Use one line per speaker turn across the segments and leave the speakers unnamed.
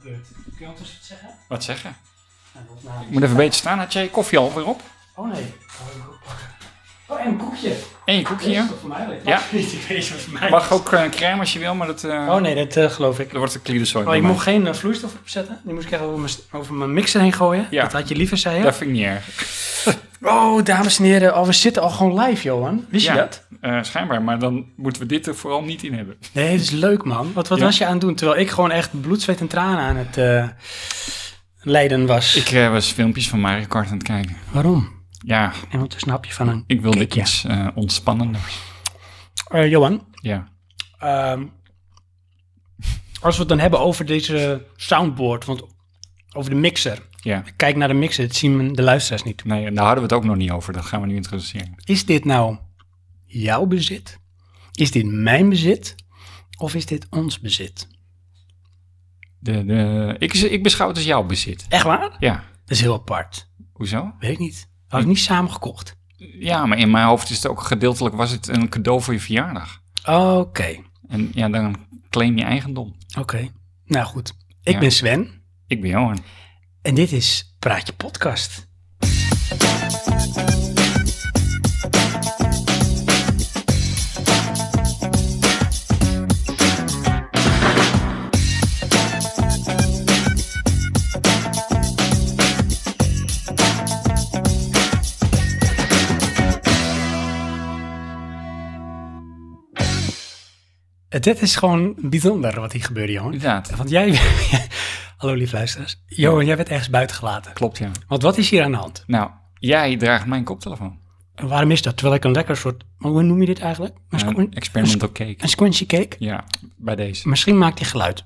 gebeurd. Kun je anders iets zeggen?
Wat zeggen?
Nou, de opname
Ik
is-
moet even beter staan. Had jij je koffie alweer op?
Oh nee, ik ga hem ook pakken. Oh, en een koekje.
En je koekje hier?
Is dat voor mij ligt?
Ja.
Ik weet niet wat voor mij
Mag
ligt.
ook eh crème als je wil, maar dat, eh
Oh nee, dat eh, geloof ik.
dat wordt een kliederzooi.
Oh,
bij
ik
mij.
mocht geen eh, vloeistof opzetten. Die moest ik echt over mijn, over mijn mixer heen gooien.
Ja.
Dat had je liever, zei je.
Dat vind ik niet erg.
Oh, dames en heren. Oh, we zitten al gewoon live, Johan. Wist
Ja.
je dat?
Eh, schijnbaar, maar dan moeten we dit er vooral niet in hebben.
Nee, dat is leuk, man. Wat, wat
Ja.
was je aan het doen? Terwijl ik gewoon echt bloed, zweet en tranen aan het eh lijden was.
Ik eh, was filmpjes van Mario Kart aan het kijken.
Waarom?
Ja,
En wat snap je van een...
ik wilde
Kijk, ja.
iets eh, ontspannenders.
Eh, Johan,
Ja.
Ehm, als we het dan hebben over deze soundboard, want over de mixer.
ja.
Kijk naar de mixer, dat zien de luisteraars niet.
Nee, daar hadden we het ook nog niet over. Dat gaan we nu introduceren.
Is dit nou jouw bezit? Is dit mijn bezit? Of is dit ons bezit?
De, de, ik, ik beschouw het als jouw bezit.
Echt waar?
Ja.
Dat is heel apart.
Hoezo?
Weet ik niet. Had ik niet samen gekocht.
Ja, maar in mijn hoofd is het ook gedeeltelijk was het een cadeau voor je verjaardag.
Oké,
En ja, dan claim je eigendom.
oké. Nou goed, ik
Ja.
ben Sven
Ik ben Johan.
en dit is Praatje Podcast. Eh, Dit is gewoon bijzonder wat hier gebeurde, Johan.
Inderdaad.
Want jij. Hallo lief luisteraars. Johan, jij werd ergens buiten gelaten.
Klopt, ja.
Want wat is hier aan de hand?
Nou, jij draagt mijn koptelefoon.
En waarom is dat? Terwijl ik een lekker soort. Hoe noem je dit eigenlijk? Een, squ-
Een experimental cake.
een squishy cake?
Ja, bij deze.
Misschien maakt hij geluid.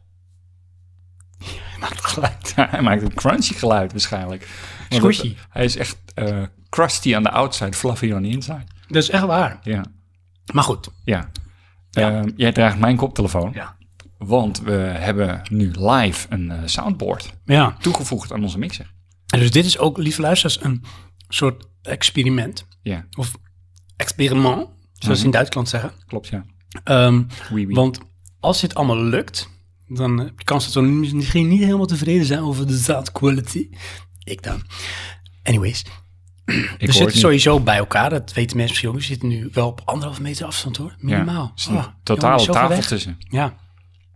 Hij maakt geluid.
Hij maakt een crunchy geluid waarschijnlijk. Want dat-
Squishy.
Hij is echt eh, crusty aan de outside, fluffy on the inside.
Dat is echt waar.
Ja,
Maar goed.
ja. Ehm, jij draagt mijn koptelefoon,
Ja.
want we hebben nu live een eh, soundboard
Ja.
toegevoegd aan onze mixer.
En dus dit is ook, lieve luisteraars, een soort experiment.
Ja,
Of experiment, zoals ze in Duitsland zeggen.
klopt, ja.
Ehm,
Oui, oui.
Want als dit allemaal lukt, dan eh, heb je kans dat we misschien niet helemaal tevreden zijn over de sound quality. Ik dan. Anyways, we
Ik hoor
zitten
het niet.
sowieso bij elkaar. Dat weten mensen misschien ook. We zitten nu wel op anderhalf meter afstand hoor.
Ja,
Minimaal.
er is een
Oh, jongen,
totale
zoveel
tafel
weg.
tussen.
Ja.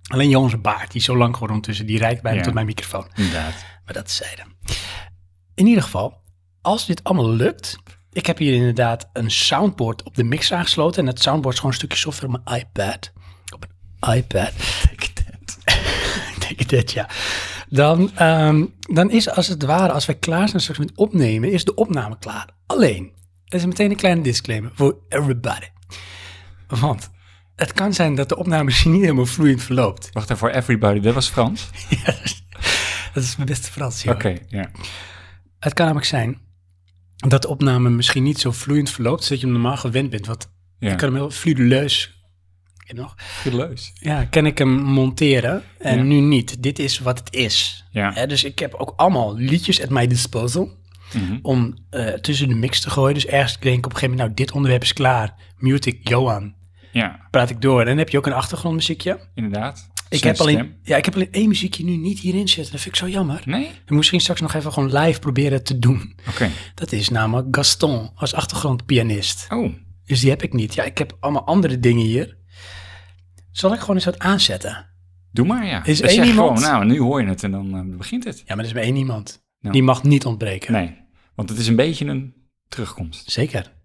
Alleen Johan zijn baard, die is zo lang geworden tussen, die reikt bijna
Ja.
tot mijn microfoon.
Inderdaad.
Maar dat zeiden. In ieder geval, als dit allemaal lukt. Ik heb hier inderdaad een soundboard op de mix aangesloten. En dat soundboard is gewoon een stukje software op mijn iPad. Op een iPad. Take Take that, ja. Dan, ehm, dan is als het ware, als wij klaar zijn straks met opnemen, is de opname klaar. Alleen, dat is meteen een kleine disclaimer voor everybody. Want het kan zijn dat de opname misschien niet helemaal vloeiend verloopt.
Wacht even voor everybody, dat was Frans.
Dat is mijn beste Frans, joh.
Oké, ja.
Het kan namelijk zijn dat de opname misschien niet zo vloeiend verloopt, zodat je hem normaal gewend bent. Want
ja.
ik kan hem heel fluideus, ken je nog?
Leus.
Ja, kan ik hem monteren en
Ja.
nu niet. Dit is wat het is.
Ja.
Hè, dus ik heb ook allemaal liedjes at my disposal
Mhm.
om eh, tussen de mix te gooien. Dus ergens denk ik op een gegeven moment, nou dit onderwerp is klaar. Mute ik Johan,
Ja,
praat ik door. En dan heb je ook een achtergrondmuziekje.
inderdaad.
Ik
Zijn
heb, alleen,
stem.
ja, ik heb alleen één muziekje nu niet hierin zitten. Dat vind ik zo jammer.
Nee?
En misschien straks nog even gewoon live proberen te doen.
Oké.
Dat is namelijk Gaston als achtergrondpianist.
Oh,
Dus die heb ik niet. Ja, ik heb allemaal andere dingen hier. Zal ik gewoon eens wat aanzetten?
doe maar ja.
Is
Dan
één
zeg je
iemand-
gewoon, nou, nu hoor je het en dan eh, begint het.
Ja, maar dat is maar één iemand.
Ja.
Die mag niet ontbreken.
Nee, want het is een beetje een terugkomst.
Zeker.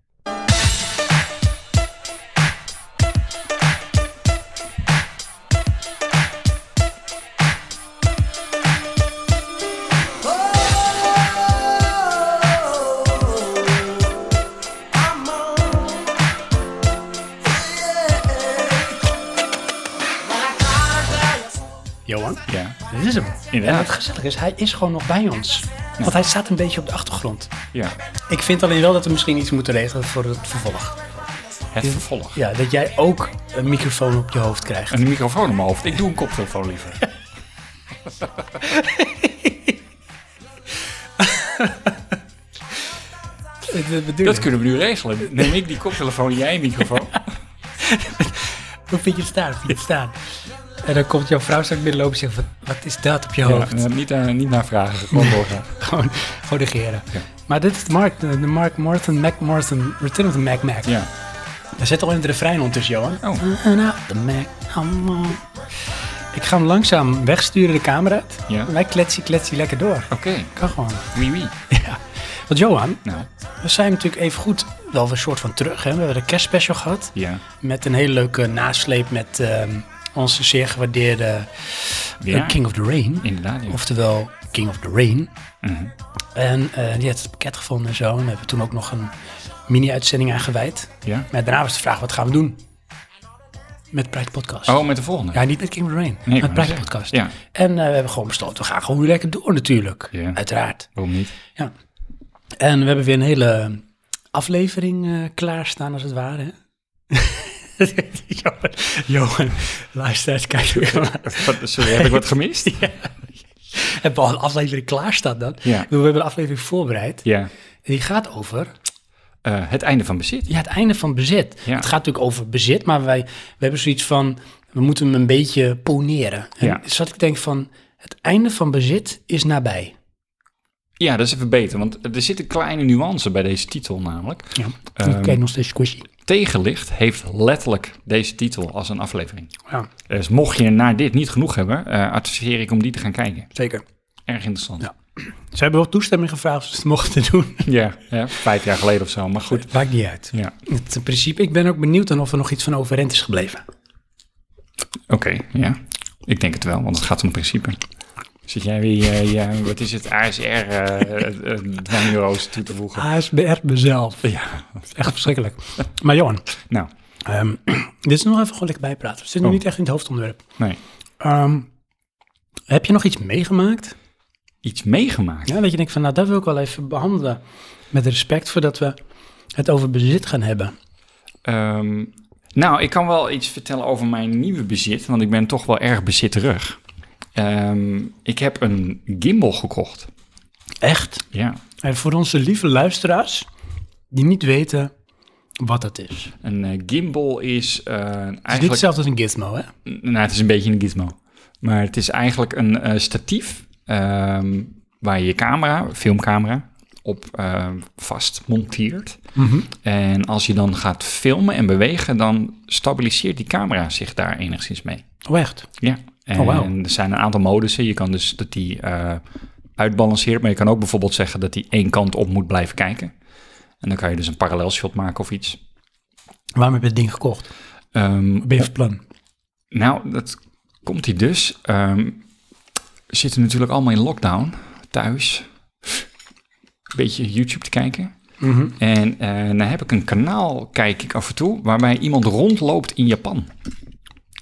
Johan,
Ja,
dit is hem. En wat
inderdaad.
gezellig is, hij is gewoon nog bij ons. Want hij staat een beetje op de achtergrond.
Ja,
Ik vind alleen wel dat we misschien iets moeten regelen voor het vervolg.
het vervolg.
Ja, dat jij ook een microfoon op je hoofd krijgt.
Een microfoon om mijn hoofd. Ik doe een koptelefoon liever. Dat kunnen we nu regelen. Neem ik die koptelefoon, jij een microfoon.
Hoe vind je het staan? Vind je het staan?
En dan komt jouw vrouw straks binnenlopen en zegt, wat, wat is dat op je
Oh,
Ja,
hoofd?
eh, niet, eh, niet naar vragen gekomen worden.
Gewoon voor de geren.
Ja.
Maar dit is de Mark, de, de Mark Morton, Mac Morton, Return of the Mac Mac.
Ja.
Daar zit al in het refrein ondertussen, Johan.
Oh.
Turn up the Mac, come on. Ik ga hem langzaam wegsturen de camera uit.
Ja.
Wij kletsie kletsie lekker door.
Oké,
Kan gewoon.
wie wie.
Ja. Want Johan,
Nou,
we zijn natuurlijk even goed wel een soort van terug. Hè? We hebben de kerstspecial gehad.
ja.
Met een hele leuke nasleep met ehm, onze zeer gewaardeerde eh,
Ja.
King of the Rain.
Inderdaad, ja.
Oftewel King of the Rain.
Mhm.
En eh, die had het pakket gevonden en zo. En we hebben toen ook nog een mini-uitzending aan gewijd.
ja.
Maar daarna was de vraag, wat gaan we doen? Met Pride Podcast.
Oh, met de volgende.
Ja, niet met King of the Rain.
ik wou
met Pride
zeggen.
Podcast.
Ja.
En eh, we hebben gewoon besloten, we gaan gewoon lekker door natuurlijk.
Ja.
Uiteraard.
Waarom niet?
Ja. En we hebben weer een hele aflevering eh, klaarstaan, als het ware. hè? Johan, Johan, luisteraars, kijk weer.
Sorry, heb ik wat gemist?
Hebben we al een aflevering klaarstaan dan?
Ja.
Ik bedoel, We hebben een aflevering voorbereid.
Ja.
En die gaat over
Eh, het einde van bezit.
ja, het einde van bezit.
Ja.
Het gaat natuurlijk over bezit, maar wij we hebben zoiets van... we moeten hem een beetje poneren. En
Ja.
Dus dat ik denk van, het einde van bezit is nabij.
Ja, dat is even beter, want er zit een kleine nuance bij deze titel namelijk.
Ja.
Ehm.
ik kijk nog steeds squishy.
Tegenlicht heeft letterlijk deze titel als een aflevering.
Ja,
Dus mocht je naar dit niet genoeg hebben, eh adviseer ik om die te gaan kijken.
zeker.
Erg interessant.
Ja. Ze hebben wel toestemming gevraagd of ze het mochten doen.
Ja, ja, vijf jaar geleden of zo, maar goed.
Maakt niet uit.
Ja,
Het eh, principe, ik ben ook benieuwd dan of er nog iets van overeind is gebleven.
oké, ja. Ik denk het wel, want het gaat om principe. Zit jij weer je, je- wat is het, eh, ASR-dwangbureaus toe te voegen?
ASBR mezelf.
Ja,
Echt verschrikkelijk. Maar Johan,
nou,
ehm, dit is nog even gewoon lekker bijpraten. We zitten nog
Oh.
niet echt in het hoofdonderwerp.
nee.
Ehm, heb je nog iets meegemaakt?
Iets meegemaakt.
Ja, dat je denkt van, nou, dat wil ik wel even behandelen. Met respect voordat we het over bezit gaan hebben.
Ehm, nou, ik kan wel iets vertellen over mijn nieuwe bezit, want ik ben toch wel erg bezitterig. Ehm, ik heb een gimbal gekocht.
Echt?
Ja,
En voor onze lieve luisteraars die niet weten wat dat is. Het
een eh, gimbal is eh,
is niet
eigenlijk...
hetzelfde als een gizmo, hè?
nou, het is een beetje een gizmo. Maar het is eigenlijk een eh, statief ehm, waar je je camera, filmcamera, op eh, vast monteert. En als je dan gaat filmen en bewegen, dan stabiliseert die camera zich daar enigszins mee.
Oh, echt?
Ja. En
Oh, wauw.
er zijn een aantal modussen. Je kan dus dat die eh, uitbalanceert, maar je kan ook bijvoorbeeld zeggen dat die één kant op moet blijven kijken. En dan kan je dus een parallel shot maken of iets.
Waarom heb je het ding gekocht?
Ehm,
Ben je van plan?
Nou, dat komt hij dus. Ehm, we zitten natuurlijk allemaal in lockdown thuis. Een beetje YouTube te kijken.
Mhm.
En eh, dan heb ik een kanaal, kijk ik af en toe, waarbij iemand rondloopt in Japan.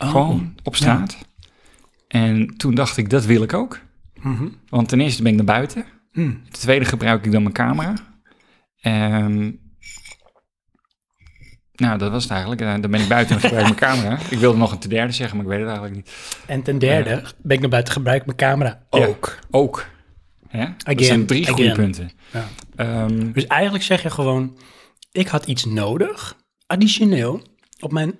Oh.
Gewoon op straat. En toen dacht ik, dat wil ik ook.
Mhm.
Want ten eerste ben ik naar buiten.
Hm.
Ten tweede gebruik ik dan mijn camera. Ehm, nou, dat was het eigenlijk. Eh, Dan ben ik buiten en gebruik ik mijn camera. Ik wilde nog een ten derde zeggen, maar ik weet het eigenlijk niet.
En ten derde ben ik naar buiten gebruik mijn camera
Ja.
ook.
Ook. Hè?
Again,
dat zijn drie
again.
goede punten.
Ja.
Ehm,
Dus eigenlijk zeg je gewoon, ik had iets nodig, additioneel, op mijn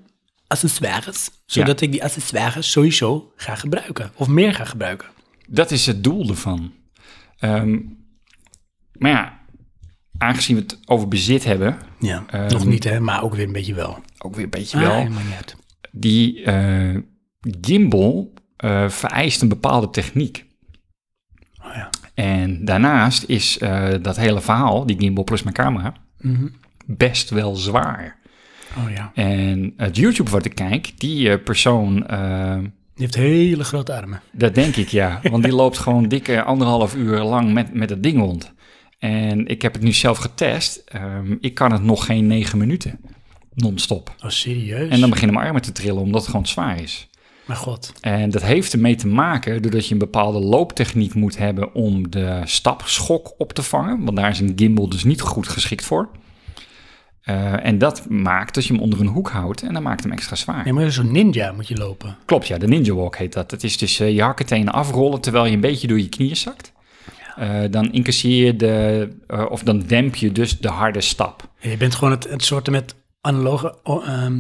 accessoires. Zodat ik die accessoires sowieso ga gebruiken. Of meer ga gebruiken.
dat is het doel ervan. Ehm, maar ja, aangezien we het over bezit hebben,
Ja,
Ehm,
nog niet hè, maar ook weer een beetje wel.
ook weer een beetje wel,
Ah, maakt niet uit.
die eh, gimbal eh, vereist een bepaalde techniek.
Oh ja.
En daarnaast is eh, dat hele verhaal, die gimbal plus mijn camera,
Mhm.
best wel zwaar.
Oh ja.
En het YouTube wat ik kijk, die eh, persoon, eh,
Die heeft hele grote armen.
dat denk ik ja. Want die loopt gewoon dikke anderhalf uur lang met, met dat ding rond. En ik heb het nu zelf getest. Ehm, ik kan het nog geen negen minuten. Non-stop.
Oh, serieus?
En dan beginnen mijn armen te trillen omdat het gewoon zwaar is.
Maar god.
En dat heeft ermee te maken doordat je een bepaalde looptechniek moet hebben om de stapschok op te vangen. Want daar is een gimbal dus niet goed geschikt voor. Eh, en dat maakt dat je hem onder een hoek houdt en dat maakt hem extra zwaar.
Nee, maar zo'n ninja moet je lopen.
Klopt, ja, de ninja walk heet dat. Dat is dus eh, je hakketenen afrollen terwijl je een beetje door je knieën zakt. Eh, dan incasseer je de, eh, of dan demp je dus de harde stap.
Je bent gewoon het, het soort met analoge oh, ehm,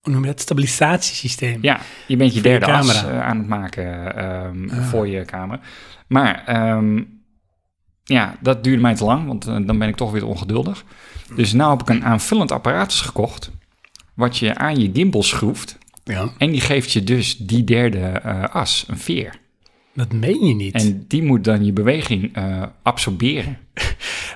hoe noem je dat? Stabilisatiesysteem.
Ja, je bent je
Voor je
derde as
camera. Ah.
eh, aan het maken ehm, voor je camera. Maar ehm, ja, dat duurde mij te lang, want eh, dan ben ik toch weer ongeduldig. Dus nu heb ik een aanvullend apparatus gekocht, wat je aan je gimbal schroeft.
Ja.
En die geeft je dus die derde eh, as, een veer.
Dat meen je niet.
En die moet dan je beweging eh, absorberen.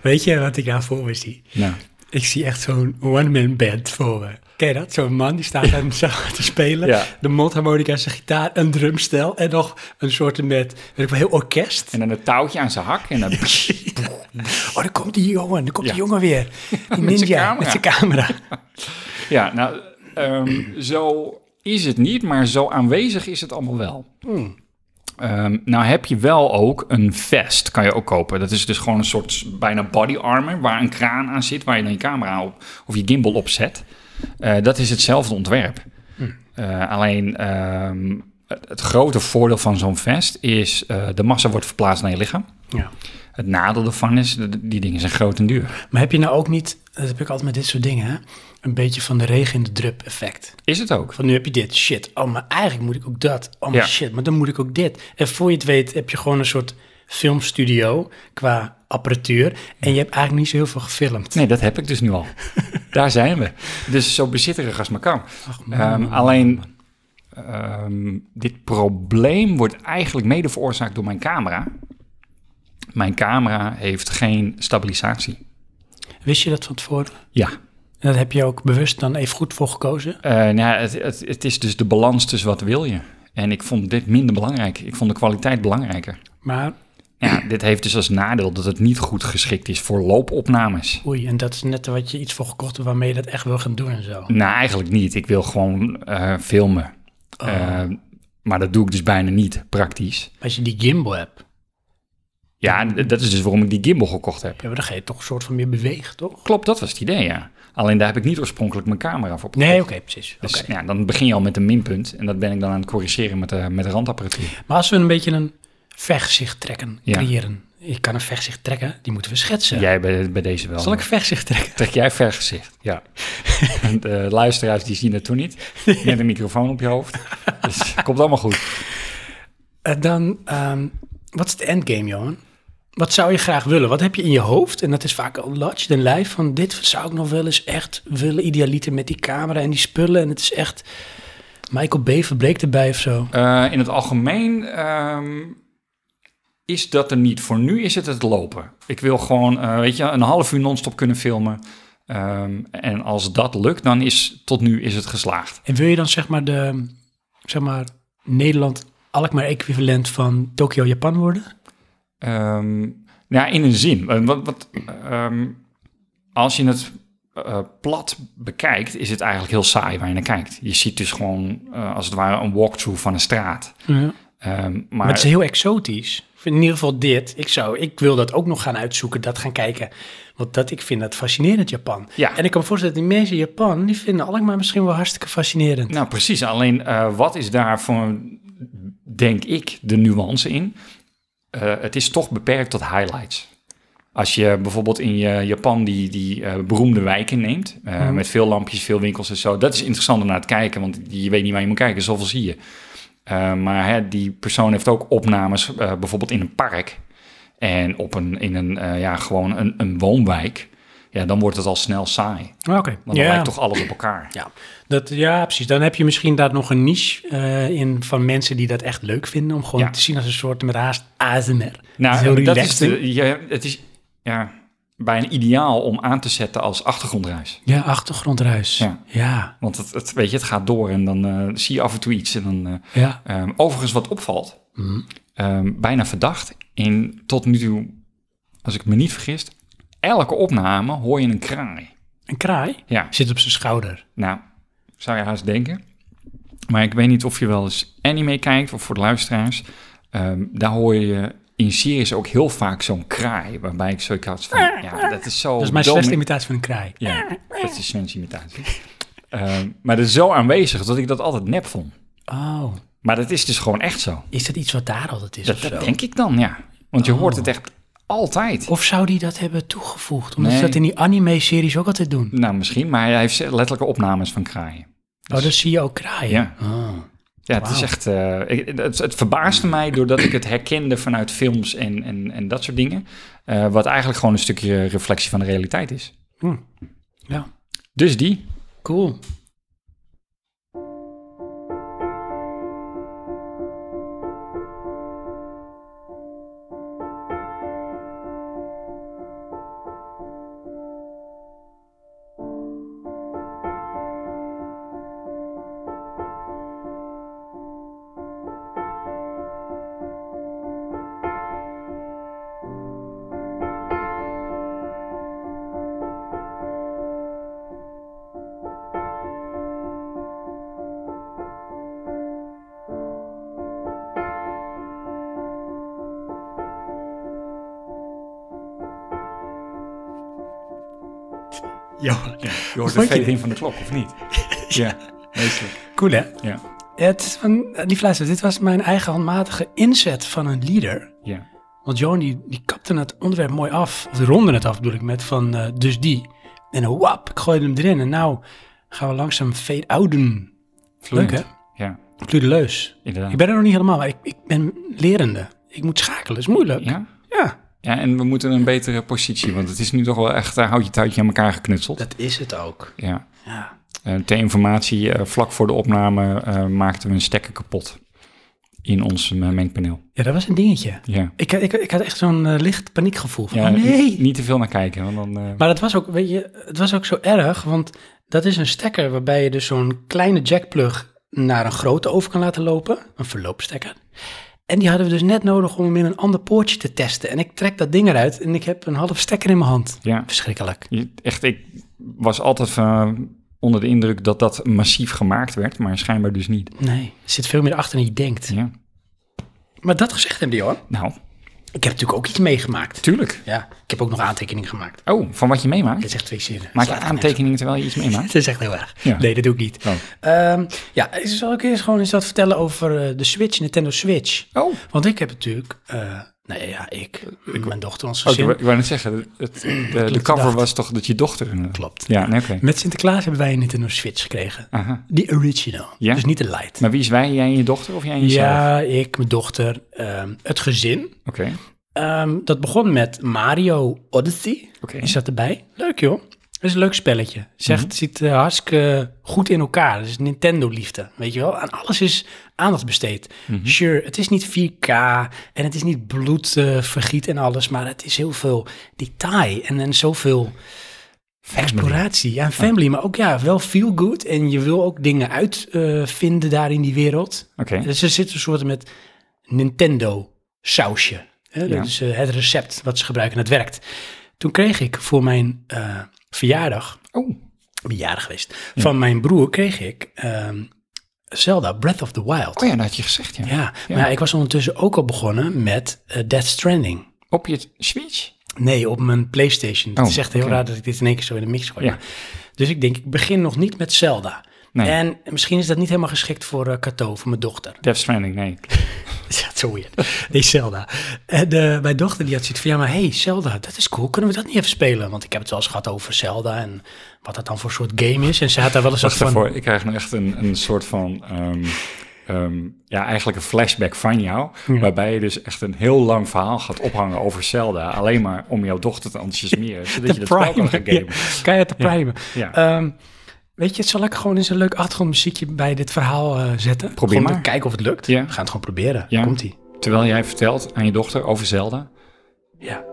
Weet je wat ik nou voor me zie?
Nou,
Ik zie echt zo'n one-man band voor me. Ken je dat? Zo'n man die staat aan zichzelf te spelen.
Ja.
De mondharmonica, zijn gitaar, een drumstel en nog een soort met, weet ik wel, heel orkest.
en dan een touwtje aan zijn hak en dan...
Oh, daar komt die jongen, daar komt die
Ja.
jongen weer. Die
Met zijn
ninja,
camera.
met zijn camera.
Ja, nou, ehm, zo is het niet, maar zo aanwezig is het allemaal wel. Ehm, nou heb je wel ook een vest, kan je ook kopen. Dat is dus gewoon een soort bijna body armor waar een kraan aan zit, waar je dan je camera op of je gimbal op zet. Eh, dat is hetzelfde ontwerp. Eh, alleen ehm, het, het grote voordeel van zo'n vest is eh, de massa wordt verplaatst naar je lichaam.
Ja.
Het nadeel ervan is, dat- die dingen zijn groot en duur.
Maar heb je nou ook niet, dat heb ik altijd met dit soort dingen, hè? een beetje van de regen in de drup effect.
Is het ook?
Van nu heb je dit, shit. Oh, maar eigenlijk moet ik ook dat. Oh, maar
Ja.
shit, maar dan moet ik ook dit. En voor je het weet heb je gewoon een soort filmstudio qua apparatuur. En je hebt eigenlijk niet zo heel veel gefilmd.
Nee, dat heb ik dus nu al. Daar zijn we. Dus zo bezitterig als maar kan. Ehm, alleen, ehm, dit probleem wordt eigenlijk mede veroorzaakt door mijn camera. Mijn camera heeft geen stabilisatie.
Wist je dat van tevoren?
Ja.
En daar heb je ook bewust dan even goed voor gekozen.
Eh, nou, ja, het, het, het is dus de balans tussen wat wil je. En ik vond dit minder belangrijk. Ik vond de kwaliteit belangrijker.
Maar
Ja, dit heeft dus als nadeel dat het niet goed geschikt is voor loopopnames.
oei, en dat is net wat je iets voor gekocht hebt waarmee je dat echt wil gaan doen en zo.
Nou, eigenlijk niet. Ik wil gewoon eh, filmen.
Oh.
Eh, maar dat doe ik dus bijna niet praktisch.
Als je die gimbal hebt,
Ja, en d- dat is dus waarom ik die gimbal gekocht heb.
ja, maar dan ga je toch een soort van meer bewegen, toch?
Klopt, dat was het idee, ja. Alleen daar heb ik niet oorspronkelijk mijn camera voor.
Nee, oké, precies.
Dus
Oké.
ja, dan begin je al met een minpunt. En dat ben ik dan aan het corrigeren met de, met de randapparatuur.
Maar als we een beetje een vechtzicht trekken,
Ja.
creëren. Ik kan een vechtzicht trekken, die moeten we schetsen.
Jij bij, bij deze wel.
Zal ik een vechtzicht trekken?
Trek jij ver gezicht? Ja. en de luisteraars die zien dat toen niet. Met een microfoon op je hoofd. Dus komt allemaal goed.
Eh, dan, ehm, wat is de endgame, Johan? Wat zou je graag willen? Wat heb je in je hoofd? En dat is vaak al larger than life. Van dit zou ik nog wel eens echt willen. Idealiter met die camera en die spullen. En het is echt... Michael B. verbleek erbij of zo.
Eh, in het algemeen ehm, is dat er niet. Voor nu is het het lopen. Ik wil gewoon, eh, weet je, een half uur non-stop kunnen filmen. Ehm, en als dat lukt, dan is tot nu is het geslaagd.
En wil je dan zeg maar de... Zeg maar Nederland... Alkmaar equivalent van Tokio, Japan worden?
Ehm, nou ja, in een zin. Eh, Wat, wat, ehm, als je het eh, plat bekijkt, is het eigenlijk heel saai waar je naar kijkt. Je ziet dus gewoon, eh, als het ware, een walkthrough van een straat.
Ja.
Ehm, maar,
Maar het is heel exotisch. In ieder geval dit. Ik, zou, ik wil dat ook nog gaan uitzoeken, dat gaan kijken. Want dat, ik vind dat fascinerend, Japan.
Ja.
En ik kan me voorstellen dat die mensen in Japan... die vinden Alkmaar misschien wel hartstikke fascinerend.
Nou, precies. Alleen, eh, wat is daar voor, denk ik, de nuance in? Eh, het is toch beperkt tot highlights. Als je bijvoorbeeld in je Japan die, die eh, beroemde wijken neemt, eh, met veel lampjes, veel winkels en zo, dat is interessant om naar te kijken, want je weet niet waar je moet kijken, zoveel zie je. Eh, maar hè, die persoon heeft ook opnames, eh, bijvoorbeeld in een park en op een, in een, eh, ja, gewoon een, een woonwijk. Ja, dan wordt het al snel saai, want
Ah, Oké.
Nou, dan
Ja.
lijkt toch alles op elkaar.
Ja. Dat, ja, precies. Dan heb je misschien daar nog een niche eh, in van mensen die dat echt leuk vinden. Om gewoon
Ja.
te zien als een soort met haast ASMR.
Nou,
heel
dat is
relaxing.
de- ja, het is ja, bijna ideaal om aan te zetten als achtergrondruis.
Ja, achtergrondruis.
Ja.
ja.
Want het, het, weet je, het gaat door en dan eh, zie je af en toe iets. En dan, eh,
ja.
ehm, overigens, wat opvalt,
Mhm.
ehm, bijna verdacht, in, tot nu toe, als ik me niet vergis, elke opname hoor je een kraai.
Een kraai
Ja,
zit op zijn schouder.
nou, zou je haast denken. Maar ik weet niet of je wel eens anime kijkt of voor de luisteraars. ehm, daar hoor je in series ook heel vaak zo'n kraai, waarbij ik zoiets had van, ja, dat is zo
Dat is mijn
domi-
slechtste imitatie van een kraai.
Ja, dat is Sven's imitatie. Ehm, maar dat is zo aanwezig dat ik dat altijd nep vond.
Oh.
Maar dat is dus gewoon echt zo.
Is dat iets wat daar altijd is
Dat,
of zo? Oh.
dat denk ik dan, ja. Want je hoort het echt altijd.
Of zou die dat hebben toegevoegd? Omdat ze
Nee.
dat in die anime-series ook altijd doen.
Nou, misschien, maar hij heeft letterlijke opnames van kraaien.
Oh, dus zie je ook kraaien.
Ja.
Ah.
Ja, het is
Wauw.
echt. eh, ik- het, het verbaasde mij doordat ik het herkende vanuit films en, en, en dat soort dingen. eh, wat eigenlijk gewoon een stukje reflectie van de realiteit is.
Hm. Ja.
Dus die.
Cool. Ja,
Je hoort
de Vond je-
in van de klok, of niet? ja, meestelijk.
cool hè?
Ja,
Het is van, lief luister, dit was mijn eigen handmatige inzet van een leader.
ja.
Want Johan die, die kapte het onderwerp mooi af. Of die ronde het af bedoel ik met van eh, dus die. En wap, ik gooide hem erin. En nou gaan we langzaam fade ouden. Leuk
Vloeiend.
hè?
Ja,
Kludeleus.
inderdaad.
Ik ben er nog niet helemaal, maar ik, ik ben lerende. Ik moet schakelen, is moeilijk.
Ja?
Ja,
ja, en we moeten een betere positie, want het is nu toch wel echt eh, houtje touwtje aan elkaar geknutseld.
dat is het ook.
Ja.
Ja.
Eh, ter informatie, eh, vlak voor de opname eh, maakten we een stekker kapot in ons eh, mengpaneel.
ja, dat was een dingetje.
Ja.
Ik, ik, ik had echt zo'n eh, licht paniekgevoel. Van,
Ja,
oh nee!
niet- Niet te veel naar kijken, want dan... eh,
Maar het was ook, weet je, het was ook zo erg, want dat is een stekker waarbij je dus zo'n kleine jackplug naar een grote over kan laten lopen, een verloopstekker. En die hadden we dus net nodig om hem in een ander poortje te testen. En ik trek dat ding eruit en ik heb een half stekker in mijn hand.
ja,
Verschrikkelijk.
je- echt, ik was altijd van, eh, onder de indruk dat dat massief gemaakt werd, maar schijnbaar dus niet.
Nee, er zit veel meer achter dan je denkt.
Ja.
Maar dat gezegd hebben die hoor.
Nou,
Ik heb natuurlijk ook iets meegemaakt.
tuurlijk.
Ja, ik heb ook nog aantekeningen gemaakt.
Oh, van wat je meemaakt?
Dit is echt twee zinnen.
Maak je
Slaat nergens
aantekeningen terwijl je iets
op.
meemaakt?
Het is echt heel erg.
Ja.
Nee, dat doe ik niet.
Oh.
Ehm, ja, zal ik eerst gewoon eens wat vertellen over eh, de Switch, Nintendo Switch?
Oh,
Want ik heb natuurlijk, eh nee ja, ik, mijn dochter, ons
oh, ik,
gezin.
wou- ik wou net zeggen, het, het- de, de cover
verdacht.
was toch dat je dochter... een- eh,
Klopt.
Ja, nee, oké.
Met Sinterklaas hebben wij een Nintendo Switch gekregen.
Aha.
Die original,
Ja.
dus niet de light.
Maar wie is wij? Jij en je dochter of jij en jezelf?
Ja, ik, mijn dochter, ehm, het gezin.
Oké,
Ehm, dat begon met Mario Odyssey.
oké.
Is dat erbij? Leuk joh. Dat is een leuk spelletje. Zegt, ziet eh, hartstikke goed in elkaar. Dat is Nintendo-liefde, weet je wel. Aan alles is aandacht besteed. Sure, het is niet 4K en het is niet bloed, eh, vergiet en alles. Maar het is heel veel detail en, en zoveel exploratie. Ja, en family, maar ook ja, wel feel good. En je wil ook dingen uitvinden eh, daar in die wereld.
Oké.
Dus er zit een soort met Nintendo sausje. Hè?
Ja.
Dat is eh, het recept wat ze gebruiken en het werkt. Toen kreeg ik voor mijn eh, verjaardag,
Oh,
ik ben jarig geweest, van mijn broer kreeg ik ehm, Zelda Breath of the Wild.
oh ja, dat had je gezegd, ja.
ja. maar ja, ik was ondertussen ook al begonnen met eh, Death Stranding.
Op je Switch?
Nee, op mijn PlayStation. Het
Oh,
is echt heel
oké.
raar dat ik dit in één keer zo in de mix gooi.
Ja.
Dus ik denk, ik begin nog niet met Zelda.
Nee.
En misschien is dat niet helemaal geschikt voor eh Kato, voor mijn dochter.
Death Stranding, nee.
Ja, zo weird. Nee, Zelda. En eh, mijn dochter die had zoiets van, ja, maar hey, Zelda, dat is cool. Kunnen we dat niet even spelen? Want ik heb het wel eens gehad over Zelda en wat dat dan voor soort game is. En ze had daar wel eens wat
Wacht
van...
daarvoor, ik krijg nou echt een, een soort van... ehm, ehm, ja, eigenlijk een flashback van jou, waarbij je dus echt een heel lang verhaal gaat ophangen over Zelda, alleen maar om jouw dochter te enthousiasmeren, zodat je dat spel kan gaan gamen.
Kan je het te primen.
Ja.
Ehm, weet je, zal ik gewoon eens een leuk achtergrondmuziekje bij dit verhaal eh, zetten?
Probeer
gewoon
maar.
kijken of het lukt.
Ja.
We gaan het gewoon proberen.
Ja.
Komt-ie.
Terwijl jij vertelt aan je dochter over Zelda.
Ja.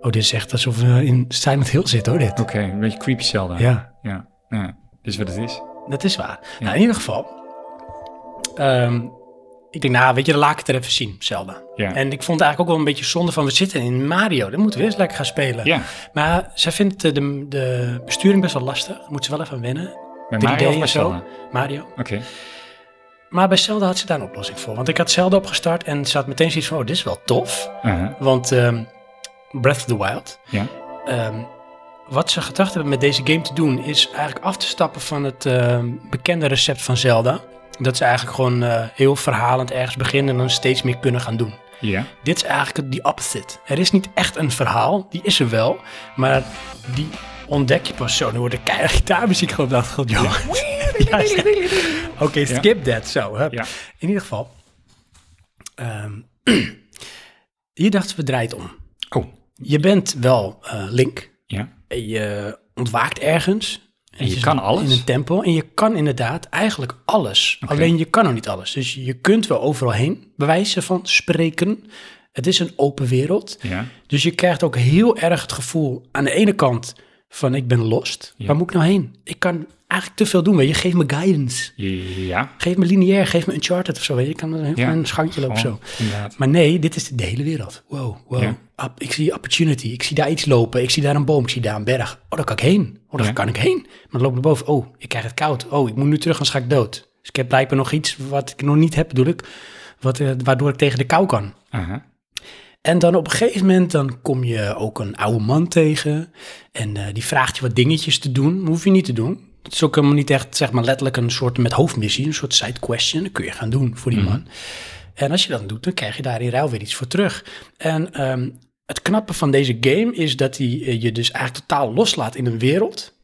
Oh, dit is echt alsof we in Silent Hill zitten, hoor, dit.
Oké, een beetje creepy Zelda.
Ja.
Ja, ja. Is wat het is.
Dat is waar. Nou, in ieder geval. ehm, ik denk, nou, weet je, dan laat ik het er even zien, Zelda.
Ja.
En ik vond het eigenlijk ook wel een beetje zonde van, we zitten in Mario, dan moeten we eens lekker gaan spelen.
Ja,
Maar zij vindt eh, de, de besturing best wel lastig, moet ze wel even aan wennen.
bij
3D
Mario of
en
bij
zo.
Zelda?
Mario.
Oké.
Maar bij Zelda had ze daar een oplossing voor. Want ik had Zelda opgestart en ze had meteen zoiets van, oh, dit is wel tof.
Aha,
Want ehm, Breath of the Wild,
Eh, Ja.
ehm, wat ze gedacht hebben met deze game te doen, is eigenlijk af te stappen van het ehm, bekende recept van Zelda. Dat ze eigenlijk gewoon eh, heel verhalend ergens beginnen en dan steeds meer kunnen gaan doen.
Ja.
Dit is eigenlijk het- die opposite. Er is niet echt een verhaal, die is er wel, maar die ontdek je pas zo. Nu wordt er keihard gitaarmuziek gewoon op de achtergrond, jongens. Juist. Oké, skip that. Zo, hup.
Ja.
In ieder geval. ehm, hier dachten we draait om.
Oh,
Je bent wel eh, link.
ja.
En je ontwaakt ergens.
En je
zit
kan alles.
In een tempel. En je kan inderdaad eigenlijk alles. Alleen je kan nog niet alles. Dus je kunt wel overal heen. Bewijzen van spreken. Het is een open wereld.
Ja.
Dus je krijgt ook heel erg het gevoel aan de ene kant van ik ben lost.
Ja.
Waar moet ik nou heen? Ik kan eigenlijk te veel doen. Weet je, geef me guidance.
Ja.
Geef me lineair, geef me Uncharted of zo. Weet je, ik kan met een heel
Ja.
klein schangetje lopen
Gewoon,
zo.
Inderdaad.
Maar nee, dit is de hele wereld. Wow, wow.
Ja.
Up- ik zie opportunity. Ik zie daar iets lopen. Ik zie daar een boom. Ik zie daar een berg. Oh, daar kan ik heen. Oh, daar
Ja.
kan ik heen. Maar dan loop ik naar boven. Oh, ik krijg het koud. Oh, ik moet nu terug, anders ga ik dood. Dus ik heb blijkbaar nog iets wat ik nog niet heb, bedoel ik. Wat, eh, waardoor ik tegen de kou kan.
Aha.
En dan op een gegeven moment dan kom je ook een oude man tegen. En eh, die vraagt je wat dingetjes te doen. Dat hoef je niet te doen. Het is ook helemaal niet echt, zeg maar, letterlijk een soort met hoofdmissie. Een soort side question. Dat kun je gaan doen voor die
Mhm.
man. En als je dat doet, dan krijg je daar in ruil weer iets voor terug. En ehm, het knappe van deze game is dat hij eh, je dus eigenlijk totaal loslaat in een wereld.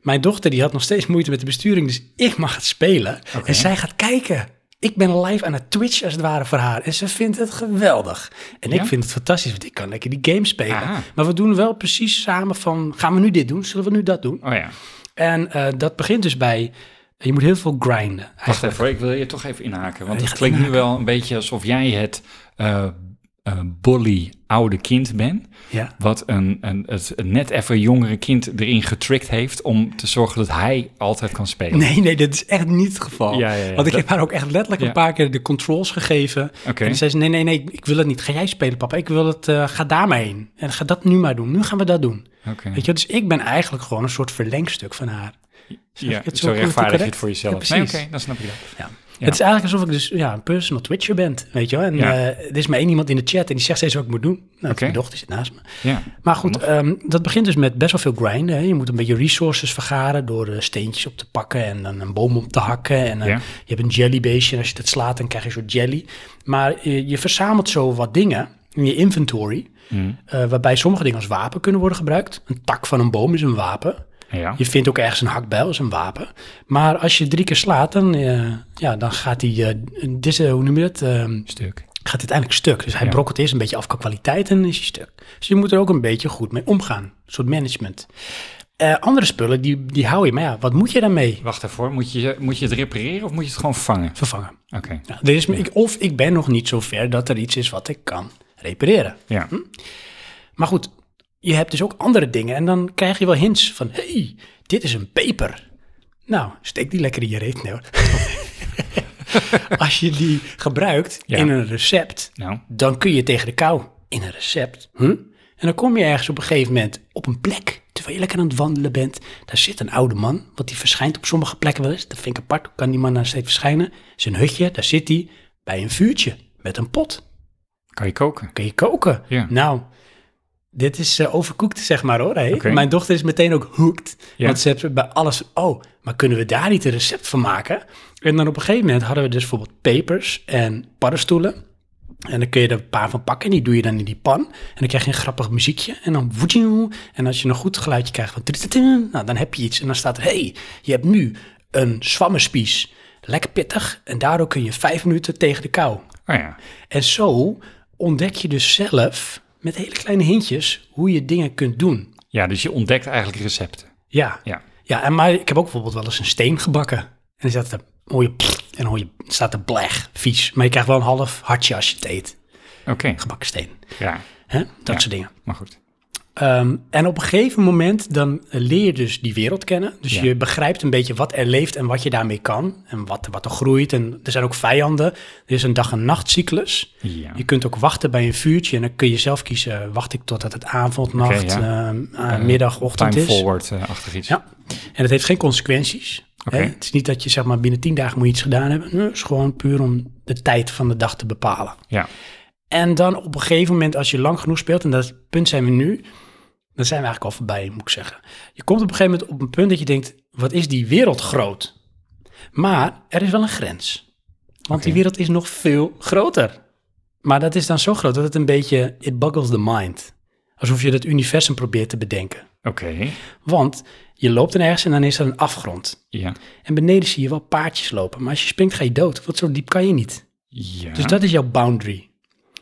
Mijn dochter die had nog steeds moeite met de besturing, dus ik mag het spelen. En zij gaat kijken. Ik ben live aan het Twitch als het ware voor haar. En ze vindt het geweldig. En ik
Ja?
vind het fantastisch, want ik kan lekker die game spelen.
Aha.
Maar we doen wel precies samen van, gaan we nu dit doen? Zullen we nu dat doen?
Oh ja.
En eh, dat begint dus bij, je moet heel veel grinden.
Wacht even, hoor, ik wil je toch even inhaken. Want
je
het
gaat
klinkt nu wel een beetje alsof jij het eh eh, bolly oude kind bent.
Ja.
Wat een, een, het net even jongere kind erin getricked heeft om te zorgen dat hij altijd kan spelen.
Nee, nee, dat is echt niet het geval.
Ja, ja, ja.
Want ik
Dat-
heb haar ook echt letterlijk
Ja.
een paar keer de controls gegeven.
Oké.
En zei ze, nee, nee, nee, ik wil het niet. Ga jij spelen, papa. Ik wil het, eh, ga daar maar heen. En ga dat nu maar doen. Nu gaan we dat doen.
Oké.
Weet je, wel, dus ik ben eigenlijk gewoon een soort verlengstuk van haar.
Ja,
ik het zo
zo
politiek
rechtvaardig je het
correct?
voor jezelf.
Ja, precies.
Nee, oké, dan snap je dat.
Ja.
Ja.
Het is eigenlijk alsof ik dus ja, een personal twitcher ben, weet je wel. En
Ja.
eh, er is maar één iemand in de chat en die zegt steeds wat ik moet doen. Nou,
Oké.
Mijn dochter zit naast me.
Ja.
Maar goed, ehm, dat begint dus met best wel veel grinden. Hè. Je moet een beetje resources vergaren door eh, steentjes op te pakken en dan een boom op te hakken. En eh,
Ja.
je hebt een jellybeestje en als je dat slaat, dan krijg je een soort jelly. Maar eh, je verzamelt zo wat dingen in je inventory, eh, waarbij sommige dingen als wapen kunnen worden gebruikt. Een tak van een boom is een wapen.
Ja.
Je vindt ook ergens een hakbijl, is een wapen. Maar als je drie keer slaat, dan, eh, ja, dan gaat die, eh dit, eh, hoe noem je dat, Ehm,
Stuk.
gaat dit uiteindelijk stuk. Dus hij
Ja.
brokkelt eerst een beetje af qua kwaliteit en dan is hij stuk. Dus je moet er ook een beetje goed mee omgaan. Een soort management. Eh, andere spullen, die, die hou je. Maar ja, wat moet je daarmee
Wacht even, moet je, moet je het repareren of moet je het gewoon vangen?
vervangen?
Oké.
Ja, er is, me- ik, of ik ben nog niet zo ver dat er iets is wat ik kan repareren.
Ja.
Maar goed, je hebt dus ook andere dingen. En dan krijg je wel hints van... hey, dit is een peper. Nou, steek die lekker in je reet. Nee, hoor. Als je die gebruikt
Ja.
in een recept...
Nou,
dan kun je tegen de kou in een recept. Hm? En dan kom je ergens op een gegeven moment op een plek, terwijl je lekker aan het wandelen bent. Daar zit een oude man, want die verschijnt op sommige plekken wel eens. Dat vind ik apart, hoe kan die man nou steeds verschijnen? Zijn hutje, daar zit hij bij een vuurtje met een pot.
kan je koken?
Kun je koken?
Ja.
Nou, dit is eh, overkoekt, zeg maar hoor. hè?
Oké.
Mijn dochter is meteen ook hooked.
Ja.
Want ze heeft bij alles, oh, maar kunnen we daar niet een recept van maken? En dan op een gegeven moment hadden we dus bijvoorbeeld pepers en paddenstoelen. En dan kun je er een paar van pakken en die doe je dan in die pan. En dan krijg je een grappig muziekje. En dan woedjoe. En als je een goed geluidje krijgt van... tritatun, Nou, dan heb je iets. En dan staat er... hey, je hebt nu een zwammerspies. Lekker pittig. En daardoor kun je vijf minuten tegen de kou.
Oh ja.
En zo ontdek je dus zelf met hele kleine hintjes hoe je dingen kunt doen.
Ja, dus je ontdekt eigenlijk recepten.
Ja.
Ja.
Ja, en maar ik heb ook bijvoorbeeld wel eens een steen gebakken. En dan staat er mooie en dan hoor je, staat er bleg, vies. Maar je krijgt wel een half hartje als je het eet.
Oké.
Gebakken steen.
Ja.
hè? Dat
Ja.
soort dingen.
Maar goed.
Ehm, en op een gegeven moment dan leer je dus die wereld kennen. Dus
Ja.
je begrijpt een beetje wat er leeft en wat je daarmee kan. En wat, wat er groeit. En er zijn ook vijanden. Er is een dag- en nachtcyclus.
Ja.
Je kunt ook wachten bij een vuurtje. En dan kun je zelf kiezen. Wacht ik totdat het avond, nacht,
ja.
ehm, eh, middag, ochtend
Time
is.
forward-achtig iets.
Ja. En het heeft geen consequenties.
Oké.
Hè? Het is niet dat je zeg maar binnen tien dagen moet je iets gedaan hebben. Nee, Het is gewoon puur om de tijd van de dag te bepalen.
Ja.
En dan op een gegeven moment, als je lang genoeg speelt, en dat punt zijn we nu, dan zijn we eigenlijk al voorbij, moet ik zeggen. Je komt op een gegeven moment op een punt dat je denkt, wat is die wereld groot? Maar er is wel een grens. Want die wereld is nog veel groter. Maar dat is dan zo groot dat het een beetje, it boggles the mind. Alsof je dat universum probeert te bedenken.
Oké,
Want je loopt dan ergens en dan is er een afgrond.
ja.
En beneden zie je wel paardjes lopen. Maar als je springt ga je dood, want zo diep kan je niet.
ja.
Dus dat is jouw boundary.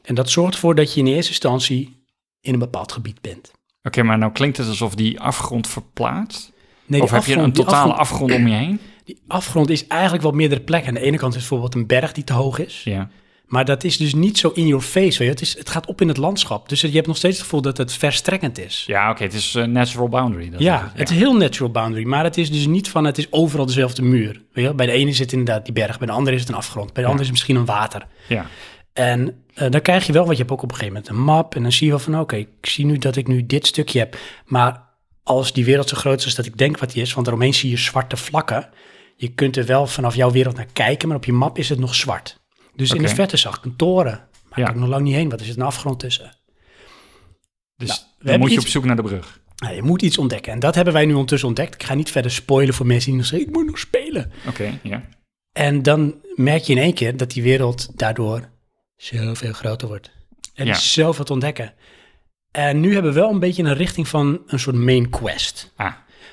En dat zorgt ervoor dat je in eerste instantie in een bepaald gebied bent.
Oké, maar nou klinkt het alsof die afgrond verplaatst.
Nee, die
of heb je een
afgrond- die
totale
afgrond-
afgrond om je heen?
Die afgrond is eigenlijk wel meerdere plekken. Aan de ene kant is bijvoorbeeld een berg die te hoog is.
Ja.
Maar dat is dus niet zo in your face. Weet je. Het, is, het gaat op in het landschap. Dus je hebt nog steeds het gevoel dat het verstrekkend is.
Ja, oké, het is een natural boundary. Dat
Ja,
is het.
het is heel natural boundary. Maar het is dus niet van het is overal dezelfde muur. Weet je wel? Bij de ene zit inderdaad die berg, bij de andere is het een afgrond, bij de andere is het misschien een water.
ja.
En eh, dan krijg je wel, want je hebt ook op een gegeven moment een map. En dan zie je wel van, oké, ik zie nu dat ik nu dit stukje heb. Maar als die wereld zo groot is als dat ik denk wat die is, want daaromheen zie je zwarte vlakken. Je kunt er wel vanaf jouw wereld naar kijken, maar op je map is het nog zwart. Dus in
Oké.
de verte zag ik een toren. Maar
Ja.
ik kan ik nog lang niet heen. Wat is het een afgrond tussen? Nou,
Dus dan
hebben
moet je
iets-
op zoek naar de brug.
Nou, je moet iets ontdekken. En dat hebben wij nu ondertussen ontdekt. Ik ga niet verder spoilen voor mensen die nog zeggen, ik moet nog spelen.
Oké, ja.
En dan merk je in één keer dat die wereld daardoor zoveel groter wordt. Er
Ja.
is zoveel te ontdekken. En nu hebben we wel een beetje een richting van een soort main quest.
Ah,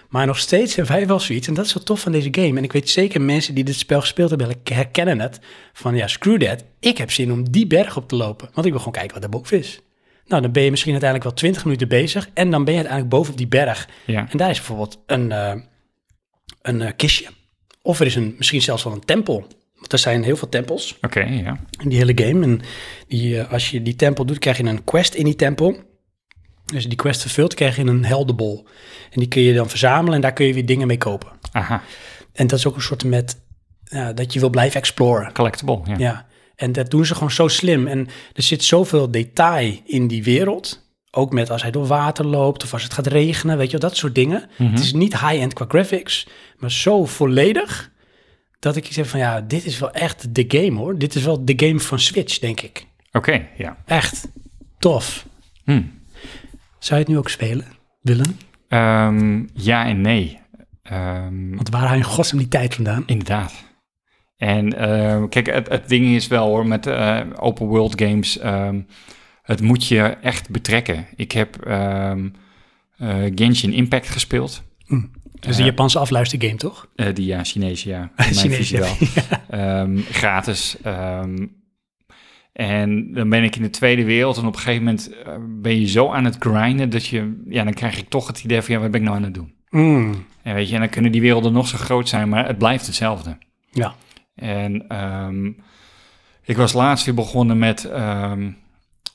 Maar nog steeds hebben wij wel zoiets, en dat is zo tof van deze game. En ik weet zeker mensen die dit spel gespeeld hebben, herkennen het. Van ja, screw that, ik heb zin om die berg op te lopen. Want ik wil gewoon kijken wat daar boven is. Nou, dan ben je misschien uiteindelijk wel 20 minuten bezig. En dan ben je uiteindelijk boven op die berg.
ja.
En daar is bijvoorbeeld een, eh, een eh, kistje. Of er is een, misschien zelfs wel een tempel. Want er zijn heel veel tempels
Oké, ja.
in die hele game. En die, eh, als je die tempel doet, krijg je een quest in die tempel. Dus die quest vervult, krijg je een heldenbol. En die kun je dan verzamelen en daar kun je weer dingen mee kopen.
Aha,
En dat is ook een soort met ja, dat je wil blijven exploren.
collectible, ja.
Ja, en dat doen ze gewoon zo slim. En er zit zoveel detail in die wereld. Ook met als hij door water loopt of als het gaat regenen, weet je wel, dat soort dingen. Het is niet high-end qua graphics, maar zo volledig dat ik zeg van ja, dit is wel echt de game hoor. Dit is wel de game van Switch, denk ik.
Oké, ja.
Echt tof.
Hm.
Zou je het nu ook spelen, Willem?
Ehm, ja en nee. Ehm,
Want waar haal je in godsnaam die tijd vandaan?
Inderdaad. En ehm, kijk, het, het ding is wel hoor, met eh, open world games, ehm, het moet je echt betrekken. Ik heb ehm, eh, Genshin Impact gespeeld.
Dat is een Japanse afluistergame, toch?
Eh, die ja, Chinese ja.
Chinese,
Chinese wel. Ehm, gratis. ehm. en dan ben ik in de tweede wereld en op een gegeven moment eh, ben je zo aan het grinden dat je, ja, dan krijg ik toch het idee van, ja, wat ben ik nou aan het doen?
Mm,
En weet je, en dan kunnen die werelden nog zo groot zijn, maar het blijft hetzelfde.
Ja.
En ehm, ik was laatst weer begonnen met ehm,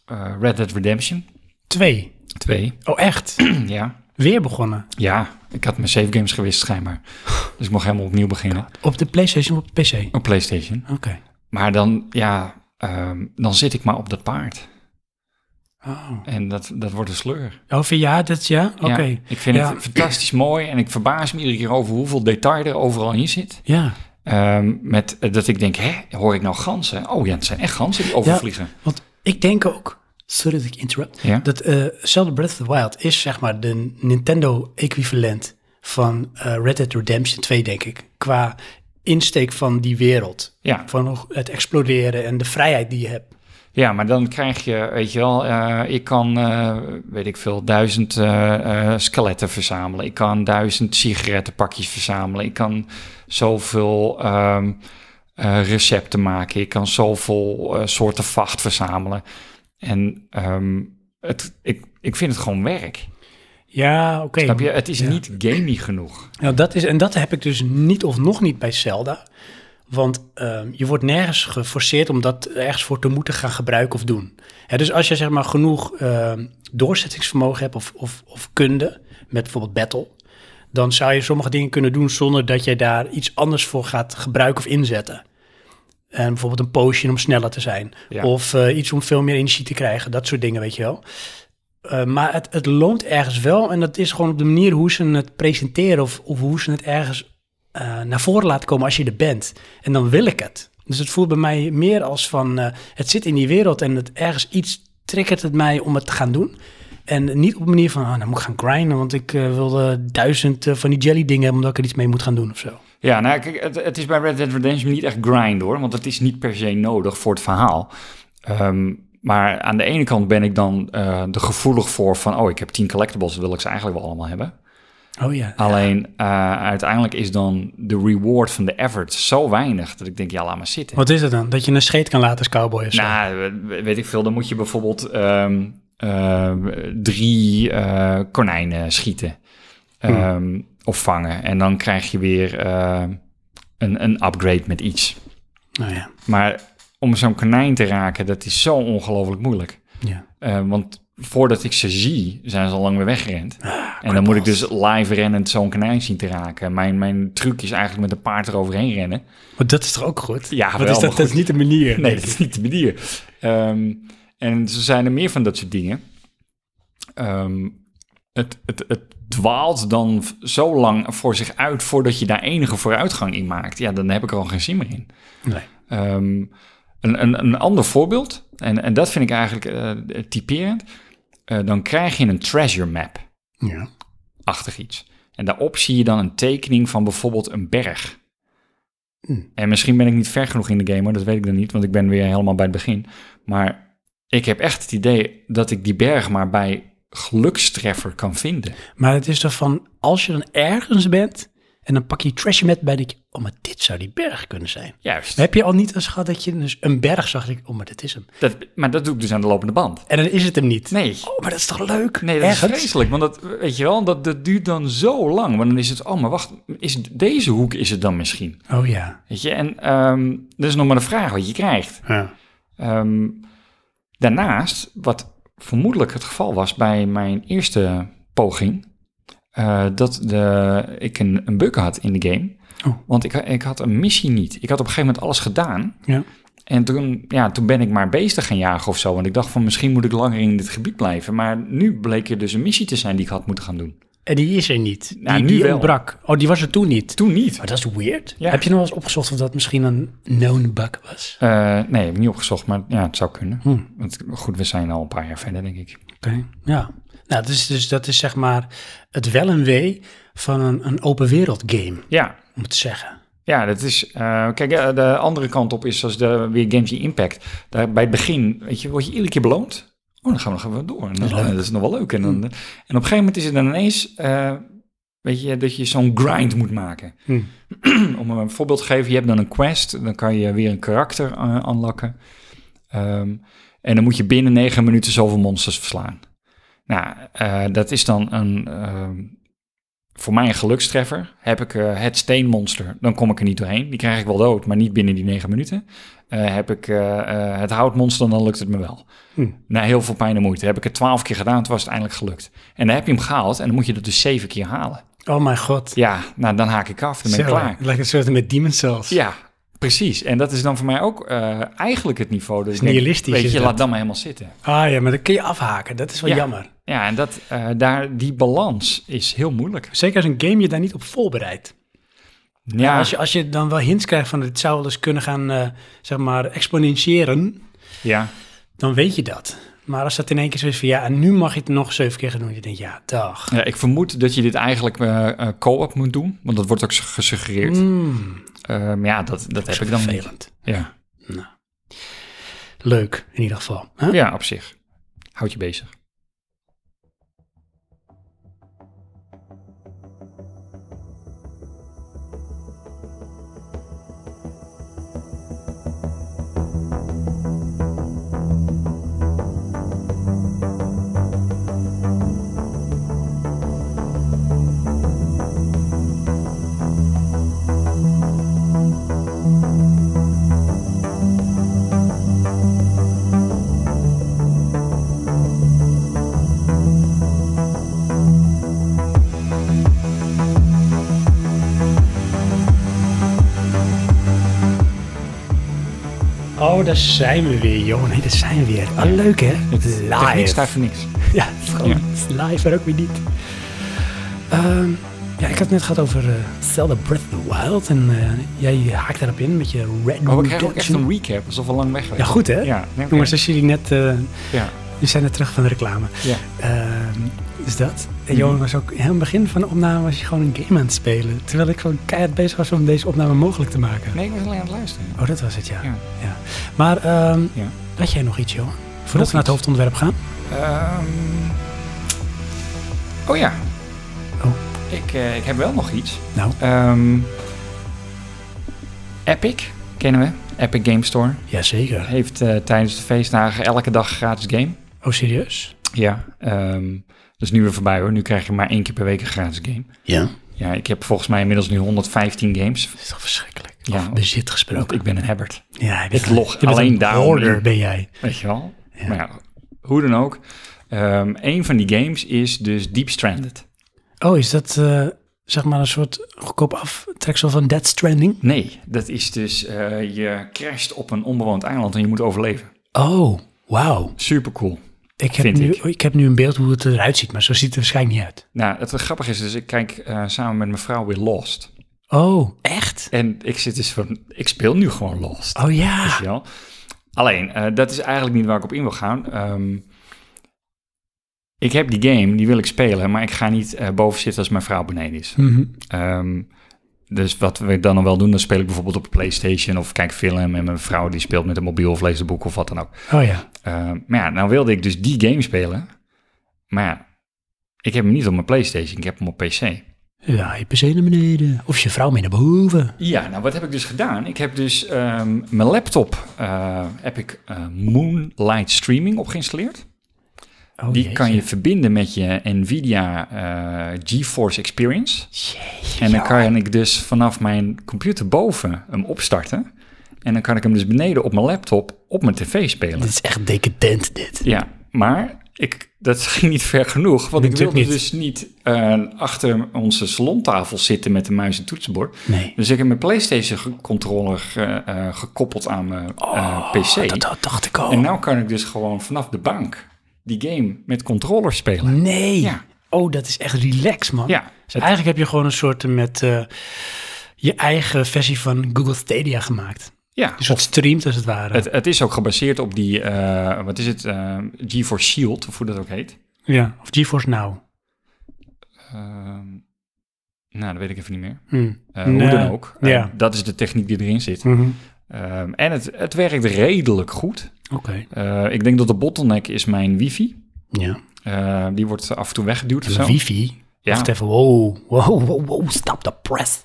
eh, Red Dead Redemption
Twee.
2.
Oh, echt?
ja.
Weer begonnen.
ja, ik had mijn save games gewist schijnbaar. Dus ik mocht helemaal opnieuw beginnen
Op de PlayStation of op de PC? Oké.
op PlayStation. Maar dan, ja, ehm, dan zit ik maar op dat paard.
Oh.
En dat, dat wordt een sleur.
Oh, vind je- ja, dat is ja? Oké.
Ja,
Ja.
ik vind
Ja.
het fantastisch mooi en ik verbaas me iedere keer over hoeveel detail er overal in zit.
ja,
Ehm, met eh, dat ik denk, hè, hoor ik nou ganzen? Oh ja, het zijn echt ganzen die overvliegen.
want ik denk ook, sorry dat ik interrupt,
Ja.
dat eh Zelda Breath of the Wild is zeg maar de Nintendo-equivalent van eh, Red Dead Redemption 2, denk ik. Qua insteek van die wereld.
Ja.
Van hoe- het exploderen en de vrijheid die je hebt.
ja, maar dan krijg je, weet je wel, eh, ik kan, eh, weet ik veel, duizend eh, eh, skeletten verzamelen. Ik kan duizend sigarettenpakjes verzamelen. Ik kan zoveel ehm, eh, recepten maken. Ik kan zoveel eh, soorten vacht verzamelen. En ehm, het, ik, ik vind het gewoon werk.
Ja, oké.
Snap je? Het is
Ja.
niet gamey genoeg.
Nou, dat is, en dat heb ik dus niet of nog niet bij Zelda. Want ehm, je wordt nergens geforceerd om dat ergens voor te moeten gaan gebruiken of doen. Hè, dus als je zeg maar genoeg ehm, doorzettingsvermogen hebt of, of, of kunde, met bijvoorbeeld battle, dan zou je sommige dingen kunnen doen zonder dat jij daar iets anders voor gaat gebruiken of inzetten. En bijvoorbeeld een potion om sneller te zijn.
Ja.
Of eh, iets om veel meer energie te krijgen. Dat soort dingen, weet je wel. Eh, maar het, het loont ergens wel. En dat is gewoon op de manier hoe ze het presenteren. Of, of hoe ze het ergens eh, naar voren laten komen als je er bent. En dan wil ik het. Dus het voelt bij mij meer als van... eh, het zit in die wereld en het, ergens iets triggert het mij om het te gaan doen. En niet op een manier van... ah, dan moet ik gaan grinden, want ik eh, wil eh, duizend eh, van die jelly dingen... hebben, omdat ik er iets mee moet gaan doen of zo.
Ja, nou kijk, het, het is bij Red Dead Redemption niet echt grind hoor, want het is niet per se nodig voor het verhaal. Ehm, Maar aan de ene kant ben ik dan eh er gevoelig voor van, oh, ik heb 10 collectibles, wil ik ze eigenlijk wel allemaal hebben.
Oh ja.
Alleen eh, uiteindelijk is dan de reward van de effort zo weinig dat ik denk, ja, laat maar zitten.
Wat is het dan? Dat je een scheet kan laten als cowboy of zo?
Nou, we- weet ik veel, dan moet je bijvoorbeeld ehm, ehm, drie eh, konijnen schieten ehm, of vangen. En dan krijg je weer ehm, een, een upgrade met iets.
Nou ja.
Maar om zo'n konijn te raken, dat is zo ongelooflijk moeilijk.
ja.
Eh, want voordat ik ze zie, zijn ze al lang weer weggerend. en dan moet ik dus live rennend zo'n konijn zien te raken. Mijn, mijn truc is eigenlijk met een paard eroverheen rennen.
Maar dat is toch ook goed?
Ja,
Wat
wel,
is
maar
dat? Dat is niet de manier.
Nee, dat is niet de manier. Ehm, en zo zijn er meer van dat soort dingen. Ehm, het, het, het dwaalt dan v- zo lang voor zich uit voordat je daar enige vooruitgang in maakt. Ja, dan heb ik er al geen zin meer in.
Nee.
Ehm, een, een, een ander voorbeeld, en, en dat vind ik eigenlijk eh, typerend. Eh, dan krijg je een treasure map-achtig
Ja.
iets. En daarop zie je dan een tekening van bijvoorbeeld een berg.
Hm.
En misschien ben ik niet ver genoeg in de game, hoor, dat weet ik dan niet, want ik ben weer helemaal bij het begin. Maar ik heb echt het idee dat ik die berg maar bij gelukstreffer kan vinden.
Maar het is toch van, als je dan ergens bent en dan pak je je trashje met bij, denk je, oh, maar dit zou die berg kunnen zijn.
Juist.
Heb je al niet eens gehad dat je dus een berg zag, denk ik, oh, maar dat is hem.
Dat, maar dat doe ik dus aan de lopende band.
En dan is het hem niet.
Nee.
Oh, maar dat is toch leuk?
Nee, dat
Ergens?
is vreselijk. Want dat, weet je wel, dat, dat duurt dan zo lang. Want dan is het, oh, maar wacht, is het- deze hoek is het dan misschien?
Oh ja.
Weet je, en ehm dat is nog maar de vraag wat je krijgt.
ja.
Ehm, daarnaast, wat vermoedelijk het geval was bij mijn eerste poging, eh, dat de, ik een, een bug had in de game.
Oh.
Want ik, ik had een missie niet. Ik had op een gegeven moment alles gedaan.
Ja.
En toen, ja, toen ben ik maar beesten gaan jagen of zo. Want ik dacht van misschien moet ik langer in dit gebied blijven. Maar nu bleek er dus een missie te zijn die ik had moeten gaan doen.
En die is er niet.
Nou,
die
nu
die
wel.
ontbrak. Oh, die was er toen niet.
Toen niet.
Maar dat is weird.
Ja.
Heb je nog wel eens opgezocht of dat misschien een known bug was?
Eh, nee, heb ik niet opgezocht, maar ja, het zou kunnen.
Hmm.
Want goed, we zijn al een paar jaar verder, denk ik.
Oké. Ja. Nou, dus, dus dat is zeg maar het wel en wee van een, een open wereld game,
Ja,
om het te zeggen.
Ja, dat is. eh, kijk, eh, de andere kant op is zoals de weer Genji Impact. Daar bij het begin, weet je, word je iedere keer beloond. Oh, dan gaan we nog even door. En dan,
Dat is leuk. Mm.
eh, dat is nog wel leuk. En, dan, en op een gegeven moment is het dan ineens, eh, weet je, dat je zo'n grind moet maken.
Hm.
Om een voorbeeld te geven, je hebt dan een quest, dan kan je weer een karakter eh, unlocken. Ehm, en dan moet je binnen negen minuten zoveel monsters verslaan. Nou, eh, dat is dan een, ehm, voor mij een gelukstreffer. Heb ik eh, het steenmonster, dan kom ik er niet doorheen. Die krijg ik wel dood, maar niet binnen die negen minuten. Eh, heb ik eh, eh, het houtmonster, dan lukt het me wel.
Hm.
Na heel veel pijn en moeite. Heb ik het twaalf keer gedaan, toen was het eindelijk gelukt. En dan heb je hem gehaald en dan moet je dat dus zeven keer halen.
Oh mijn god.
Ja, nou dan haak ik af, dan ben ik
Zo,
klaar.
Het lijkt een soort met Demon Souls.
Ja, precies. En dat is dan voor mij ook eh, eigenlijk het niveau. Dat ik denk,
nihilistisch,
Weet
is
je,
dat.
laat dan maar helemaal zitten.
Ah ja, maar dat kun je afhaken. Dat is wel
Ja.
jammer.
Ja, en dat, eh, daar, die balans is heel moeilijk.
Zeker als een game je daar niet op voorbereidt.
Ja,
Als, je, als je dan wel hints krijgt van het zou wel eens kunnen gaan, eh, zeg maar, exponentiëren,
ja.
dan weet je dat. Maar als dat in één keer zo is van ja, en nu mag je het nog zeven keer gaan doen. Je denkt, ja, dag.
Ja, ik vermoed dat je dit eigenlijk eh eh, co-op moet doen, want dat wordt ook gesuggereerd.
Mm,
Ehm, ja, dat, dat heb ik dan niet.
vervelend.
Ja.
Leuk, in ieder geval. Huh?
ja, op zich. Houd je bezig.
Oh, daar zijn we weer, joh. Nee, daar zijn we weer. Ah, leuk, hè?
Techniek
Live.
staat voor niks. Oh,
Ja, het is gewoon live en ook weer niet. Ehm, ja, ik had het net gehad over eh, Zelda Breath of the Wild. En eh, jij haakt daarop in met je Red
Oh, we krijgen ook echt
Redemption.
een recap, alsof we lang weg waren.
Ja, goed, hè?
Ja, nee, oké.
Jongens, als jullie net... eh
ja,
we zijn net terug van de reclame.
ja. Hmm.
Ehm, dus dat. En Johan was ook... Helemaal begin van de opname was je gewoon een game aan het spelen. Terwijl ik gewoon keihard bezig was om deze opname mogelijk te maken.
Nee, ik was alleen aan het luisteren.
Oh, dat was het, ja.
Ja.
Maar ehm
Ja.
had jij nog iets, Johan? Voordat we naar het hoofdonderwerp gaan.
Ehm, oh ja.
Oh.
Ik, eh, ik heb wel nog iets.
Nou.
Ehm, Epic, kennen we. Epic Game Store.
Jazeker.
Heeft eh, tijdens de feestdagen elke dag gratis game.
Oh, serieus?
Ja. ehm, dat is nu weer voorbij hoor. Nu krijg je maar één keer per week een gratis game.
Ja.
Ja, ik heb volgens mij inmiddels nu 115 games.
Dat is toch verschrikkelijk.
Ja.
Of bezit
Want
gesproken.
ik ben een Hebbert,
Ja, ik
ik log alleen daarom
Hoorder
in.
ben jij.
weet je wel.
Ja.
Maar ja, hoe dan ook. Ehm een van die games is dus Deep Stranded.
Oh, is dat eh, zeg maar een soort goedkoop aftreksel van Dead Stranding?
Nee, dat is dus eh, je crasht op een onbewoond eiland en je moet overleven.
Oh, wauw.
Super cool.
Ik, heb
Vind
nu-
ik.
oh, ik heb nu een beeld hoe het eruit ziet, maar zo ziet het waarschijnlijk niet uit.
Nou, het grappige is dus, ik kijk eh, samen met mijn vrouw weer Lost.
Oh, echt?
En ik zit dus van, ik speel nu gewoon Lost.
Oh
Weet
ja.
je wel? Alleen, eh, dat is eigenlijk niet waar ik op in wil gaan. Ehm, ik heb die game, die wil ik spelen, maar ik ga niet eh, boven zitten als mijn vrouw beneden is.
Mhm.
Ehm, dus wat we dan wel doen, dan speel ik bijvoorbeeld op de PlayStation of kijk film en mijn vrouw die speelt met een mobiel of leest een boek of wat dan ook.
Oh ja.
Ehm, maar ja, nou wilde ik dus die game spelen, maar ja, ik heb hem niet op mijn PlayStation, ik heb hem op PC.
Ja, je PC naar beneden. Of je vrouw mee naar boven.
Ja, nou wat heb ik dus gedaan? Ik heb dus ehm, mijn laptop eh, heb ik eh, Moonlight Streaming opgeïnstalleerd.
Oh,
Die
jeetje.
kan je verbinden met je Nvidia eh, GeForce Experience.
Jeetje,
En dan
joh.
kan ik dus vanaf mijn computer boven hem opstarten. En dan kan ik hem dus beneden op mijn laptop op mijn tv spelen.
Dit is echt decadent, dit.
Ja, maar ik, dat ging niet ver genoeg. Want ik
Natuurlijk
wilde
niet.
dus niet eh, achter onze salontafel zitten met de muis en toetsenbord.
Nee.
Dus ik heb mijn PlayStation-controller eh, gekoppeld aan mijn eh,
Oh,
PC.
dat, dat dacht ik al.
En nou kan ik dus gewoon vanaf de bank die game met controller spelen.
Nee.
nou- Ja.
Oh, dat is echt relaxed, man.
Ja,
Dus
het-
eigenlijk heb je gewoon een soort met eh, je eigen versie van Google Stadia gemaakt.
ja.
Een soort streamt als het ware.
Het, het is ook gebaseerd op die, eh, wat is het, eh, GeForce Shield, of hoe dat ook heet.
ja. Of GeForce Now.
Ehm, nou, dat weet ik even niet meer.
Hm.
Eh,
Nee,
Hoe dan ook. Eh,
ja.
Dat is de techniek die erin zit.
Mhm.
Ehm, en het, het werkt redelijk goed.
Oké.
Eh, ik denk dat de bottleneck is mijn wifi.
Ja.
Eh, die wordt af en toe weggeduwd of
En
zo.
wifi.
Ja.
Wacht even. Wow. Wow, wow, wow. Stop the press.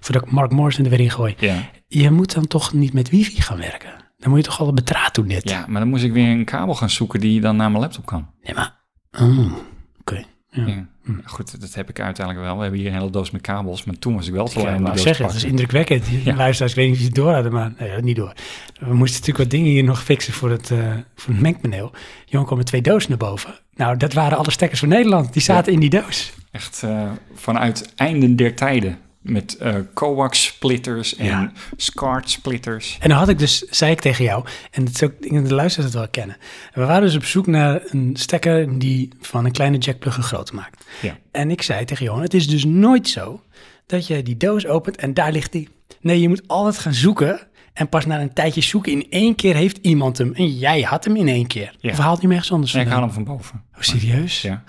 Voordat ik Mark Morrison er weer in gooi.
Ja.
Je moet dan toch niet met wifi gaan werken? Dan moet je toch alle betraat doen dit?
ja, maar dan moest ik weer een kabel gaan zoeken die dan naar mijn laptop kan.
Nee, maar... Oh, Oké. Ja. Hm.
Ja. Goed, dat heb ik uiteindelijk wel. We hebben hier een hele doos met kabels, maar toen was ik wel te
Ik
lui om die
wou
doos te
zeggen, het is
pakken.
indrukwekkend.
Ja.
Luisteraars, ik weet niet of je het door hadden, maar nee, niet door. We moesten natuurlijk wat dingen hier nog fixen voor het, eh, voor het mengpaneel. Jongen kwam met twee dozen naar boven. Nou, dat waren alle stekkers van Nederland. Die zaten in die doos.
Echt eh, vanuit einden der tijden. Met eh coax splitters en
Ja.
SCART splitters.
En dan had ik dus, zei ik tegen jou, en dat is ook, ik denk dat de luisteraars het wel kennen. We waren dus op zoek naar een stekker die van een kleine jackplug een grote maakt.
Ja.
En ik zei tegen Johan, het is dus nooit zo dat je die doos opent en daar ligt die. Nee, je moet altijd gaan zoeken en pas na een tijdje zoeken. In één keer heeft iemand hem en jij had hem in één keer.
Ja.
Of haalt hij hem ergens anders
Ja, ik
vandaan?
haal hem van boven.
Oh, serieus?
Ja.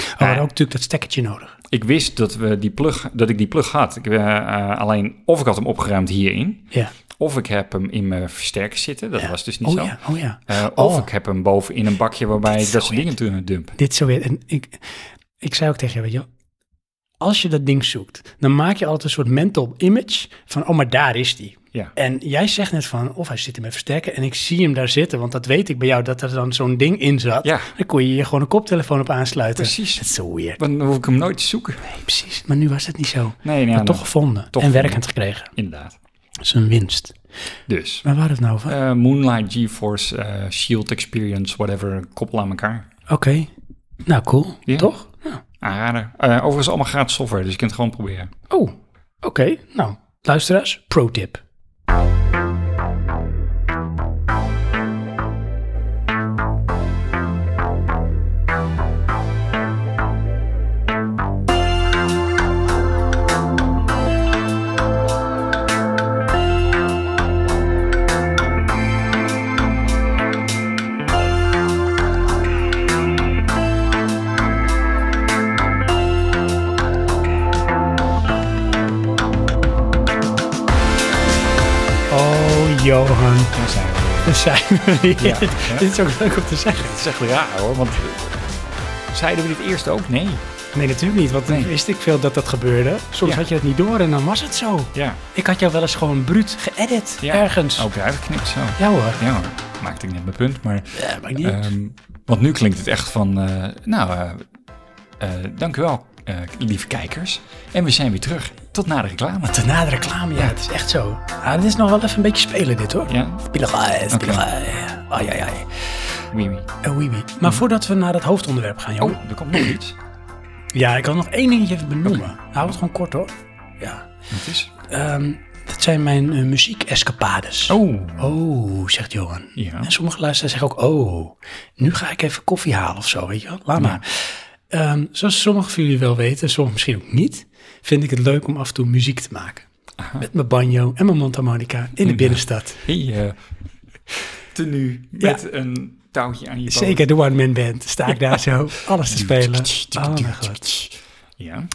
Oh, we hadden ook natuurlijk dat stekkertje nodig.
Ik wist dat, we die plug, dat ik die plug had. Ik, eh, eh, alleen of ik had hem opgeruimd hierin.
Ja.
Of ik heb hem in mijn versterker zitten. Dat was dus niet
oh
zo.
ja, oh ja.
Eh, of
Oh.
ik heb hem boven in een bakje waarbij
Dit
ik dat
is
soort dingen toe dump.
Dit zo weer. En ik, ik zei ook tegen je, weet je wel, als je dat ding zoekt, dan maak je altijd een soort mental image van, oh, maar daar is die.
Ja.
En jij zegt net van, of hij zit in mijn versterker en ik zie hem daar zitten, want dat weet ik bij jou, dat er dan zo'n ding in zat.
Ja.
Dan kon je je gewoon een koptelefoon op aansluiten.
Precies.
Dat is zo weird.
Want dan hoef ik hem nooit te zoeken.
Nee, precies. Maar nu was het niet zo.
Nee, nee,
maar
nee.
toch gevonden
Toch
en
gevonden.
werkend gekregen.
Inderdaad.
Dat is een winst.
Dus.
Maar waar het nou over?
eh, Moonlight, GeForce, eh, Shield Experience, whatever. Koppel aan elkaar.
Oké. Nou, cool.
Ja.
Toch?
Aanrader. Eh, overigens allemaal gratis software, dus je kunt het gewoon proberen.
Oh, oké. Nou, luisteraars, pro tip. Oh, Johan. Oh,
Daar zijn we.
zijn we weer.
Ja, ja.
Dit is ook leuk om te zeggen.
Het is echt raar hoor, want eh, zeiden we dit eerst ook? Nee.
Nee, natuurlijk niet, want
Nee.
wist ik veel dat dat gebeurde. Soms
Ja.
had je het niet door en dan was het zo.
Ja. Oh,
Ik had jou wel eens gewoon bruut geëdit,
Ja.
ergens.
Ook eruit geknipt zo.
Ja hoor.
Ja hoor, maakte ik net mijn punt. Maar,
Ja, maakt niet uit.
ehm, want nu klinkt het echt van, eh, nou, eh, eh, dank u wel, eh, lieve kijkers. En we zijn weer terug. Tot na de reclame.
Te na de reclame, ja, het is echt zo. Ah, dit is nog wel even een beetje spelen dit hoor.
Ja,
Pilagai,
Oké.
pilagai. Ai, ai, ai.
wie wie.
Eh, oui, oui. Maar voordat we naar het hoofdonderwerp gaan, joh.
Oh, er komt nog iets.
Ja, ik wil nog één dingetje even benoemen. Hou het gewoon kort hoor. Ja.
Het is...
Ehm, dat zijn mijn eh, muziekescapades.
Oh,
Oh, zegt Johan.
Ja.
En sommige luisteraars zeggen ook, oh, nu ga ik even koffie halen of zo, weet je wel. Laat maar. Ehm, zoals sommigen van jullie wel weten, sommigen misschien ook niet, vind ik het leuk om af en toe muziek te maken. Met mijn banjo en mijn mondharmonica in de binnenstad.
hey, eh tenue met een touwtje aan je poot.
Zeker de one-man band. Sta ik daar zo alles te spelen. Oh mijn god.
Ja,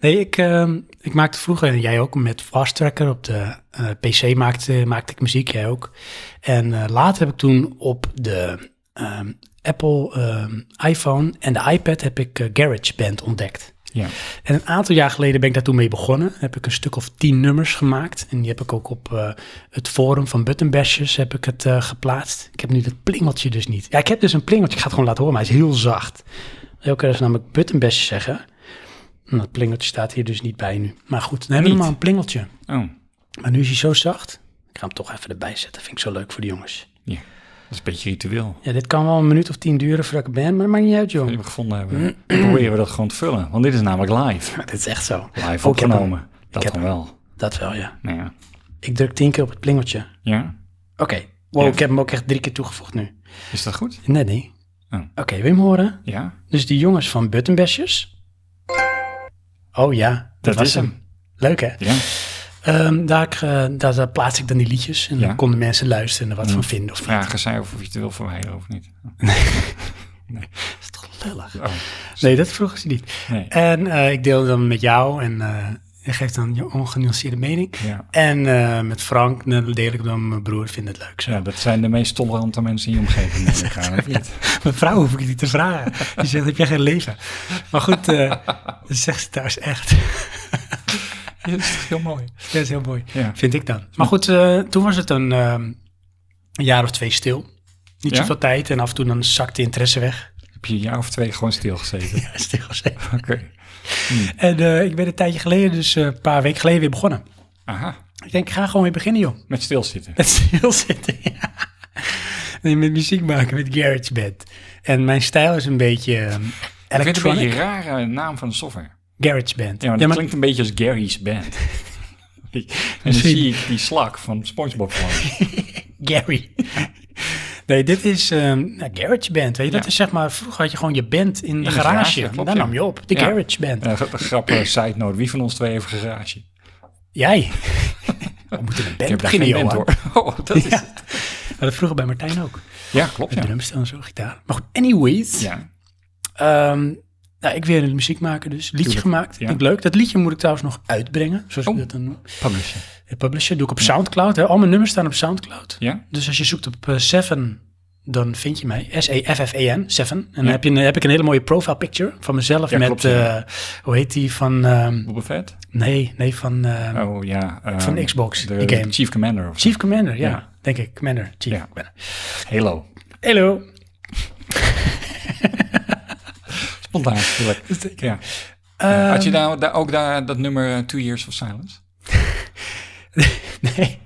Nee, ik, ehm, ik maakte vroeger, en jij ook, met Fast Tracker op de eh, PC maakte, maakte ik muziek, jij ook. En eh, later heb ik toen op de ehm, Apple ehm, iPhone en de iPad heb ik eh, GarageBand ontdekt.
ja.
En een aantal jaar geleden ben ik daar toen mee begonnen. Heb ik een stuk of tien nummers gemaakt. En die heb ik ook op eh, het forum van Buttonbashers heb ik het eh, geplaatst. Ik heb nu dat plingeltje dus niet. Ja, ik heb dus een plingeltje. Ik ga het gewoon laten horen, maar hij is heel zacht. Heel keer als we namelijk Buttonbashers zeggen. Nou, dat plingeltje staat hier dus niet bij nu. Maar goed, dan hebben we
Niet.
maar een plingeltje.
Oh,
Maar nu is hij zo zacht. Ik ga hem toch even erbij zetten. Vind ik zo leuk voor de jongens.
ja. Dat is een beetje ritueel.
Ja, dit kan wel een minuut of tien duren voordat ik er ben, maar dat maakt niet uit, joh.
Die we gevonden hebben, proberen we dat gewoon te vullen. Want dit is namelijk live.
Maar dit is echt zo. Oh, ik
Live
heb hem.
opgenomen. Dat
heb
dan wel.
Dat wel, ja.
Nou ja.
Ik druk tien keer op het plingeltje.
ja.
Oké. Wow,
Ja.
ik heb hem ook echt drie keer toegevoegd nu.
Is dat goed?
Nee, nee.
Oh.
Oké, wil je hem horen?
Ja.
Dus die jongens van Buttonbashers. Oh ja, dat, was hem. Leuk hè?
Ja.
Ehm, daar, eh, daar, daar plaats ik dan die liedjes en
Ja.
dan konden mensen luisteren en er wat van vinden. Of niet.
Vragen zij of je het wil verwijderen of niet.
Dat is toch lullig?
Oh,
Nee, dat vroegen ze niet.
nee.
En eh, ik deelde dan met jou en eh, je geeft dan je ongenuanceerde mening.
Ja.
En eh, met Frank dan deel ik dan met mijn broer, vindt het leuk zo.
ja, dat zijn de meest tolerante mensen in je omgeving. neem ik aan, of niet?
Mijn vrouw hoef ik niet te vragen. Die zegt, heb jij geen leven? Maar goed, eh, dat zegt ze thuis echt.
Ja, Dat is toch heel mooi.
Dat is heel mooi.
Ja.
Vind ik dan. Maar goed, eh, toen was het een, ehm, een jaar of twee stil. Niet
Ja?
zoveel tijd en af en toe dan zakt de interesse weg.
Heb je een jaar of twee gewoon stilgezeten?
Ja, stil gezegd.
Oké.
En eh, ik ben een tijdje geleden, dus eh, een paar weken geleden weer begonnen.
Aha.
Ik denk, ik ga gewoon weer beginnen joh.
Met stilzitten.
Met stilzitten, ja. Nee, met muziek maken, met GarageBand. En mijn stijl is een beetje ehm,
Ik vind het een beetje
electronic.
een rare naam van de software.
GarageBand.
Ja, maar dat klinkt een beetje als Gary's Band. en dan
Misschien.
zie ik die slak van Spongebob gewoon.
Gary. Nee, dit is ehm nou, Garage Band. Weet je? Dat
Ja.
is zeg maar, vroeger had je gewoon je band in, de
de
garage.
garage,
en
klopt,
dan
ja.
nam je op. De
Ja.
Garage Band.
Eh, een grappige side note. Wie van ons twee heeft een garage?
Jij. We moeten een band
Ik heb daar
beginnen,
geen
Johan.
band hoor. Oh, dat is...
Ja.
ja.
We hadden vroeger bij Martijn ook.
klopt.
Met
Ja.
drumstel en zo, gitaar. Maar goed, anyways.
Ja.
Ehm, nou, ik weer een muziek maken dus. Liedje
Tuurlijk,
gemaakt.
ja.
Vind ik leuk. Dat liedje moet ik trouwens nog uitbrengen. Zoals
Oh.
ik dat dan noem.
Publishen.
Eh, Publishen doe ik op Soundcloud. Hè. Al mijn nummers staan op Soundcloud.
Ja?
Dus als je zoekt op eh, Seven, dan vind je mij. E S-E-F-F-E-N, Seven. En dan
Ja.
heb, je een, heb ik een hele mooie profile picture van mezelf
Ja,
met,
klopt, ja.
eh, hoe heet die, van, ehm,
Boba Fett?
nee, nee, van ehm,
Oh ja. ehm,
Van Xbox,
De,
die game.
Chief Commander of zo.
Chief Commander, ja,
Ja.
denk ik, Commander, Chief
Ja.
Commander.
Halo.
Hallo.
Spontaan. natuurlijk. Ja. Eh,
Ehm,
Had je daar, daar ook daar, dat nummer eh, Two Years of Silence?
nee,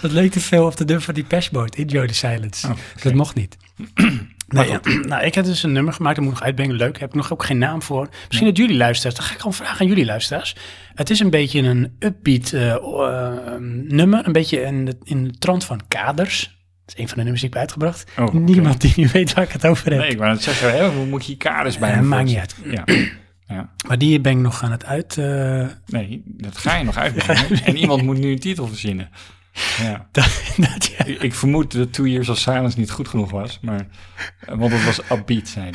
dat leek te veel op de dub van die Pashboard, Enjoy the Silence.
Oh,
Dus Dat mocht niet. Nee, ja. nou, ik heb dus een nummer gemaakt, dat moet ik nog uitbrengen. Leuk, heb ik nog ook geen naam voor. Misschien dat jullie luisteraars, dan ga ik gewoon vragen aan jullie luisteraars. Het is een beetje een upbeat eh, o- eh, nummer, een beetje in de, in de trant van kaders. Dat is een van de nummers die ik heb uitgebracht.
Oh, oké.
Niemand die nu weet waar ik het over heb.
Nee, ik wou net zeggen, hè, hoe moet je je kaders bij
Eh,
hem
maakt niet
voorstellen?
uit.
Ja. ja.
Maar die ben ik nog aan het uit... eh,
Nee, dat ga je nog uitbrengen. en iemand moet nu een titel verzinnen. Ja.
dat, dat, ja.
Ik ik vermoed dat Two Years of Silence niet goed genoeg was, maar, eh, want het was upbeat zijn.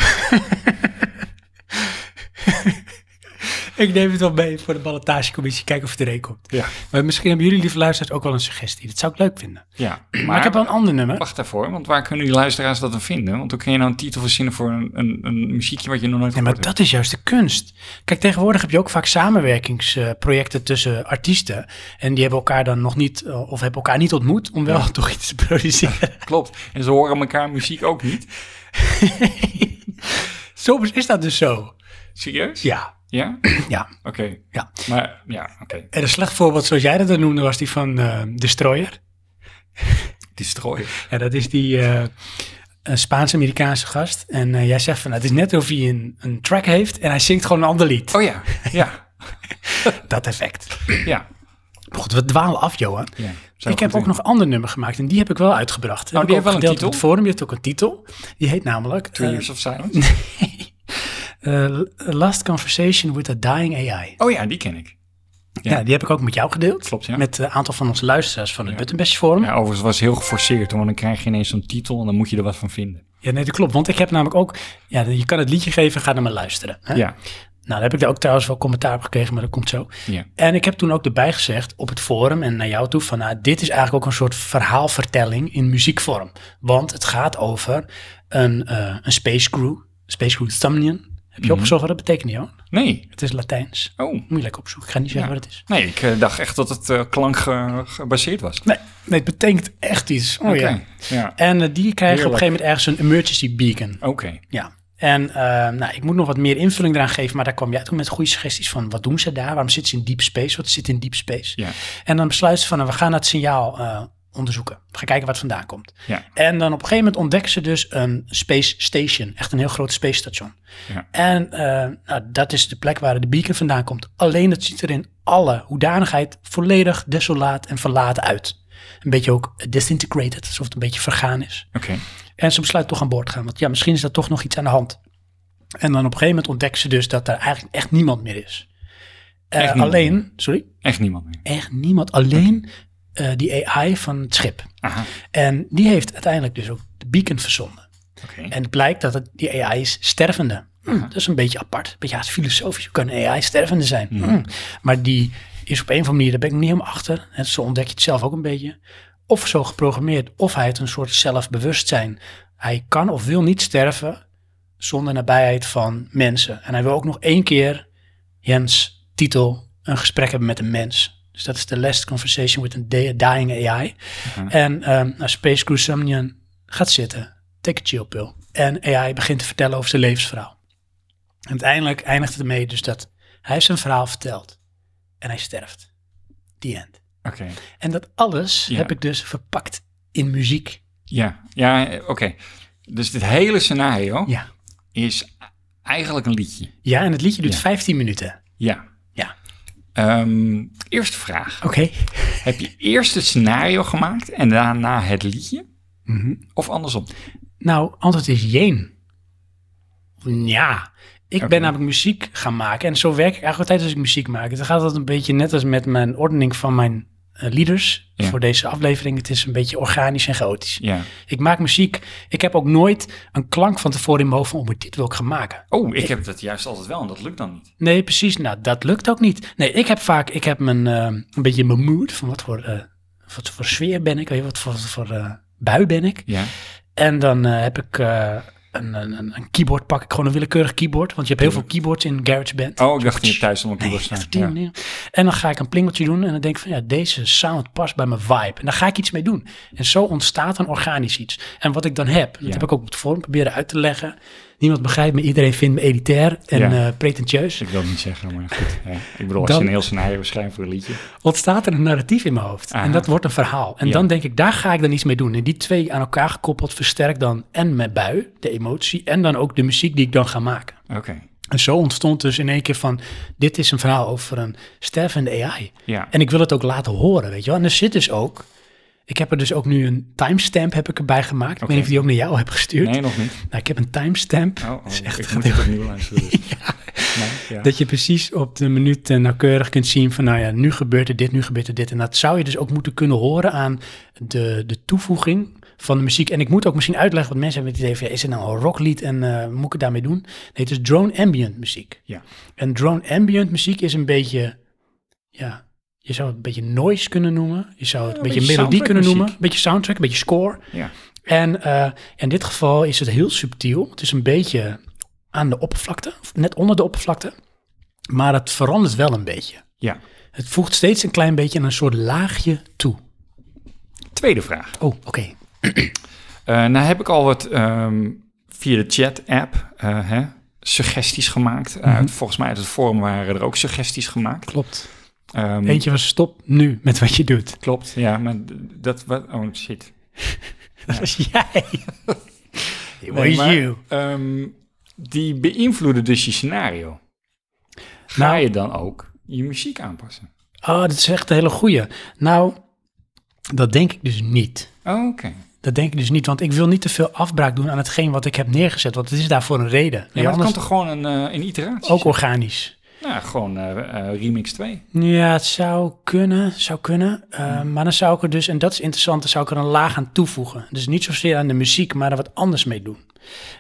Ik neem het wel mee voor de ballotagecommissie. Kijken of het erin komt.
Ja.
Maar misschien hebben jullie, lieve luisteraars, ook wel een suggestie. Dat zou ik leuk vinden. Maar,
Ja, maar,
ik heb wel een ander nummer.
wacht daarvoor, want waar kunnen die luisteraars dat dan vinden? Want hoe kun je nou een titel verzinnen voor een, een, een muziekje wat je nog nooit
Nee, maar
gehoord
dat is juist de kunst. Kijk, tegenwoordig heb je ook vaak samenwerkingsprojecten tussen artiesten. En die hebben elkaar dan nog niet, eh, of hebben elkaar niet ontmoet om wel toch iets te produceren.
hebt? Klopt, en ze horen elkaar muziek ook niet.
Soms is dat dus zo.
Serieus?
Ja,
Ja?
ja.
Oké.
Ja.
Maar, ja, oké.
En een slecht voorbeeld, zoals jij dat dan noemde, was die van eh Destroyer.
Destroyer.
Ja, dat is die eh, een Spaans-Amerikaanse gast. En eh, jij zegt van, nou, het is net of hij een, een track heeft en hij zingt gewoon een ander lied.
Oh ja, ja,
Dat effect.
ja.
Maar goed, we dwalen af, Johan.
ja.
ik heb ook nog een ander nummer gemaakt en die heb ik wel uitgebracht.
Oh,
heb
die
ik ook
heeft wel een
gedeeld op
titel?
het forum. Die heeft ook een titel. Die heet namelijk
Two
eh,
Years of Silence.
eh, Last Conversation with a Dying AI.
Oh ja, die ken ik.
Ja. die heb ik ook met jou gedeeld.
Klopt, ja.
Met een aantal van onze luisteraars van het Buttonbash Forum.
Ja, overigens was heel geforceerd, want dan krijg je ineens zo'n titel en dan moet je er wat van vinden.
Ja, nee, dat klopt. Want ik heb namelijk ook... Ja, je kan het liedje geven, ga naar maar luisteren. Hè?
Ja,
Nou, daar heb ik daar ook trouwens wel commentaar op gekregen, maar dat komt zo.
ja.
En ik heb toen ook erbij gezegd op het forum en naar jou toe van... Nou, dit is eigenlijk ook een soort verhaalvertelling in muziekvorm. Want het gaat over een, eh, een space crew, space crew Thumnian. Heb je
Mhm.
opgezocht wat dat betekent, Johan?
Nee.
Het is Latijns.
Oh.
Moet je lekker opzoeken. Ik ga niet zeggen
Ja.
wat het is.
Nee, ik eh, dacht echt dat het eh, klank ge- gebaseerd was.
Nee, nee, het betekent echt iets. Oh ja.
Oké, ja.
En eh, die krijgen op een
Heerlijk.
gegeven moment ergens een emergency beacon.
Oké.
Ja. En eh, nou, ik moet nog wat meer invulling eraan geven, maar daar kwam jij toen met goede suggesties van wat doen ze daar? Waarom zitten ze in deep space? Wat zit in deep space?
Ja.
En dan besluiten ze van nou, we gaan dat signaal eh, onderzoeken. We gaan kijken wat vandaan komt.
Ja.
En dan op een gegeven moment ontdekken ze dus een space station. Echt een heel groot space station.
Ja.
En eh, nou, dat is de plek waar de beacon vandaan komt. Alleen het ziet er in alle hoedanigheid volledig desolaat en verlaten uit. Een beetje ook disintegrated, alsof het een beetje vergaan is.
Oké.
En ze besluit toch aan boord te gaan. Want ja, misschien is daar toch nog iets aan de hand. En dan op een gegeven moment ontdekken ze dus dat er eigenlijk echt niemand meer is. Eh,
Echt niemand
alleen, sorry,
Echt niemand meer.
echt niemand. Alleen eh, die AI van het schip.
Aha.
En die heeft uiteindelijk dus ook de beacon verzonden.
Oké.
En het blijkt dat het, die AI is stervende. Hm, dat is een beetje apart. Een beetje haast filosofisch. Hoe kan een AI stervende zijn? Hm. Maar die is op een of andere manier, daar ben ik nog niet helemaal achter. En zo ontdek je het zelf ook een beetje. Of zo geprogrammeerd, of hij heeft een soort zelfbewustzijn. Hij kan of wil niet sterven zonder nabijheid van mensen. En hij wil ook nog één keer, Jens, titel, een gesprek hebben met een mens. Dus dat is de last conversation with a dying AI. En ehm, nou, Space Crew Somnian gaat zitten, take a chill pill. En AI begint te vertellen over zijn levensverhaal. En uiteindelijk eindigt het ermee dus dat hij heeft zijn verhaal verteld. En hij sterft. The end.
Oké.
En dat alles
Ja.
heb ik dus verpakt in muziek.
Ja. Ja, eh, oké. Dus dit hele scenario
Ja.
is eigenlijk een liedje.
Ja, en het liedje duurt
Ja.
15 minuten.
Ja.
Ja.
Ehm, eerste vraag.
Oké. Oh.
Heb je eerst het scenario gemaakt en daarna het liedje?
Mhm.
Of andersom?
Nou, antwoord is jeen. Ja. Ik
Oké.
ben namelijk muziek gaan maken. En zo werk ik eigenlijk altijd als ik muziek maak. Dan gaat dat een beetje net als met mijn ordening van mijn eh, lieders
Ja.
voor deze aflevering. Het is een beetje organisch en chaotisch.
Ja.
Ik maak muziek. Ik heb ook nooit een klank van tevoren in mijn hoofd van, oh, maar dit wil ik gaan maken.
Oh, ik heb dat juist altijd wel en dat lukt dan niet.
Nee, precies. Nou, dat lukt ook niet. Nee, ik heb vaak, ik heb mijn, eh, een beetje mijn mood van wat voor, eh, wat voor sfeer ben ik, weet je, wat voor, wat voor eh, bui ben ik.
Ja.
En dan eh, heb ik eh, een, een, een- een keyboard, pak ik gewoon een willekeurig keyboard, want je hebt heel veel keyboards in GarageBand.
Oh, ik dacht niet thuis om een
Nee,
keyboard
echt op die
staan. eh, Ja.
manier. En dan ga ik een plingeltje doen en dan denk ik van ja, deze sound past bij mijn vibe. En daar ga ik iets mee doen. En zo ontstaat dan organisch iets. En wat ik dan heb, dat
Ja.
heb ik ook op het forum proberen uit te leggen. Niemand begrijpt me, iedereen vindt me elitair en
Ja.
eh, pretentieus.
Dus Ik wil het niet zeggen, maar goed. Ja. Ik bedoel, als
Dan-
je een heel scenario schrijft voor een liedje.
ontstaat er een narratief in mijn hoofd. En
Aha.
dat wordt een verhaal. En
Ja.
dan denk ik, daar ga ik dan iets mee doen. En die twee aan elkaar gekoppeld versterkt dan en mijn bui, de emotie, en dan ook de muziek die ik dan ga maken.
Oké.
En zo ontstond dus in één keer van, dit is een verhaal over een stervende AI.
Ja.
En ik wil het ook laten horen, weet je wel. En er zit dus ook, ik heb er dus ook nu een timestamp heb ik erbij gemaakt. Ik weet niet of die ook naar jou heb gestuurd.
Nee, nog niet.
Nou, ik heb een timestamp.
Oh, oh,
Dat is echt
ik moet het opnieuw luisteren. dus. Nee, ja.
Dat je precies op de minuut eh, nauwkeurig kunt zien van, nou ja, nu gebeurt er dit, nu gebeurt er dit. En dat zou je dus ook moeten kunnen horen aan de, de toevoeging van de muziek. En ik moet ook misschien uitleggen, want mensen hebben het idee van, ja, is het nou een rocklied en eh, moet ik het daarmee doen? Nee, het is drone ambient muziek.
Ja.
En drone ambient muziek is een beetje, ja, je zou het een beetje noise kunnen noemen. Je zou het
Ja,
een
een
beetje,
beetje
melodie kunnen noemen. Een
soundtrack
beetje soundtrack, een beetje score.
Ja.
En eh, in dit geval is het heel subtiel. Het is een beetje aan de oppervlakte, of net onder de oppervlakte. Maar het verandert wel een beetje.
ja.
Het voegt steeds een klein beetje een soort laagje toe.
Tweede vraag.
Oh, oké.
Eh, nou heb ik al wat ehm, via de chat-app eh, hè, suggesties gemaakt. Uit-
Mhm.
volgens mij uit het forum waren er ook suggesties gemaakt.
Klopt.
Ehm,
Eentje was stop nu met wat je doet.
Klopt, ja, maar d- dat was... Oh, shit.
Dat was jij. It was
Nee, maar,
you.
ehm, die beïnvloeden dus je scenario. Ga
Nou-
je dan ook je muziek aanpassen?
Oh, dat is echt een hele goeie. Nou, dat denk ik dus niet.
Oh, Oké.
Dat denk ik dus niet, want ik wil niet te veel afbraak doen aan hetgeen wat ik heb neergezet. Want het is daarvoor een reden.
Ja,
Ja,
maar het
anders
kan toch gewoon een, eh, een iteratie
ook
zijn?
organisch.
Nou, gewoon eh, eh, remix 2.
Ja, het zou kunnen, zou kunnen. Eh, Maar dan zou ik er dus, en dat is interessant, dan zou ik er een laag aan toevoegen. Dus niet zozeer aan de muziek, maar er wat anders mee doen.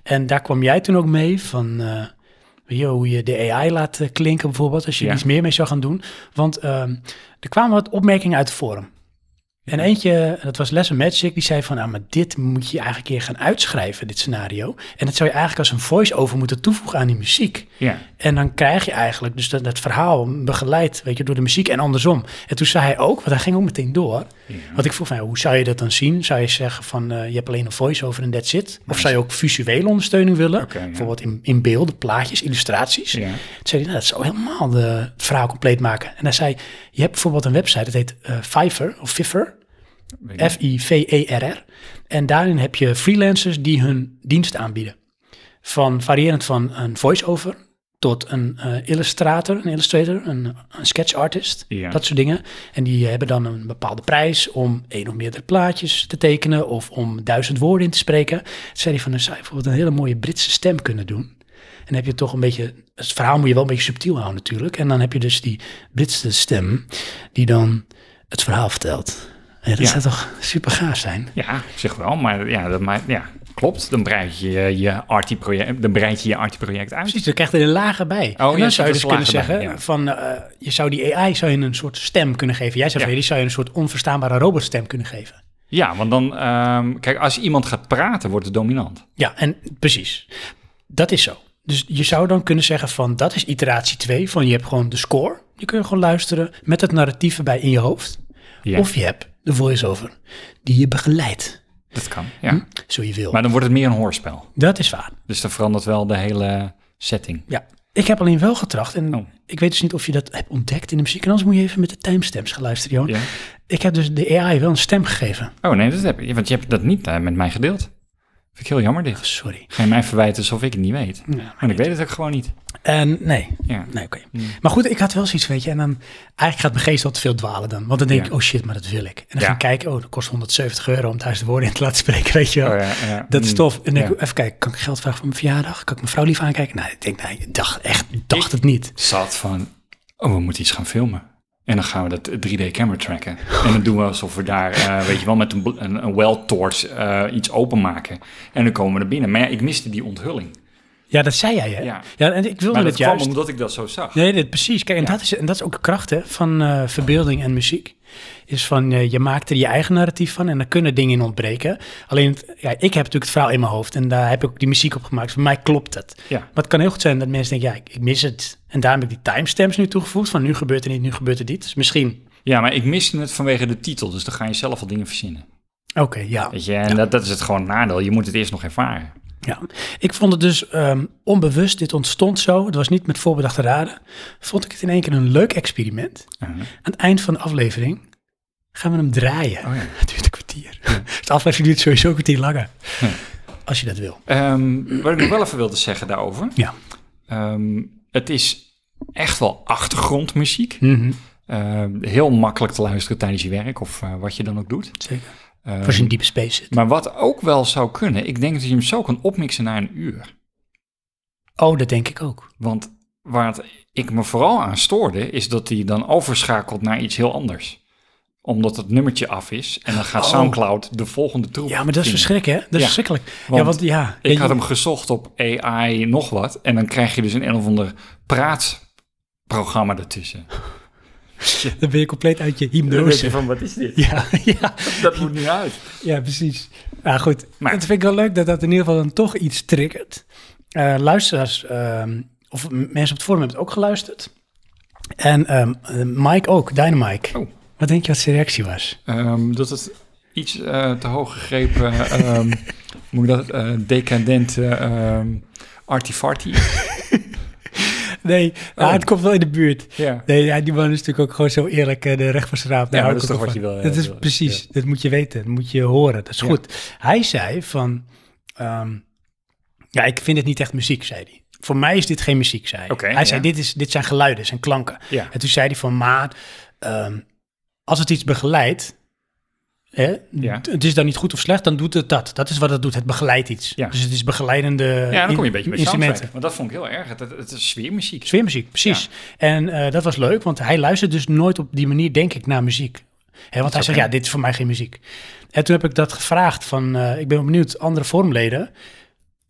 En daar kwam jij toen ook mee van, eh, weet je, hoe je de AI laat eh, klinken bijvoorbeeld, als je
Ja.
iets meer mee zou gaan doen. Want ehm, er kwamen wat opmerkingen uit het forum. En eentje, dat was Les Magic, die zei van, nou, maar dit moet je eigenlijk een keer gaan uitschrijven, dit scenario. En dat zou je eigenlijk als een voice-over moeten toevoegen aan die muziek.
Ja.
En dan krijg je eigenlijk dus dat, dat verhaal begeleid weet je, door de muziek en andersom. En toen zei hij ook, want hij ging ook meteen door.
Ja.
Want ik vroeg van, ja, hoe zou je dat dan zien? Zou je zeggen van, eh, je hebt alleen een voice-over en that's it? Of zou je ook visuele ondersteuning willen?
Oké, ja.
Bijvoorbeeld in, in beelden, plaatjes, illustraties.
Ja.
Toen zei hij, nou, dat zou helemaal de, het verhaal compleet maken. En hij zei, je hebt bijvoorbeeld een website, dat heet eh, Fiverr of Fiverr.
Weet ik.
F-I-V-E-R-R. E En daarin heb je freelancers die hun dienst aanbieden. Van variërend van een voice-over tot een eh, illustrator, een illustrator, een, een sketch artist,
Ja.
dat soort dingen. En die eh, hebben dan een bepaalde prijs om één of meerdere plaatjes te tekenen of om duizend woorden in te spreken. Toen zei hij van, dan zou je bijvoorbeeld een hele mooie Britse stem kunnen doen. En dan heb je toch een beetje, het verhaal moet je wel een beetje subtiel houden natuurlijk. En dan heb je dus die Britse stem die dan het verhaal vertelt. Ja, dat
Ja.
zou toch super gaaf zijn?
Ja, op zich wel, maar ja, dat maakt, ja klopt. Dan breid je je RT-project, dan breid je je RT-project uit.
Precies, dan krijg je er een lager bij. en
Oh, ja,
dan zou je
zit
dus
er
kunnen
lager bij,
zeggen,
ja.
van, eh, je zou die AI zou je een soort stem kunnen geven. Jij zou
Ja.
van, die zou je een soort onverstaanbare robotstem kunnen geven.
Ja, want dan, ehm, kijk, als iemand gaat praten, wordt het dominant.
Ja, en precies. Dat is zo. Dus je zou dan kunnen zeggen van, dat is iteratie 2. Van, je hebt gewoon de score. Die kun je gewoon luisteren met het narratief erbij in je hoofd.
Ja,
Of je hebt de voice-over die je begeleidt,
dat kan. Ja.
zo je wil.
Maar dan wordt het meer een hoorspel.
dat is waar.
Dus dan verandert wel de hele setting.
Ja, ik heb alleen wel getracht. En
Oh.
ik weet dus niet of je dat hebt ontdekt in de muziek. En anders moet je even met de timestamps gaan luisteren, Johan.
Ja.
Ik heb dus de AI wel een stem gegeven.
Oh nee, dat heb je, want je hebt dat niet eh, met mij gedeeld. Vind ik heel jammer dit.
Sorry.
Ga je mij verwijten alsof ik het niet weet?
Ja,
Maar ik weet het ook gewoon niet.
En nee.
Ja.
Nee, oké. Maar goed, ik had wel zoiets, weet je. En dan eigenlijk gaat mijn geest al te veel dwalen dan. Want dan denk
Ja.
ik, oh shit, maar dat wil ik. En dan
Ja.
ga ik kijken, oh, dat kost 170 euro om thuis de woorden in te laten spreken, weet je wel.
Oh, ja, ja.
Dat is
Mm.
tof. En dan denk ik,
Ja.
even kijken, kan ik geld vragen voor mijn verjaardag? Kan ik mijn vrouw lief aankijken? Nee, ik denk, nee, ik dacht echt, dacht het niet.
Zat van, oh, we moeten iets gaan filmen. En dan gaan we dat 3D-camera tracken. En dan doen we alsof we daar, eh, weet je wel, met een, bl- een, een weltorch eh, iets openmaken. En dan komen we er binnen. Maar ja, ik miste die onthulling.
Ja, dat zei jij, hè?
Ja.
en ik wilde
Maar
het
dat
dat
kwam
juist.
omdat ik dat zo zag.
Nee, dit, precies. Kijk, en, dat is, en dat is ook de kracht hè, van eh, verbeelding en muziek. Is van, eh, je maakt er je eigen narratief van en daar kunnen dingen in ontbreken. Alleen, het- ja, ik heb natuurlijk het verhaal in mijn hoofd en daar heb ik ook die muziek op gemaakt. Voor mij klopt het.
Ja.
Maar het kan heel goed zijn dat mensen denken, ja, ik, ik mis het. En daarom heb ik die timestamps nu toegevoegd van nu gebeurt er niet, nu gebeurt er dit. Dus misschien,
ja, maar ik miste het vanwege de titel. Dus dan ga je zelf al dingen verzinnen.
oké, ja.
Weet je, en dat, dat is het gewoon nadeel. Je moet het eerst nog ervaren.
Ja, ik vond het dus ehm, onbewust, dit ontstond zo, het was niet met voorbedachte raden, vond ik het in één keer een leuk experiment.
Uh-huh.
Aan het eind van de aflevering gaan we hem draaien.
Oh ja.
Het duurt een kwartier. De aflevering duurt sowieso een kwartier langer.
Ja.
Als je dat wil.
Ehm, wat ik nog wel even wilde zeggen daarover.
Ja.
Ehm, het is echt wel achtergrondmuziek. Ehm, heel makkelijk te luisteren tijdens je werk of eh, wat je dan ook doet.
Zeker.
Ehm,
Voor zijn diepe space zit.
maar wat ook wel zou kunnen, ik denk dat je hem zo kan opmixen naar een uur.
Oh, dat denk ik ook.
Want waar het, ik me vooral aan stoorde, is dat hij dan overschakelt naar iets heel anders. Omdat het nummertje af is. En dan gaat Soundcloud de volgende troep
Oh. Ja, maar dat is
vinden.
verschrikkelijk, hè? Dat is
Ja,
verschrikkelijk.
want
ja, want ja.
Ik
ja,
had hem gezocht op AI nog wat. En dan krijg je dus een een of ander praatprogramma ertussen.
Dan ben je compleet uit je
Dan denk
hypnose.
je van, wat is dit?
Ja, ja,
Dat moet niet uit.
ja, precies. Ja, goed.
Maar-
dat vind ik wel leuk dat dat in ieder geval dan toch iets triggert. Eh, luisteraars, ehm, of m- mensen op het forum hebben het ook geluisterd. En ehm, eh, Mike ook, Dynamike.
Oh.
Wat denk je wat zijn reactie was?
Ehm, dat het iets eh, te hoog gegrepen, ehm, hoe moet ik dat, eh, decadent eh, ehm artifarty.
Nee,
Oh.
het komt wel in de buurt.
ja.
Nee, ja, die man is natuurlijk ook gewoon zo eerlijk eh, de recht van zijn raap. Daar
maar
hou
dat
ik
is
ook
toch
wel
wat
van.
je wil,
Dat
ja,
is
wil.
precies, dat moet je weten, dat moet je horen, dat is
Ja.
goed. Hij zei van, ehm, ja, ik vind het niet echt muziek, zei hij. Voor mij is dit geen muziek, zei hij.
Oké,
hij zei,
ja.
dit, is, dit zijn geluiden, zijn klanken.
Ja.
En toen zei hij van, maar ehm, als het iets begeleidt, hè,
Ja.
d- het is dan niet goed of slecht, dan doet het dat. Dat is wat het doet, het begeleidt iets.
Ja.
Dus het is begeleidende
ja, dan kom je een
in-
beetje bij
instrumenten.
soundtrack. Want dat vond ik heel erg. Het, het, het is sfeermuziek.
Sfeermuziek, precies. En eh, dat was leuk, want hij luistert dus nooit op die manier, denk ik, naar muziek. Hè, want hij zegt, ja, dit is voor mij geen muziek. En toen heb ik dat gevraagd van, eh, ik ben benieuwd, andere vormleden.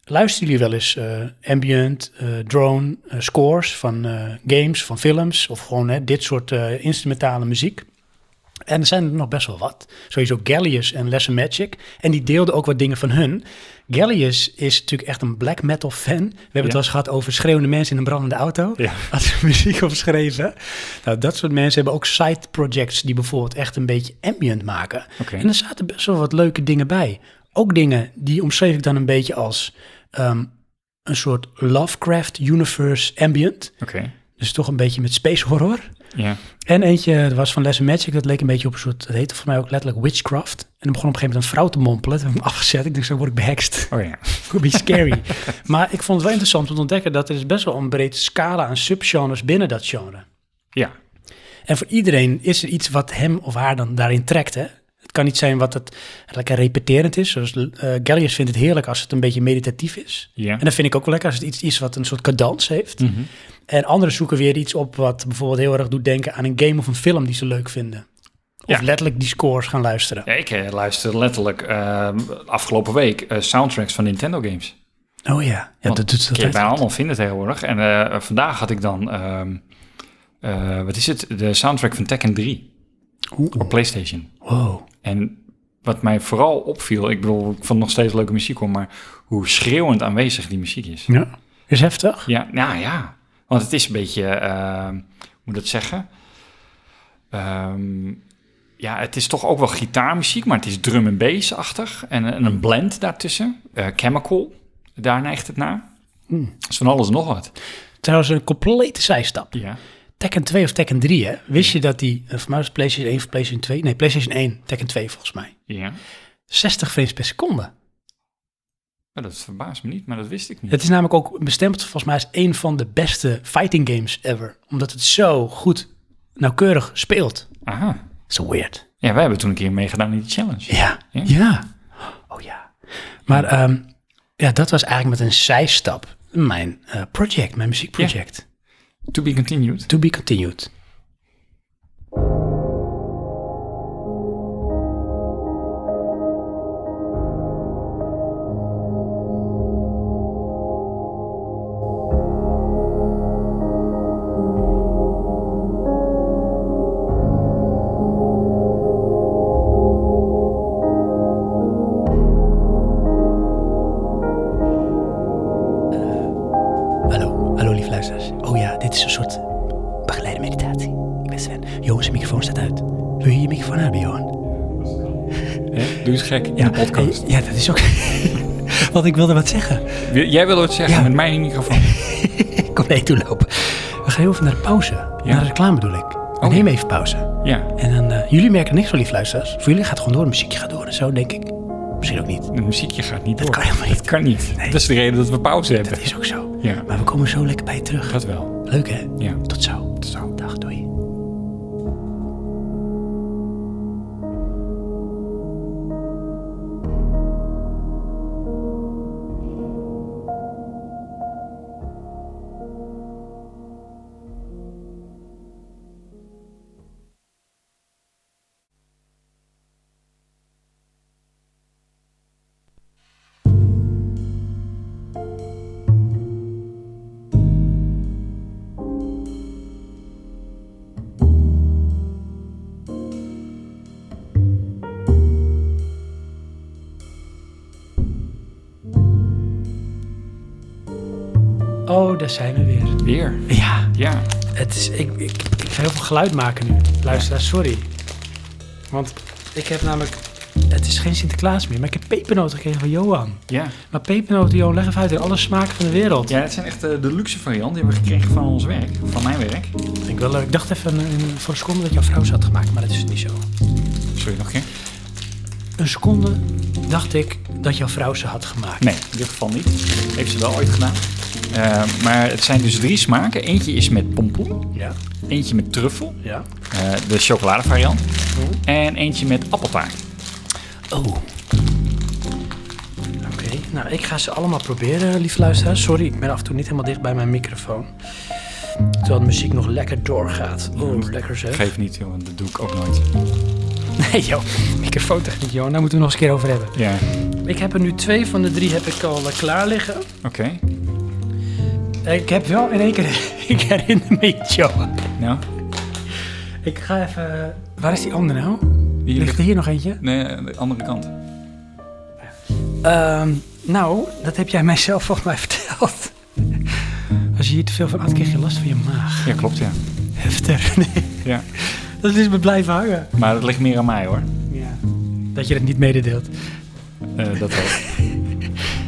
Luisteren jullie wel eens eh, ambient, eh, drone, eh, scores van eh, games, van films... of gewoon hè, dit soort eh, instrumentale muziek? En er zijn er nog best wel wat. Sowieso Gallius en Lesser Magic. En die deelden ook wat dingen van hun. Gallius is natuurlijk echt een black metal fan. We hebben het
Ja.
wel eens gehad over schreeuwende mensen in een brandende auto.
Ja.
Had ze muziek opgeschreven. Nou, dat soort mensen hebben ook side projects die bijvoorbeeld echt een beetje ambient maken.
Oké.
En er zaten best wel wat leuke dingen bij. Ook dingen die omschreef ik dan een beetje als ehm, een soort Lovecraft Universe ambient.
Oké,
Dus toch een beetje met space horror.
ja.
En eentje, dat was van Les Magic, dat leek een beetje op een soort, dat heette voor mij ook letterlijk witchcraft. En dan begon op een gegeven moment een vrouw te mompelen. Toen heb ik hem afgezet. Ik dacht, zo word ik behext.
Oh ja.
Could be scary. maar ik vond het wel interessant om te ontdekken dat er is best wel een breed scala aan subgenres binnen dat genre.
Ja,
En voor iedereen is er iets wat hem of haar dan daarin trekt, hè? Het kan niet zijn wat het lekker repeterend is. Zoals eh, Gallius vindt het heerlijk als het een beetje meditatief is.
ja.
En dat vind ik ook wel lekker als het iets is wat een soort cadans heeft.
Mhm.
En anderen zoeken weer iets op wat bijvoorbeeld heel erg doet denken aan een game of een film die ze leuk vinden. Of
Ja.
letterlijk die scores gaan luisteren.
Ja, ik eh, luister letterlijk ehm, afgelopen week eh, soundtracks van Nintendo games.
Oh ja, ja
Want
dat doet ze
Kun je
altijd.
bijna allemaal vinden tegenwoordig. En eh, vandaag had ik dan, ehm, eh, wat is het, de soundtrack van Tekken 3
Oeh, oh,
op PlayStation.
Wow.
En wat mij vooral opviel, ik bedoel, ik vond nog steeds leuke muziek hoor, maar hoe schreeuwend aanwezig die muziek is.
Ja. Is heftig.
Ja, nou ja, want het is een beetje, ehm, hoe moet ik dat zeggen? Ehm, ja, het is toch ook wel gitaarmuziek, maar het is drum en bass-achtig en, en een blend daartussen. Eh, chemical, daar neigt het naar.
Hmm.
Dat is van alles en nog wat.
Trouwens, een complete zijstap.
Ja.
Tekken 2 of Tekken 3, hè? Wist je dat die, eh, voor mij was het PlayStation 1 of PlayStation 2? Nee, PlayStation 1, Tekken 2 volgens mij.
Ja.
60 frames per seconde.
Nou, dat verbaast me niet, maar dat wist ik niet.
Het is namelijk ook bestempeld volgens mij als een van de beste fighting games ever. Omdat het zo goed, nauwkeurig speelt.
Aha.
Zo weird.
Ja, wij hebben toen een keer meegedaan in die challenge.
Ja.
Ja?
Oh ja. Maar ehm, ja, dat was eigenlijk met een zijstap mijn eh, project, mijn muziekproject.
To be continued.
To be continued. Hallo, hallo lief luisteraars. Oh ja, dit is een soort begeleide meditatie. Ik ben Sven. Johan, zijn microfoon staat uit. Wil je je microfoon hebben, Johan?
Hè? Doe eens gek in de podcast.
eh, Ja, dat is ook... Want ik wilde wat zeggen.
Wil- Jij wilde het zeggen
Ja.
met mijn microfoon.
Ik kon niet toelopen. We gaan heel even naar de pauze. Naar de reclame bedoel ik. We
Oh.
nemen even pauze.
Ja,
En dan, eh, jullie merken niks van lief luisteraars. Voor jullie gaat het gewoon door. Het muziekje gaat door en zo, denk ik. Misschien ook niet.
het muziekje gaat niet door.
kan helemaal niet.
Dat kan niet. Dat is de reden dat we pauze hebben.
Dat is ook zo.
Ja.
Maar we komen zo lekker bij je terug.
Dat wel.
Leuk hè?
Ja.
Tot zo. Tot zo. Dag, doei. Oh, daar zijn we weer.
Weer.
Ja,
Ja.
het is, ik, ik, ik ga heel veel geluid maken nu. Luisteraar, sorry. Want ik heb namelijk... Het is geen Sinterklaas meer, maar ik heb pepernoten gekregen van Johan.
Ja.
Maar pepernoten, Johan, leg even uit in alle smaken van de wereld.
Ja, dat zijn echt eh, de luxe varianten die hebben we gekregen van ons werk. Van mijn werk.
Vind ik wel leuk. Ik dacht even eh, in- voor een seconde dat jouw vrouw ze had gemaakt, maar dat is niet zo.
Sorry, nog een keer?
Een seconde dacht ik dat jouw vrouw ze had gemaakt.
Nee, in dit geval niet. Heeft ze wel ooit gedaan. Eh, maar het zijn dus drie smaken. Eentje is met pompoen.
Ja,
Eentje met truffel.
ja.
eh, de chocoladevariant. En eentje met appeltaart.
Oh. Oké, nou ik ga ze allemaal proberen, lieve luisteraars. Sorry, ik ben af en toe niet helemaal dicht bij mijn microfoon. Terwijl de muziek nog lekker doorgaat. Oh, lekker zeg.
Geef niet, joh, want dat doe ik ook nooit.
Nee joh, microfoontechniek joh, daar moeten we nog eens een keer over hebben.
Ja,
Ik heb er nu twee van de drie heb ik al eh, klaar liggen.
oké.
Ik heb wel in één keer, ik herinner me iets joh.
Nou,
Ik ga even... eh, Waar is die andere nou?
hier
Ligt
ligt...
er hier nog eentje?
Nee, aan de andere kant.
Ehm, nou, dat heb jij mijzelf volgens mij verteld. Als je hier te veel van at, krijg je last van je maag.
Ja, klopt, ja.
Heftig. Nee,
ja.
dat is me blijven hangen.
Maar dat ligt meer aan mij, hoor.
Ja. Dat je dat niet mededeelt.
Eh, dat wel.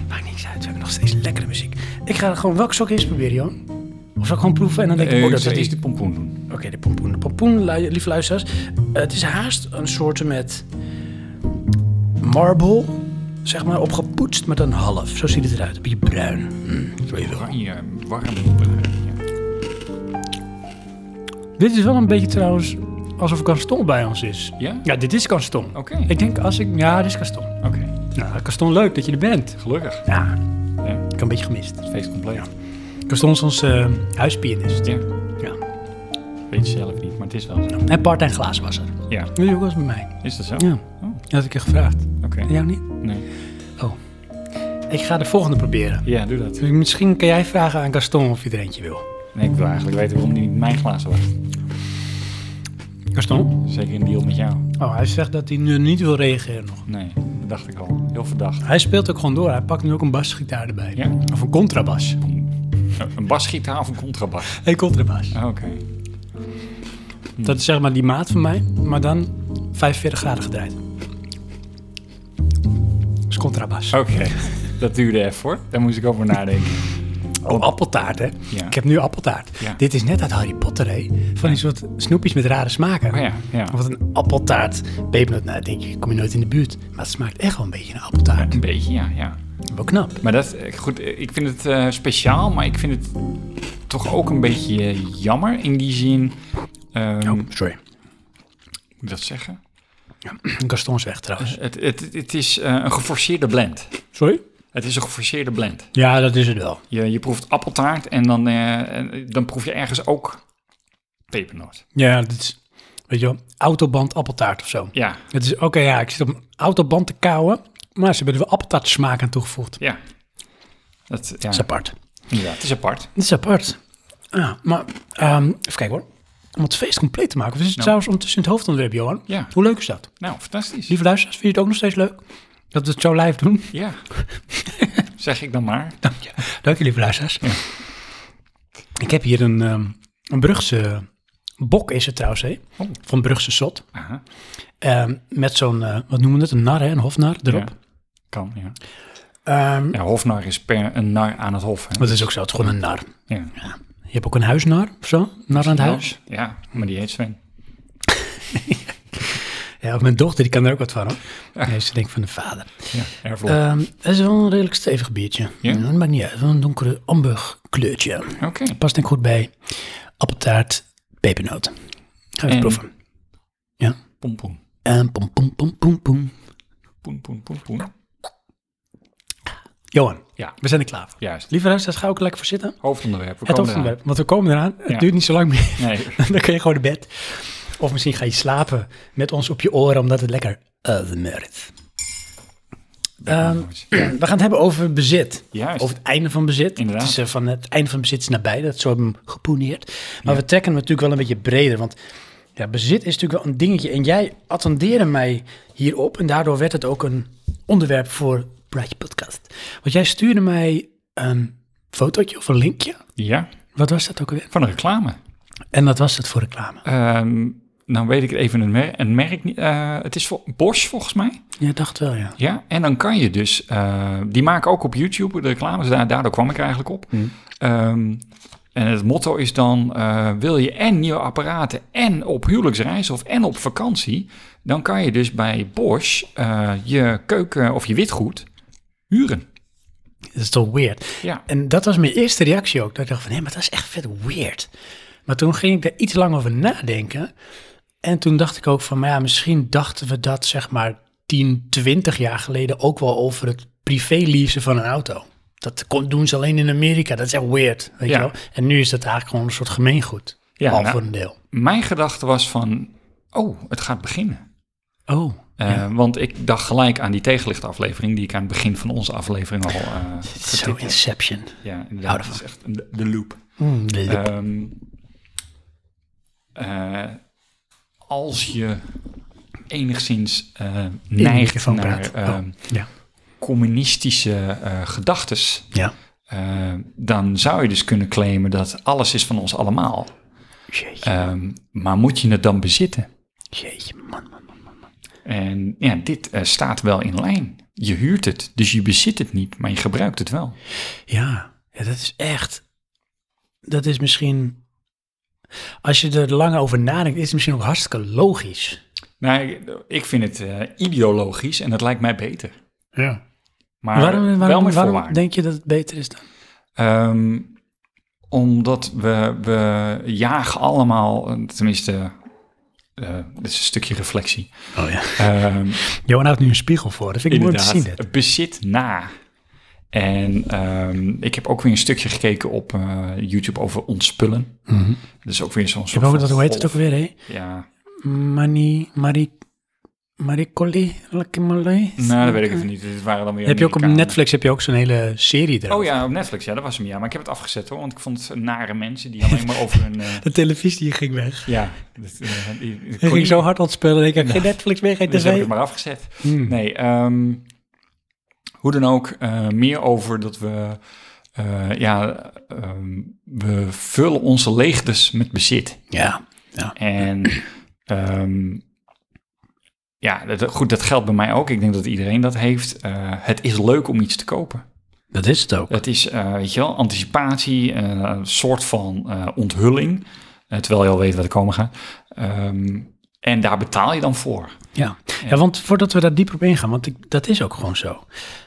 Maakt niks uit, we hebben nog steeds lekkere muziek. Ik ga gewoon welke sok eerst proberen, Johan? Of zal ik gewoon proeven en dan denk ik,
Eh,
oh, dat,
ik
dat
zou
is...
eerst de pompoen doen.
Oké, de pompoen. De pompoen, lu- lieve luisteraars. eh, het is haast een soort met marble, zeg maar, opgepoetst, maar dan half. Zo ziet het eruit. Een beetje bruin. Mm, zo even.
Oranje, eh, warm. oranje.
Dit is wel een beetje trouwens alsof Gaston bij ons is.
Ja?
Ja, dit is Gaston.
Oké.
Ik denk als ik... Ja, dit is Gaston.
Oké,
Nou, Gaston, leuk dat je er bent.
gelukkig.
Ja,
Ja,
ik heb een beetje gemist.
het feest compleet.
Gaston is ons eh, huispianist.
Ja.
Ja.
Weet je zelf niet, maar het is wel zo.
En part en glaaswasser.
Ja,
Jullie ook wel eens bij mij?
is dat zo?
Ja. Dat had ik je gevraagd.
Oké.
En jou niet?
Nee.
Ik ga de volgende proberen.
Ja, doe dat.
Dus misschien kan jij vragen aan Gaston of je er eentje wil.
Nee, ik wil eigenlijk weten waarom die niet mijn glazen was.
Gaston?
Zeker in deal met jou.
Oh, hij zegt dat hij nu niet wil reageren nog.
Nee, dat dacht ik al. Heel verdacht.
Hij speelt ook gewoon door. Hij pakt nu ook een basgitaar erbij.
Ja?
Of een contrabas.
Oh, Een basgitaar of een contrabas?
Hey, contrabas.
Ah, Oké.
Dat is zeg maar die maat van mij, maar dan 45 graden gedraaid. Dat is contrabas.
Oké, dat duurde even hoor. Daar moest ik over nadenken.
Oh, appeltaart, hè?
Ja.
Ik heb nu appeltaart.
Ja.
Dit is net uit Harry Potter, hè? Van die soort snoepjes met rare smaken.
Oh ja, ja.
Wat een appeltaart. Pepernoot, nou, denk je, kom je nooit in de buurt. Maar het smaakt echt wel een beetje naar appeltaart.
Een beetje, ja, ja.
Wel knap.
Maar dat, eh, goed, eh, ik vind het eh, speciaal, maar ik vind het toch ook een beetje eh, jammer in die zin. ehm,
Oh,
Moet
sorry.
ik dat zeggen?
Gaston is weg, trouwens.
Het, het, het is eh, een geforceerde blend.
Sorry?
Het is een geforceerde blend.
Ja, dat is het wel.
Je, je proeft appeltaart en dan, eh, en dan proef je ergens ook pepernoot.
Ja, dit is, weet je wel, autoband appeltaart of zo.
Ja,
Het is, oké, ja, ik zit op een autoband te kauwen, maar ze hebben er wel appeltaartsmaak aan toegevoegd.
ja. Dat, ja,
Dat is apart.
inderdaad. Het is apart.
Dit is apart. Ah, maar ehm, even kijken hoor. Om het feest compleet te maken. Of is het trouwens ondertussen in het hoofdonderwerp, Johan?
Nou. Ja.
Hoe leuk is dat?
Nou, fantastisch.
Lieve luisteraars, vind je het ook nog steeds leuk? Dat we het zo live doen?
Ja. zeg ik dan maar.
Dank je. Dank je, lieve luisteraars. Ik heb hier een, ehm, een Brugse bok is het trouwens, hè?
Oh.
Van Brugse Sot.
Aha.
Ehm, met zo'n, eh, wat noemen we het? Een nar, hè? Een hofnar erop.
Ja. Kan, ja.
Ehm,
Ja, hofnar is per een nar aan het hof. Hè?
dat is ook zo, het is gewoon een nar.
Ja.
Je hebt ook een huisnar of zo? Nar aan het huis?
Ja, maar die heet Sven.
Ja, of mijn dochter, die kan er ook wat van, hoor. Nee, ze denkt van de vader.
Ja, erflop.
Ehm, het is wel een redelijk stevig biertje.
Ja?
Dat maakt niet uit. Wel een donkere amber kleurtje.
Oké.
Past denk ik goed bij appeltaart, pepernoten. Gaan we
En-
eens proeven.
Poem, poem.
En pom pom pom pom pom.
Poem, poem, poem, poem.
Johan,
Ja,
we zijn er klaar voor.
juist.
Lieve luisteraars, ga ook lekker voor zitten.
Hoofdonderwerp. We
Het
komen eraan.
hoofdonderwerp, want we komen eraan. Het
Ja.
duurt niet zo lang meer.
Nee,
Dan kun je gewoon naar bed. Of misschien ga je slapen met ons op je oren, omdat het lekker uitmerkt. Ehm, we gaan het hebben over bezit.
Juist.
Over het einde van bezit.
Inderdaad.
Het is eh, van het einde van bezit is nabij. Dat is zo hebben we hem geponeerd. Maar we trekken hem natuurlijk wel een beetje breder. Want ja, bezit is natuurlijk wel een dingetje. En jij attendeerde mij hierop. En daardoor werd het ook een onderwerp voor Praatje Podcast. Want jij stuurde mij een fotootje of een linkje.
Ja,
Wat was dat ook alweer?
van een reclame.
En dat was het voor reclame.
Ehm, nou weet ik even een, mer- een merk niet. eh, het is voor Bosch volgens mij.
Ja, dacht wel, ja.
Ja, en dan kan je dus... eh, die maken ook op YouTube de reclames. Daar, daardoor kwam ik eigenlijk op.
Mm.
Ehm, en het motto is dan... eh, wil je en nieuwe apparaten... en op huwelijksreis of en op vakantie... dan kan je dus bij Bosch... eh, je keuken of je witgoed huren.
Dat is toch weird.
Ja.
En dat was mijn eerste reactie ook. Dat ik dacht van, hé, maar dat is echt vet weird. Maar toen ging ik daar iets lang over nadenken. En toen dacht ik ook van, maar ja, misschien dachten we dat zeg maar 10, 20 jaar geleden ook wel over het privé-leasen van een auto. Dat kon- doen ze alleen in Amerika. Dat is echt weird, weet
Ja.
je wel. En nu is dat eigenlijk gewoon een soort gemeengoed.
Ja,
al
nou-
voor een deel.
Mijn gedachte was van... Oh, het gaat beginnen.
Oh,
Eh, Want ik dacht gelijk aan die tegenlichtaflevering... die ik aan het begin van onze aflevering al... eh,
zo
getipt heb.
Inception.
Ja,
Hou
inderdaad. Dat
ervan.
is echt de, de loop.
Hmm, de-
Ehm, eh, als je enigszins eh neigt
microfoon
naar
praat. Oh.
ehm,
ja.
communistische eh gedachtes,
Ja.
eh, dan zou je dus kunnen claimen dat alles is van ons allemaal.
Jeetje,
Ehm, maar moet je het dan bezitten?
jeetje, man, man, man.
En ja, dit eh, staat wel in lijn. Je huurt het, dus je bezit het niet, maar je gebruikt het wel.
Ja, ja, dat is echt. Dat is misschien. Als je er lang over nadenkt, is het misschien ook hartstikke logisch.
Nou, ik, ik vind het eh, ideologisch en dat lijkt mij beter.
Ja.
Maar
Waarom,
wel
waarom,
met
waarom
voorwaarden.
denk je dat het beter is dan?
Ehm, omdat we, we jagen allemaal, tenminste, eh dit is een stukje reflectie.
Oh ja.
Ehm
Johan houdt nu een spiegel voor. Dat vind ik mooi om te zien. Dit.
het bezit na. En ehm, ik heb ook weer een stukje gekeken op eh, YouTube over ontspullen.
Mhm.
Dat is ook weer zo'n
Ik heb
soort
ook
van
dat, hoe heet het ook
golf.
weer, hè?
Ja,
Mani, Marie, Marie Colli,
nou, dat weet ik even niet. Dit waren dan weer
Heb je ook op
Amerikanen.
Netflix heb je ook zo'n hele serie erover.
Oh ja, op Netflix. Ja, dat was hem. Ja, maar ik heb het afgezet hoor, want ik vond het nare mensen die alleen maar over een... eh,
De televisie ging weg.
ja, dat, eh, die- die-
Hij ging zo hard ontspullen. Ik heb geen Netflix meer, geen
Dus heb ik
tv.
het maar afgezet.
Hmm.
Nee, ehm, hoe dan ook, eh, meer over dat we, eh, ja, ehm, we vullen onze leegtes met bezit.
Ja.
En ehm, ja, dat, goed, dat geldt bij mij ook. Ik denk dat iedereen dat heeft. Eh, het is leuk om iets te kopen.
Dat is het ook.
Het is, eh, weet je wel, anticipatie, eh, een soort van eh, onthulling. Eh, terwijl je al weet wat er komen gaat. Ehm, en daar betaal je dan voor.
Ja. ja, want voordat we daar dieper op ingaan, want ik, dat is ook gewoon zo.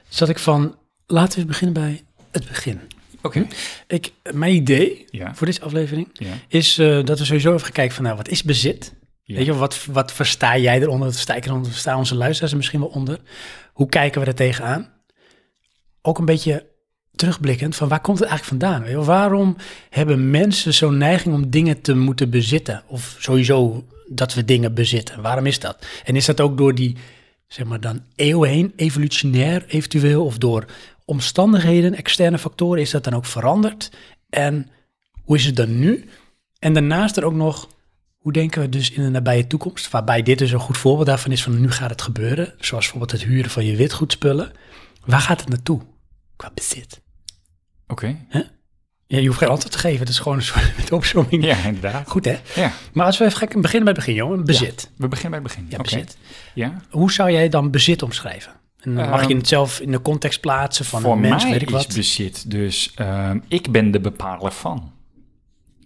Zat ik van, laten we eens beginnen bij het begin.
Oké.
Ik, mijn idee
Ja.
voor deze aflevering
Ja.
is eh, dat we sowieso even kijken van, nou, wat is bezit?
Ja.
Weet je, wat, wat versta jij eronder? Wat versta ik eronder? Wat verstaan onze luisteraars er misschien wel onder? Hoe kijken we er tegenaan? Ook een beetje terugblikkend van, waar komt het eigenlijk vandaan? Weet je, wel? waarom hebben mensen zo'n neiging om dingen te moeten bezitten? Of sowieso dat we dingen bezitten. Waarom is dat? En is dat ook door die, zeg maar dan eeuw heen, evolutionair eventueel, of door omstandigheden, externe factoren, is dat dan ook veranderd? En hoe is het dan nu? En daarnaast er ook nog, hoe denken we dus in de nabije toekomst, waarbij dit dus een goed voorbeeld daarvan is van nu gaat het gebeuren, zoals bijvoorbeeld het huren van je witgoedspullen. Waar gaat het naartoe qua bezit?
Oké.
Ja, je hoeft geen antwoord te geven, het is gewoon een soort met opzomming.
Ja, inderdaad.
Goed hè?
Ja,
Maar als we even gaan beginnen bij het begin, jongen, bezit.
we beginnen bij het begin.
Ja,
Oké.
bezit.
Ja.
Hoe zou jij dan bezit omschrijven? En dan mag je
Ehm,
het zelf in de context plaatsen van
Voor
een mens,
mij
weet ik
is
wat.
bezit dus, ehm, ik ben de bepaler van.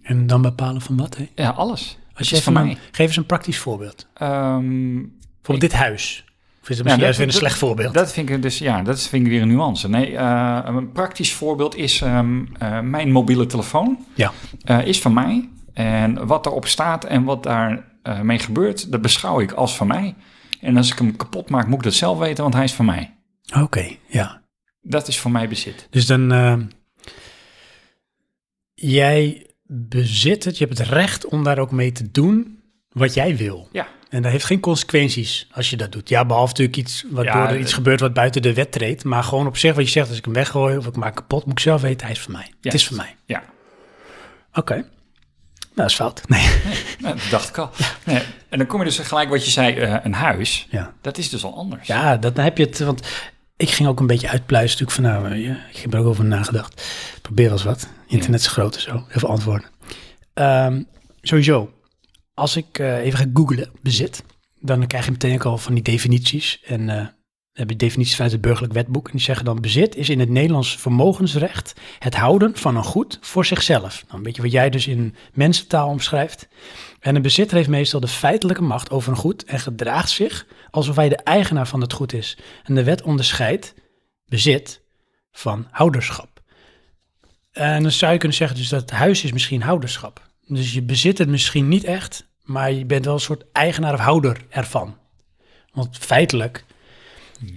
en dan bepalen van wat, hè?
Ja, alles.
Als
Het
je
is
even
van
een,
mij.
geef eens een praktisch voorbeeld.
Ehm,
Bijvoorbeeld dit huis. Of is het misschien
nou,
juist weer een
dat-
slecht voorbeeld?
dat vind ik dus, ja, dat vind ik weer een nuance. Nee, eh, een praktisch voorbeeld is ehm, eh, mijn mobiele telefoon.
ja.
eh, is van mij. En wat erop staat en wat daarmee mee gebeurt, dat beschouw ik als van mij. En als ik hem kapot maak, moet ik dat zelf weten, want hij is van mij.
Oké, ja.
Dat is voor mij bezit.
Dus dan, eh, jij bezit het, je hebt het recht om daar ook mee te doen wat jij wil.
Ja,
En dat heeft geen consequenties als je dat doet. Ja, behalve natuurlijk iets waardoor
Ja,
er
eh,
iets gebeurt wat buiten de wet treedt. Maar gewoon op zich wat je zegt, als ik hem weggooi of ik maak kapot, moet ik zelf weten, hij is van mij. Het is van mij.
ja.
Oké. Nou, dat is fout. Nee.
Nou, dat dacht ik al. Nee, en dan kom je dus gelijk wat je zei, eh, een huis.
Ja.
Dat is dus al anders.
Ja, dat, dan heb je het. Want ik ging ook een beetje uitpluizen natuurlijk van nou, eh, ja, ik heb er ook over nagedacht. Probeer wel eens wat. Internet is groot en zo. Even antwoorden. Ehm, sowieso, als ik eh, even ga googlen bezit, dan krijg je meteen ook al van die definities. En eh, dan heb je definities vanuit het burgerlijk wetboek. En die zeggen dan bezit is in het Nederlands vermogensrecht het houden van een goed voor zichzelf. Nou, een beetje wat jij dus in mensentaal omschrijft. En een bezitter heeft meestal de feitelijke macht over een goed en gedraagt zich alsof hij de eigenaar van het goed is. En de wet onderscheidt bezit van houderschap. En dan zou je kunnen zeggen dus dat het huis is misschien houderschap. Dus je bezit het misschien niet echt, maar je bent wel een soort eigenaar of houder ervan. Want feitelijk,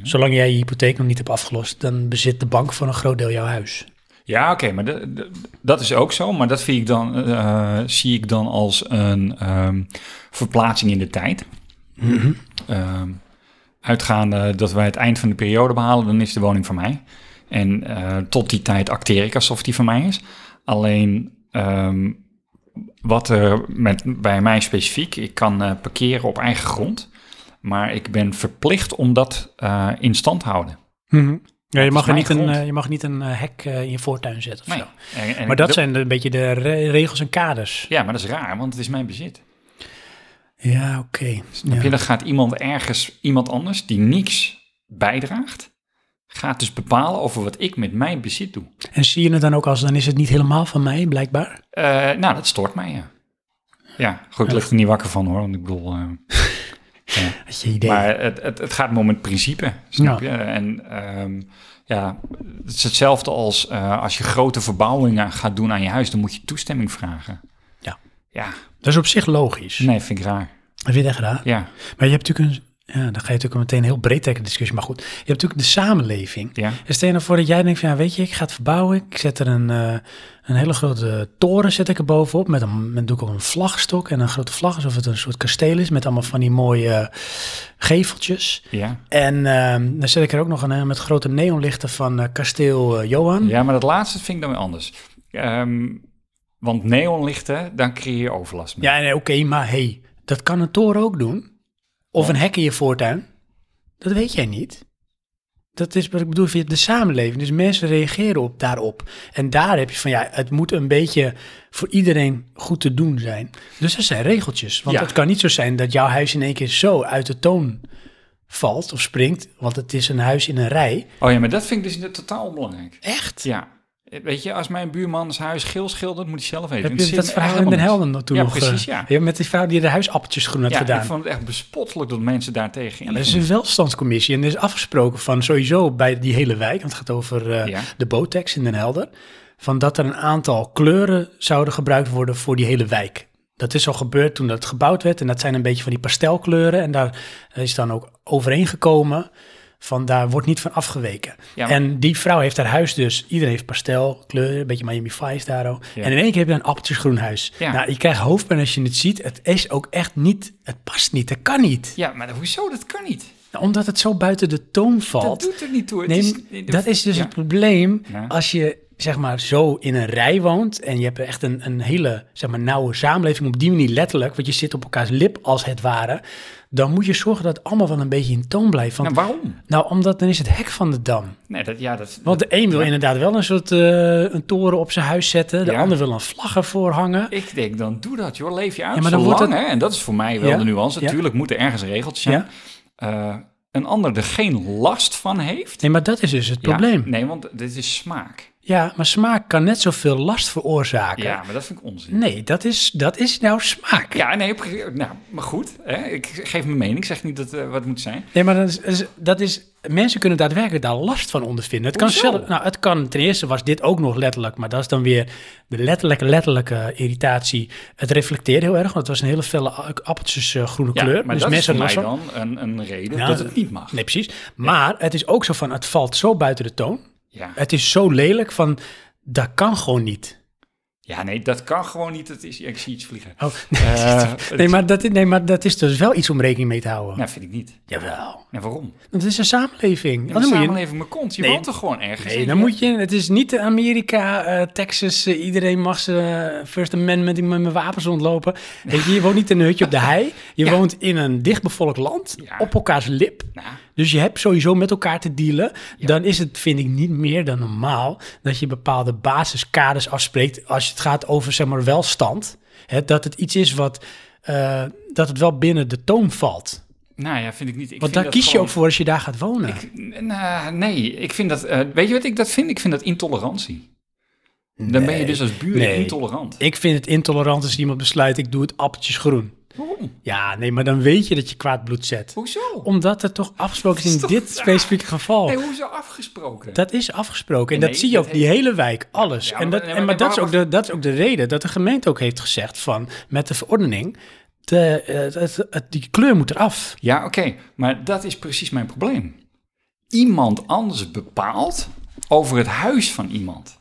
zolang jij je hypotheek nog niet hebt afgelost, dan bezit de bank voor een groot deel jouw huis.
Ja, oké, maar de- de- dat is ook zo. Maar dat vind ik dan, eh, zie ik dan als een ehm, verplaatsing in de tijd.
Mhm.
Ehm, uitgaande dat wij het eind van de periode behalen, dan is de woning van mij. En eh, tot die tijd acteer ik alsof die van mij is. Alleen ehm, wat er met, bij mij specifiek, ik kan eh, parkeren op eigen grond. Maar ik ben verplicht om dat eh, in stand te houden.
Mhm. Ja, je,
is
mag er
mijn
niet een,
grond.
eh, je mag niet een eh, hek eh, in je voortuin zetten of
Nee.
zo.
En- en
Maar dat
ik-
zijn een beetje de re- regels en kaders.
Ja, maar dat is raar, want het is mijn bezit.
Ja, oké.
Snap je? Dan gaat iemand ergens, iemand anders die niks bijdraagt, gaat dus bepalen over wat ik met mijn bezit doe.
En zie je het dan ook als, dan is het niet helemaal van mij, blijkbaar?
Eh, nou, dat stoort mij, ja. Ja, goed, ik lig er niet wakker van hoor, want ik bedoel... eh,
Had je idee?
Maar het, het, het gaat me om het principe, snap je? En ehm, ja, het is hetzelfde als eh, als je grote verbouwingen gaat doen aan je huis, dan moet je toestemming vragen.
Ja.
Ja,
dat is op zich logisch.
nee, vind ik raar.
Dat vind je echt raar.
Ja,
Maar je hebt natuurlijk een, ja, dan ga je natuurlijk meteen een heel breed trekken discussie. Maar goed, je hebt natuurlijk de samenleving.
ja.
En stel je nou voor dat jij denkt van, ja, weet je, ik ga het verbouwen. Ik zet er een, eh, een hele grote toren zet ik er bovenop. Met een, met, doe ik ook een vlagstok en een grote vlag. Alsof het een soort kasteel is met allemaal van die mooie eh, geveltjes.
ja.
En ehm, dan zet ik er ook nog een eh, met grote neonlichten van eh, kasteel eh, Johan.
Ja, maar dat laatste vind ik dan weer anders. Ehm, want neonlichten, dan creëer je overlast mee.
Ja, nee, oké, maar hey, dat kan een toren ook doen. Of een hek in je voortuin. Dat weet jij niet. Dat is wat ik bedoel via de samenleving. Dus mensen reageren op, daarop. En daar heb je van, ja, het moet een beetje voor iedereen goed te doen zijn. Dus er zijn regeltjes. Want
Ja.
het kan niet zo zijn dat jouw huis in één keer zo uit de toon valt of springt. Want het is een huis in een rij.
Oh ja, maar dat vind ik dus net totaal onbelangrijk.
Echt?
Ja. Weet je, als mijn buurmans huis geel schildert, moet hij zelf weten.
Heb
Het
je
zit
dat
me
verhaal
echt
in Den
helemaal
Helden toen
Ja,
nog? eh,
precies, ja.
Met die vrouw die de huisappertjes groen had
niet. Ja,
gedaan.
ik vond het echt bespottelijk dat mensen daar tegen
Ja, maar er is een welstandscommissie en er is afgesproken van sowieso bij die hele wijk, want het gaat over eh,
Ja.
de Botex in Den Helder, van dat er een aantal kleuren zouden gebruikt worden voor die hele wijk. Dat is al gebeurd toen dat gebouwd werd en dat zijn een beetje van die pastelkleuren en daar is dan ook overeengekomen van daar wordt niet van afgeweken.
Ja, maar-
en die vrouw heeft haar huis dus, iedereen heeft pastelkleuren, een beetje Miami Vice daar ook.
Ja.
En in één keer heb je een appeltjesgroen huis.
Ja.
Nou, je krijgt hoofdpijn als je het ziet. Het is ook echt niet, het past niet, dat kan niet.
Ja, maar hoezo? Dat kan niet.
Nou, omdat het zo buiten de toon
Dat
valt.
doet er niet toe. Het
nee,
is-
dat is dus
Ja.
het probleem.
Ja.
Als je zeg maar zo in een rij woont en je hebt echt een, een hele zeg maar, nauwe samenleving op die manier letterlijk, want je zit op elkaars lip als het ware, dan moet je zorgen dat het allemaal wel een beetje in toon blijft. Want,
Nou,
nou,
waarom?
omdat dan is het hek van de dam.
Nee, dat, ja, dat,
Want de een wil inderdaad wel een soort eh, een toren op zijn huis zetten, de
Ja.
ander wil een vlag ervoor hangen.
Ik denk dan, doe dat joh, leef je uit
Ja,
ja,
maar
maar
dan
zolang.
wordt
hè? En dat is voor mij wel
Ja,
de nuance.
ja.
Natuurlijk moet er ergens regeltjes zijn.
Ja.
Eh, een ander er geen last van heeft.
Nee, maar dat is dus het
Ja,
probleem. Ja,
nee, want dit is smaak.
maar smaak kan net zoveel last veroorzaken.
Ja, maar dat vind ik onzin.
Nee, dat is, dat is nou smaak.
Ja, nee, pre- nou, maar goed. Hè? Ik geef mijn mening. Ik zeg niet dat, eh, wat het moet zijn.
Nee, maar dat is, dat is- dat is, mensen kunnen daadwerkelijk daar last van ondervinden. Het kan,
Hoezo?
zelf, nou, het kan, ten eerste was dit ook nog letterlijk, maar dat is dan weer de letterlijke, letterlijke irritatie. Het reflecteerde heel erg, want het was een hele felle a- appeltjes eh, groene
Ja,
kleur.
maar
dus
dat is
mensen
voor mij
hadden last
dan een, een reden
Ja,
dat het niet mag.
van- Nee, precies. Maar het is ook zo van, het valt zo buiten de toon.
Ja.
Het is zo lelijk van, dat kan gewoon niet.
ja, nee, dat kan gewoon niet. Het is, ja, ik zie iets vliegen.
Oh,
Eh,
nee, maar dat, nee, maar dat is dus wel iets om rekening mee te houden.
Nou, vind ik niet.
Jawel.
En waarom?
Dat is een samenleving.
Ja,
Dan
de
moet je-
samenleving mijn kont. Je
Nee.
woont toch gewoon ergens?
Nee,
En
dan
je-
moet je. Het is niet de Amerika, eh, Texas. eh, iedereen mag zijn First Amendment die met mijn wapens rondlopen. Weet je, je woont niet in een hutje op de hei. Je woont in een dichtbevolkt land.
Ja.
Op elkaars lip.
Nou,
Dus je hebt sowieso met elkaar te dealen. Dan is het, vind ik, niet meer dan normaal dat je bepaalde basiskaders afspreekt als het gaat over, zeg maar, welstand. Hè, dat het iets is wat, eh, dat het wel binnen de toon valt.
Nou ja, vind ik niet. Ik
Want
vind
daar
dat
kies je
gewoon-
ook voor als je daar gaat wonen.
Ik- nou, nee, ik vind dat. eh, weet je wat ik dat vind? Ik vind dat intolerantie. Dan ben je
Nee.
dus als buur
Nee.
intolerant.
Ik vind het intolerant als iemand besluit, ik doe het appeltjes groen.
Waarom?
Ja, nee, maar dan weet je dat je kwaad bloed zet.
Hoezo?
Omdat het toch afgesproken is
Is
in
toch-
dit specifieke geval.
Nee, hoezo afgesproken?
Dat is afgesproken. En
Nee,
dat zie je
dat
ook, die hele wijk, alles.
Ja,
en
maar-
dat,
nee,
en
maar-
maar dat is,
maar-
ook de, dat is ook de reden dat de gemeente ook heeft gezegd van... met de verordening, de, eh, het- het- die kleur moet eraf.
Ja, oké, maar dat is precies mijn probleem. Iemand anders bepaalt over het huis van iemand.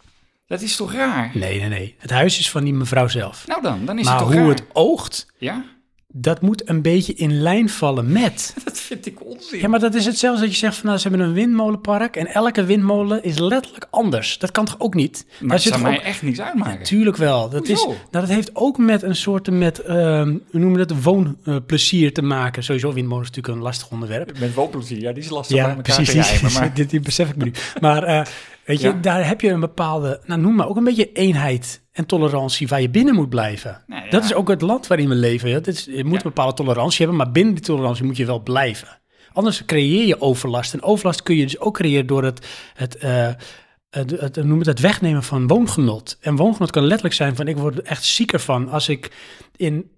Dat is toch raar?
Nee, nee, nee. Het huis is van die mevrouw zelf.
Nou dan, dan is
maar
het toch
hoe
raar?
het oogt,
Ja,
dat moet een beetje in lijn vallen met...
dat vind ik onzin.
Ja, maar dat is hetzelfde als dat je zegt van nou, ze hebben een windmolenpark... en elke windmolen is letterlijk anders. Dat kan toch ook niet?
maar
Daar
het
zit
zou
toch
mij
ook-
echt niets uitmaken.
Tuurlijk wel. Dat, is,
Hoezo?
nou, dat heeft ook met een soort met, ehm hoe noemen we dat, woonplezier te maken. Sowieso windmolens is natuurlijk een lastig onderwerp.
Met woonplezier, ja, die is lastig
Ja, precies. Die, dit, die besef ik me nu. Maar eh, weet je,
Ja.
daar heb je een bepaalde, nou noem maar ook een beetje eenheid en tolerantie waar je binnen moet blijven.
Nou ja.
Dat is ook het land waarin we leven. Ja. Dat is, je moet
Ja.
een bepaalde tolerantie hebben, maar binnen die tolerantie moet je wel blijven. Anders creëer je overlast. En overlast kun je dus ook creëren door het, het, eh, het, het, noem het, het wegnemen van woongenot. En woongenot kan letterlijk zijn van ik word er echt zieker van als ik in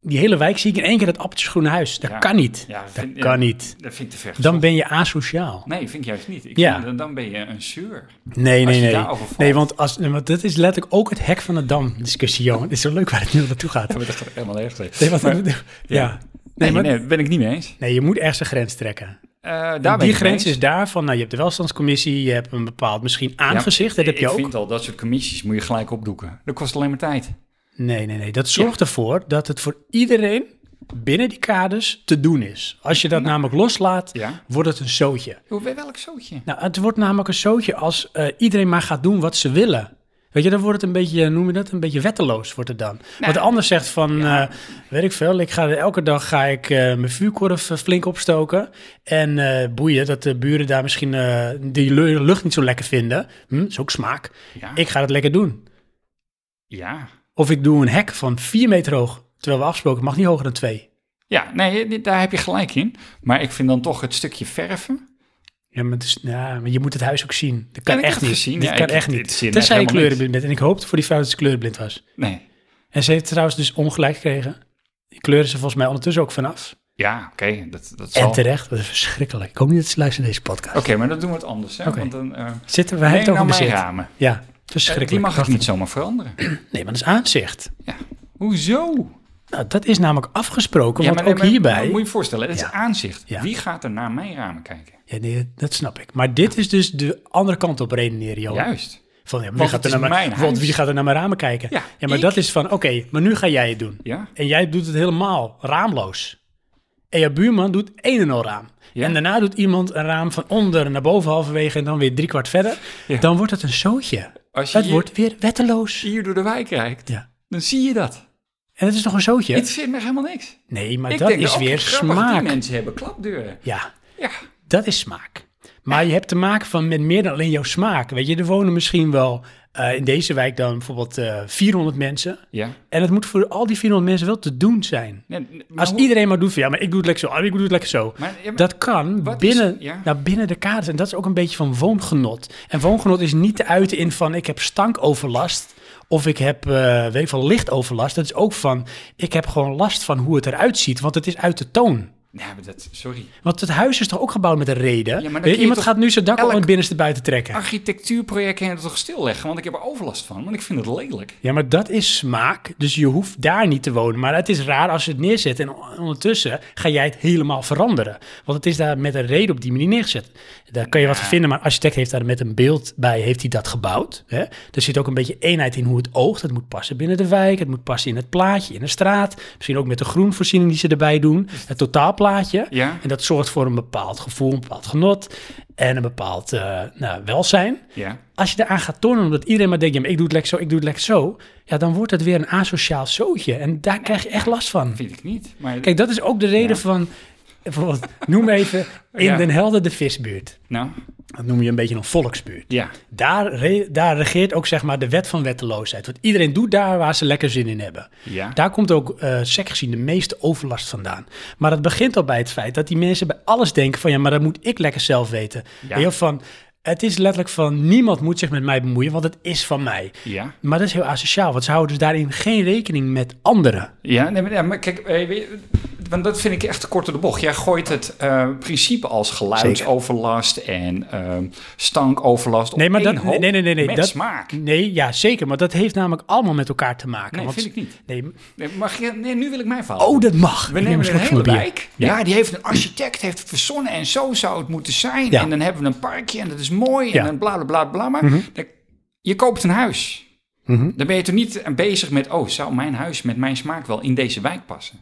die hele wijk zie ik in één keer dat appeltjesgroene huis. Dat
Ja.
kan niet.
Ja,
dat
vind- ja.
kan niet.
Dat vind ik te ver.
Dan ben je asociaal.
Nee, vind ik juist niet. Ik
Ja.
vind, dan- dan ben je een zeur.
Nee,
Als
nee,
je
nee.
daarover valt.
Nee, want, als, nee, want dat is letterlijk ook het hek van de dam discussie, jongen. Het is zo leuk waar het nu naartoe gaat.
Dat gaat helemaal ergens.
Nee, want, ja.
ja.
Nee,
Nee,
maar,
nee,
nee.
ben ik niet mee eens.
je moet ergens een grens trekken.
Eh, daar ben
die
ik mee
grens
eens.
is daarvan, nou, je hebt de welstandscommissie, je hebt een bepaald misschien aangezicht, dat heb je
ik
ook.
vind al dat soort commissies moet je gelijk opdoeken. Dat kost alleen maar tijd.
Nee, nee, nee. Dat zorgt ervoor dat het voor iedereen binnen die kaders te doen is. Als je dat namelijk loslaat,
Ja.
wordt het een zootje.
Hoe, bij welk zootje?
Nou, het wordt namelijk een zootje als eh, iedereen maar gaat doen wat ze willen. Weet je, dan wordt het een beetje, noem je dat, een beetje wetteloos wordt het dan.
Nou,
Want de ander zegt van, eh, weet ik veel, ik ga, elke dag ga ik eh, mijn vuurkorf eh, flink opstoken. En eh, boeien, dat de buren daar misschien eh, die lu- lucht niet zo lekker vinden. Hm, is ook smaak.
Ja.
Ik ga dat lekker doen.
ja.
Of ik doe een hek van vier meter hoog, terwijl we afgesproken, het mag niet hoger dan twee.
Ja, nee, dit- daar heb je gelijk in. Maar ik vind dan toch het stukje verven.
Ja, maar, het is, ja, maar je moet het huis ook zien. Dat
Ja,
kan
ik
echt
heb het
niet.
gezien.
Dit
Ja,
kan
ik-
echt
dit
niet.
zie je
Tenzij je
helemaal niks.
kleurenblind bent. En ik hoopte voor die vrouw dat ze kleurenblind was.
Nee.
En ze heeft trouwens dus ongelijk gekregen. Die kleuren ze volgens mij ondertussen ook vanaf.
Ja, oké. dat, dat
En
zal... Oké,
terecht, dat is verschrikkelijk. Ik hoop niet dat ze luisteren naar deze podcast.
maar dan doen we het anders. Hè?
Oké.
Want dan, eh
Zitten we hij
neem
heeft het
nou
over
mijn
bezit.
ramen.
Ja,
Eh,
verschrikkelijk.
Die mag ik
Wacht
niet zomaar veranderen.
even. Nee, maar dat is aanzicht.
Ja. Hoezo?
Nou, dat is namelijk afgesproken,
ja,
want ook hierbij...
Moet je je voorstellen, dat
Ja.
is aanzicht.
Ja.
Wie gaat er naar mijn ramen kijken?
Ja, nee, dat snap ik. Maar dit is dus de andere kant op redeneren, Johan.
Juist.
Van, ja, maar wie
Want
gaat er
het
naar
is
mijn,
mijn
want
huis.
wie gaat er naar mijn ramen kijken?
Ja,
maar
ik.
dat is van, oké, maar nu ga jij het doen.
Ja.
En jij doet het helemaal raamloos. En jouw buurman doet één en al raam.
Ja.
En daarna doet iemand een raam van onder naar boven halverwege en dan weer driekwart verder.
Ja.
Dan wordt het een zootje.
Als je
Het
hier,
wordt weer wetteloos.
hier door de wijk kijkt,
Ja.
dan zie je dat.
En het is nog een zootje.
Het zit me helemaal niks.
Nee, maar
ik
dat
denk,
is
oh,
weer
grappig, Die
smaak.
mensen hebben klapdeuren.
Ja,
Ja,
dat is smaak. Maar je hebt te maken van met meer dan alleen jouw smaak. Weet je, er wonen misschien wel eh, in deze wijk dan bijvoorbeeld eh, 400 mensen.
ja.
En het moet voor al die 400 mensen wel te doen zijn.
Nee, nee, maar
Als
hoe-
iedereen maar doet van ja, maar ik doe het lekker zo, ah, ik doe het lekker zo.
Maar, ja, maar-
Dat kan
Wat
binnen,
is- ja.
nou, binnen de kaders. En dat is ook een beetje van woongenot. En woongenot is niet te uiten in van ik heb stankoverlast. Of ik heb, eh weet ik veel, lichtoverlast. Dat is ook van, ik heb gewoon last van hoe het eruit ziet. Want het is uit de toon.
Nee, maar dat, sorry.
Want het huis is toch ook gebouwd met een reden?
maar dan
Weet je,
kun je
iemand
toch
gaat nu zijn dak om
elk-
het binnenste buiten trekken.
Architectuurproject kan je toch stilleggen, want ik heb er overlast van, want ik vind het lelijk.
Ja, maar dat is smaak. Dus je hoeft daar niet te wonen. Maar het is raar als je het neerzet. En on- ondertussen ga jij het helemaal veranderen. Want het is daar met een reden op die manier neergezet. Daar kan je wat van vinden. Maar een architect heeft daar met een beeld bij. Heeft hij dat gebouwd? Hè? Er zit ook een beetje eenheid in hoe het oogt. Het moet passen binnen de wijk. Het moet passen in het plaatje, in de straat. Misschien ook met de groenvoorziening die ze erbij doen. Het totaalplaatje.
Ja.
En dat zorgt voor een bepaald gevoel, een bepaald genot. En een bepaald eh, nou, welzijn
Ja.
als je daaraan gaat tornen, omdat iedereen maar denkt, ja, maar ik doe het lekker zo, ik doe het lekker zo, ja, dan wordt het weer een asociaal zootje. En daar krijg je echt last van.
Vind ik niet. Maar
Kijk, dat is ook de reden van, bijvoorbeeld, noem even in
Ja.
Den Helder de visbuurt.
Nou,
Dat noem je een beetje een volksbuurt.
ja.
Daar, re- daar regeert ook zeg maar de wet van wetteloosheid. Want iedereen doet daar waar ze lekker zin in hebben.
Ja.
Daar komt ook, eh sec gezien, de meeste overlast vandaan. Maar het begint al bij het feit dat die mensen bij alles denken van... ja, maar dat moet ik lekker zelf weten.
Ja.
Heel van, het is letterlijk van niemand moet zich met mij bemoeien, want het is van mij.
Ja.
Maar dat is heel asociaal, want ze houden dus daarin geen rekening met anderen.
Ja, nee, maar, ja, maar kijk, eh, weet je, want dat vind ik echt te kort door de bocht. Jij gooit het eh, principe als geluidsoverlast en ehm, stankoverlast
Nee,
op
maar
één
dat-
hoop
nee, nee, nee, nee,
met
dat-
smaak.
Nee, ja, zeker, maar dat heeft namelijk allemaal met elkaar te maken.
Nee,
want-
vind ik niet.
Nee,
Nee, mag je, nee, nu wil ik mijn verhaal.
oh, dat mag.
We
Ik neem
nemen een
slok van
hele
mijn bier.
wijk. Ja. die heeft een architect, heeft het verzonnen en zo zou het moeten zijn.
Ja.
En dan hebben we een parkje en dat is mooi
Ja.
en dan bla bla bla bla. Maar dan- je koopt een huis.
Mhm.
Dan ben je toch niet bezig met, oh, zou mijn huis met mijn smaak wel in deze wijk passen?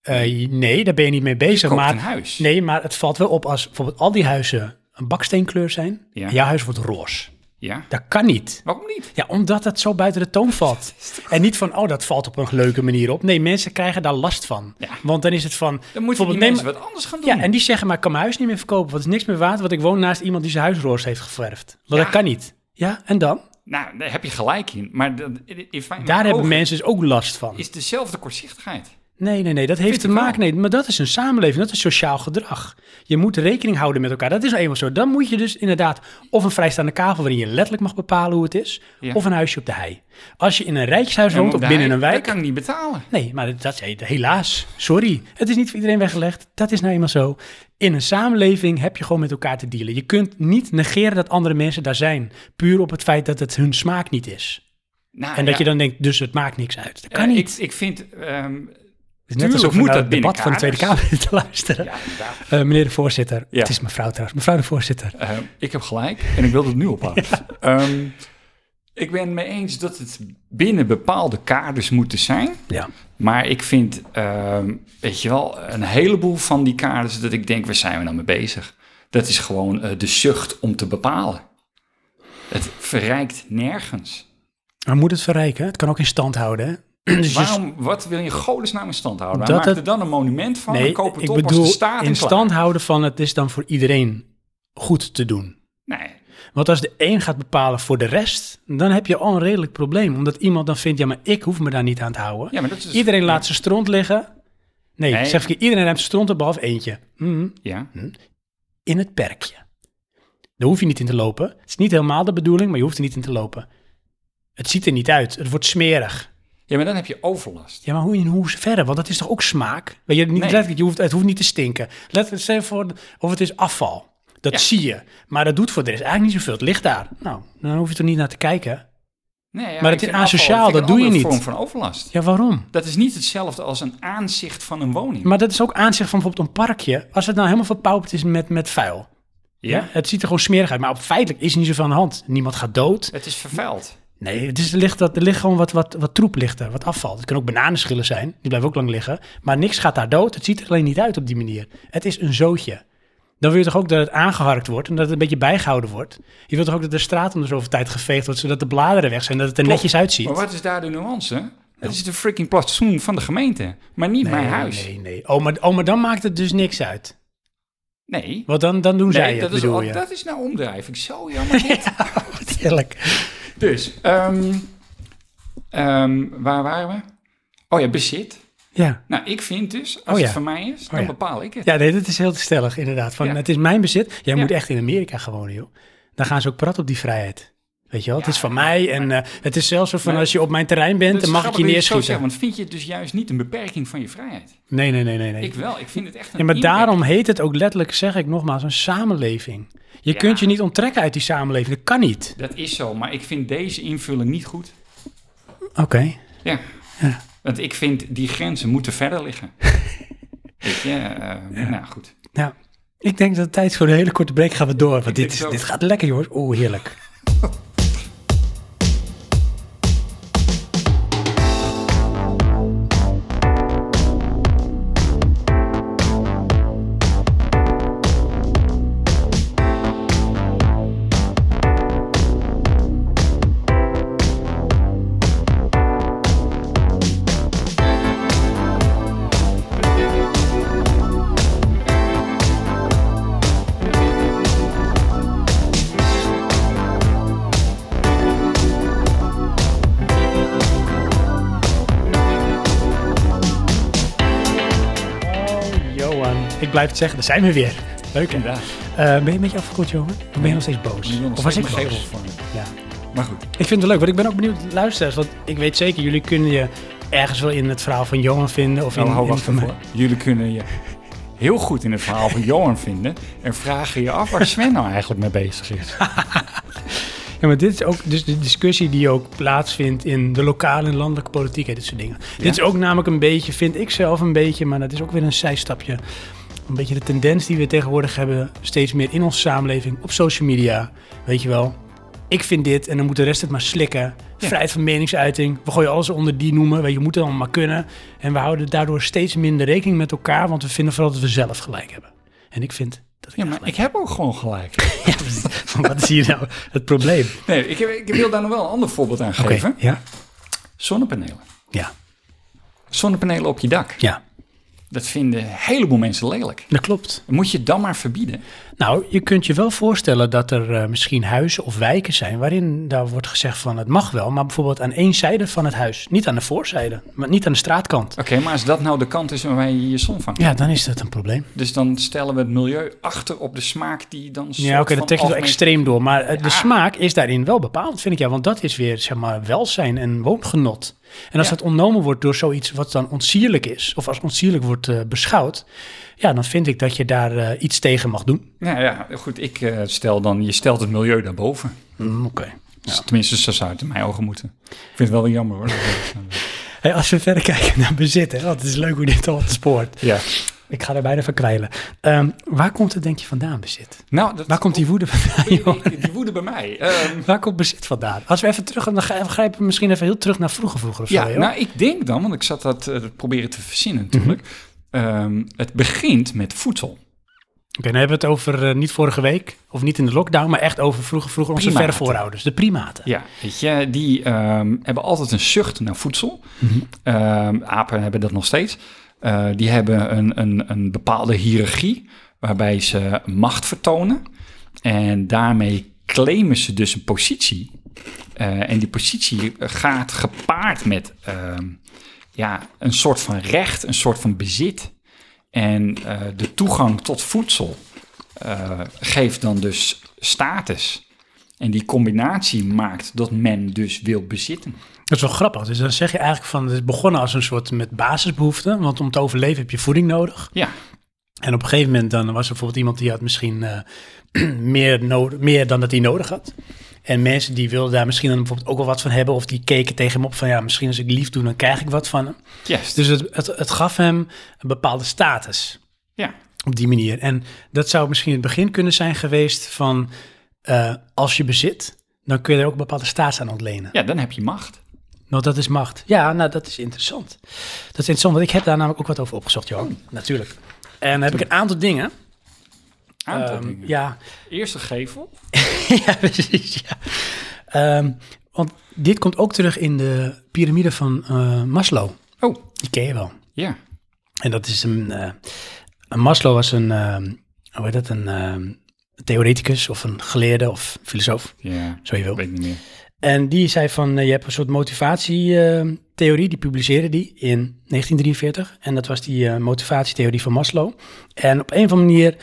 Eh, nee, daar ben je niet mee bezig.
koopt
maar,
een huis.
Nee, maar het valt wel op als bijvoorbeeld al die huizen een baksteenkleur zijn.
Ja.
En jouw huis wordt roze.
Ja,
Dat kan niet.
waarom niet?
Ja, omdat dat zo buiten de toon valt. En niet van, oh, dat valt op een leuke manier op. Nee, mensen krijgen daar last van.
Ja.
Want dan is het van...
Dan moeten die
bijvoorbeeld, nee,
mensen
maar-
wat anders gaan doen.
ja, en die zeggen, maar ik kan mijn huis niet meer verkopen. Want het is niks meer waard, want ik woon naast iemand die zijn huis roze heeft geverfd. Want
Ja.
dat kan niet. Ja, en dan?
Nou, daar heb je gelijk in. Maar dat, in fijn,
Daar hebben
ogen
mensen dus ook last van.
is dezelfde kortzichtigheid.
Nee, nee, nee, dat heeft te
ik wel.
maken. Nee, maar dat is een samenleving, dat is sociaal gedrag. Je moet rekening houden met elkaar. Dat is nou eenmaal zo. Dan moet je dus inderdaad of een vrijstaande kavel waarin je letterlijk mag bepalen hoe het is,
Ja.
of een huisje op de hei. Als je in een rijtjeshuis
En
woont
op
of
de
binnen
hei,
een
Dat
wijk.
kan ik niet betalen.
Nee, maar dat, dat is helaas. Sorry. Het is niet voor iedereen weggelegd. Dat is nou eenmaal zo. In een samenleving heb je gewoon met elkaar te dealen. Je kunt niet negeren dat andere mensen daar zijn. Puur op het feit dat het hun smaak niet is.
Nou,
En dat
ja,
je dan denkt, dus het maakt niks uit. Dat kan
eh,
niet.
Ik, ik vind... ehm
Het is net
Tuurlijk
alsof we
moet
naar het
dat
debat van de
binnen
Tweede
kaders.
Kamer te luisteren.
ja, inderdaad.
Eh, meneer de voorzitter.
Ja.
Het is mevrouw trouwens. Mevrouw de voorzitter.
Eh, ik heb gelijk en ik wil het nu ophouden. Ehm, ik ben het mee eens dat het binnen bepaalde kaders moeten zijn.
Ja.
Maar ik vind, ehm, weet je wel, een heleboel van die kaders dat ik denk, waar zijn we nou mee bezig? Dat is gewoon eh, de zucht om te bepalen. Het verrijkt nergens.
Maar moet het verrijken? Het kan ook in stand houden. Hè? Dus je-
Waarom, wat wil je in godesnaam in stand houden?
Dat
Maak
het-
er dan een monument van en
nee,
koop het
ik
op als
bedoel
de staat en
in
klaar.
stand houden van het is dan voor iedereen goed te doen.
Nee,
Want als de een gaat bepalen voor de rest, dan heb je al een redelijk probleem. Omdat iemand dan vindt, ja maar ik hoef me daar niet aan te houden.
ja, maar dat is... dus-
iedereen laat zijn stront liggen. Nee,
Nee.
zeg ik, iedereen ruimt zijn stront op, behalve eentje. Mhm.
Ja,
in het perkje. Daar hoef je niet in te lopen. Het is niet helemaal de bedoeling, maar je hoeft er niet in te lopen. Het ziet er niet uit. Het wordt smerig.
ja, maar dan heb je overlast.
Ja, maar hoe in hoeverre? Want dat is toch ook smaak? Weet je, niet,
Nee.
letterlijk, je hoeft, het hoeft niet te stinken. Letterlijk, stel je voor, of het is afval. Dat
Ja.
zie je. Maar dat doet voor de rest eigenlijk niet zoveel. Het ligt daar. Nou, dan hoef je toch niet naar te kijken.
Nee,
Maar
ja, ik
het is
vind afval-
asociaal,
ik vind
dat doe je
een andere
niet.
vorm van overlast.
Ja, waarom?
Dat is niet hetzelfde als een aanzicht van een woning.
Maar dat is ook aanzicht van bijvoorbeeld een parkje. Als het nou helemaal verpauperd is met, met vuil. Ja? Het ziet er gewoon smerig uit. Maar op feitelijk is er niet zoveel aan de hand. Niemand gaat dood.
Het is vervuild.
Nee, het is, er, ligt, dat, er ligt gewoon wat, wat, wat troep ligt er, wat afval. Het kunnen ook bananenschillen zijn, die blijven ook lang liggen. Maar niks gaat daar dood, het ziet er alleen niet uit op die manier. Het is een zootje. Dan wil je toch ook dat het aangeharkt wordt en dat het een beetje bijgehouden wordt. Je wilt toch ook dat de straat om de zoveel tijd geveegd wordt, zodat de bladeren weg zijn, dat het er netjes uitziet.
Maar wat is daar de nuance? Het is de freaking plantsoen van de gemeente, maar niet mijn huis. Nee,
Nee, nee. Oh maar, oh, maar dan maakt het dus niks uit. Want dan, dan doen
Nee,
zij het,
dat, is,
bedoel
al-
je.
dat is nou omdrijving. Zo jammer dit.
Wat eerlijk.
Dus, ehm, ehm, waar waren we? Oh ja, bezit.
Ja.
Nou, ik vind dus, als
Oh ja.
het van mij is, dan
ja.
bepaal ik het.
Ja, nee, dat is heel stellig inderdaad. Van,
Ja.
Het is mijn bezit. Jij
Ja.
moet echt in Amerika gaan wonen, joh. Dan gaan ze ook praten op die vrijheid. Weet je wel, het
Ja,
is van mij en eh, het is zelfs zo van
Maar-
als je op mijn terrein
Dat
bent,
is
dan mag ik
grappig
je
dat het zo zegt,
neerschieten.
want vind je het dus juist niet een beperking van je vrijheid?
Nee, nee, nee, nee. nee.
Ik wel, ik vind het echt een
ja, maar
inperking.
daarom heet het ook letterlijk, zeg ik nogmaals, een samenleving. Je
Ja.
kunt je niet onttrekken uit die samenleving. Dat kan niet.
Dat is zo, maar ik vind deze invulling niet goed.
Oké.
Ja. Want ik vind, die grenzen moeten verder liggen. Weet je, eh, nou goed.
Nou, ik denk dat het tijd is voor een hele korte break gaan we door. Want dit,
denk
is-
het ook.
dit gaat lekker, jongens. Oeh, heerlijk.
ik blijf het zeggen, daar zijn we weer. Leuk hè?
Inderdaad.
Eh, ben je een beetje afgekoeld, jongen? Of ben je nog steeds boos?
Ik wil nog
of was ik
steeds mijn
boos?
gevel vormen.
Ja.
Maar goed.
Ik vind het leuk, want ik ben ook benieuwd, luisteraars. Want ik weet zeker, jullie kunnen je ergens wel in het verhaal van Johan vinden. Of
Nou,
in,
hou
in
wacht
van mij.
ervoor. Jullie kunnen je heel goed in het verhaal van Johan vinden. En vragen je af waar Sven nou eigenlijk mee bezig is.
Ja, maar dit is ook dus de discussie die ook plaatsvindt in de lokale en landelijke politiek en dit soort dingen. Dit is ook namelijk een beetje, vind ik zelf een beetje, maar dat is ook weer een zijstapje. Een beetje de tendens die we tegenwoordig hebben, steeds meer in onze samenleving, op social media. Weet je wel, ik vind dit en dan moet de rest het maar slikken.
Ja.
Vrijheid van meningsuiting, we gooien alles onder die noemen, weet je, we moeten het allemaal maar kunnen. En we houden daardoor steeds minder rekening met elkaar, want we vinden vooral dat we zelf gelijk hebben. En ik vind dat ik
Ja, maar ik heb ook gewoon gelijk.
Ja, van wat is hier nou het probleem?
Nee, ik, heb- ik wil daar nog wel een ander voorbeeld aan
Oké,
geven.
ja?
Zonnepanelen.
Ja.
Zonnepanelen op je dak.
Ja,
Dat vinden een heleboel mensen lelijk.
dat klopt.
Moet je het dan maar verbieden?
Nou, je kunt je wel voorstellen dat er eh, misschien huizen of wijken zijn waarin daar wordt gezegd van het mag wel, maar bijvoorbeeld aan één zijde van het huis. Niet aan de voorzijde, maar niet aan de straatkant.
Oké, maar als dat nou de kant is waar je je zon vangt.
Ja, dan is dat een probleem.
Dus dan stellen we het milieu achter op de smaak die dan... soort
Ja, oké,
van
dat trek je wel
algemeen-
extreem door. Maar eh,
Ja.
de smaak is daarin wel bepaald, vind ik. Ja, want dat is weer, zeg maar, welzijn en woongenot. En als
Ja.
dat ontnomen wordt door zoiets wat dan onsierlijk is, of als onsierlijk wordt eh, beschouwd, ja, dan vind ik dat je daar eh, iets tegen mag doen.
Nou ja, goed, ik eh, stel dan, je stelt het milieu daarboven.
Mm, oké.
Dus tenminste, zo zou het in mijn ogen moeten. Ik vind het wel jammer hoor.
Hey, als we verder kijken naar bezit, hè, want het is leuk hoe dit al spoort.
ja.
Ik ga er bijna van kwijlen. Ehm, waar komt het denk je vandaan, bezit?
Nou, dat,
Waar komt die woede vandaan, joh?
die, die woede bij mij? Ehm,
Waar komt bezit vandaan? Als we even terug gaan, dan ga- we grijpen we misschien even heel terug naar vroeger vroeger of
ja,
zo, joh.
nou ik denk dan, want ik zat dat eh, proberen te verzinnen natuurlijk.
Mhm.
Ehm, het begint met voedsel.
Oké, dan hebben we het over eh, niet vorige week, of niet in de lockdown, maar echt over vroeger vroeger onze verre
Primaten.
voorouders, de primaten.
Ja, weet je, die ehm, hebben altijd een zucht naar voedsel. Ehm, apen hebben dat nog steeds. Eh, die hebben een, een, een bepaalde hiërarchie waarbij ze macht vertonen. En daarmee claimen ze dus een positie. Eh, en die positie gaat gepaard met ehm, ja, een soort van recht, een soort van bezit. En eh, de toegang tot voedsel eh, geeft dan dus status. En die combinatie maakt dat men dus wil bezitten.
Dat is wel grappig. Dus dan zeg je eigenlijk van, het is begonnen als een soort met basisbehoeften, want om te overleven heb je voeding nodig.
Ja,
En op een gegeven moment dan was er bijvoorbeeld iemand die had misschien eh, meer, nodig, meer dan dat hij nodig had. En mensen die wilden daar misschien dan bijvoorbeeld ook wel wat van hebben. Of die keken tegen hem op van ja, misschien als ik lief doe, dan krijg ik wat van hem.
juist.
Dus het, het, het gaf hem een bepaalde status
ja.
op die manier. En dat zou misschien het begin kunnen zijn geweest van eh, als je bezit, dan kun je er ook een bepaalde status aan ontlenen.
ja, dan heb je macht.
Nou, dat is macht. Ja, nou, dat is interessant. Dat is interessant, want ik heb daar namelijk ook wat over opgezocht, Johan.
Oh.
Natuurlijk. En dan heb ik een aantal dingen.
Aantal
Ehm,
dingen.
ja,
Eerste gevel.
ja, precies. Ja. Ehm, want dit komt ook terug in de piramide van eh, Maslow.
Oh,
Die ken je wel.
ja.
En dat is een. eh, een Maslow was een. ehm, hoe heet dat? Een ehm, theoreticus of een geleerde of filosoof,
Ja,
zo je wil.
weet ik niet meer.
En die zei van, eh, je hebt een soort motivatietheorie, eh, die publiceerde die in 1943. En dat was die eh, motivatietheorie van Maslow. En op een of andere manier,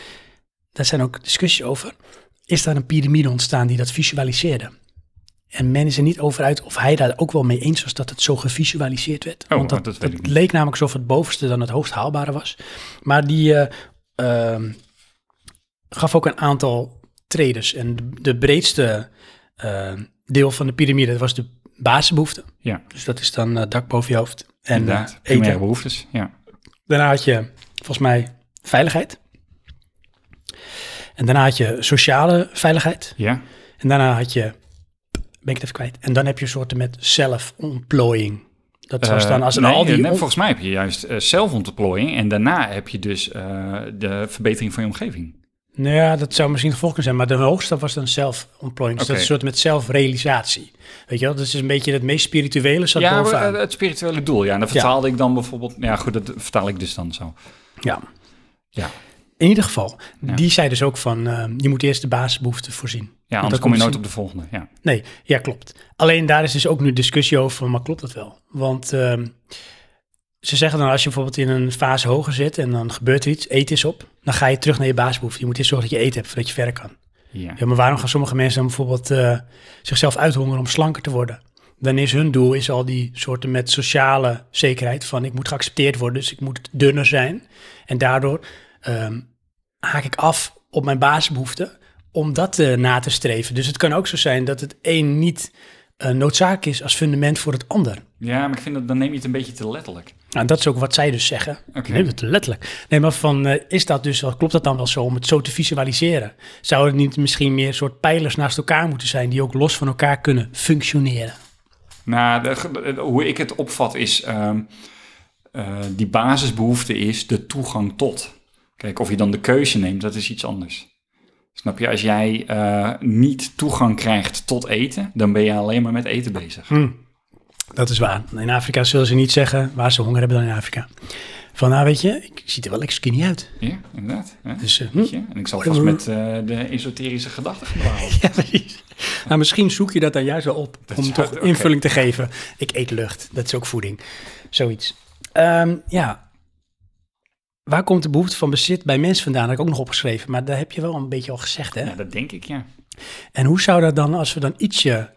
daar zijn ook discussies over, is daar een piramide ontstaan die dat visualiseerde. En men is er niet over uit of hij daar ook wel mee eens was dat het zo gevisualiseerd werd.
Oh,
Want dat,
dat weet ik
dat
niet.
leek namelijk alsof het bovenste dan het hoogst haalbare was. Maar die eh, ehm, gaf ook een aantal tredes. En de, de breedste eh, deel van de piramide dat was de basisbehoefte.
Ja,
Dus dat is dan eh, dak boven je hoofd en eh,
inderdaad. Primaire
eten.
behoeftes. Ja.
Daarna had je volgens mij veiligheid. En daarna had je sociale veiligheid.
ja.
En daarna had je, ben ik het even kwijt. En dan heb je soorten met zelfontplooiing. Dat was dan als
Eh,
een
nee,
al die...
eh, nee,
on-
volgens mij heb je juist eh, zelfontplooiing en daarna heb je dus eh, de verbetering van je omgeving.
Nou ja, dat zou misschien gevolg kunnen zijn, maar de hoogste was dan zelfontplooiing. Dus dat
Oké.
is een soort met zelfrealisatie. Weet je wel, dat is een beetje het meest spirituele zat
ja,
bovenaan.
eh, het spirituele doel. Ja, en dat
Ja.
vertaalde ik dan bijvoorbeeld. Ja, goed, dat vertaal ik dus dan zo.
ja.
Ja,
In ieder geval,
Ja.
die zei dus ook van, eh, je moet eerst de basisbehoeften voorzien.
ja
Want
anders
dan
kom je nooit
zien-
op de volgende. Ja.
Nee, ja, klopt. Alleen daar is dus ook nu discussie over, maar klopt dat wel? Want ehm, ze zeggen dan als je bijvoorbeeld in een fase hoger zit en dan gebeurt er iets, eten is op, dan ga je terug naar je basisbehoefte. Je moet eerst zorgen dat je eten hebt voordat je verder kan.
Ja.
Ja, maar waarom gaan sommige mensen dan bijvoorbeeld eh, zichzelf uithongeren om slanker te worden? Dan is hun doel is al die soorten met sociale zekerheid van ik moet geaccepteerd worden, dus ik moet dunner zijn. En daardoor ehm, haak ik af op mijn basisbehoeften om dat eh, na te streven. Dus het kan ook zo zijn dat het een niet eh, noodzakelijk is als fundament voor het ander.
ja, maar ik vind dat dan neem je het een beetje te letterlijk.
Nou, dat is ook wat zij dus zeggen.
Oké.
Neem het letterlijk. Nee, maar van, eh, is dat dus wel, klopt dat dan wel zo om het zo te visualiseren? Zou het niet misschien meer soort pijlers naast elkaar moeten zijn die ook los van elkaar kunnen functioneren?
Nou, de- de- de- hoe ik het opvat is, ehm, eh, die basisbehoefte is de toegang tot. Kijk, of je dan de keuze neemt, dat is iets anders. Snap je? Als jij eh, niet toegang krijgt tot eten, dan ben je alleen maar met eten bezig.
Dat is waar. In Afrika zullen ze niet zeggen waar ze honger hebben dan in Afrika. Van, nou weet je, ik ziet er wel lekker skinny uit.
Ja, inderdaad. hè?
Dus, eh,
Weet je? En ik zal vast met eh, de esoterische gedachten gebouwen.
Ja, precies. Nou, misschien zoek je dat dan juist wel op om
zou-
toch
oké.
invulling te geven. Ik eet lucht, dat is ook voeding. Zoiets. Ehm, ja. Waar komt de behoefte van bezit bij mensen vandaan? Dat heb ik ook nog opgeschreven, maar daar heb je wel een beetje al gezegd, hè?
Ja, dat denk ik, ja.
En hoe zou dat dan, als we dan ietsje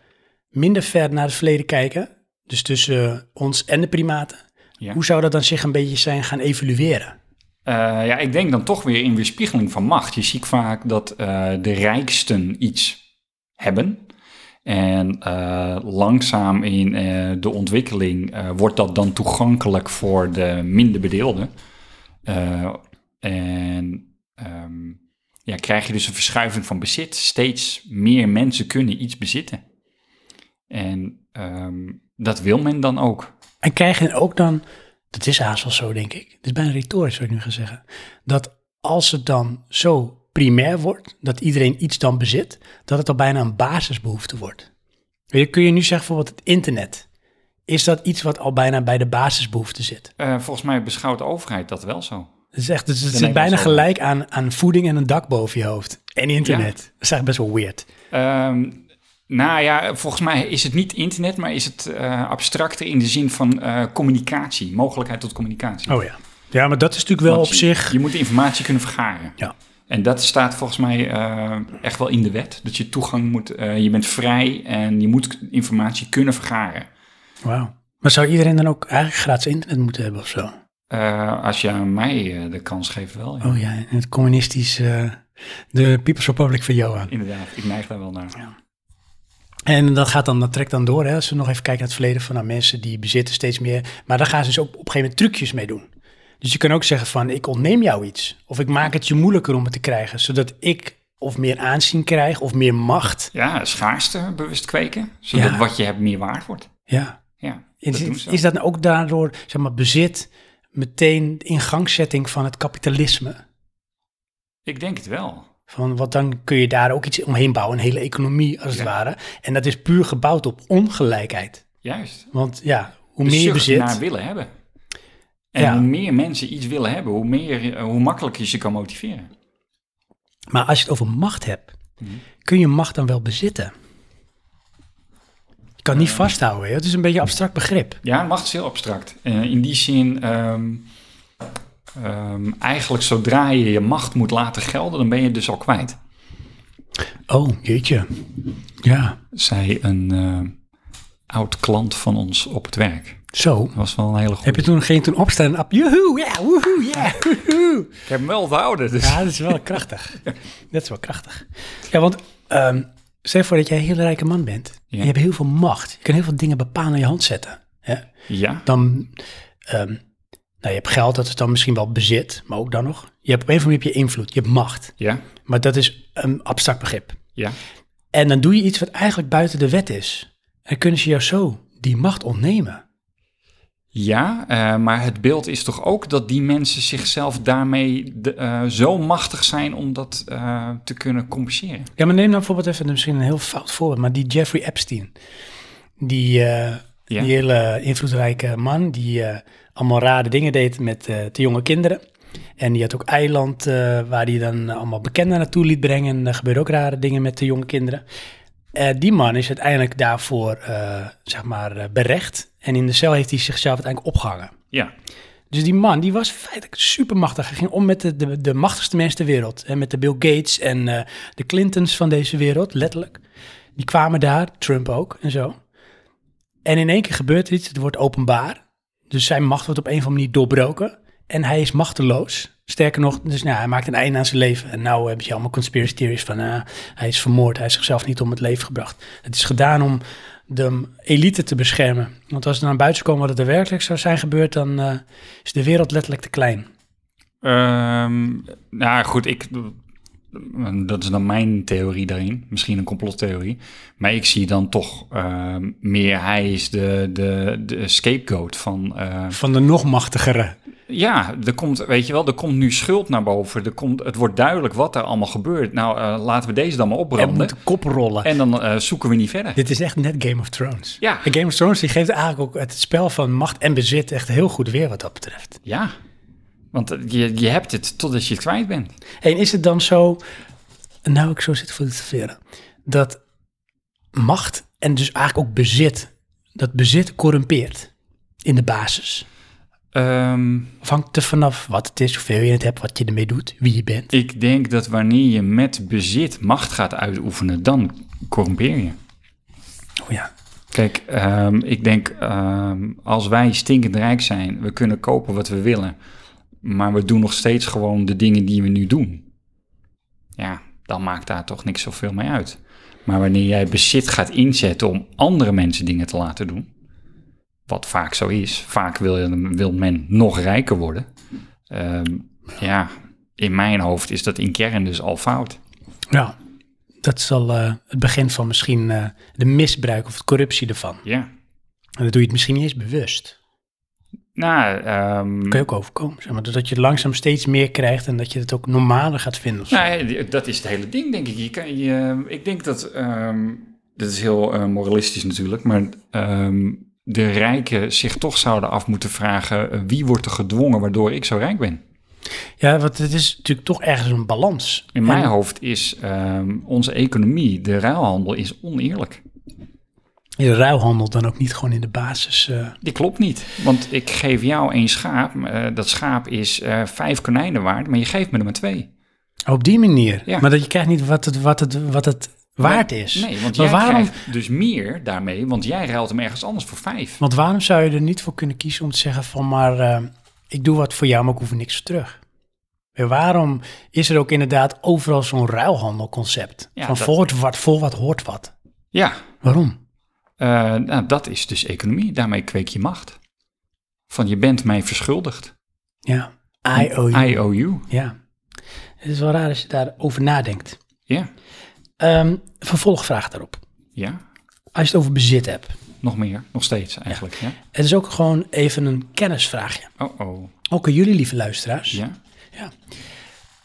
minder ver naar het verleden kijken, dus tussen eh, ons en de primaten,
Ja.
hoe zou dat dan zich een beetje zijn gaan evolueren?
Eh, ja, ik denk dan toch weer in weerspiegeling van macht. Je ziet vaak dat eh, de rijksten iets hebben. En eh, langzaam in eh, de ontwikkeling eh, wordt dat dan toegankelijk voor de minder bedeelden. Eh, en ehm, ja, krijg je dus een verschuiving van bezit. Steeds meer mensen kunnen iets bezitten. En ehm, dat wil men dan ook.
En krijgen ook dan, dat is haast wel zo denk ik, dit is bijna retorisch wat ik nu ga zeggen, dat als het dan zo primair wordt, dat iedereen iets dan bezit, dat het al bijna een basisbehoefte wordt. Weet je, kun je nu zeggen bijvoorbeeld het internet, is dat iets wat al bijna bij de basisbehoefte zit?
Eh, volgens mij beschouwt de overheid dat wel zo.
Het, is echt, het, het
nemen
zit
we
bijna
zo.
gelijk aan, aan voeding en een dak boven je hoofd. En internet. Dat is eigenlijk best wel weird.
Ehm, nou ja, volgens mij is het niet internet, maar is het eh, abstracter in de zin van eh, communicatie, mogelijkheid tot communicatie.
Oh ja. Ja, maar dat is natuurlijk wel
Want
op
je-
zich...
Je moet informatie kunnen vergaren.
Ja.
En dat staat volgens mij eh, echt wel in de wet. Dat je toegang moet, eh, je bent vrij en je moet informatie kunnen vergaren.
Wauw. Maar zou iedereen dan ook eigenlijk gratis internet moeten hebben of zo?
Eh, als je aan mij eh, de kans geeft, wel. ja.
Oh ja, en het communistisch... eh, de People's Republic van Johan.
Inderdaad, ik neig daar wel naar.
En dat gaat dan, dat trekt dan door. Hè? Als we nog even kijken naar het verleden van nou, mensen die bezitten steeds meer. Maar daar gaan ze dus ook op een gegeven moment trucjes mee doen. Dus je kan ook zeggen van ik ontneem jou iets. Of ik maak het je moeilijker om het te krijgen. Zodat ik of meer aanzien krijg of meer macht.
Ja, schaarste bewust kweken, zodat
Ja.
wat je hebt meer waard wordt.
Ja.
Ja, dat doen
Is,
ze.
is dat nou ook daardoor, zeg maar, bezit meteen in gangzetting van het kapitalisme?
Ik denk het wel.
Van, want dan kun je daar ook iets omheen bouwen, een hele economie als het ware. En dat is puur gebouwd op ongelijkheid.
Juist.
Want ja, hoe
de
meer je
zucht
bezit...
naar willen hebben. En
Ja.
hoe meer mensen iets willen hebben, hoe, meer, eh, hoe makkelijker je ze kan motiveren.
Maar als je het over macht hebt,
Mhm.
kun je macht dan wel bezitten? Je kan niet
Eh.
vasthouden, hè? het is een beetje een abstract begrip.
Ja, macht is heel abstract. Eh, in die zin, ehm, ehm, eigenlijk zodra je je macht moet laten gelden, dan ben je dus al kwijt.
Oh, jeetje. Ja,
Zei een eh, oud klant van ons op het werk.
zo.
Dat was wel een hele goede.
Heb je toen, geen toen opstaan en ap, joehoe, ja, woehoe, ja, woehoe.
Ik heb hem wel onthouden, dus...
Ja, dat is wel krachtig. Dat is wel krachtig. Ja, want ehm stel je voor dat jij een heel rijke man bent.
Ja.
Je hebt heel veel macht. Je kan heel veel dingen bepalen aan je hand zetten. Hè?
Ja,
Dan, ehm, nou, je hebt geld, dat is dan misschien wel bezit, maar ook dan nog. Je hebt op een of andere manier heb je invloed, je hebt macht.
ja,
Maar dat is een abstract begrip.
ja.
En dan doe je iets wat eigenlijk buiten de wet is. En kunnen ze jou zo die macht ontnemen.
Ja, eh, maar het beeld is toch ook dat die mensen zichzelf daarmee de- eh, zo machtig zijn om dat eh, te kunnen compenseren.
Ja, maar neem dan bijvoorbeeld even misschien een heel fout voorbeeld, maar die Jeffrey Epstein. Die, eh,
Ja.
die hele invloedrijke man die eh, allemaal rare dingen deed met eh, te jonge kinderen. En die had ook eiland eh, waar hij dan allemaal bekenden naartoe liet brengen. En daar gebeurde ook rare dingen met de jonge kinderen. Eh, die man is uiteindelijk daarvoor, eh, zeg maar, eh, berecht. En in de cel heeft hij zichzelf uiteindelijk opgehangen.
Ja,
Dus die man, die was feitelijk supermachtig. Hij ging om met de, de, de machtigste mensen ter wereld. En met de Bill Gates en eh, de Clintons van deze wereld, letterlijk. Die kwamen daar, Trump ook en zo. En in één keer gebeurt er iets, het wordt openbaar. Dus zijn macht wordt op een of andere manier doorbroken. En hij is machteloos. Sterker nog, dus nou, hij maakt een einde aan zijn leven. En nou heb je allemaal conspiracy theories van... eh, hij is vermoord, hij is zichzelf niet om het leven gebracht. Het is gedaan om de elite te beschermen. Want als er naar buiten zou komen wat er werkelijk zou zijn gebeurd... dan eh, is de wereld letterlijk te klein.
Ehm, nou goed, ik, dat is dan mijn theorie daarin. Misschien een complottheorie. Maar ik zie dan toch ehm, meer hij is de, de, de scapegoat van... eh,
Van de nog machtigere.
ja, er komt, weet je wel, er komt nu schuld naar boven. Er komt, het wordt duidelijk wat er allemaal gebeurt. Nou, eh, laten we deze dan maar
En
opbranden.
moet de kop rollen.
En dan eh, zoeken we niet verder.
Dit is echt net Game of Thrones.
Ja.
En Game of Thrones die geeft eigenlijk ook het spel van macht en bezit echt heel goed weer wat dat betreft.
Ja, want eh, je, je hebt het totdat je het kwijt bent.
En is het dan zo, nou ik zo zit voor te veren, dat macht en dus eigenlijk ook bezit, dat bezit corrumpeert in de basis?
Ehm,
Of hangt er vanaf wat het is, hoeveel je het hebt, wat je ermee doet, wie je bent?
ik denk dat wanneer je met bezit macht gaat uitoefenen, dan corrumpeer je.
Oh ja.
Kijk, ehm, ik denk ehm, als wij stinkend rijk zijn, we kunnen kopen wat we willen, maar we doen nog steeds gewoon de dingen die we nu doen. Ja, dan maakt daar toch niks zoveel mee uit. Maar wanneer jij bezit gaat inzetten om andere mensen dingen te laten doen, wat vaak zo is, vaak wil, je- wil men nog rijker worden. Ehm, ja, in mijn hoofd is dat in kern dus al fout.
Ja, Nou, dat is al eh, het begin van misschien eh, de misbruik of de corruptie ervan.
Ja.
En dan doe je het misschien niet eens bewust.
Nou, ehm,
kun je ook overkomen. Zeg maar. Doordat je het langzaam steeds meer krijgt en dat je het ook normaler gaat vinden. of zo.
Nou, ja, die- dat is het hele ding, denk ik. Je kan, je, eh, ik denk dat, ehm dit is heel eh, moralistisch natuurlijk, maar ehm, de rijken zich toch zouden af moeten vragen eh, wie wordt er gedwongen waardoor ik zo rijk ben.
Ja, want het is natuurlijk toch ergens een balans.
In mijn
En-
hoofd is ehm, onze economie, de ruilhandel, is oneerlijk.
Je ruilhandel dan ook niet gewoon in de basis. eh,
Die klopt niet, want ik geef jou één schaap. eh, dat schaap is eh, vijf konijnen waard, maar je geeft me er maar twee.
op die manier.
Ja.
Maar dat je krijgt niet wat het, wat het, wat het waard is.
Nee, want
maar
jij
waarom,
krijgt dus meer daarmee, want jij ruilt hem ergens anders voor vijf.
Want waarom zou je er niet voor kunnen kiezen om te zeggen van... maar eh, ik doe wat voor jou, maar ik hoef er niks voor terug. En waarom is er ook inderdaad overal zo'n ruilhandelconcept?
Ja,
van
dat-
voor, het wat, voor wat hoort wat.
Ja,
Waarom?
Eh, nou, dat is dus economie. Daarmee kweek je macht. Van je bent mij verschuldigd.
Ja, I owe you.
I owe you.
Ja. Het is wel raar als je daarover nadenkt.
Ja,
Ehm, vervolgvraag daarop.
ja.
Als je het over bezit hebt.
Nog meer. Nog steeds eigenlijk. Ja.
Het is ook gewoon even een kennisvraagje.
Oh, oh.
Ook aan jullie lieve luisteraars.
Ja,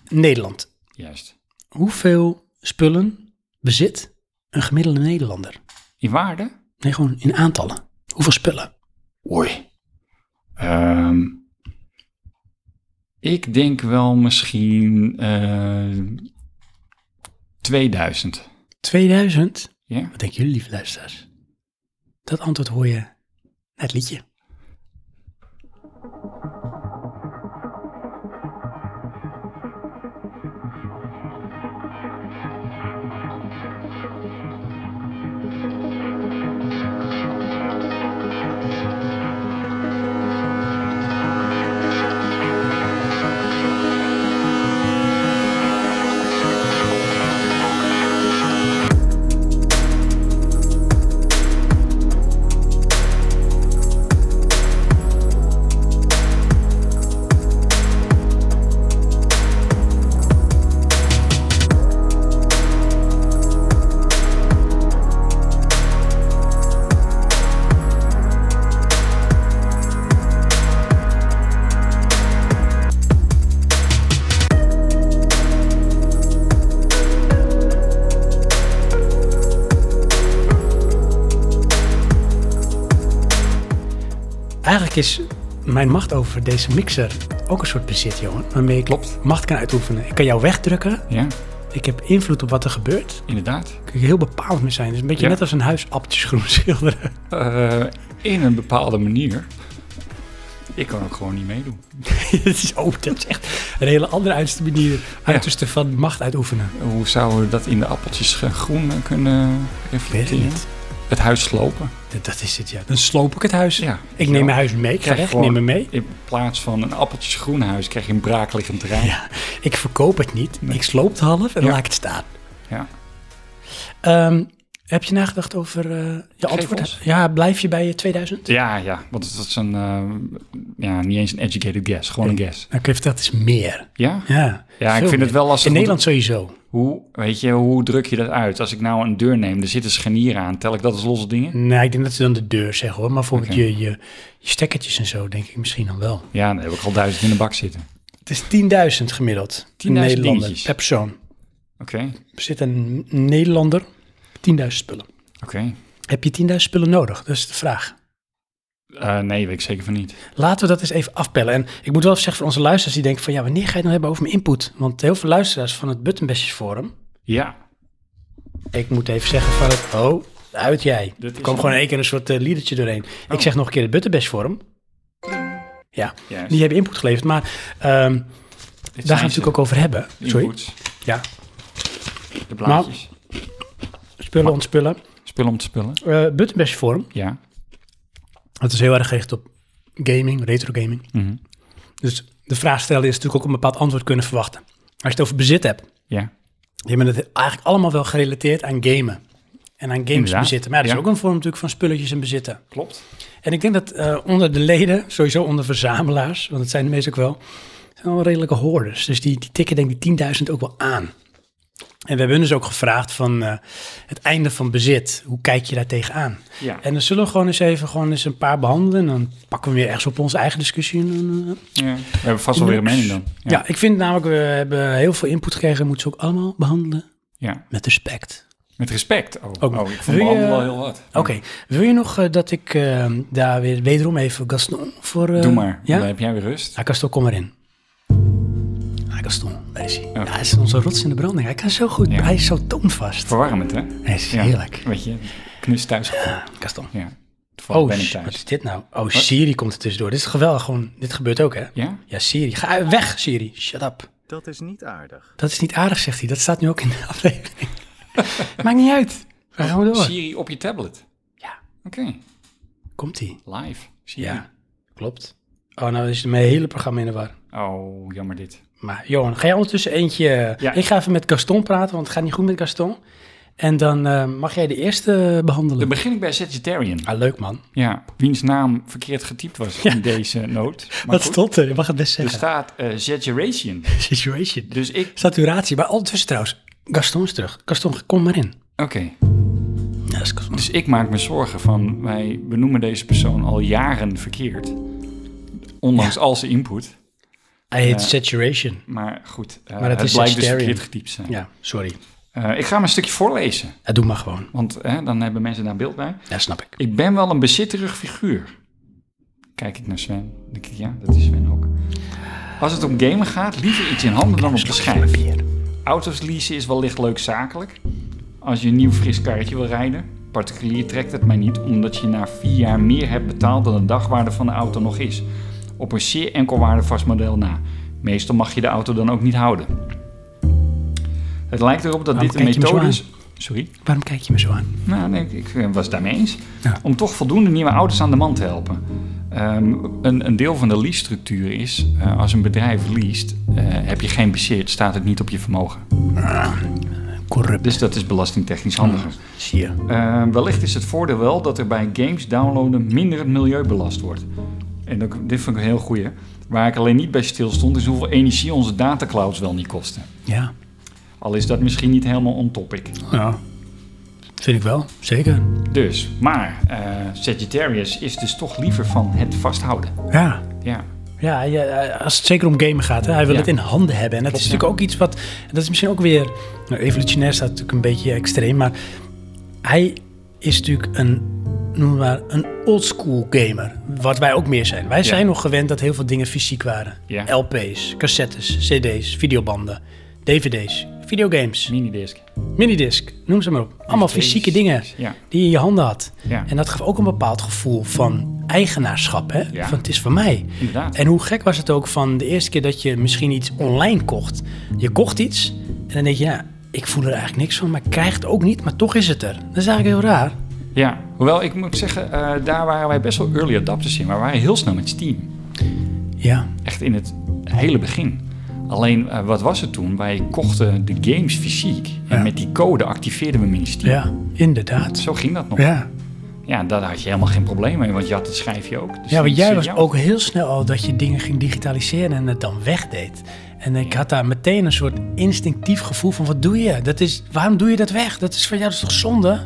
Nederland.
juist.
Hoeveel spullen bezit een gemiddelde Nederlander?
In waarde?
Nee, gewoon in aantallen. Hoeveel spullen?
Oei. Ehm, ik denk wel misschien eh, 2000.
2000.
Ja?
Wat denken jullie lieve luisteraars? Dat antwoord hoor je na het liedje. Eigenlijk is mijn macht over deze mixer ook een soort bezit, jongen. Waarmee ik
Klopt.
macht kan uitoefenen. Ik kan jou wegdrukken.
Ja,
Ik heb invloed op wat er gebeurt.
inderdaad.
kun je heel bepaald mee zijn. Het is een beetje
Ja.
net als een huis appeltjes groen schilderen.
Eh, in een bepaalde manier. Ik kan ook gewoon niet meedoen.
dat, is, oh, dat is echt een hele andere uiterste manier uiterste van macht uitoefenen.
Hoe zouden we dat in de appeltjes ge- groen eh, kunnen reflecteren? Het huis slopen.
Dat, dat is het, ja. Dan sloop ik het huis.
Ja.
Ik neem mijn huis mee. Ik ga
Krijg
weg, ik
gewoon-
neem me mee.
In plaats van een appeltjes groen huis krijg je een braakliggend terrein.
Ja. Ik verkoop het niet.
Nee.
Ik sloop het half en
Ja.
laat ik het staan.
Ja.
Ehm, heb je nagedacht over eh, je
ons.
antwoord? Ja, blijf je bij je 2000?
Ja, ja, want dat is een, eh, ja, niet eens een educated guess, gewoon een guess.
Nou, ik heb dat is meer.
Ja?
Ja,
Ja,
veel
ik vind het
meer.
wel lastig.
In
want
Nederland sowieso.
Hoe, weet je, hoe druk je dat uit? Als ik nou een deur neem, er zit een scharnier aan, tel ik dat als losse dingen?
Nee, ik denk dat ze dan de deur zeggen hoor. Maar bijvoorbeeld
Oké.
je, je, je stekkertjes en zo, denk ik misschien dan wel.
Ja, dan heb ik al duizend in de bak zitten.
Het is 10.000 gemiddeld. 10.000 Nederlander
dingetjes.
per persoon.
Oké,
Er zit een Nederlander 10.000 spullen.
oké.
Heb je 10.000 spullen nodig? Dat is de vraag.
Eh, nee, weet ik zeker van niet.
Laten we dat eens even afpellen. En ik moet wel even zeggen voor onze luisteraars die denken van... ja, wanneer ga je het nou hebben over mijn input? Want heel veel luisteraars van het Buttonbestjes Forum...
Ja,
ik moet even zeggen van het... oh, uit jij.
Dit
Er
is
kwam
een- Oh.
gewoon in één keer een soort eh, liedertje doorheen. Ik zeg nog een keer het Buttonbestjes Forum. Ja,
Juist.
die hebben input geleverd. Maar ehm,
dit
daar
zijn
gaan we
ze.
natuurlijk ook over hebben. Sorry.
Inputs,
Ja,
de blaadjes.
spullen ontspullen.
Spullen om te spullen.
Eh Buttonbestjes Forum.
Ja.
Het is heel erg gericht op gaming, retro gaming.
Mhm.
Dus de vraag stellen is natuurlijk ook een bepaald antwoord kunnen verwachten. Als je het over bezit hebt...
Ja.
Je bent het eigenlijk allemaal wel gerelateerd aan gamen. En aan games
Inderdaad,
bezitten. Maar ja, dat is
ja.
ook een vorm natuurlijk van spulletjes en bezitten.
Klopt.
En ik denk dat eh, onder de leden, sowieso onder verzamelaars, want dat zijn de meeste ook wel, zijn wel redelijke hoorders. Dus die, die tikken denk ik die 10.000 ook wel aan. En we hebben hun dus ook gevraagd van eh, het einde van bezit. Hoe kijk je daar tegenaan?
Ja.
En dan zullen we gewoon eens even gewoon eens een paar behandelen. En dan pakken we weer ergens op onze eigen discussie. eh,
ja. We hebben vast wel weer een mening dan.
Ja. ik vind namelijk, we hebben heel veel input gekregen. Moeten ze ook allemaal behandelen
ja.
met respect.
Met respect. Oh,
Ook-
oh ik
Wil
vond
je- Oh,
mijn handen wel heel wat.
Oké, wil je nog eh, dat ik eh, daar weer wederom even Gaston voor... eh,
Doe maar.
Ja?
Dan heb jij weer rust.
Ah, Gaston, kom maar in. Ah, Gaston, daar is hij. Ja, hij is onze rots in de branding. Hij kan zo goed,
Ja.
hij is zo toonvast.
Verwarmend, hè?
Hij is heerlijk.
Weet je, knus thuis.
Ah, Gaston.
Ja. Toevallig
Oh,
ben ik
sh- wat
thuis.
is dit nou? Oh, Siri komt er tussendoor. Dit is geweldig, gewoon, dit gebeurt ook, hè?
Ja?
Ja, Siri, ga uit- weg, Siri. Shut up.
Dat is niet aardig.
Dat is niet aardig, zegt hij. Dat staat nu ook in de aflevering. Maakt niet uit. Ga gewoon door.
Siri op je tablet.
Ja.
Oké,
Komt-ie.
live. Siri.
Ja, klopt. Oh, nou is mijn hele programma in de war.
Oh, jammer dit.
Maar Johan, ga jij ondertussen eentje...
Ja.
Ik ga even met Gaston praten, want het gaat niet goed met Gaston. En dan eh, mag jij de eerste behandelen.
Dan begin ik bij Sagittarian.
Ah, leuk man.
Ja, wiens naam verkeerd getypt was in deze noot. Maar
Wat
goed,
stond er? Je mag het best
Er
zeggen.
staat eh Sagittarian.
Situation.
Dus ik...
Saturatie. Maar ondertussen trouwens, Gaston is terug. Gaston, kom maar in.
Oké,
Ja, dat is Gaston.
dus ik maak me zorgen van... Wij benoemen deze persoon al jaren verkeerd. Ondanks al zijn input.
Hij heet Saturation.
Maar goed, eh,
Maar het
het,
is
blijkt dus
Sagittarian.
verkeerd getypt te zijn.
Ja, sorry.
Eh, ik ga hem een stukje voorlezen.
Ja, doe maar gewoon.
Want eh, dan hebben mensen daar beeld bij.
Ja, snap ik.
Ik ben wel een bezitterig figuur. Kijk ik naar Sven. Dan Denk ik, ja, dat is Sven ook. Als het om gamen gaat, liever iets in handen dan op de schijf. Auto's leasen is wellicht leuk zakelijk. Als je een nieuw fris karretje wil rijden. Particulier trekt het mij niet, omdat je na vier jaar meer hebt betaald dan de dagwaarde van de auto nog is. Op een zeer enkelwaardevast model na. Meestal mag je de auto dan ook niet houden. Het lijkt erop dat
Waarom
dit een
kijk je me zo
methode
aan?
is. Sorry?
Waarom kijk je me zo aan?
Nou, nee, ik, ik was het daarmee eens.
Ja.
Om toch voldoende nieuwe auto's aan de man te helpen. Ehm, een, een deel van de lease-structuur is, eh, als een bedrijf leest, eh, heb je geen bezit, staat het niet op je vermogen.
Corrupt.
Dus dat is belastingtechnisch handiger.
Zie je.
Eh, wellicht is het voordeel wel dat er bij games downloaden minder het milieu belast wordt. En dat, dit vond ik een heel goeie. Waar ik alleen niet bij stilstond, is hoeveel energie onze dataclouds wel niet kosten.
Ja.
Al is dat misschien niet helemaal on topic.
Ja. Vind ik wel. Zeker.
Dus, maar eh Sagittarius is dus toch liever van het vasthouden.
Ja.
Ja,
Ja, ja, als het zeker om gamen gaat, hè, hij wil
Ja.
het in handen hebben. En dat
Klopt,
is natuurlijk ook iets wat, dat is misschien ook weer, nou, evolutionair staat natuurlijk een beetje extreem, maar hij is natuurlijk een, noem het maar, een oldschool gamer. Wat wij ook meer zijn. Wij zijn nog gewend dat heel veel dingen fysiek waren.
Ja.
LP's, cassettes, cd's, videobanden, dvd's, videogames,
Minidisc.
minidisc, noem ze maar op. Allemaal
Jezus.
fysieke dingen
Ja.
die je in je handen had.
Ja.
En dat gaf ook een bepaald gevoel van eigenaarschap, hè?
Ja.
Van het is van mij.
Inderdaad.
Ah. En hoe gek was het ook van de eerste keer dat je misschien iets online kocht. Je kocht iets en dan denk je, ja, ik voel er eigenlijk niks van, maar ik krijg het ook niet, maar toch is het er. Dat is eigenlijk heel raar.
Ja, hoewel ik moet zeggen, eh, daar waren wij best wel early adapters in. Maar we waren heel snel met Steam.
Ja,
Echt in het hele begin. Alleen, eh, wat was het toen? Wij kochten de games fysiek. En
Ja.
met die code activeerden we hem in Steam.
ja, inderdaad.
Zo ging dat nog.
Ja,
Ja, daar had je helemaal geen probleem mee, want je had het schrijfje ook. Dus
ja want
niet
jij was
serieus.
ook heel snel al dat je dingen ging digitaliseren en het dan wegdeed. En ik had daar meteen een soort instinctief gevoel van, wat doe je? Dat is, waarom doe je dat weg? Dat is voor jou dat is toch zonde?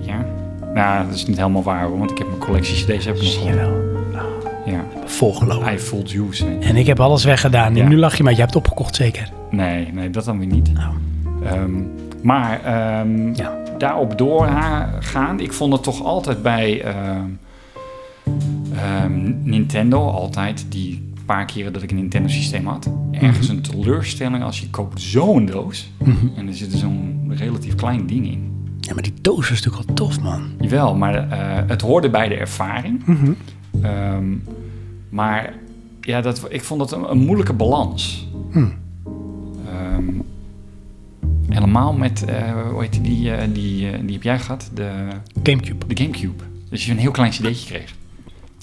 Ja. Nou, dat is niet helemaal waar, hoor, want ik heb mijn collectie CD's heb ik nog
Zie je nou?
wel.
wel,
Ja.
volgelopen.
I full juice. hè.
En ik heb alles weggedaan.
Ah. Ja.
Nu lach je, maar je hebt het opgekocht zeker.
Nee, nee, dat dan weer niet.
Nou.
Ehm, maar ehm,
Ja.
daarop doorgaan, ik vond het toch altijd bij ehm, ehm, Nintendo, altijd die paar keren dat ik een Nintendo systeem had, ergens een teleurstelling als je koopt zo'n doos en er zit zo'n relatief klein ding in.
Ja, maar die doos was natuurlijk al tof, man.
Jawel, maar eh, het hoorde bij de ervaring.
Mhm.
Ehm, maar ja, dat, ik vond dat een, een moeilijke balans.
Hm.
Ehm, helemaal met, eh, hoe heet die, die, eh, die, eh, die heb jij gehad, de,
Gamecube.
de Gamecube. Dus je een heel klein cd'tje kreeg.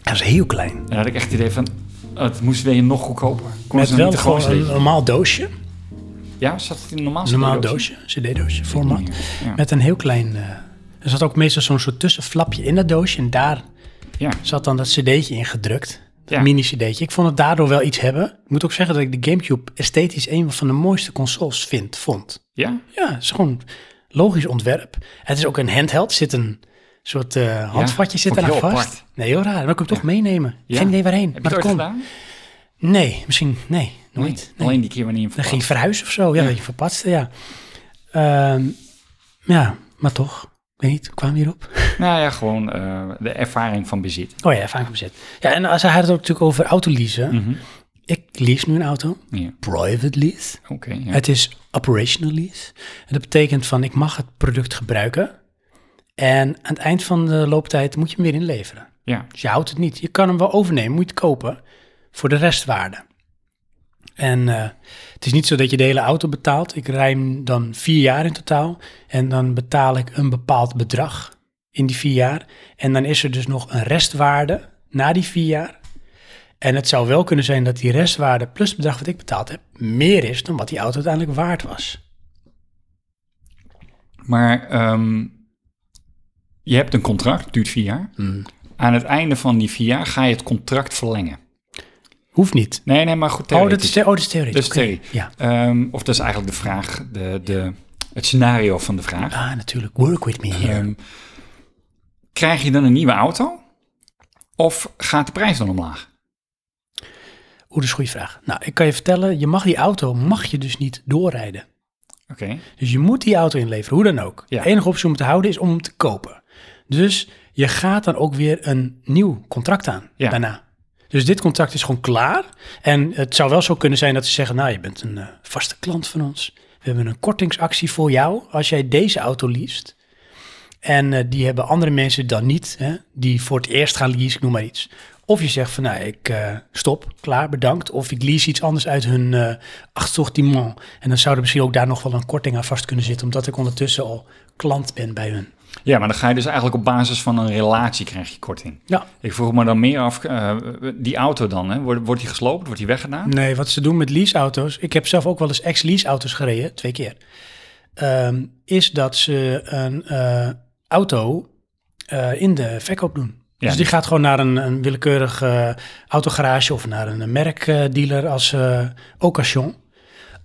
Dat is heel klein.
En dan had ik echt het idee van, oh, het moest weer nog goedkoper. Kon
Met
ze dan
wel
niet een gewoon
gewoon een
cd'tje?
normaal doosje.
Ja, zat het in een normaal
Een normaal
cd-doosje?
doosje, cd-doosje, format.
Niet meer, Ja.
Met een heel klein... eh, er zat ook meestal zo'n soort tussenflapje in dat doosje. En daar
ja.
zat dan dat cd'tje in gedrukt. Dat
Ja.
mini-cd'tje. Ik vond het daardoor wel iets hebben. Ik moet ook zeggen dat ik de Gamecube esthetisch een van de mooiste consoles vind, vond.
ja?
Ja, het is gewoon logisch ontwerp. Het is ook een handheld. Er zit een soort eh, handvatje
vond
zit
ik
eraan
heel
vast.
apart.
Nee, heel raar. Maar ik kan hem toch meenemen.
Ja.
Geen idee waarheen.
Heb je
maar
het ooit
kon.
gedaan?
Nee, misschien. Nee, nooit.
Nee.
Nee.
Alleen die keer wanneer je hem
Dan ging je
verpast.
verhuizen of zo. Ja, dat je verpatste, ja. Ehm, ja, maar toch. Ik weet niet, hoe kwamen we hierop?
Nou ja, gewoon eh, de ervaring van bezit.
Oh ja, vaak bezet. Ja, en als hij had het ook natuurlijk over autoleasen.
Mhm.
Ik lease nu een auto.
Ja,
Private lease.
oké. ja.
Het is operational lease. En dat betekent van, ik mag het product gebruiken. En aan het eind van de looptijd moet je hem weer inleveren.
ja.
Dus je houdt het niet. Je kan hem wel overnemen, moet je het kopen voor de restwaarde. En eh, het is niet zo dat je de hele auto betaalt. Ik rij hem dan vier jaar in totaal. En dan betaal ik een bepaald bedrag in die vier jaar. En dan is er dus nog een restwaarde na die vier jaar. En het zou wel kunnen zijn dat die restwaarde plus het bedrag wat ik betaald heb... meer is dan wat die auto uiteindelijk waard was.
Maar ehm, je hebt een contract, duurt vier jaar.
Hmm.
Aan het einde van die vier jaar ga je het contract verlengen.
Hoeft niet.
Nee, nee, maar goed.
Oh, dat is,
theoretisch.
the- oh, dat is theoretisch.
Dat is
Oké.
theorie.
Ja,
Ehm, of dat is eigenlijk de vraag, de, de, het scenario van de vraag.
ah, natuurlijk. Work with me here.
Ehm, krijg je dan een nieuwe auto? Of gaat de prijs dan omlaag?
Oeh, dat is een goede vraag. Nou, ik kan je vertellen, je mag die auto mag je dus niet doorrijden.
Oké.
Dus je moet die auto inleveren, hoe dan ook.
Ja.
De enige optie om te houden is om hem te kopen. Dus je gaat dan ook weer een nieuw contract aan
Ja.
daarna. Dus dit contract is gewoon klaar. En het zou wel zo kunnen zijn dat ze zeggen, nou, je bent een eh, vaste klant van ons. We hebben een kortingsactie voor jou als jij deze auto leest. En eh, die hebben andere mensen dan niet, hè, die voor het eerst gaan leasen, ik noem maar iets. Of je zegt van, nou, ik eh, stop, klaar, bedankt. Of ik lease iets anders uit hun eh assortiment. En dan zou er misschien ook daar nog wel een korting aan vast kunnen zitten, omdat ik ondertussen al klant ben bij hun.
Ja, maar dan ga je dus eigenlijk op basis van een relatie krijg je korting.
Ja.
Ik vroeg me dan meer af, eh, die auto dan, hè? Wordt, wordt die gesloopt? Wordt die weggedaan?
Nee, wat ze doen met leaseauto's, ik heb zelf ook wel eens ex-leaseauto's gereden, twee keer, ehm, is dat ze een eh, auto eh, in de verkoop doen.
Ja.
dus die gaat gewoon naar een, een willekeurig eh, autogarage of naar een merkdealer als eh occasion.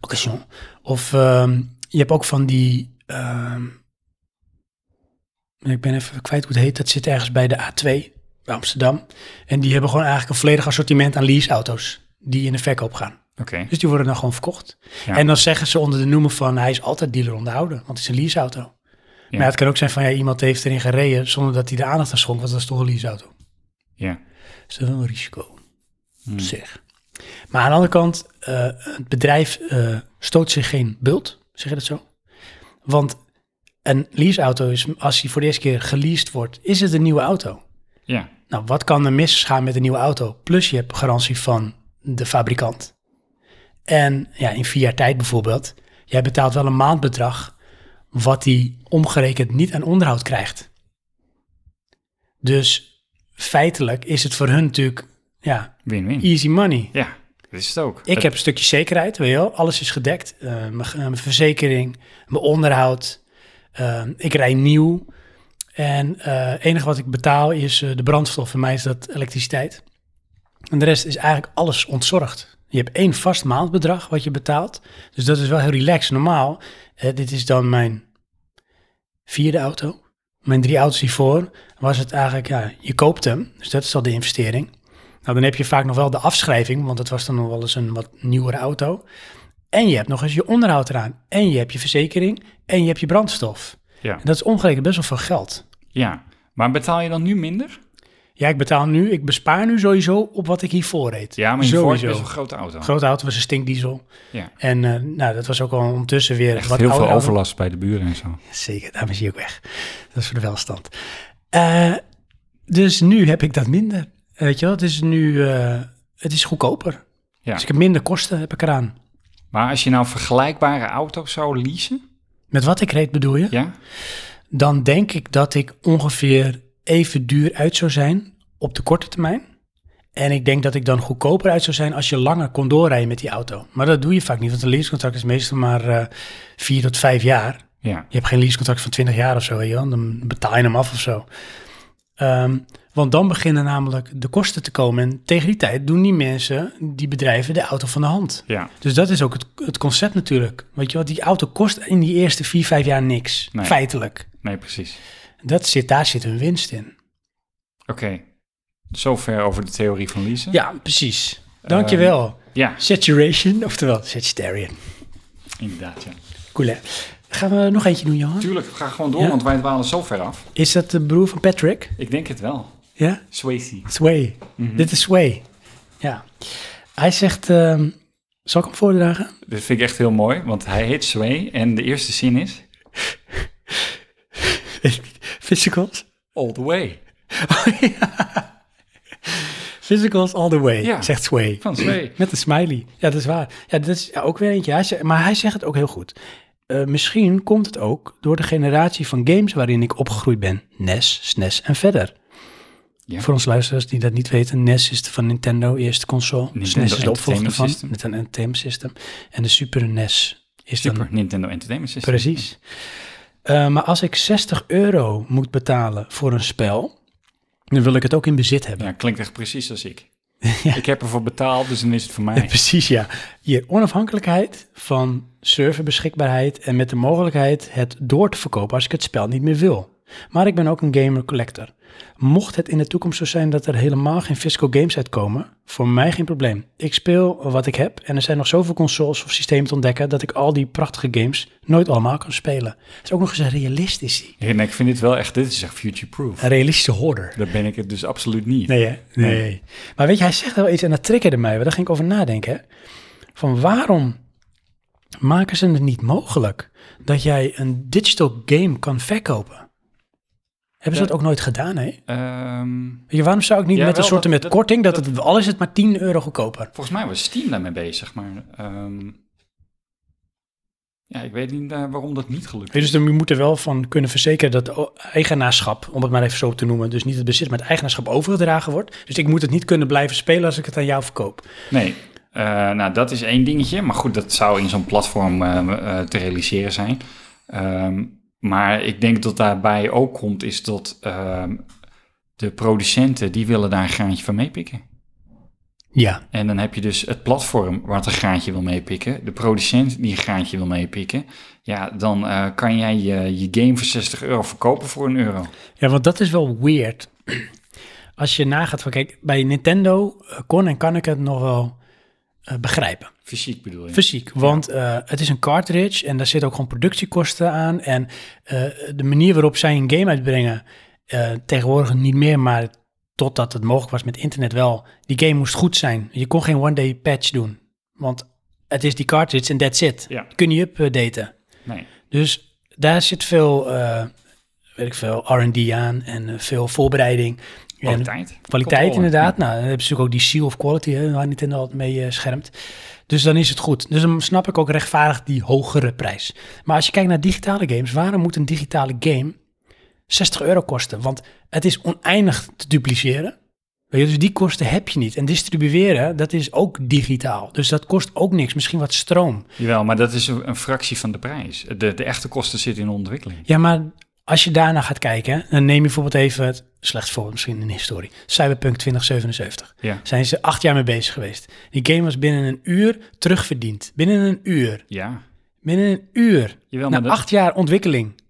occasion. Of ehm, je hebt ook van die, ehm, ik ben even kwijt hoe het heet, dat zit ergens bij de A2 bij Amsterdam. En die hebben gewoon eigenlijk een volledig assortiment aan leaseauto's die in de verkoop gaan.
Oké.
Dus die worden dan gewoon verkocht.
Ja.
En dan zeggen ze onder de noemer van hij is altijd dealer onderhouden, want het is een leaseauto. Maar ja, het kan ook zijn van ja, iemand heeft erin gereden zonder dat hij de aandacht aan schonk, want dat is toch een leaseauto.
Ja.
Dus dat is wel een risico. op Zeg. Maar aan de andere kant, eh, het bedrijf eh, stoot zich geen bult. Zeg je dat zo? Want een leaseauto is, als hij voor de eerste keer geleased wordt, is het een nieuwe auto.
Ja,
Nou, wat kan er misgaan met een nieuwe auto? Plus je hebt garantie van de fabrikant. En ja, in vier jaar tijd bijvoorbeeld, jij betaalt wel een maandbedrag wat hij omgerekend niet aan onderhoud krijgt. Dus feitelijk is het voor hun natuurlijk ja,
win-win.
easy money.
Ja, dat is het ook. Eh,
Ik
Het-
heb een stukje zekerheid, weet je wel. Alles is gedekt. Eh, mijn, ge- mijn verzekering, mijn onderhoud. Eh, ik rij nieuw. En eh, het enige wat ik betaal is eh, de brandstof. Voor mij is dat elektriciteit. En de rest is eigenlijk alles ontzorgd. Je hebt één vast maandbedrag wat je betaalt. Dus dat is wel heel relaxed. Normaal, eh, dit is dan mijn vierde auto. Mijn drie auto's hiervoor was het eigenlijk, ja, je koopt hem. Dus dat is al de investering. Nou, dan heb je vaak nog wel de afschrijving, want het was dan nog wel eens een wat nieuwere auto. En je hebt nog eens je onderhoud eraan. En je hebt je verzekering. En je hebt je brandstof.
Ja.
En dat is omgerekend best wel veel geld.
Ja, maar betaal je dan nu minder?
Ja, ik betaal nu, ik bespaar nu sowieso op wat ik hiervoor reed.
Ja, maar je
sowieso.
Ford is een grote auto.
Grote auto was een stinkdiesel.
Ja.
En eh, nou, dat was ook al ondertussen weer
Echt
wat
heel
ouder
veel
auto.
overlast bij de buren en zo.
Zeker, daarom is hij ook weg. Dat is voor de welstand. Eh, dus nu heb ik dat minder. Eh, weet je wel, het is nu eh, het is goedkoper.
Ja.
Dus ik heb minder kosten heb ik eraan.
Maar als je nou vergelijkbare auto's zou leasen,
Met wat ik reed bedoel je?
ja?
Dan denk ik dat ik ongeveer even duur uit zou zijn op de korte termijn. En ik denk dat ik dan goedkoper uit zou zijn als je langer kon doorrijden met die auto. Maar dat doe je vaak niet, want een leasecontract is meestal maar eh, vier tot vijf jaar.
Ja,
Je hebt geen leasecontract van 20 jaar of zo, weet je wel. Dan betaal je hem af of zo. Ehm, want dan beginnen namelijk de kosten te komen. En tegen die tijd doen die mensen, die bedrijven, de auto van de hand.
ja.
Dus dat is ook het, het concept natuurlijk. Weet je wat, die auto kost in die eerste 4, 5 jaar niks.
Nee.
Feitelijk.
nee, precies.
Dat zit, daar zit hun winst in.
Oké, zover over de theorie van leasen.
Ja, precies. Dankjewel.
Ja,
Saturation, oftewel Sagittarian.
inderdaad, ja.
Cool hè? Gaan we nog eentje doen, Johan?
Tuurlijk, ga gewoon door,
Ja.
want wij dwalen zo ver af.
Is dat de broer van Patrick?
Ik denk het wel.
Ja?
Swayze.
Sway. Dit is Sway. Ja. Hij zegt, ehm, zal ik hem voordragen?
Dit vind ik echt heel mooi, want hij heet Sway en de eerste zin is...
Physicals.
All the way.
Physicals all the way,
Ja.
zegt Sway.
Van Sway.
Met een smiley. Ja, dat is waar. Ja, dat is ja, ook weer eentje. Hij zegt, maar hij zegt het ook heel goed. Eh, misschien komt het ook door de generatie van games waarin ik opgegroeid ben. E NES, SNES en verder.
Ja.
Voor ons luisteraars die dat niet weten, NES is de van Nintendo eerste console.
Nintendo
SNES is de opvolger
Entertainment
ervan.
System.
Met een Entertainment System. En de Super NES is dan
Super Nintendo Entertainment System.
Precies. Eh, maar als ik 60 euro moet betalen voor een spel, dan wil ik het ook in bezit hebben.
Ja, klinkt echt precies als ik. Ik heb ervoor betaald, dus dan is het voor mij.
Precies, ja. Je onafhankelijkheid van serverbeschikbaarheid en met de mogelijkheid het door te verkopen als ik het spel niet meer wil. Maar ik ben ook een gamer-collector. Mocht het in de toekomst zo zijn dat er helemaal geen physical games uitkomen, voor mij geen probleem. Ik speel wat ik heb en er zijn nog zoveel consoles of systemen te ontdekken dat ik al die prachtige games nooit allemaal kan spelen. Het is ook nog eens een realistische,
Ja, nee, ik vind dit wel echt, dit is echt future-proof.
een realistische hoorder.
Daar ben ik het dus absoluut niet.
Nee, hè? Nee. Maar weet je, hij zegt wel iets en dat triggerde mij. want Daar ging ik over nadenken. hè. Van waarom maken ze het niet mogelijk dat jij een digital game kan verkopen? Hebben ze
Ja.
dat ook nooit gedaan, hè?
Ehm,
Weet je, waarom zou ik niet
Ja,
met een
wel,
soort
dat-
met
dat-
korting, dat, het, al is het maar 10 euro goedkoper?
volgens mij was Steam daarmee bezig, maar... ehm, ja, ik weet niet eh, waarom dat niet gelukt
Weet
is.
je, Dus je moet er wel van kunnen verzekeren dat de o- eigenaarschap, om het maar even zo te noemen, dus niet het bezit, maar het eigenaarschap overgedragen wordt. Dus ik moet het niet kunnen blijven spelen als ik het aan jou verkoop.
Nee, eh, nou dat is één dingetje. Maar goed, dat zou in zo'n platform eh, eh, te realiseren zijn. Ehm, maar ik denk dat daarbij ook komt is dat ehm, de producenten die willen daar een graantje van meepikken.
Ja,
En dan heb je dus het platform wat een graantje wil meepikken. De producent die een graantje wil meepikken. Ja, dan eh, kan jij je, je game voor 60 euro verkopen voor een euro.
Ja, want dat is wel weird. Als je nagaat van, kijk, bij Nintendo eh, kon en kan ik het nog wel eh, begrijpen.
Fysiek bedoel je?
Fysiek, want eh, het is een cartridge en daar zitten ook gewoon productiekosten aan. En eh, de manier waarop zij een game uitbrengen, eh, tegenwoordig niet meer, maar totdat het mogelijk was met internet wel. Die game moest goed zijn. Je kon geen one-day patch doen, want het is die cartridge en that's it.
Ja.
Kun je updaten.
Nee.
Dus daar zit veel, eh, weet ik veel, R&D aan en eh, veel voorbereiding. En
Kwaliteit.
kwaliteit
Controle.
inderdaad. Nou, dan hebben ze natuurlijk ook die seal of quality, hè, waar Nintendo altijd mee eh, schermt. Dus dan is het goed. Dus dan snap ik ook rechtvaardig die hogere prijs. Maar als je kijkt naar digitale games, waarom moet een digitale game 60 euro kosten? Want het is oneindig te dupliceren. Weet je, dus die kosten heb je niet. En distribueren, dat is ook digitaal. Dus dat kost ook niks. Misschien wat stroom.
Jawel, maar dat is een, een fractie van de prijs. De, de echte kosten zitten in de ontwikkeling.
Ja, maar als je daarna gaat kijken, hè, dan neem je bijvoorbeeld even het slecht voorbeeld misschien in de historie. Cyberpunk 2077.
Ja.
Zijn ze acht jaar mee bezig geweest. Die game was binnen een uur terugverdiend. Binnen een uur.
Ja.
Binnen een uur. Na
Jawel, maar dat,
Nou, acht jaar ontwikkeling.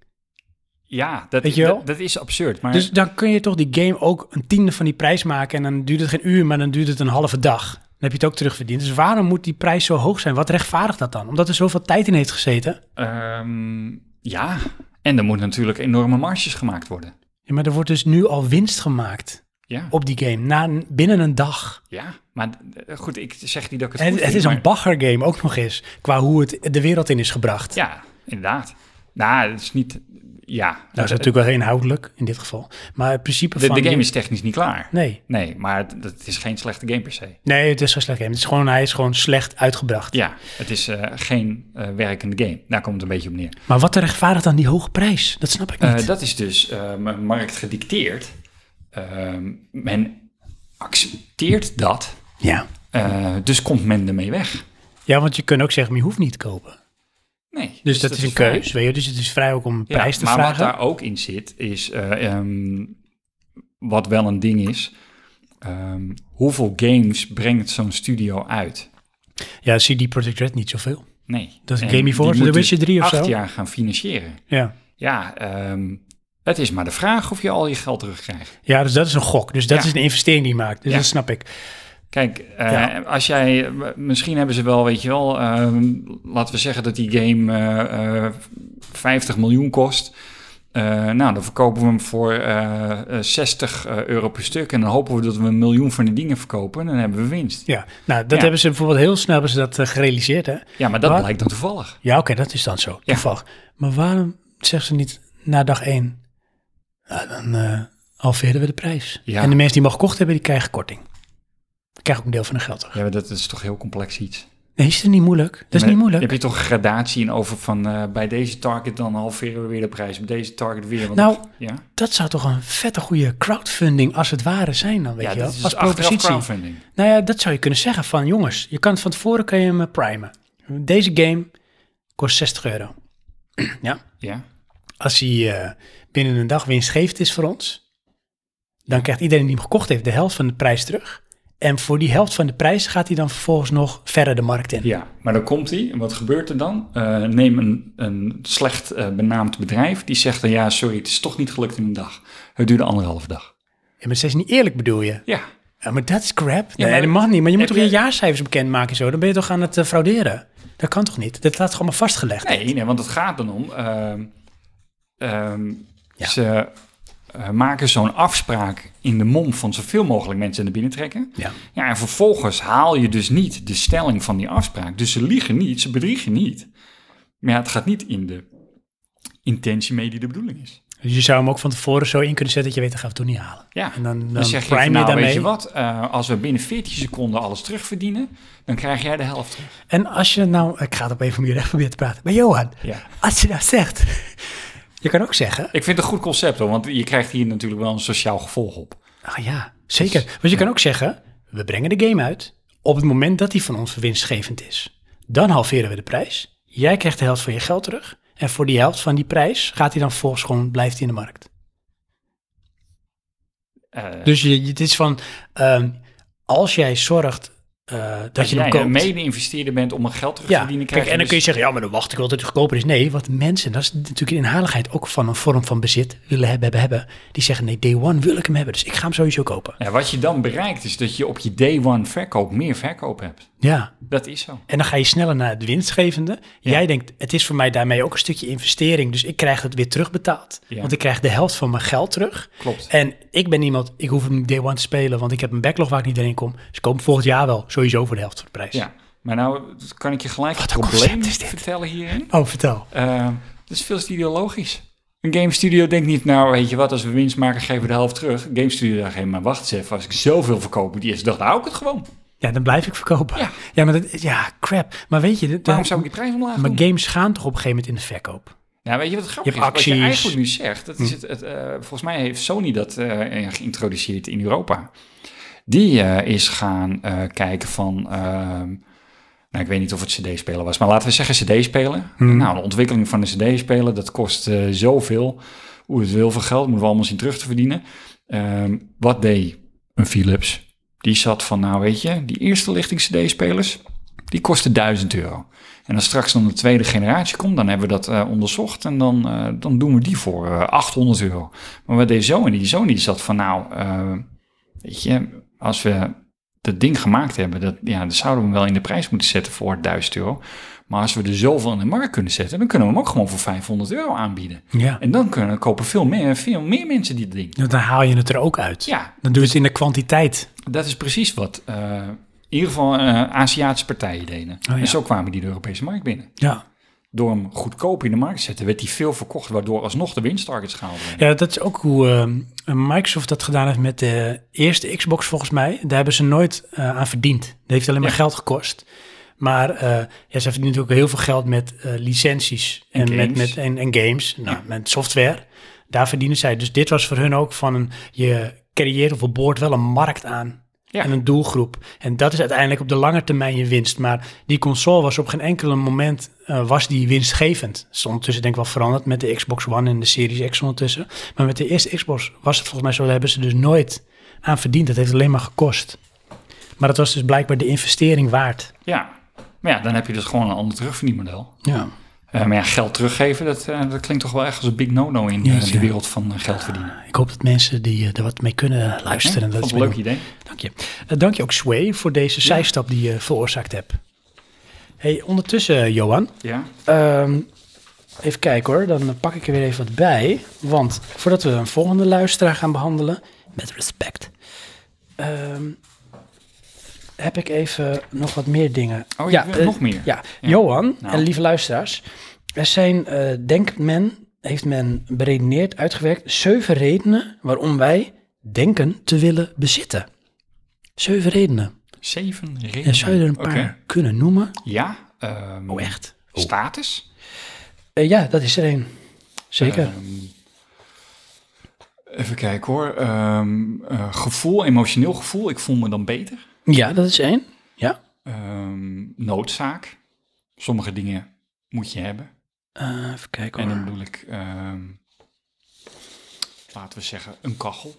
ja, dat,
Weet je wel?
dat, dat is absurd. Maar
Dus dan kun je toch die game ook een tiende van die prijs maken. En dan duurt het geen uur, maar dan duurt het een halve dag. Dan heb je het ook terugverdiend. Dus waarom moet die prijs zo hoog zijn? Wat rechtvaardigt dat dan? Omdat er zoveel tijd in heeft gezeten.
ehm, ja, en er moeten natuurlijk enorme marges gemaakt worden.
Ja, maar er wordt dus nu al winst gemaakt
Ja,
op die game. Na, binnen een dag.
ja. maar eh, goed, ik zeg niet dat ik het
Het,
goed
het
vind,
is
maar-
een baggergame ook nog eens, qua hoe het de wereld in is gebracht.
Ja, inderdaad. Nou, het is niet... Ja,
Nou, dat is natuurlijk wel inhoudelijk in dit geval. Maar het principe
de, de
van...
game is technisch niet klaar.
Nee,
Nee, maar het, het is geen slechte game per se.
nee, het is geen slecht game. Het is gewoon, hij is gewoon slecht uitgebracht.
Ja, het is eh, geen eh, werkende game. Daar komt het een beetje op neer.
Maar wat rechtvaardigt dan die hoge prijs? Dat snap ik niet.
Eh, dat is dus ehm, een markt gedicteerd. Ehm, men accepteert dat,
ja.
eh, dus komt men ermee weg.
ja, want je kunt ook zeggen, maar je hoeft niet te kopen.
Nee,
Dus dat, is een
vrij.
keus, weet je. Dus het is vrij ook om een
Ja,
prijs te
maar
vragen.
wat daar ook in zit, is eh, ehm, wat wel een ding is. ehm, hoeveel games brengt zo'n studio uit?
Ja, CD Projekt Red niet zoveel.
Nee.
Dat is
En
Game Before
die
The
moet
Witcher 3 of
acht
zo.
jaar gaan financieren.
Ja.
Ja, ehm, het is maar de vraag of je al je geld terugkrijgt.
ja, dus dat is een gok. Dus dat
Ja.
is een investering die je maakt. Dus
Ja.
dat snap ik.
Kijk, eh,
Ja.
als jij, misschien hebben ze wel, weet je wel, ehm, laten we zeggen dat die game eh, eh, 50 miljoen kost. Eh, nou, dan verkopen we hem voor eh, eh, 60 euro per stuk. En dan hopen we dat we een miljoen van die dingen verkopen. En dan hebben we winst.
Ja, nou, dat
Ja.
hebben ze bijvoorbeeld heel snel hebben ze dat eh, gerealiseerd, hè.
Ja, maar dat
Maar-
blijkt dan toevallig.
Ja, oké, dat is dan zo.
Ja.
Toevallig. Maar waarom zeggen ze niet na dag één? Nou, dan eh halveren we de prijs.
Ja.
En de mensen die hem al gekocht hebben, die krijgen korting. Die krijgen ook een deel van hun geld terug.
Ja, maar dat is toch heel complex iets.
Nee, is het niet moeilijk? Dat is
Maar
niet moeilijk.
Heb je toch een gradatie in over van eh, bij deze target dan halveren we weer de prijs. Bij deze target weer. want-
Nou,
ja,
Dat zou toch een vette goede crowdfunding als het ware zijn dan, weet
ja
je
dat
wel?
is
als
dus achteraf
propositie.
crowdfunding.
Nou ja, dat zou je kunnen zeggen van jongens, je kan het van tevoren kan je hem eh, primen. Deze game kost 60 euro. ja,
Ja.
als hij eh, binnen een dag winstgevend is voor ons, dan krijgt iedereen die hem gekocht heeft de helft van de prijs terug. En voor die helft van de prijs gaat hij dan vervolgens nog verder de markt in.
Ja, maar dan komt hij. En wat gebeurt er dan? Eh, neem een, een slecht eh, benaamd bedrijf. Die zegt dan, ja, sorry, het is toch niet gelukt in een dag. Het duurde anderhalf dag.
En maar dat is dus niet eerlijk bedoel je.
Ja,
Ja, maar dat is crap. nee,
maar-
dat mag niet. Maar je moet
Heb
toch je
je-
jaarcijfers bekendmaken en zo. Dan ben je toch aan het eh, frauderen. Dat kan toch niet? Dat laat gewoon maar vastgelegd.
nee, nee want het gaat dan om... ehm, ehm,
Ja.
Ze eh, maken zo'n afspraak in de mom van zoveel mogelijk mensen naar binnen trekken.
Ja.
Ja, en vervolgens haal je dus niet de stelling van die afspraak. Dus ze liegen niet, ze bedriegen niet. Maar ja, het gaat niet in de intentie mee die de bedoeling is.
Dus je zou hem ook van tevoren zo in kunnen zetten dat je weet, dat gaan we toch niet halen.
Ja,
En dan- dan
zeg je,
prime
van,
je
nou, weet
daarmee.
je wat, eh, als we binnen 14 seconden alles terugverdienen, dan krijg jij de helft terug.
En als je nou... Ik ga het op een of andere manier proberen te praten. Maar Johan,
Ja.
als je dat zegt... Je kan ook zeggen...
Ik vind het een goed concept hoor, want je krijgt hier natuurlijk wel een sociaal gevolg op.
Ah ja, zeker.
Dus-
Want je kan ook zeggen, we brengen de game uit op het moment dat die van ons winstgevend is. Dan halveren we de prijs. Jij krijgt de helft van je geld terug. En voor die helft van die prijs gaat hij dan volgens gewoon, blijft hij in de markt.
Eh,
Dus je, je- het is van, ehm, als jij zorgt eh, dat,
dat
je
jij
hem
een
koopt.
mede-investeerder bent om een geld terug te
ja,
verdienen, dus-
kijk,
krijg
en dan kun
je
je zeggen, ja, maar dan wacht ik wel tot het goedkoper is. Nee, want mensen, dat is natuurlijk in inhaligheid ook van een vorm van bezit, willen hebben, hebben, hebben. Die zeggen, nee, day one wil ik hem hebben, dus ik ga hem sowieso kopen.
dus- Ja, wat je dan bereikt is dat je op je day one verkoop meer verkoop hebt.
Ja,
Dat is zo.
En dan ga je sneller naar het winstgevende. Jij denkt, het is voor mij daarmee ook een stukje investering. Dus ik krijg het weer terugbetaald.
Ja.
Want ik krijg de helft van mijn geld terug.
Klopt.
En ik ben iemand, ik hoef hem niet day one te spelen. Want ik heb een backlog waar ik niet in kom. Dus ik koop hem volgend jaar wel sowieso voor de helft van de prijs.
Ja. Maar nou kan ik je gelijk
Wat
het
een
probleem
concept is dit.
vertellen hierin.
Oh, vertel.
Eh, dat is veel studio logisch. Een game studio denkt niet, nou weet je wat, als we winst maken geven we de helft terug. Een game studio dacht, hé, maar wacht eens even, als ik zoveel verkoop, die eerste dag, dan hou ik het gewoon.
Ja, dan blijf ik verkopen.
Ja.
ja maar dat, ja, crap. Maar weet je, dit-
Waarom zou ik die prijs omlaag
maar
doen?
games gaan toch op een gegeven moment in de verkoop?
Nou, weet je wat grappig
Je hebt
is? Wat je
acties. Hm.
eigenlijk nu zegt, dat is het, het, eh, volgens mij heeft Sony dat eh, geïntroduceerd in Europa. Die eh, is gaan eh, kijken van, ehm, nou ik weet niet of het cd-speler was, maar laten we zeggen cd-speler.
Hm.
Nou, de ontwikkeling van een cd-speler, dat kost eh, zoveel. Oeh, dat is heel veel geld, moeten we allemaal zien terug te verdienen. Ehm, wat deed een Philips? Die zat van, nou weet je, die eerste lichting cd-spelers, die kosten 1000 euro. En als straks dan de tweede generatie komt, dan hebben we dat eh, onderzocht en dan, eh, dan doen we die voor eh, 800 euro. Maar wat deed Sony? Die Sony zat van nou, eh, weet je, als we dat ding gemaakt hebben, dat, ja, dan zouden we hem wel in de prijs moeten zetten voor 1000 euro. Maar als we er zoveel in de markt kunnen zetten, dan kunnen we hem ook gewoon voor 500 euro aanbieden.
Ja.
En dan kunnen, kopen veel meer, veel meer mensen dit ding.
Nou, Dan haal je het er ook uit.
Ja,
Dan doe je het in de kwantiteit.
dat is precies wat eh, in ieder geval eh, Aziatische partijen deden.
ja.
En zo kwamen die de Europese markt binnen
Ja.
door hem goedkoop in de markt te zetten, werd hij veel verkocht, waardoor alsnog de winsttargets gehaald werden.
Ja, dat is ook hoe ehm, Microsoft dat gedaan heeft met de eerste Xbox volgens mij. Daar hebben ze nooit eh, aan verdiend. Dat heeft alleen maar
Ja.
geld gekost. Maar eh, ja, ze verdienen natuurlijk heel veel geld met eh, licenties en,
En
met,
games.
met, en, en games, nou,
Ja.
met software. Daar verdienen zij. Dus dit was voor hun ook van een, je creëert of je boort wel een markt aan.
Ja.
En een doelgroep. En dat is uiteindelijk op de lange termijn je winst. Maar die console was op geen enkele moment eh, was die winstgevend. Het is ondertussen denk ik wel veranderd met de Xbox One en de Series X ondertussen. Maar met de eerste Xbox was het volgens mij zo. Daar hebben ze dus nooit aan verdiend. Dat heeft alleen maar gekost. Maar dat was dus blijkbaar de investering waard.
Ja, maar ja, dan heb je dus gewoon een ander terugverdienmodel.
Ja.
Eh, maar ja, geld teruggeven, dat, eh, dat klinkt toch wel echt als een big no-no in eh,
Jeetje.
de wereld van eh, geld verdienen.
Ik hoop dat mensen die eh, er wat mee kunnen eh,
Hè?
luisteren. Dat
Vond
is
een leuk idee.
Dank je. Eh, dank je ook Sway voor deze zijstap die je veroorzaakt hebt. Hey, ondertussen eh, Johan.
Ja.
Ehm, even kijken hoor, dan pak ik er weer even wat bij. Want voordat we een volgende luisteraar gaan behandelen, met respect, ehm, heb ik even nog wat meer dingen.
Oh, je wilt
eh,
nog meer?
Ja,
Ja.
Johan
Nou.
en lieve luisteraars, er zijn, eh denkt men, heeft men beredeneerd, uitgewerkt, zeven redenen waarom wij denken te willen bezitten. Zeven redenen.
Zeven redenen.
En zou je er een
Oké.
paar kunnen noemen?
Ja. ehm,
Oh, echt?
Status.
Eh, ja, dat is er één. Zeker.
Eh, Ehm, even kijken hoor. Ehm, eh, gevoel, emotioneel gevoel. Ik voel me dan beter.
Ja, dat is één. Ja.
Ehm, noodzaak. Sommige dingen moet je hebben.
Eh, even kijken
En
hoor.
dan bedoel ik, ehm, laten we zeggen, een kachel.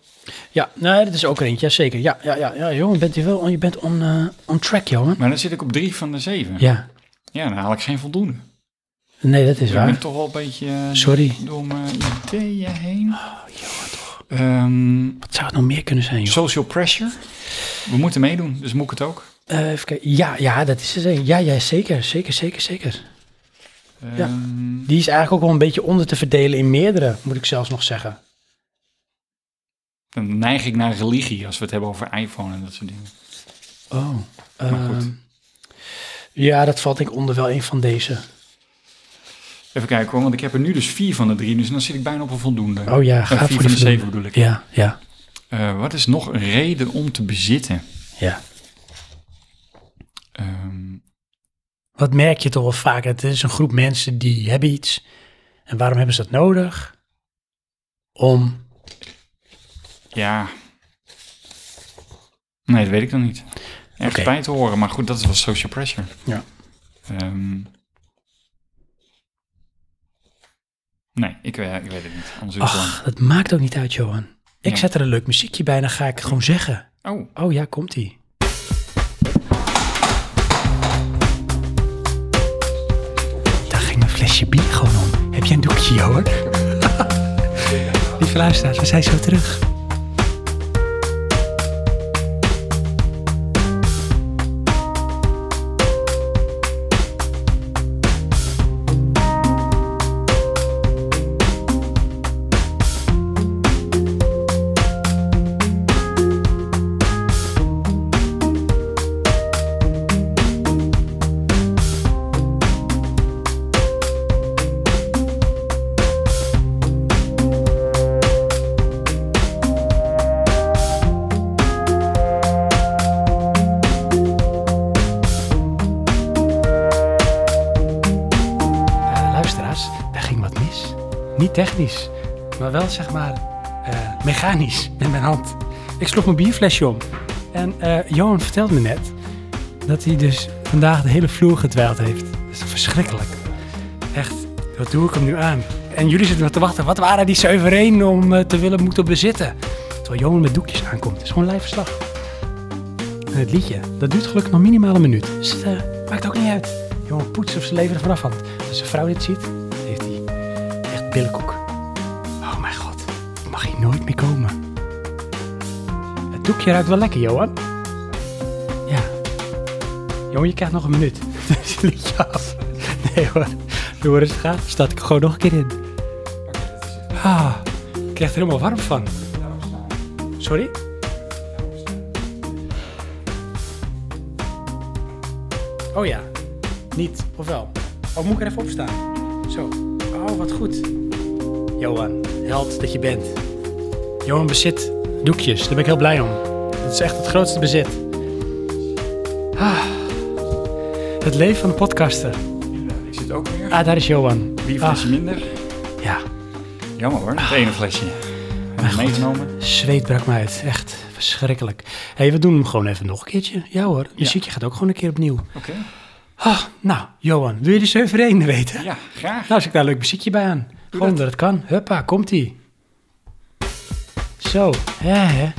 Ja, nee, dat is ook er eentje, zeker. Ja, ja, ja, ja jongen, bent je wel on, je bent on, eh, on track, jongen.
Maar dan zit ik op drie van de zeven. Ja,
Ja,
dan haal ik geen voldoende.
nee, dat is
Ik ben
waar.
toch wel een beetje eh,
Sorry. Oh,
door mijn ideeën heen. Ehm,
Wat zou het nog meer kunnen zijn, joh?
social pressure. We moeten meedoen, dus moet ik het ook.
Eh, even kijken. Ja, ja, dat is er een. Ja, ja, zeker, zeker, zeker, zeker. Ja.
Ehm,
Die is eigenlijk ook wel een beetje onder te verdelen in meerdere, moet ik zelfs nog zeggen.
Dan neig ik naar religie als we het hebben over iPhone en dat soort dingen.
Oh.
Maar goed.
ja, dat valt denk ik onder wel een van deze.
Even kijken hoor, want ik heb er nu dus vier van de drie, dus dan zit ik bijna op een voldoende.
Oh ja,
Eh,
ga
vier
voor
van
die
de zeven bedoel ik.
Ja, ja,
Eh, wat is nog een reden om te bezitten?
ja.
Ehm,
Wat merk je toch wel vaak? Het is een groep mensen die hebben iets. En waarom hebben ze dat nodig? Om.
Ja. Nee, dat weet ik nog niet. Echt
Oké.
bij te horen, maar goed, dat is wel social pressure.
Ja.
Ehm. nee, ik, eh, ik weet het niet. Anders doe ik het
Ach, dat maakt ook niet uit, Johan. Ik
Ja.
zet er een leuk muziekje bij en dan ga ik het gewoon zeggen.
gewoon. Oh,
Oh ja, komt ie. Daar ging mijn flesje bier gewoon om. Heb jij een doekje, Johan? Lieve luisteraars, we zijn zo terug. Eh, Niet technisch, maar wel zeg maar eh, mechanisch met mijn hand. Ik sloeg mijn bierflesje om. En eh, Johan vertelt me net dat hij dus vandaag de hele vloer gedwijld heeft. Dat is verschrikkelijk. Echt, wat doe ik hem nu aan? En jullie zitten nog te wachten. Wat waren die zuivereen om eh, te willen moeten bezitten? Terwijl Johan met doekjes aankomt. Het is gewoon lijfverslag. En het liedje, dat duurt gelukkig nog minimaal een minuut. Dus het eh, maakt ook niet uit. Johan poetst of ze leven er vanaf had. Als zijn vrouw dit ziet, heeft hij echt billenkoek. Oh mijn god, ik mag hier nooit meer komen. Het doekje ruikt wel lekker, Johan. Ja. Johan, je krijgt nog een minuut. Dus je liet je af. Nee hoor, door hoe het gaat, staat ik er gewoon nog een keer in. Ah, ik krijg er helemaal warm van. Sorry? Oh ja, niet, of wel? Oh, moet ik er even op staan? Zo. Oh, wat goed. Johan, held dat je bent. Johan bezit doekjes, daar ben ik heel blij om. Het is echt het grootste bezit. Ah, het leven van de podcaster.
Ik zit ook weer.
Ah, daar is Johan.
Bierflesje
Ach.
minder.
Ja,
Jammer hoor, het ene flesje. Hebben we meegenomen.
zweet brak mij uit. Echt verschrikkelijk. Hé, hey, we doen hem gewoon even nog een keertje. Ja hoor, het muziekje gaat ook gewoon een keer opnieuw.
Oké.
Ah, nou, Johan, wil je de zuiverheden weten?
Ja, graag.
Nou, als ik daar een leuk muziekje bij aan. Gewoon
dat.
dat het kan. Huppa, komt-ie. Zo, hè, hè.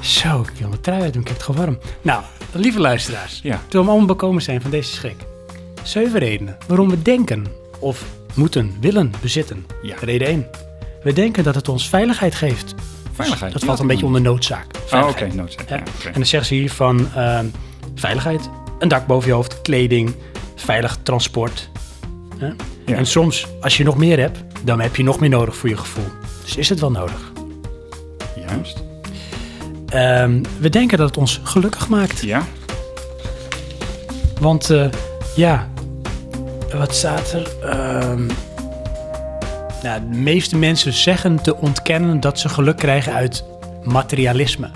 Zo, ik wil mijn trui uit doen, ik heb het gewoon warm. Nou, lieve luisteraars.
Ja.
Toen we allemaal bekomen zijn van deze schrik. Zeven redenen waarom we denken of moeten, willen, bezitten.
Ja.
Reden 1. We denken dat het ons veiligheid geeft.
Veiligheid.
Dat
ja,
valt een beetje onder noodzaak.
Oh, oké,
Veiligheid.
noodzaak.
Ja.
Ja, oké.
En dan zeggen ze hier van ehm, veiligheid, een dak boven je hoofd, kleding, veilig transport. hè?
Ja.
En soms, als je nog meer hebt, dan heb je nog meer nodig voor je gevoel. Dus is het wel nodig?
Juist.
Ehm, we denken dat het ons gelukkig maakt.
Ja.
Want eh, ja, wat staat er? Ehm, nou, de meeste mensen zeggen te ontkennen dat ze geluk krijgen uit materialisme.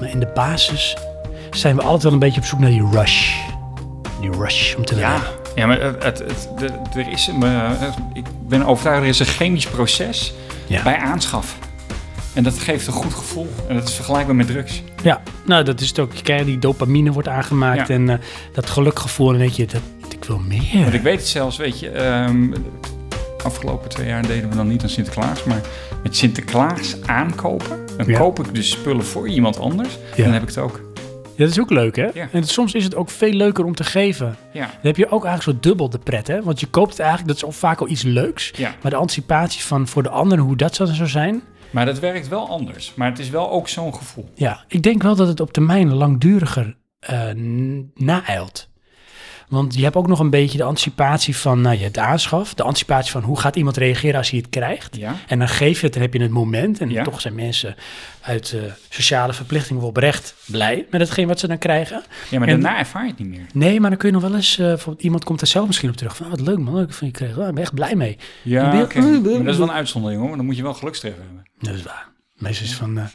Maar in de basis zijn we altijd wel een beetje op zoek naar die rush. Die rush om te
Ja.
werken.
Ja, maar het, het, het- de- er is een, eh, ik ben overtuigd, er is een chemisch proces
Ja.
bij aanschaf. En dat geeft een goed gevoel. En dat is vergelijkbaar met drugs.
Ja, nou dat is het ook. Je krijgt die dopamine wordt aangemaakt
Ja.
en eh, dat gelukgevoel. En weet je, dat, ik wil
Want
meer.
ik weet het zelfs, weet je, ehm, afgelopen twee jaar deden we dan niet aan Sinterklaas, maar met Sinterklaas aankopen, dan
Ja.
koop ik dus spullen voor iemand anders en dan heb ik het ook.
Ja, dat is ook leuk hè?
Ja.
En soms is het ook veel leuker om te geven.
Ja,
Dan heb je ook eigenlijk zo dubbel de pret, hè? Want je koopt het eigenlijk, dat is al vaak al iets leuks.
ja.
Maar de anticipatie van voor de anderen, hoe dat zou zou zijn.
Maar dat werkt wel anders. Maar het is wel ook zo'n gevoel.
Ja, ik denk wel dat het op termijn langduriger eh, n- naijlt. Want je hebt ook nog een beetje de anticipatie van nou, je hebt de aanschaf. De anticipatie van hoe gaat iemand reageren als hij het krijgt.
Ja.
En dan geef je het, dan heb je het moment. En
Ja.
toch zijn mensen uit eh, sociale verplichting wel oprecht blij met hetgeen wat ze dan krijgen.
Ja, maar
En-
daarna ervaar je het niet meer.
Nee, maar dan kun je nog wel eens... eh, bijvoorbeeld iemand komt er zelf misschien op terug. Van, oh, wat leuk man, ik, vind, ik kreeg, oh, ik ben echt blij mee.
Ja,
Ja,
oké.
oké.
maar dat is wel een uitzondering hoor, want dan moet je wel gelukstreffer hebben.
Dat is waar. Meestal is van... eh, waar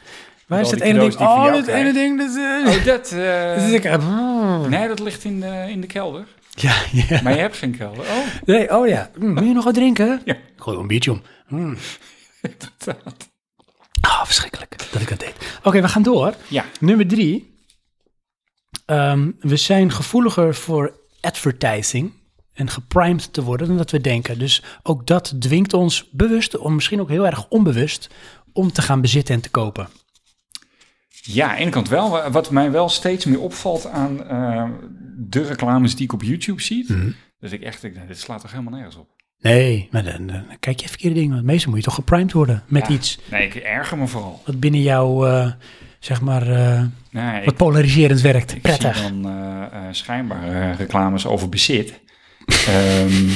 Met
is
al
dat
die
ene ding?
cadeaus die ik van
Oh,
jou
dat
krijg.
ene ding. Dat, eh,
Oh, dat...
dat is ik, eh,
Nee, dat ligt in de, in de kelder.
Ja, ja.
Maar je hebt geen kelder. Oh,
Nee, oh ja. Mm, wil je nog wat drinken?
Ja.
Ik gooi wel een biertje om. Mm.
inderdaad.
Ah, verschrikkelijk dat ik dat deed. Oké, we gaan door.
Ja,
Nummer drie. Ehm, we zijn gevoeliger voor advertising en geprimed te worden dan dat we denken. Dus ook dat dwingt ons bewust, of misschien ook heel erg onbewust, om te gaan bezitten en te kopen.
Ja, aan de ene kant wel. Wa- Wat mij wel steeds meer opvalt aan eh, de reclames die ik op YouTube zie. Dat ik echt denk, nou, dit slaat toch helemaal nergens op.
Nee, maar dan, dan kijk je verkeerde dingen. Want meestal moet je toch geprimed worden met
Ja.
iets
Nee, ik erger me vooral.
wat binnen jou, eh, zeg maar, eh,
Nee,
wat
ik,
polariserend werkt.
ik zie
Prettig.
dan eh, eh, schijnbaar eh, reclames over bezit. Ehm,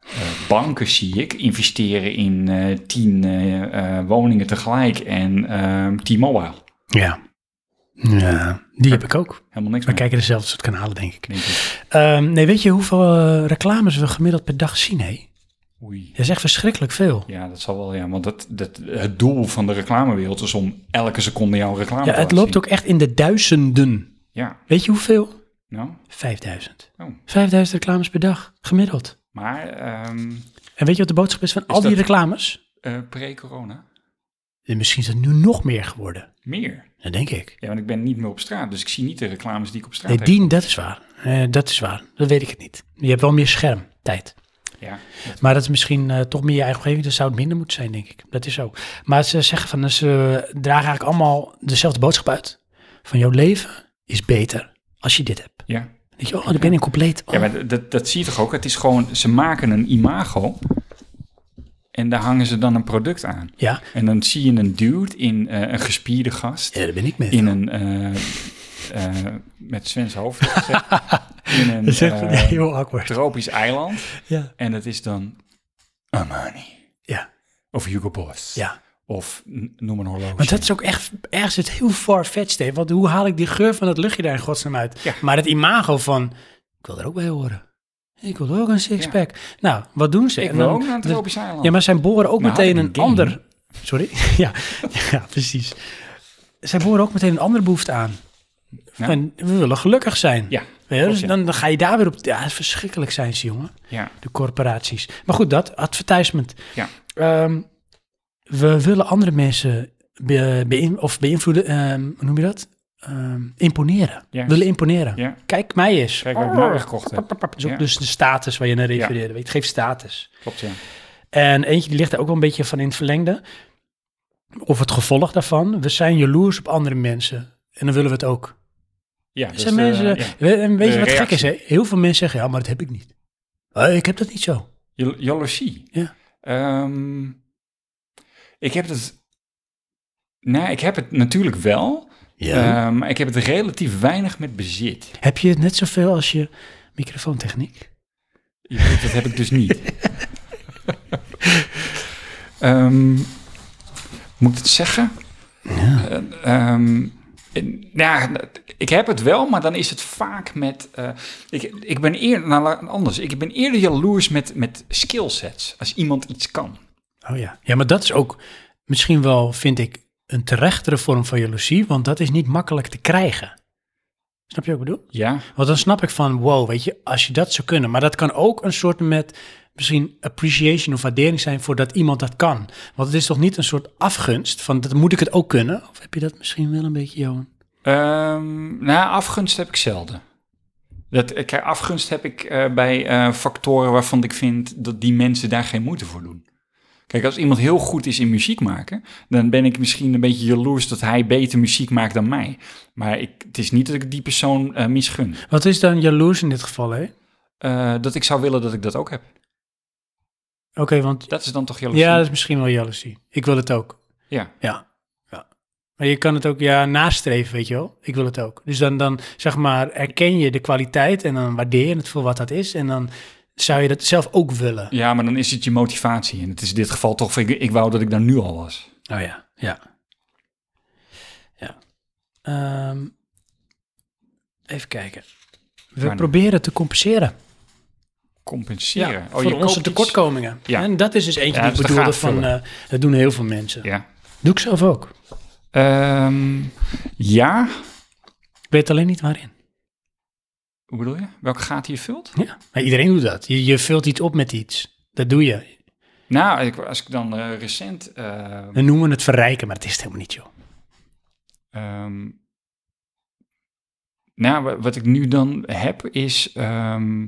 eh, banken zie ik investeren in eh, tien eh, eh, woningen tegelijk en ehm, T-Mobile.
Ja. Ja, die heb ik ook.
Helemaal niks
We
meer.
kijken dezelfde soort kanalen, denk ik.
Denk ik.
Ehm, nee, weet je hoeveel eh, reclames we gemiddeld per dag zien, hé?
Oei.
Dat is echt verschrikkelijk veel.
Ja, dat zal wel, ja. Want dat, dat, het doel van de reclamewereld is om elke seconde jouw
Ja,
reclame te
het
laten
loopt
zien.
ook echt in de duizenden.
Ja,
Weet je hoeveel?
nou,
5000.
Oh.
5000 reclames per dag, gemiddeld.
Maar ehm,
En weet je wat de boodschap is van al
Is
die
dat-
reclames?
eh, pre-corona
En misschien is het nu nog meer geworden.
meer.
Dat denk ik.
Ja, want ik ben niet meer op straat, dus ik zie niet de reclames die ik op straat
Nee,
heb.
die, dat is waar. Eh, dat is waar. Dat weet ik het niet. Je hebt wel meer schermtijd.
Ja, dat-
Maar dat is misschien eh, toch meer je eigen omgeving. Dat zou het minder moeten zijn, denk ik. Dat is zo. Maar ze zeggen van, ze dragen eigenlijk allemaal dezelfde boodschap uit. Van jouw leven is beter als je dit hebt.
ja.
Weet je, oh, dan ben je compleet. Oh,
ja maar dat, dat zie je toch ook? Het is gewoon, ze maken een imago en daar hangen ze dan een product aan.
Oh. ja.
En dan zie je een dude in eh, een gespierde gast.
ja, daar ben ik mee.
in een. eh, eh, met Sven's hoofd. gezet, in een
dat is echt
eh,
heel awkward.
tropisch eiland.
Ja.
En het is dan. Armani.
Ja.
Of Hugo Boss.
ja.
Of n- noem een horloge.
Want dat is ook echt ergens het heel far-fetched. hè. Want hoe haal ik die geur van dat luchtje daar in godsnaam uit?
Ja.
Maar het imago van, ik wil er ook bij horen. Ik wil ook een sixpack. Nou, wat doen ze?
ik
En
wil
dan-
ook naar een
dat-
tropisch eiland.
Ja, maar zij boren ook
Nou,
meteen
had ik
een
een game.
ander... Sorry? ja, ja, precies. Zij boren ook meteen een andere behoefte aan.
Ja.
En we willen gelukkig zijn.
Ja,
Weet je,
klopt,
dus
ja.
dan, dan ga je daar weer op... Ja, verschrikkelijk zijn ze, jongen.
Ja,
De corporaties. Maar goed, dat. Advertisement.
ja.
Ehm, we willen andere mensen be- beïn- of beïnvloeden, ehm, hoe noem je dat? Ehm, imponeren.
Juist.
Willen imponeren.
ja.
Kijk mij eens.
Kijk wat ik nou weer gekocht heb.
Dat is ook
Ja.
dus de status waar je naar refereerde. Weet je, Het geeft status.
Klopt, ja.
En eentje die ligt daar ook wel een beetje van in het verlengde. Of het gevolg daarvan. We zijn jaloers op andere mensen. En dan willen we het ook.
ja
Er
dus,
zijn
eh,
mensen,
ja.
we- en weet je
De
wat gek is?
reactie.
Hè? Heel veel mensen zeggen, ja, maar dat heb ik niet. Eh, ik heb dat niet zo.
Jal- Jaloezie.
Ja.
Ehm, ik heb het... Nou, ik heb het natuurlijk wel. eh, maar ik heb het relatief weinig met bezit.
Heb je het net zoveel als je microfoontechniek?
Je weet, dat heb ik dus niet. Ehm, moet ik het zeggen? Eh, ehm, en- ja, ik heb het wel, maar dan is het vaak met... eh, ik, ik ben eerder... Nou, laat- anders. Ik ben eerder jaloers met, met skillsets. Als iemand iets kan.
Oh ja. Ja, maar dat is ook misschien wel, vind ik, een terechtere vorm van jaloezie, want dat is niet makkelijk te krijgen. Snap je wat ik bedoel?
Ja,
Want dan snap ik van, wow, weet je, als je dat zou kunnen. Maar dat kan ook een soort met misschien appreciation of waardering zijn voor dat iemand dat kan. Want het is toch niet een soort afgunst van, dat moet ik het ook kunnen? Of heb je dat misschien wel een beetje, Johan?
Ehm nou, afgunst heb ik zelden. Dat, ik- afgunst heb ik eh, bij eh, factoren waarvan ik vind dat die mensen daar geen moeite voor doen. Kijk, als iemand heel goed is in muziek maken, dan ben ik misschien een beetje jaloers dat hij beter muziek maakt dan mij. Maar ik, het is niet dat ik die persoon eh, misgun.
Wat is dan jaloers in dit geval, hè? Oké,
Eh, dat ik zou willen dat ik dat ook heb.
want
Dat is dan toch jaloers?
ja, dat is misschien wel jaloezie. Ik wil het ook.
ja.
Ja. ja. Maar je kan het ook ja, nastreven, weet je wel. Ik wil het ook. Dus dan, dan zeg maar, erken je de kwaliteit en dan waardeer je het voor wat dat is. En dan zou je dat zelf ook willen.
ja, maar dan is het je motivatie. En het is in dit geval toch, van, ik, ik wou dat ik daar nu al was.
Oh ja, ja. Ja. Ehm, even kijken. We
Wanneer?
proberen te compenseren
Compenseren.
Ja,
Oh, je
voor
koopt
onze
iets.
tekortkomingen.
Ja.
En dat is dus eentje
Ja,
die ik
dus dat
bedoelde
gaat
van,
vullen.
eh, dat doen heel veel mensen.
Ja.
Doe ik zelf ook.
Ehm, ja,
Ik weet alleen niet waarin.
Hoe bedoel je? Welke gaten je vult?
Ja, maar iedereen doet dat. Je, je vult iets op met iets. Dat doe je.
Nou, ik, als ik dan eh, recent... eh,
We noemen het verrijken, maar het is het helemaal niet, joh.
ehm, nou, wa- wat ik nu dan heb is... ehm,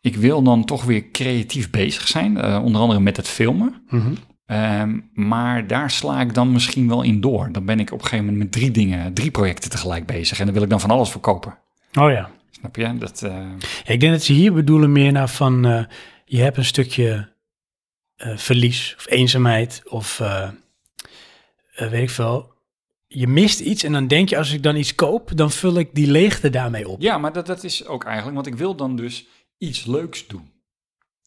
ik wil dan toch weer creatief bezig zijn. eh, onder andere met het filmen. Ehm, maar daar sla ik dan misschien wel in door. Dan ben ik op een gegeven moment met drie dingen, drie projecten tegelijk bezig. En dan wil ik dan van alles verkopen.
Oh ja.
Snap je? Dat, eh,
Ik denk dat ze hier bedoelen meer naar van... eh, je hebt een stukje eh, verlies of eenzaamheid of eh, eh, weet ik veel. Je mist iets en dan denk je, als ik dan iets koop, dan vul ik die leegte daarmee op.
Ja, maar dat, dat is ook eigenlijk, want ik wil dan dus iets leuks doen.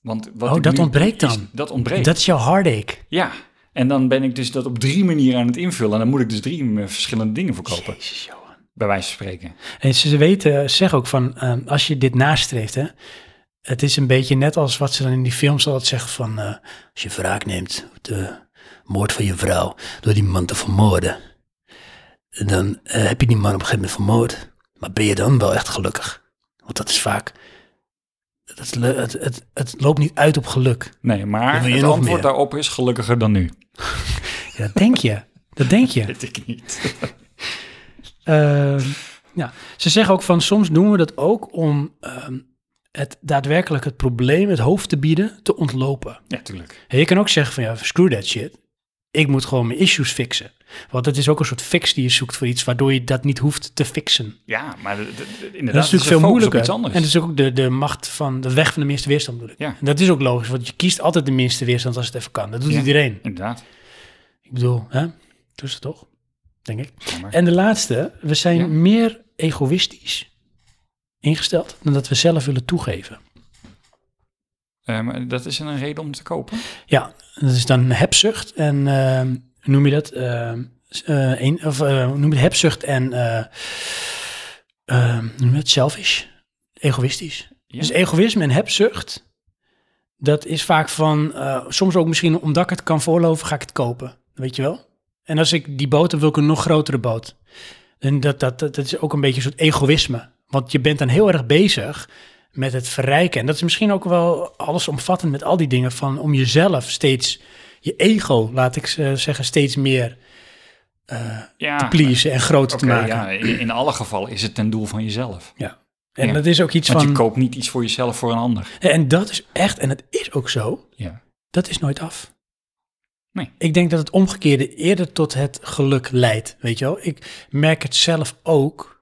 Want wat
Oh,
ik
dat
nu doe,
ontbreekt
is-
dan.
dat ontbreekt.
Dat is jouw heartache.
Ja, en dan ben ik dus dat op drie manieren aan het invullen. En dan moet ik dus drie eh, verschillende dingen verkopen,
Jezus, Johan.
bij wijze van spreken.
En ze weten, zeg ook van, ehm, als je dit nastreeft, hè, het is een beetje net als wat ze dan in die films altijd zeggen van, eh, als je wraak neemt op de moord van je vrouw door die man te vermoorden, dan eh, heb je die man op een gegeven moment vermoord. Maar ben je dan wel echt gelukkig? Want dat is vaak het, le- het, het, het loopt niet uit op geluk.
Nee, maar
wil je
het
nog
antwoord
meer.
daarop is gelukkiger dan nu.
Ja, dat denk je. Dat denk je.
Weet ik niet.
Ehm, ja. Ze zeggen ook van soms doen we dat ook om ehm, het daadwerkelijk het probleem, het hoofd te bieden, te ontlopen.
Ja, tuurlijk.
En je kan ook zeggen van ja, screw that shit. Ik moet gewoon mijn issues fixen. Want dat is ook een soort fix die je zoekt voor iets waardoor je dat niet hoeft te fixen.
Ja, maar de- de- de- inderdaad,
dat is natuurlijk
de
veel
focus op
moeilijker.
iets anders.
En dus- dat is ook de, de macht van de weg van de minste weerstand bedoel ik.
Ja.
En dat is ook logisch, want je kiest altijd de minste weerstand als het even kan. Dat doet
Ja.
iedereen.
Inderdaad.
Ik bedoel, hè? Dat is het toch? Denk ik.
Ja, maar-
En de laatste, we zijn
Ja.
meer egoïstisch ingesteld dan dat we zelf willen toegeven.
Eh, maar dat is een reden om te kopen.
Ja, dat is dan hebzucht en ehm, hoe noem je dat? Ehm, s- eh, een, of eh, hoe noem je het? hebzucht en eh ehm, hoe noem je het? selfish, egoïstisch.
Ja.
Dus egoïsme en hebzucht, dat is vaak van eh, soms ook misschien omdat ik het kan voorloven, ga ik het kopen. Weet je wel? En als ik die boot heb, wil ik een nog grotere boot. En dat, dat, dat, dat is ook een beetje een soort egoïsme. Want je bent dan heel erg bezig met het verrijken. En dat is misschien ook wel allesomvattend met al die dingen. Van om jezelf steeds, je ego, laat ik eh, zeggen, steeds meer
Ja,
te pleasen en groter
oké,
te maken.
ja, in, in alle gevallen is het ten doel van jezelf.
En
Ja.
dat is ook iets
Want je
van.
koopt niet iets voor jezelf voor een ander.
En dat is echt, en het is ook zo,
Ja.
dat is nooit af.
Nee.
Ik denk dat het omgekeerde eerder tot het geluk leidt. Weet je wel, ik merk het zelf ook.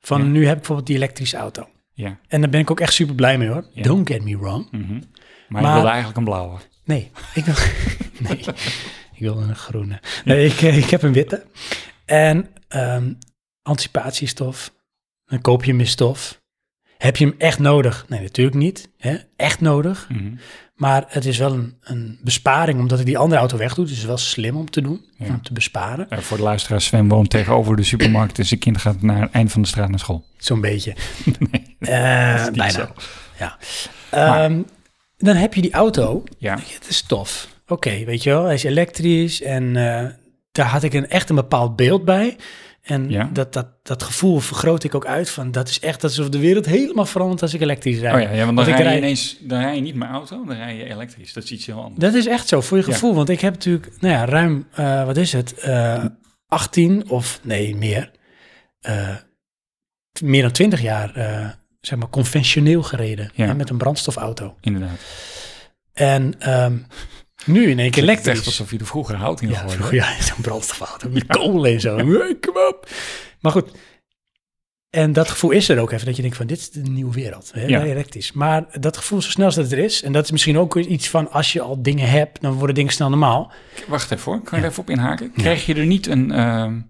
Van
Ja.
nu heb ik bijvoorbeeld die elektrische auto.
ja.
En daar ben ik ook echt super blij mee hoor.
Ja.
Don't get me wrong.
mhm. Maar, je
Maar-
wilde eigenlijk een blauwe.
Nee, ik wil, nee, ik wil een groene. Nee, ik, eh, ik heb een witte. En ehm, anticipatiestof. Dan koop je hem in stof. Heb je hem echt nodig? Nee, natuurlijk niet. Hè? Echt nodig.
Mhm.
Maar het is wel een, een besparing, omdat ik die andere auto wegdoe. Dus het is wel slim om te doen,
Ja.
om te besparen.
Eh, voor de luisteraar, Sven woont tegenover de supermarkt, dus de kind gaat naar het eind van de straat naar school.
Zo'n beetje. Eh,
Niet
bijna.
zo.
Ehm, dan heb je die auto.
Ja,
Ja, Het is tof. Oké, weet je wel, hij is elektrisch en eh, daar had ik een, echt een bepaald beeld bij. En
Ja.
dat, dat, dat gevoel vergroot ik ook uit van dat is echt alsof de wereld helemaal verandert als ik elektrisch rijd.
Oh ja, ja want dan
Want ik
rij je
rij-
ineens, dan rij je niet met auto, dan rij je elektrisch. Dat is iets heel anders.
Dat is echt zo, voor je
Ja.
gevoel. Want ik heb natuurlijk, nou ja, ruim, eh, wat is het, eh 18 of nee, meer, eh, t- meer dan 20 jaar, eh, zeg maar, conventioneel gereden.
Ja.
hè, met een brandstofauto.
Inderdaad.
En ehm, nu in één keer
Het is
elektrisch.
echt alsof je er vroeger hout in
Ja,
gooide.
vroeger, ja, zo'n brandstofauto met kolen en zo. Hey, Kom op. Maar goed. En dat gevoel is er ook even, dat je denkt van dit is de nieuwe wereld, hè,
Ja.
elektrisch. Maar dat gevoel zo snel als dat het er is, en dat is misschien ook iets van als je al dingen hebt, dan worden dingen snel normaal.
Wacht even hoor, kan ik er even op inhaken? Krijg je er niet een, ehm,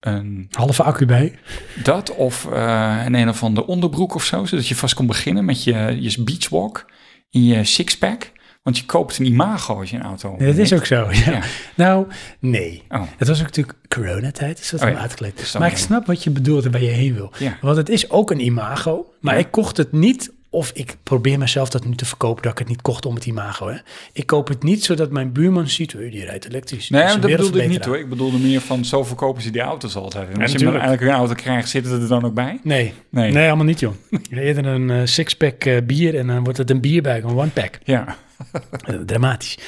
een
Halve accu bij.
dat of eh, een een of ander onderbroek of zo, zodat je vast kon beginnen met je, je beachwalk in je sixpack? Want je koopt een imago als je een auto
Nee, dat is
neemt.
ook zo. Ja.
Ja.
Nou, nee.
Oh.
Het was ook natuurlijk coronatijd, dus dat
Oh
is
ja,
wel uitgelegd.
dus dan
Maar ik
wel.
snap wat je bedoelt en waar je heen wil.
Ja.
Want het is ook een imago, maar
Ja.
ik kocht het niet... of ik probeer mezelf dat nu te verkopen dat ik het niet kocht om het imago. Hè. Ik koop het niet zodat mijn buurman ziet... "Hey, die rijdt elektrisch.
Nee,
is een
dat bedoelde ik niet
wereldverbeteraar."
hoor. Ik bedoelde meer van zo verkopen ze die auto's altijd. En als je hem dan
natuurlijk.
eigenlijk een auto krijgt, zit het er dan ook bij?
Nee.
Nee.
nee, allemaal niet joh. Eerder een eh, sixpack eh, bier en dan wordt het een bierbag, een one-pack.
Ja.
Eh, dramatisch.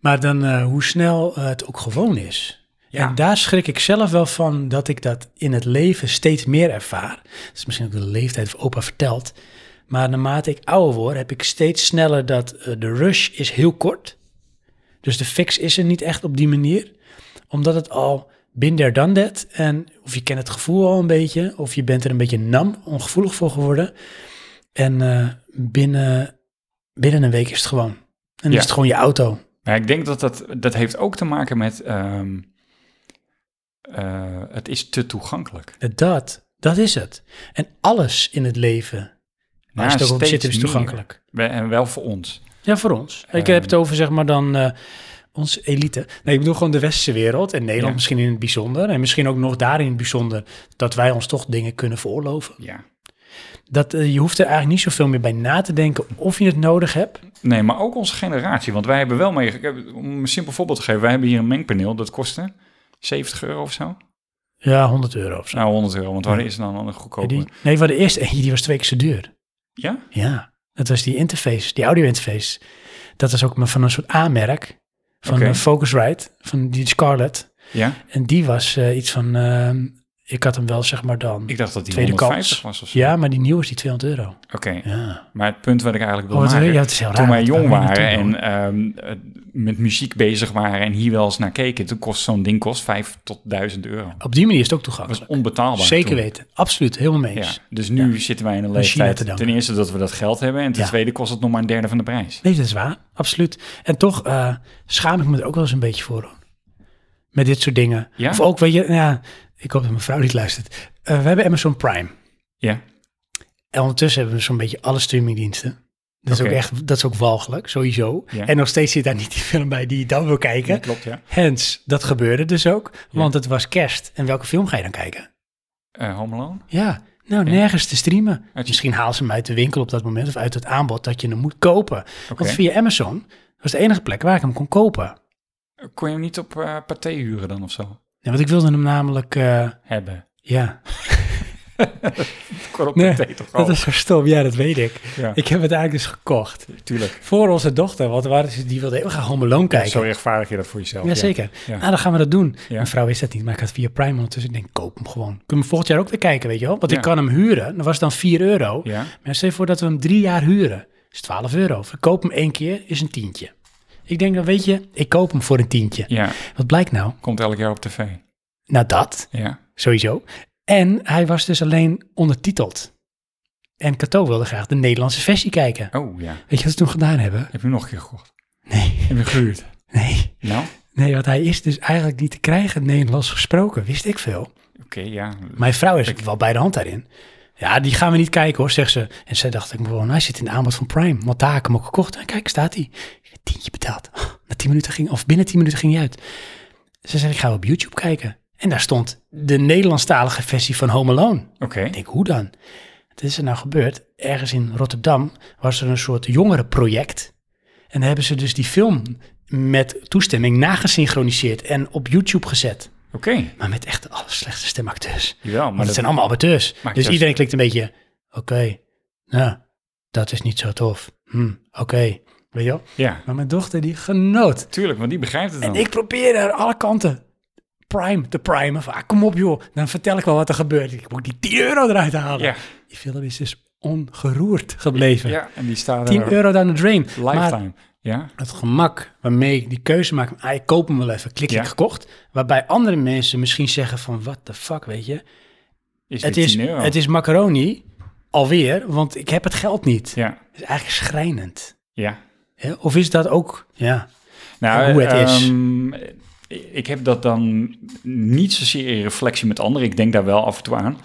Maar dan eh, hoe snel eh, het ook gewoon is.
Ja.
En daar schrik ik zelf wel van dat ik dat in het leven steeds meer ervaar. Dat is misschien ook de leeftijd of opa vertelt. Maar naarmate ik ouder word, heb ik steeds sneller dat eh, de rush is heel kort. Dus de fix is er niet echt op die manier. Omdat het al been there done that. En of je kent het gevoel al een beetje. Of je bent er een beetje nam, ongevoelig voor geworden. En eh, binnen, binnen een week is het gewoon. En dan
Ja.
is het gewoon je auto.
Maar ik denk dat dat, dat heeft ook te maken met... ehm, eh, het is te toegankelijk.
Dat, dat is het. En alles in het leven, waar
Ja,
het ook op
steeds
zit, is
meer.
toegankelijk.
We- En wel voor ons.
Ja, voor ons. Ik
Ehm.
heb het over, zeg maar, dan eh, onze elite. Nee, ik bedoel gewoon de westerse wereld en Nederland
Ja.
misschien in het bijzonder. En misschien ook nog daarin in het bijzonder dat wij ons toch dingen kunnen veroorloven.
Ja.
Dat, eh, je hoeft er eigenlijk niet zoveel meer bij na te denken of je het nodig hebt.
Nee, maar ook onze generatie. Want wij hebben wel mee... ik heb- Om een simpel voorbeeld te geven. Wij hebben hier een mengpaneel. Dat kostte 70 euro of zo.
Ja, 100 euro of zo.
Nou, 100 euro. Want waar is het dan een
Ja,
goedkoper?
die, nee, we hadden eerst eentje, die was twee keer zo duur.
Ja?
Ja, dat was die interface, die audio interface. Dat was ook maar van een soort A-merk. Van
Oké.
eh, Focusrite, van die Scarlett.
Ja?
En die was eh, iets van, ehm, ik had hem wel zeg maar dan.
Ik dacht dat die
Tweede kans.
150 was of zo.
Ja, maar die nieuwe is die 200 euro.
Oké,
Ja.
maar het punt wat ik eigenlijk
Oh,
wilde
wat,
maken...
ja, het is heel raar.
toen wij
want
jong
waar we
waren
naartoe
en ehm, eh, met muziek bezig waren en hier wel eens naar keken, toen kost zo'n ding kost 5 tot 1000 euro. Dat
Op die manier is het ook
was
toegankelijk.
onbetaalbaar.
Oh, Zeker
toen.
weten. Absoluut. Helemaal mee
Ja,
eens.
dus nu zitten wij in een
China te
leeftijd.
danken.
Ten eerste dat we dat geld hebben en ten
Ja.
tweede kost het nog maar een derde van de prijs.
Nee, dat is waar. Absoluut. En toch eh, schaam ik me er ook wel eens een beetje voor. hoor. Met dit soort dingen.
Ja?
Of ook, weet je, nou ja, ik hoop dat mijn vrouw niet luistert. Eh, we hebben Amazon Prime.
Ja,
En ondertussen hebben we zo'n beetje alle streamingdiensten. Dat is,
Oké.
ook echt, dat is ook walgelijk, sowieso.
Ja.
En nog steeds zit daar niet die film bij die je dan wil kijken.
dat klopt ja.
Hens, dat gebeurde dus ook, want het was kerst. En welke film ga je dan kijken?
Eh Home Alone?
Ja, nou,
Ja.
nergens te streamen.
Uit-
Misschien haal ze hem uit de winkel op dat moment of uit het aanbod dat je hem moet kopen.
Oké.
Want via Amazon was de enige plek waar ik hem kon kopen.
Kon je hem niet op eh Pathé huren dan of zo?
Nee, want ik wilde hem namelijk, eh,
Hebben.
ja.
Kon op
Nee,
Pathé toch
Dat
al?
is zo stom, ja, dat weet ik.
Ja,
Ik heb het eigenlijk dus gekocht.
tuurlijk.
Voor onze dochter, want waar is, die wilde heel graag Home Alone kijken.
Zo rechtvaardig je dat voor jezelf. ja.
Jazeker.
Ja.
Nou, dan gaan we dat doen.
Ja.
Mijn vrouw wist dat niet, maar ik had via Prime ondertussen. Ik denk, koop hem gewoon. Kunnen we volgend jaar ook weer kijken, weet je wel? Want
Ja.
ik kan hem huren. Dat was dan 4 euro.
Ja.
Maar stel je voor dat we hem drie jaar huren. Dat is 12 euro. Verkoop hem één keer, is een tientje. Ik denk, dan weet je, ik koop hem voor een tientje.
ja,
Wat blijkt nou?
komt elk jaar op tv.
Nou, dat
Ja.
sowieso. En hij was dus alleen ondertiteld. En Cato wilde graag de Nederlandse versie kijken.
Oh ja.
Weet je wat ze toen gedaan hebben?
Heb je hem nog een keer gekocht?
Nee,
Heb je gehuurd?
nee.
Nou,
Nee, want hij is dus eigenlijk niet te krijgen Nederlands gesproken. Wist ik veel.
oké, ja.
Mijn vrouw is wel bij de hand daarin. Ja, die gaan we niet kijken hoor, zegt ze. En zij dacht, ik moet gewoon, hij zit in de aanbod van Prime. Want daar heb ik hem ook gekocht. En kijk, staat hij. Ik heb een tientje betaald. Na tien minuten ging, of binnen tien minuten ging hij uit. Ze zei, ik ga op YouTube kijken. En daar stond de Nederlandstalige versie van Home Alone.
Oké,
Ik denk, hoe dan? Wat is er nou gebeurd? Ergens in Rotterdam was er een soort jongerenproject. En daar hebben ze dus die film met toestemming nagesynchroniseerd en op YouTube gezet.
oké.
Maar met echt de allerslechtste stemacteurs.
Jawel, maar
Maar dat
dat-
zijn allemaal amateurs.
Maakt
Dus
juist-
iedereen klikt een beetje, oké, nou, dat is niet zo tof. Hm, oké, weet je wel?
Ja,
Maar mijn dochter die genoot.
tuurlijk, want die begrijpt het dan.
En ik probeerde haar alle kanten prime te primen. Van, ah, kom op joh, dan vertel ik wel wat er gebeurt. Ik moet die 10 euro eruit halen.
Ja,
Die film is dus ongeroerd gebleven.
ja, en die staat
10
er
euro down the drain. Maar
lifetime. Ja,
het gemak waarmee ik die keuze maak, ah, ik koop hem wel even, klik
Ja.
ik gekocht. Waarbij andere mensen misschien zeggen van, what the fuck, weet je.
is
Het
dit
is,
10 euro?
het is macaroni, alweer, want ik heb het geld niet.
Ja,
Het is eigenlijk schrijnend.
ja.
Hè? Of is dat ook, ja,
Nou,
hoe het is.
ehm, Ik heb dat dan niet zozeer in reflectie met anderen. Ik denk daar wel af en toe aan.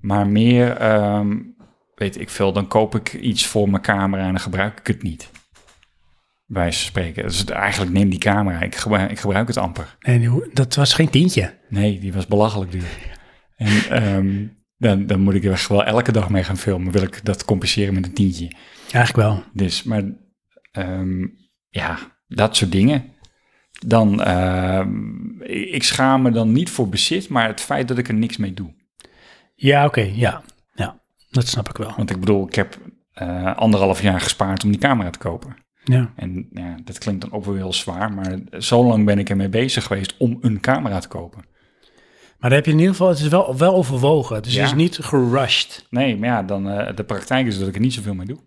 Maar meer, ehm, weet ik veel, dan koop ik iets voor mijn camera en dan gebruik ik het niet. Bij wijze van spreken. Dus het- eigenlijk neem die camera, ik gebruik, ik gebruik het amper.
nee, die hoe- dat was geen tientje.
Nee, die was belachelijk duur. En ehm, dan, dan moet ik er echt wel elke dag mee gaan filmen. Wil ik dat compenseren met een tientje.
Eigenlijk wel.
Dus, maar ehm, ja, dat soort dingen. Dan, ehm, ik ik schaam me dan niet voor bezit, maar het feit dat ik er niks mee doe.
Ja, oké, ja. ja. Dat snap ik wel.
Want ik bedoel, ik heb eh, anderhalf jaar gespaard om die camera te kopen.
Ja.
En ja, dat klinkt dan ook wel heel zwaar, maar zo lang ben ik ermee bezig geweest om een camera te kopen.
Maar dan heb je in ieder geval, het is wel, wel overwogen. Dus
Ja.
het is niet gerushed.
Nee, maar ja, dan, eh, de praktijk is dat ik er niet zoveel mee doe.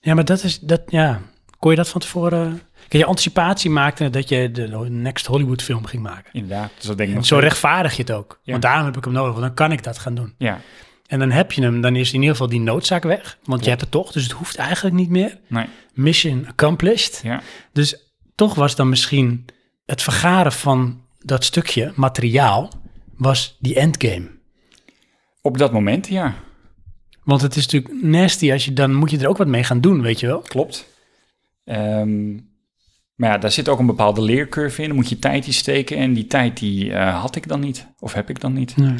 Ja, maar dat is dat. Ja, kon je dat van tevoren? Kijk, je anticipatie maakte dat je de next Hollywood film ging maken.
Inderdaad, dus dat denk ik
En
nog
zo
steeds.
rechtvaardig je het ook.
Ja.
Want daarom heb ik hem nodig, want dan kan ik dat gaan doen.
Ja,
En dan heb je hem, dan is in ieder geval die noodzaak weg. Want je hebt het toch, dus het hoeft eigenlijk niet meer.
nee,
Mission accomplished.
ja,
Dus toch was dan misschien het vergaren van dat stukje materiaal, was die endgame.
op dat moment, ja,
Want het is natuurlijk nasty als je, dan moet je er ook wat mee gaan doen, weet je wel.
Klopt. Ehm, maar ja, daar zit ook een bepaalde leercurve in. Dan moet je tijd in steken. En die tijd die eh, had ik dan niet. Of heb ik dan niet.
Nee.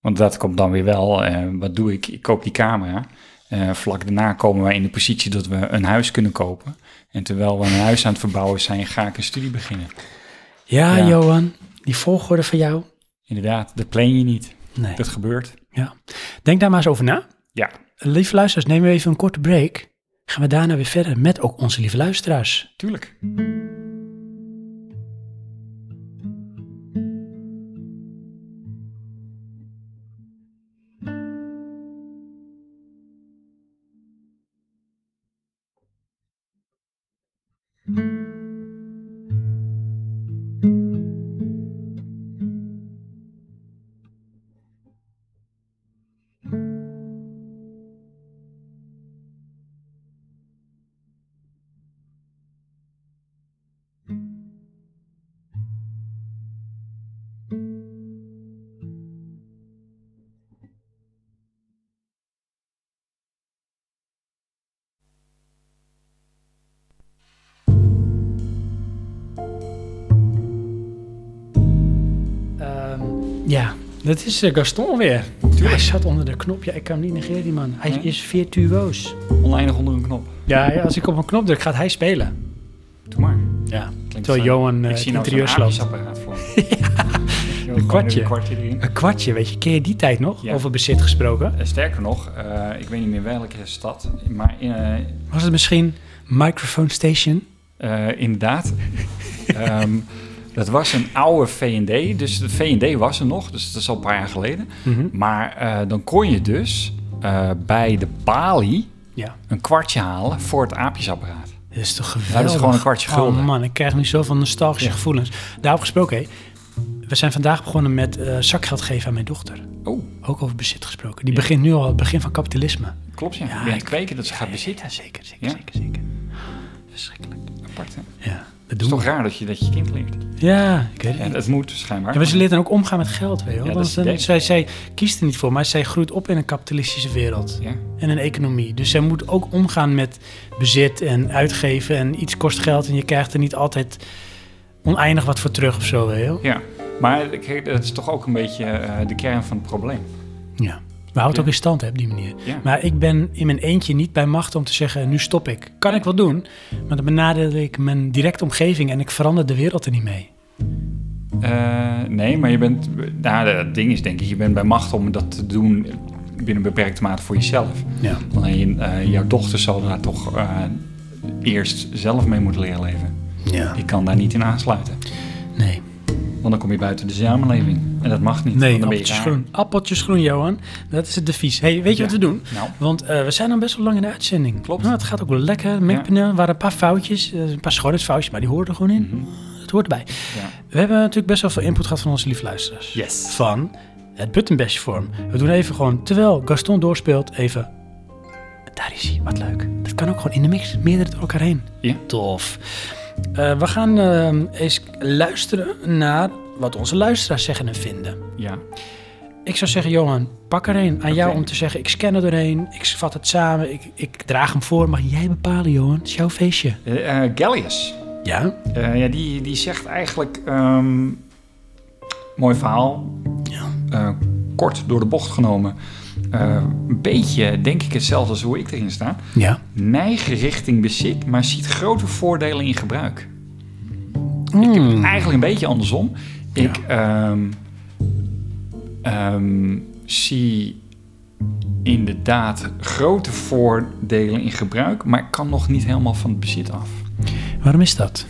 Want dat komt dan weer wel. eh, wat doe ik? Ik koop die camera. Eh, vlak daarna komen wij in de positie dat we een huis kunnen kopen. En terwijl we een huis aan het verbouwen zijn, ga ik een studie beginnen.
Ja,
Ja.
Johan, die volgorde van jou.
Inderdaad, dat plan je niet.
Nee.
Dat gebeurt.
Ja. Denk daar maar eens over na.
Ja,
lieve luisteraars, nemen we even een korte break. Gaan we daarna weer verder met ook onze lieve luisteraars.
Tuurlijk.
Ehm, Ja, dat is eh, Gaston weer. Hij zat onder de knop. Ja, ik kan hem niet negeren, die man. Hij
Ja.
is virtuoos.
Oneindig onder een knop.
Ja, ja, als ik op een knop druk, gaat hij spelen.
Doe maar.
Ja,
Klinkt,
terwijl
eh,
Johan eh
ik
het
zie nou
interieur
zo'n
sloopt.
aardappelapparaat voor me. Weet je wel, gewoon
kwartje.
Een kwartje erin.
Een kwartje, weet je. Ken je die tijd nog?
Ja.
Over bezit gesproken.
Eh, Sterker nog, eh, ik weet niet meer welke stad, maar eh,
Was het misschien Microphone Station?
eh, inderdaad, ehm, dat was een oude V&D, dus de V&D was er nog, dus dat is al een paar jaar geleden.
Mhm.
Maar eh, dan kon je dus eh, bij de balie
Ja.
een kwartje halen voor het aapjesapparaat.
Dat is toch geweldig.
Ja, dat is gewoon een kwartje gulden.
Oh man, ik krijg nu zoveel nostalgische
Ja.
gevoelens. Daarop gesproken, hé. We zijn vandaag begonnen met eh, zakgeld geven aan mijn dochter.
Oh,
Ook over bezit gesproken. Die begint nu al, het begin van kapitalisme.
klopt ja.
Ja,
Binnen
ik-
twee keer dat ze gaat bezitten.
Ja, zeker, zeker,
Ja?
zeker, zeker. Verschrikkelijk.
Apart hè. Het
Ja, dat doen
is toch
we.
raar dat je dat je kind leert.
Ja, ik weet het
En
niet.
het moet schijnbaar.
Ja, maar ze leert dan ook omgaan met geld, weet je wel.
Ja, dat
Want
is het
dan-
idee.
zij, zij kiest er niet voor, maar zij groeit op in een kapitalistische wereld.
Ja.
En een economie. Dus zij moet ook omgaan met bezit en uitgeven. En iets kost geld en je krijgt er niet altijd oneindig wat voor terug of zo, weet je wel.
Ja, maar kijk, dat is toch ook een beetje eh, de kern van het probleem.
Ja. We houden het ook in stand hè, op die manier.
Ja.
Maar ik ben in mijn eentje niet bij macht om te zeggen, nu stop ik. Kan ik wel doen, maar dan benadeel ik mijn directe omgeving en ik verander de wereld er niet mee.
Eh, nee, maar je bent. Nou, het ding is denk ik, je bent bij macht om dat te doen binnen een beperkte mate voor jezelf.
Ja.
Alleen eh, jouw dochter zal daar toch eh, eerst zelf mee moeten leren leven.
ja.
Die kan daar niet in aansluiten.
Nee.
Want dan kom je buiten de samenleving. En dat mag niet.
Nee,
want dan ben je
appeltjes
raar.
groen. Appeltjes groen, Johan. Dat is het devies. hey, weet je
Ja.
wat we doen?
Nou,
Want eh, we zijn dan best wel lang in de uitzending.
Klopt.
Nou, het gaat ook wel lekker. Mengpaneel, Er waren een paar foutjes, eh, een paar schoonheidsfoutjes, maar die hoorden er gewoon in.
mhm,
Het hoort erbij.
ja.
We hebben natuurlijk best wel veel input gehad van onze lieve luisteraars.
Yes.
Van het buttonbash vorm. We doen even gewoon, terwijl Gaston doorspeelt, even... Daar is hij, wat leuk. Dat kan ook gewoon in de mix, meerdere door elkaar heen.
Ja.
Tof. Eh, we gaan eh, eens luisteren naar wat onze luisteraars zeggen en vinden.
Ja.
Ik zou zeggen, Johan, pak er een aan jou
Oké.
om te zeggen: ik scan er doorheen, ik vat het samen, ik, ik draag hem voor. Mag jij bepalen, Johan? Het is jouw feestje.
Eh, eh, Gallius.
Ja?
Eh, ja, die, die zegt eigenlijk... ehm, mooi verhaal. Eh, kort door de bocht genomen. Eh, een beetje, denk ik, hetzelfde als hoe ik erin sta.
Ja.
Neigen richting bezit, maar ziet grote voordelen in gebruik.
Mm.
Eigenlijk een beetje andersom. Ik ehm, ehm, zie inderdaad grote voordelen in gebruik... maar ik kan nog niet helemaal van het bezit af.
Waarom is dat?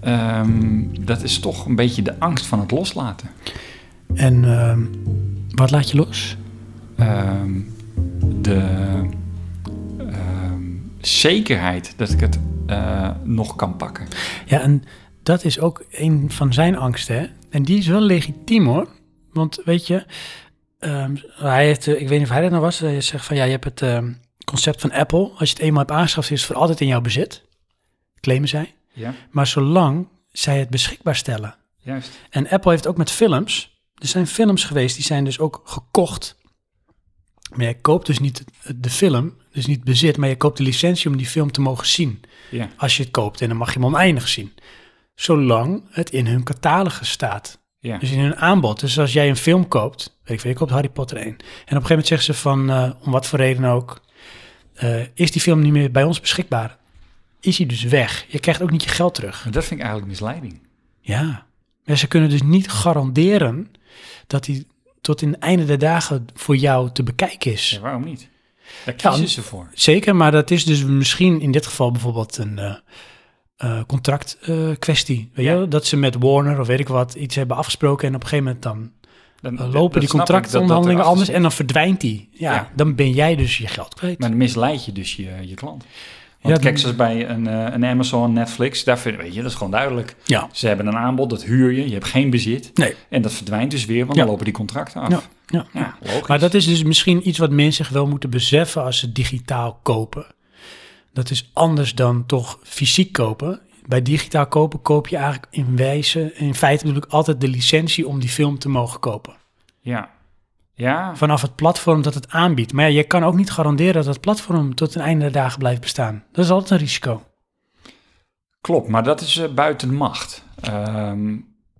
Ehm, dat is toch een beetje de angst van het loslaten.
En ehm, wat laat je los?
Ehm, de ehm, zekerheid dat ik het eh, nog kan pakken.
Ja, en dat is ook een van zijn angsten, hè? En die is wel legitiem, hoor. Want weet je, ehm, hij heeft, eh, ik weet niet of hij dat nou was, hij zegt van ja, je hebt het ehm, concept van Apple. Als je het eenmaal hebt aangeschaft, is het voor altijd in jouw bezit. Claimen zij.
Ja,
Maar zolang zij het beschikbaar stellen.
juist.
En Apple heeft ook met films. Er zijn films geweest, die zijn dus ook gekocht. Maar je koopt dus niet de film, dus niet bezit, maar je koopt de licentie om die film te mogen zien.
Ja.
Als je het koopt en dan mag je hem oneindig zien. Zolang het in hun catalogus staat.
Ja.
Dus in hun aanbod. Dus als jij een film koopt, weet ik veel, je koopt Harry Potter 1. En op een gegeven moment zeggen ze van, eh, om wat voor reden ook, eh, is die film niet meer bij ons beschikbaar. Is hij dus weg. Je krijgt ook niet je geld terug.
Maar dat vind ik eigenlijk misleiding.
Ja. Maar ze kunnen dus niet garanderen dat hij tot in het einde der dagen voor jou te bekijken is.
Ja, waarom niet? Daar kiezen ze voor.
Zeker, maar dat is dus misschien in dit geval bijvoorbeeld een eh contractkwestie. weet je
Ja.
wel? dat ze met Warner of weet ik wat iets hebben afgesproken en op een gegeven moment dan
Dan
eh,
dat-
lopen
dat
die
snap ik, dat- dat
contractonderhandelingen
erachter
anders
zit.
en dan verdwijnt die. Ja,
Ja.
dan ben jij dus je geld kwijt.
Maar dan misleid je dus je, je klant. Want
Ja,
kijk,
dan-
zoals bij een, eh, een Amazon, Netflix, daar vind, weet je, dat is gewoon duidelijk.
ja.
Ze hebben een aanbod, dat huur je, je hebt geen bezit.
Nee.
En dat verdwijnt dus weer, want
Ja.
dan lopen die contracten af.
Ja,
Ja,
ja.
logisch.
Maar dat is dus misschien iets wat mensen zich wel moeten beseffen als ze digitaal kopen. Dat is anders dan toch fysiek kopen. Bij digitaal kopen koop je eigenlijk in wijze, in feite natuurlijk altijd de licentie om die film te mogen kopen.
Ja. Ja,
Vanaf het platform dat het aanbiedt. Maar ja, je kan ook niet garanderen dat het platform tot het einde der dagen blijft bestaan. Dat is altijd een risico.
klopt. Maar dat is eh, buiten macht. Ehm,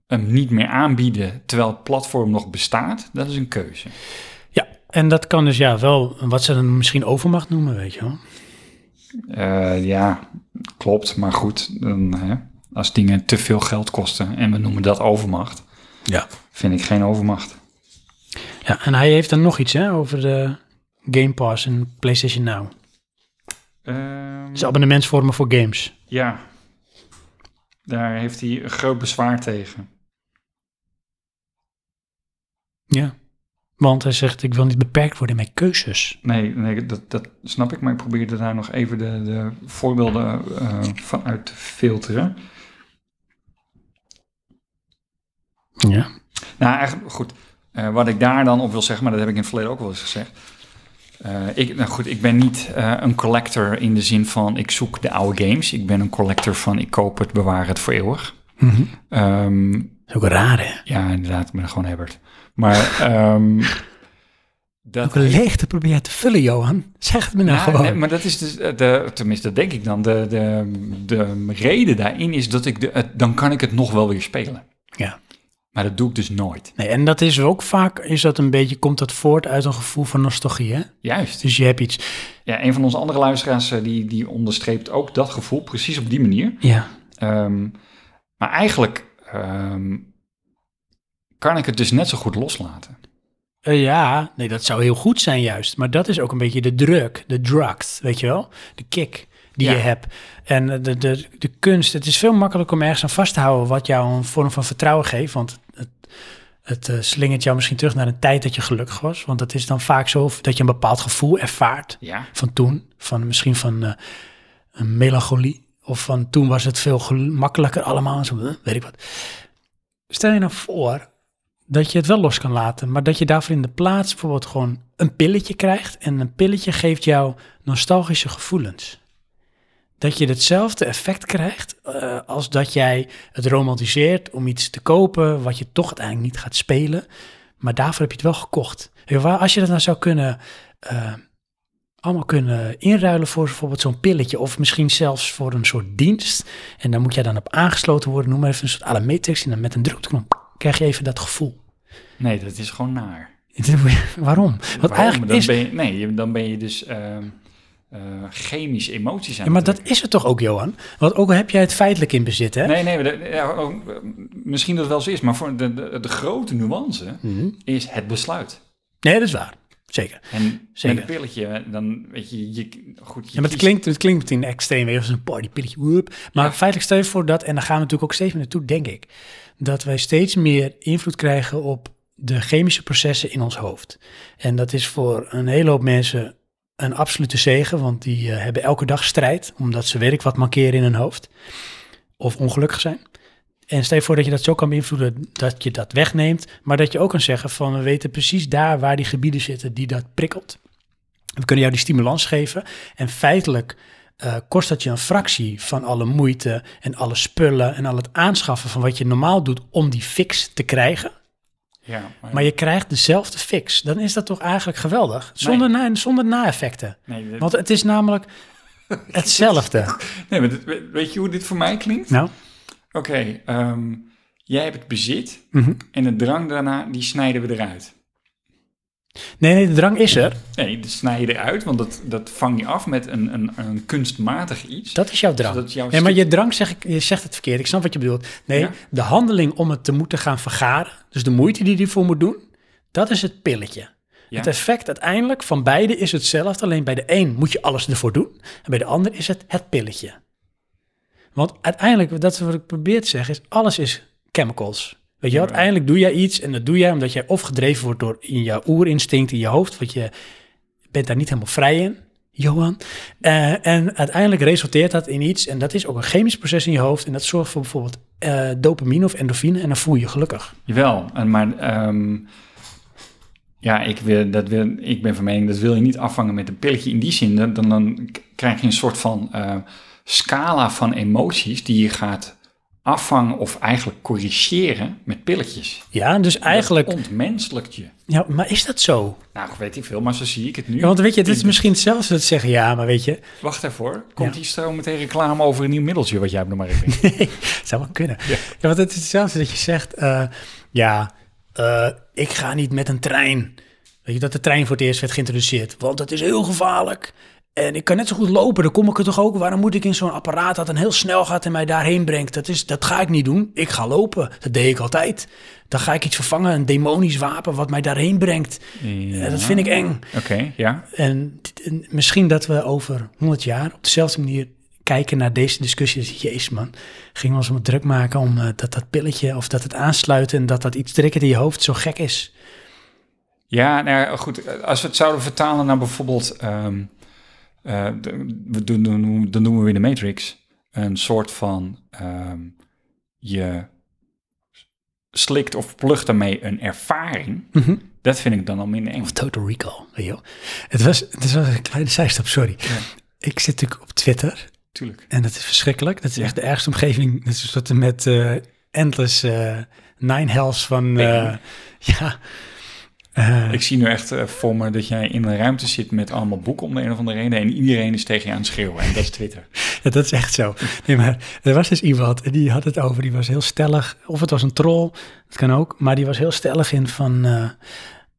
hem niet meer aanbieden terwijl het platform nog bestaat, dat is een keuze.
Ja, en dat kan dus ja wel wat ze dan misschien overmacht noemen, weet je wel.
Eh, ja, klopt. Maar goed, dan, hè, als dingen te veel geld kosten en we noemen dat overmacht,
Ja.
vind ik geen overmacht.
ja en hij heeft dan nog iets hè, over de Game Pass en PlayStation Now.
Ehm,
Dus abonnementsvormen voor games.
ja, daar heeft hij een groot bezwaar tegen.
Ja. Want hij zegt, ik wil niet beperkt worden in mijn keuzes.
Nee, nee dat, dat snap ik, maar ik probeerde daar nog even de, de voorbeelden eh, van uit te filteren.
Ja.
Nou, eigenlijk, goed. eh, wat ik daar dan op wil zeggen, maar dat heb ik in het verleden ook wel eens gezegd. Eh, ik, nou goed, ik ben niet eh, een collector in de zin van ik zoek de oude games. Ik ben een collector van ik koop het, bewaar het voor eeuwig. Ehm,
Mhm. Dat is ook raar, hè?
ja, inderdaad, ik ben gewoon Herbert. Maar ehm, dat,
Ook een leegte probeer je te vullen, Johan. Zeg het me nou
Ja,
gewoon.
nee, maar dat is dus, eh, de, tenminste, dat denk ik dan. De, de, de reden daarin is dat ik de, het- dan kan ik het nog wel weer spelen.
Ja.
Maar dat doe ik dus nooit.
Nee, en dat is ook vaak, is dat een beetje, komt dat voort uit een gevoel van nostalgie, hè?
Juist.
Dus je hebt iets.
Ja, een van onze andere luisteraars eh, die, die onderstreept ook dat gevoel, precies op die manier.
Ja.
Ehm, maar eigenlijk ehm, kan ik het dus net zo goed loslaten.
Eh, ja, nee, dat zou heel goed zijn juist. Maar dat is ook een beetje de druk, de drugs, weet je wel? De kick die
Ja.
je hebt. En eh, de, de, de kunst, het is veel makkelijker om ergens aan vast te houden... wat jou een vorm van vertrouwen geeft. Want het, het eh, slingert jou misschien terug naar een tijd dat je gelukkig was. Want dat is dan vaak zo dat je een bepaald gevoel ervaart
Ja,
van toen. Van misschien van eh, een melancholie. Of van toen was het veel gel- makkelijker allemaal. Zo, eh, weet ik wat. Stel je nou voor dat je het wel los kan laten. Maar dat je daarvoor in de plaats bijvoorbeeld gewoon een pilletje krijgt. En een pilletje geeft jou nostalgische gevoelens. Dat je hetzelfde effect krijgt eh, als dat jij het romantiseert om iets te kopen wat je toch uiteindelijk niet gaat spelen. Maar daarvoor heb je het wel gekocht. Weet je waar- Als je dat nou zou kunnen eh, allemaal kunnen inruilen voor bijvoorbeeld zo'n pilletje. Of misschien zelfs voor een soort dienst. En daar moet jij dan op aangesloten worden. Noem maar even een soort alametrix. En dan met een druk op de knop krijg je even dat gevoel.
nee, dat is gewoon naar.
Waarom? Want
Waarom?
eigenlijk
dan
is...
ben je, nee, je- dan ben je dus ehm, eh, chemisch emoties aan
Ja, maar
het
dat is het toch ook, Johan? Want ook al heb jij het feitelijk in bezit, hè?
Nee, nee, maar de- ja, oh, eh, misschien dat het wel zo is, maar voor de, de, de grote nuance
Mhm.
is het besluit.
Nee, dat is waar. Zeker.
En
Zeker.
met een pilletje, dan weet je, je goed, je
Ja, maar het
kiest-
klinkt, het klinkt meteen extreem, weer als een partypilletje. woep. Maar feitelijk stel je voor dat, en daar gaan we natuurlijk ook steeds meer naartoe, denk ik, dat wij steeds meer invloed krijgen op de chemische processen in ons hoofd. En dat is voor een hele hoop mensen een absolute zegen, want die eh, hebben elke dag strijd, omdat ze werk wat mankeren in hun hoofd. Of ongelukkig zijn. En stel je voor dat je dat zo kan beïnvloeden dat je dat wegneemt, maar dat je ook kan zeggen van we weten precies daar waar die gebieden zitten die dat prikkelt. We kunnen jou die stimulans geven. En feitelijk eh, kost dat je een fractie van alle moeite en alle spullen en al het aanschaffen van wat je normaal doet om die fix te krijgen.
Ja, maar,
Maar je krijgt dezelfde fix. Dan is dat toch eigenlijk geweldig. Zonder, na, zonder na-effecten.
nee, dat-
Want het is namelijk hetzelfde.
nee, maar dit- weet- weet je hoe dit voor mij klinkt?
Nou,
Oké, ehm, jij hebt het bezit
Mhm.
en de drang daarna, die snijden we eruit.
nee, nee, de drang is er.
Nee, dat snij je eruit, want dat, dat vang je af met een, een, een kunstmatig iets.
Dat is jouw drang.
Zodat jouw
nee, maar
stuk-
je drang, zeg ik, je zegt het verkeerd. Ik snap wat je bedoelt. Nee,
Ja.
de handeling om het te moeten gaan vergaren, dus de moeite die je ervoor moet doen, dat is het pilletje.
Ja.
Het effect uiteindelijk van beide is hetzelfde. Alleen bij de een moet je alles ervoor doen. En bij de ander is het het pilletje. Want uiteindelijk, dat is wat ik probeer te zeggen, is alles is chemicals. Weet je, wel?
Ja.
uiteindelijk doe jij iets en dat doe jij omdat jij of gedreven wordt door in jouw oerinstinct, in je hoofd, want je bent daar niet helemaal vrij in, Johan. Eh, en uiteindelijk resulteert dat in iets en dat is ook een chemisch proces in je hoofd en dat zorgt voor bijvoorbeeld eh, dopamine of endorfine en dan voel je je gelukkig.
Jawel, en maar ehm, ja, ik, wil, dat wil, ik ben van mening dat wil je niet afvangen met een pilletje. In die zin, dan, dan- dan k- krijg je een soort van eh, scala van emoties die je gaat afvangen of eigenlijk corrigeren met pilletjes.
Ja, dus eigenlijk...
Dat ontmenselijkt je.
Ja, maar is dat zo?
Nou, ik weet niet veel, maar zo zie ik het nu.
Ja, want weet je, dit is misschien zelfs dat zeggen, ja, maar weet je,
Wacht daarvoor. Komt
Ja.
hier zo meteen reclame over een nieuw middeltje wat jij op de markt brengt?
Het zou wel kunnen. Ja. want het is hetzelfde dat je zegt, eh, ja, eh, ik ga niet met een trein. Weet je, dat de trein voor het eerst werd geïntroduceerd. Want dat is heel gevaarlijk. En ik kan net zo goed lopen, dan kom ik er toch ook. Waarom moet ik in zo'n apparaat dat dan heel snel gaat en mij daarheen brengt? Dat, is, dat ga ik niet doen. Ik ga lopen. Dat deed ik altijd. Dan ga ik iets vervangen, een demonisch wapen wat mij daarheen brengt.
Ja.
Eh, Dat vind ik eng.
Oké, ja.
En, dit- en misschien dat we over 100 jaar op dezelfde manier kijken naar deze discussie. Dus, jezus man, gingen we ons maar druk maken om eh, dat dat pilletje of dat het aansluiten en dat dat iets trekken in je hoofd zo gek is.
Ja, nou ja, goed. Als we het zouden vertalen naar bijvoorbeeld. ehm, eh, de- we doen, dan noemen- dan noemen we in de Matrix een soort van. ehm, je slikt of plucht daarmee een ervaring.
Mhm.
Dat vind ik dan al minder eng.
Total Recall, weet je wel. Het was, het was een kleine zijstap, sorry. Ik zit natuurlijk op Twitter
Tuurlijk.
en dat is verschrikkelijk. Dat is echt de ergste omgeving. Dat is een soort met eh, endless eh, nine hells van... eh, ja, eh,
Ik zie nu echt eh, voor me dat jij in een ruimte zit met allemaal boeken om de een of andere reden. En iedereen is tegen je aan het schreeuwen. En dat is Twitter.
Ja, dat is echt zo. Nee, maar er was dus iemand en die had het over, die was heel stellig. Of het was een troll, dat kan ook. Maar die was heel stellig in van, eh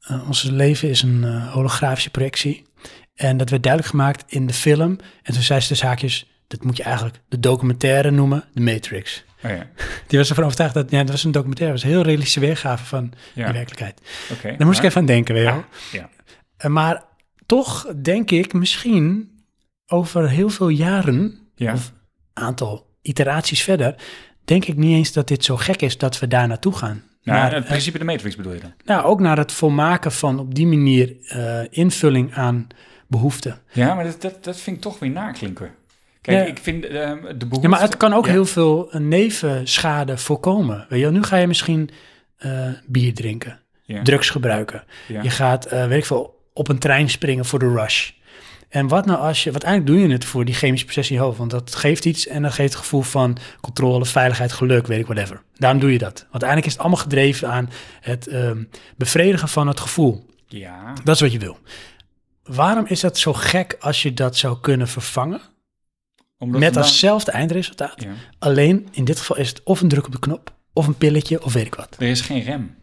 eh, ons leven is een eh, holografische projectie. En dat werd duidelijk gemaakt in de film. En toen zei ze dus haakjes, dat moet je eigenlijk de documentaire noemen, de Matrix.
Oh ja,
Die was ervan overtuigd dat, ja, dat was een documentaire. Dat was een heel realistische weergave van
Ja.
de werkelijkheid.
oké.
Daar moest ik
maar-
even aan denken, weet je wel.
Ja.
Eh, Maar toch denk ik misschien over heel veel jaren
Ja.
Of- aantal iteraties verder, denk ik niet eens dat dit zo gek is dat we daar naartoe gaan.
Nou,
Naar,
het principe de Matrix bedoel je dan?
eh, nou, ook naar het volmaken van op die manier eh, invulling aan behoeften.
Ja, maar dat, dat, dat vind ik toch weer naklinken. Kijk,
Ja.
ik vind ehm, de behoefte...
Ja, maar het kan ook
Ja.
heel veel eh, nevenschade voorkomen. Weet je, wel, nu ga je misschien eh, bier drinken,
Ja.
drugs gebruiken.
Ja.
Je gaat, eh weet ik veel, op een trein springen voor de rush. En wat nou als je, want eigenlijk doe je het voor die chemische proces in je hoofd, want dat geeft iets en dat geeft het gevoel van controle, veiligheid, geluk, weet ik whatever. Daarom doe je dat. Want uiteindelijk is het allemaal gedreven aan het ehm, bevredigen van het gevoel.
Ja,
Dat is wat je wil. Waarom is dat zo gek als je dat zou kunnen vervangen
omdat
met
we dan-
datzelfde eindresultaat?
Ja.
Alleen in dit geval is het of een druk op de knop, of een pilletje, of weet ik wat.
Er is geen rem.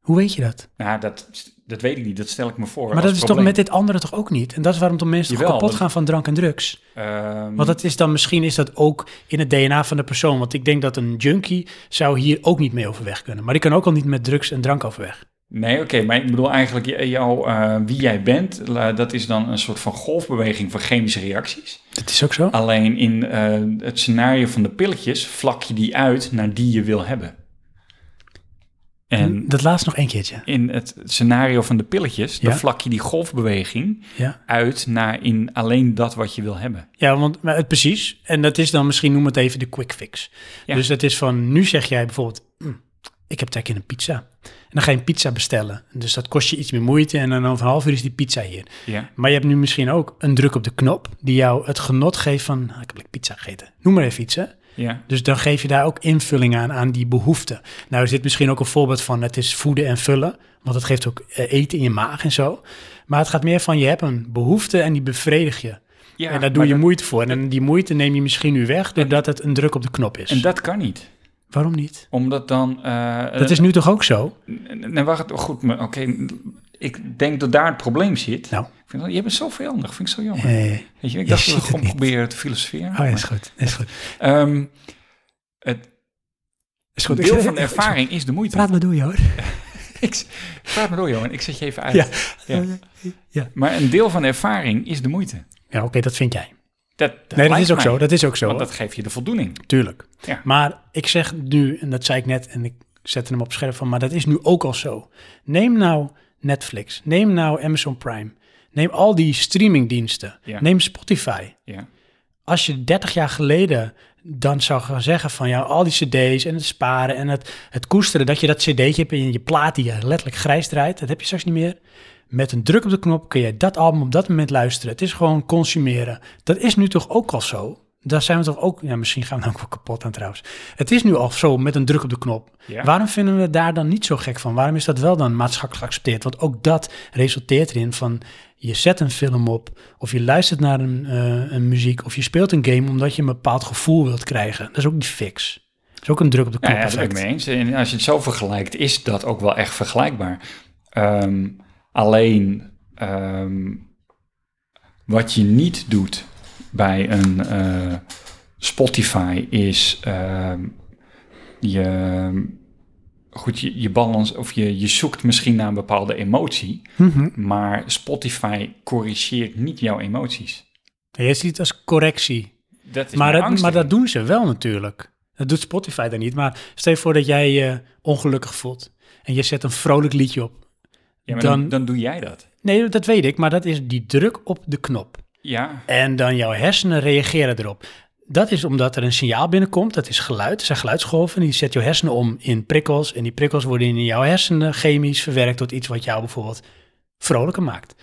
Hoe weet je dat?
Nou, dat, dat weet ik niet. Dat stel ik me voor
Maar
als
dat is toch
probleem.
met dit andere toch ook niet? En dat is waarom toch mensen toch
Jawel,
kapot
want-
gaan van drank en drugs.
Ehm,
Want dat is dan misschien is dat ook in het DNA van de persoon. Want ik denk dat een junkie zou hier ook niet mee overweg kunnen. Maar die kan ook al niet met drugs en drank overweg.
Nee, oké, maar ik bedoel eigenlijk j- jou, eh, wie jij bent, la- dat is dan een soort van golfbeweging van chemische reacties.
Dat is ook zo.
Alleen in eh, het scenario van de pilletjes vlak je die uit naar die je wil hebben. En
dat laatst nog één keertje.
in het scenario van de pilletjes, dan
Ja.
vlak je die golfbeweging
Ja,
uit naar in alleen dat wat je wil hebben.
ja want maar het, precies. En dat is dan misschien, noem het even de quick fix.
Ja.
Dus dat is van, nu zeg jij bijvoorbeeld, "Hm, ik heb trek in een pizza. En dan ga je een pizza bestellen. Dus dat kost je iets meer moeite en dan over een half uur is die pizza hier.
Ja.
Maar je hebt nu misschien ook een druk op de knop die jou het genot geeft van, "Ah, ik heb lekker pizza gegeten. Noem maar even iets, hè.
Ja.
Dus dan geef je daar ook invulling aan, aan die behoefte. Nou is dit misschien ook een voorbeeld van het is voeden en vullen. Want het geeft ook eh, eten in je maag en zo. Maar het gaat meer van je hebt een behoefte en die bevredig je.
ja
en daar doe
maar
je
dat-
moeite voor. En die moeite neem je misschien nu weg doordat het een druk op de knop is.
En dat kan niet.
Waarom niet?
Omdat dan... eh,
Dat is nu toch ook zo?
Nee, wacht. oh, Goed, maar oké. ik denk dat daar het probleem zit.
Nou.
Ik vind, dat- je bent zo vijandig. Vind ik zo jammer.
Nee.
Weet je, ik
je
dacht dat
ziet
we
het
gewoon
niet.
proberen te filosoferen.
Oh ja, is
maar,
goed. Is goed.
ehm, het
Is goed.
deel van de ervaring is de moeite.
Praat maar door, hoor.
ik, praat maar door, Johan. Ik zet je even uit.
Ja.
Ja. Maar een deel van de ervaring is de moeite.
Ja, oké, dat vind jij.
Dat, dat
Nee, dat
lijkt
is ook
mij.
zo. Dat is ook zo.
Want dat geeft je de voldoening.
Tuurlijk.
Ja.
Maar ik zeg nu, en dat zei ik net en ik zette hem op scherp van, maar dat is nu ook al zo. Neem nou Netflix, neem nou Amazon Prime, neem al die streamingdiensten,
Ja.
neem Spotify.
Ja.
Als je 30 jaar geleden dan zou gaan zeggen van ja, al die cd's en het sparen en het, het koesteren, dat je dat cd'tje hebt en je plaat die je letterlijk grijs draait, dat heb je straks niet meer. Met een druk op de knop kun je dat album op dat moment luisteren. Het is gewoon consumeren. Dat is nu toch ook al zo? Daar zijn we toch ook, ja, misschien gaan we dan ook wel kapot aan trouwens. Het is nu al zo met een druk op de knop.
Ja.
Waarom vinden we het daar dan niet zo gek van? Waarom is dat wel dan maatschappelijk geaccepteerd? Want ook dat resulteert erin van je zet een film op, of je luistert naar een, eh, een muziek, of je speelt een game omdat je een bepaald gevoel wilt krijgen. Dat is ook die fix. Dat is ook een druk op de
Ja,
knop.
ja, dat ben ik
effect.
mee eens. En als je het zo vergelijkt, is dat ook wel echt vergelijkbaar. Ehm, alleen ehm, wat je niet doet bij een eh, Spotify is ehm, je, goed, je, je balans of je, je zoekt misschien naar een bepaalde emotie,
Mhm.
maar Spotify corrigeert niet jouw emoties.
En je ziet het als correctie.
Dat is
Maar,
mijn
dat,
angst
maar
erin.
dat doen ze wel natuurlijk. Dat doet Spotify dan niet. Maar stel je voor dat jij je ongelukkig voelt. En je zet een vrolijk liedje op.
Ja, maar dan,
dan-
dan, doe jij dat.
Nee, dat weet ik. Maar dat is die druk op de knop.
Ja,
En dan jouw hersenen reageren erop. Dat is omdat er een signaal binnenkomt. Dat is geluid. Dat zijn geluidsgolven. Die zet jouw hersenen om in prikkels. En die prikkels worden in jouw hersenen chemisch verwerkt tot iets wat jou bijvoorbeeld vrolijker maakt.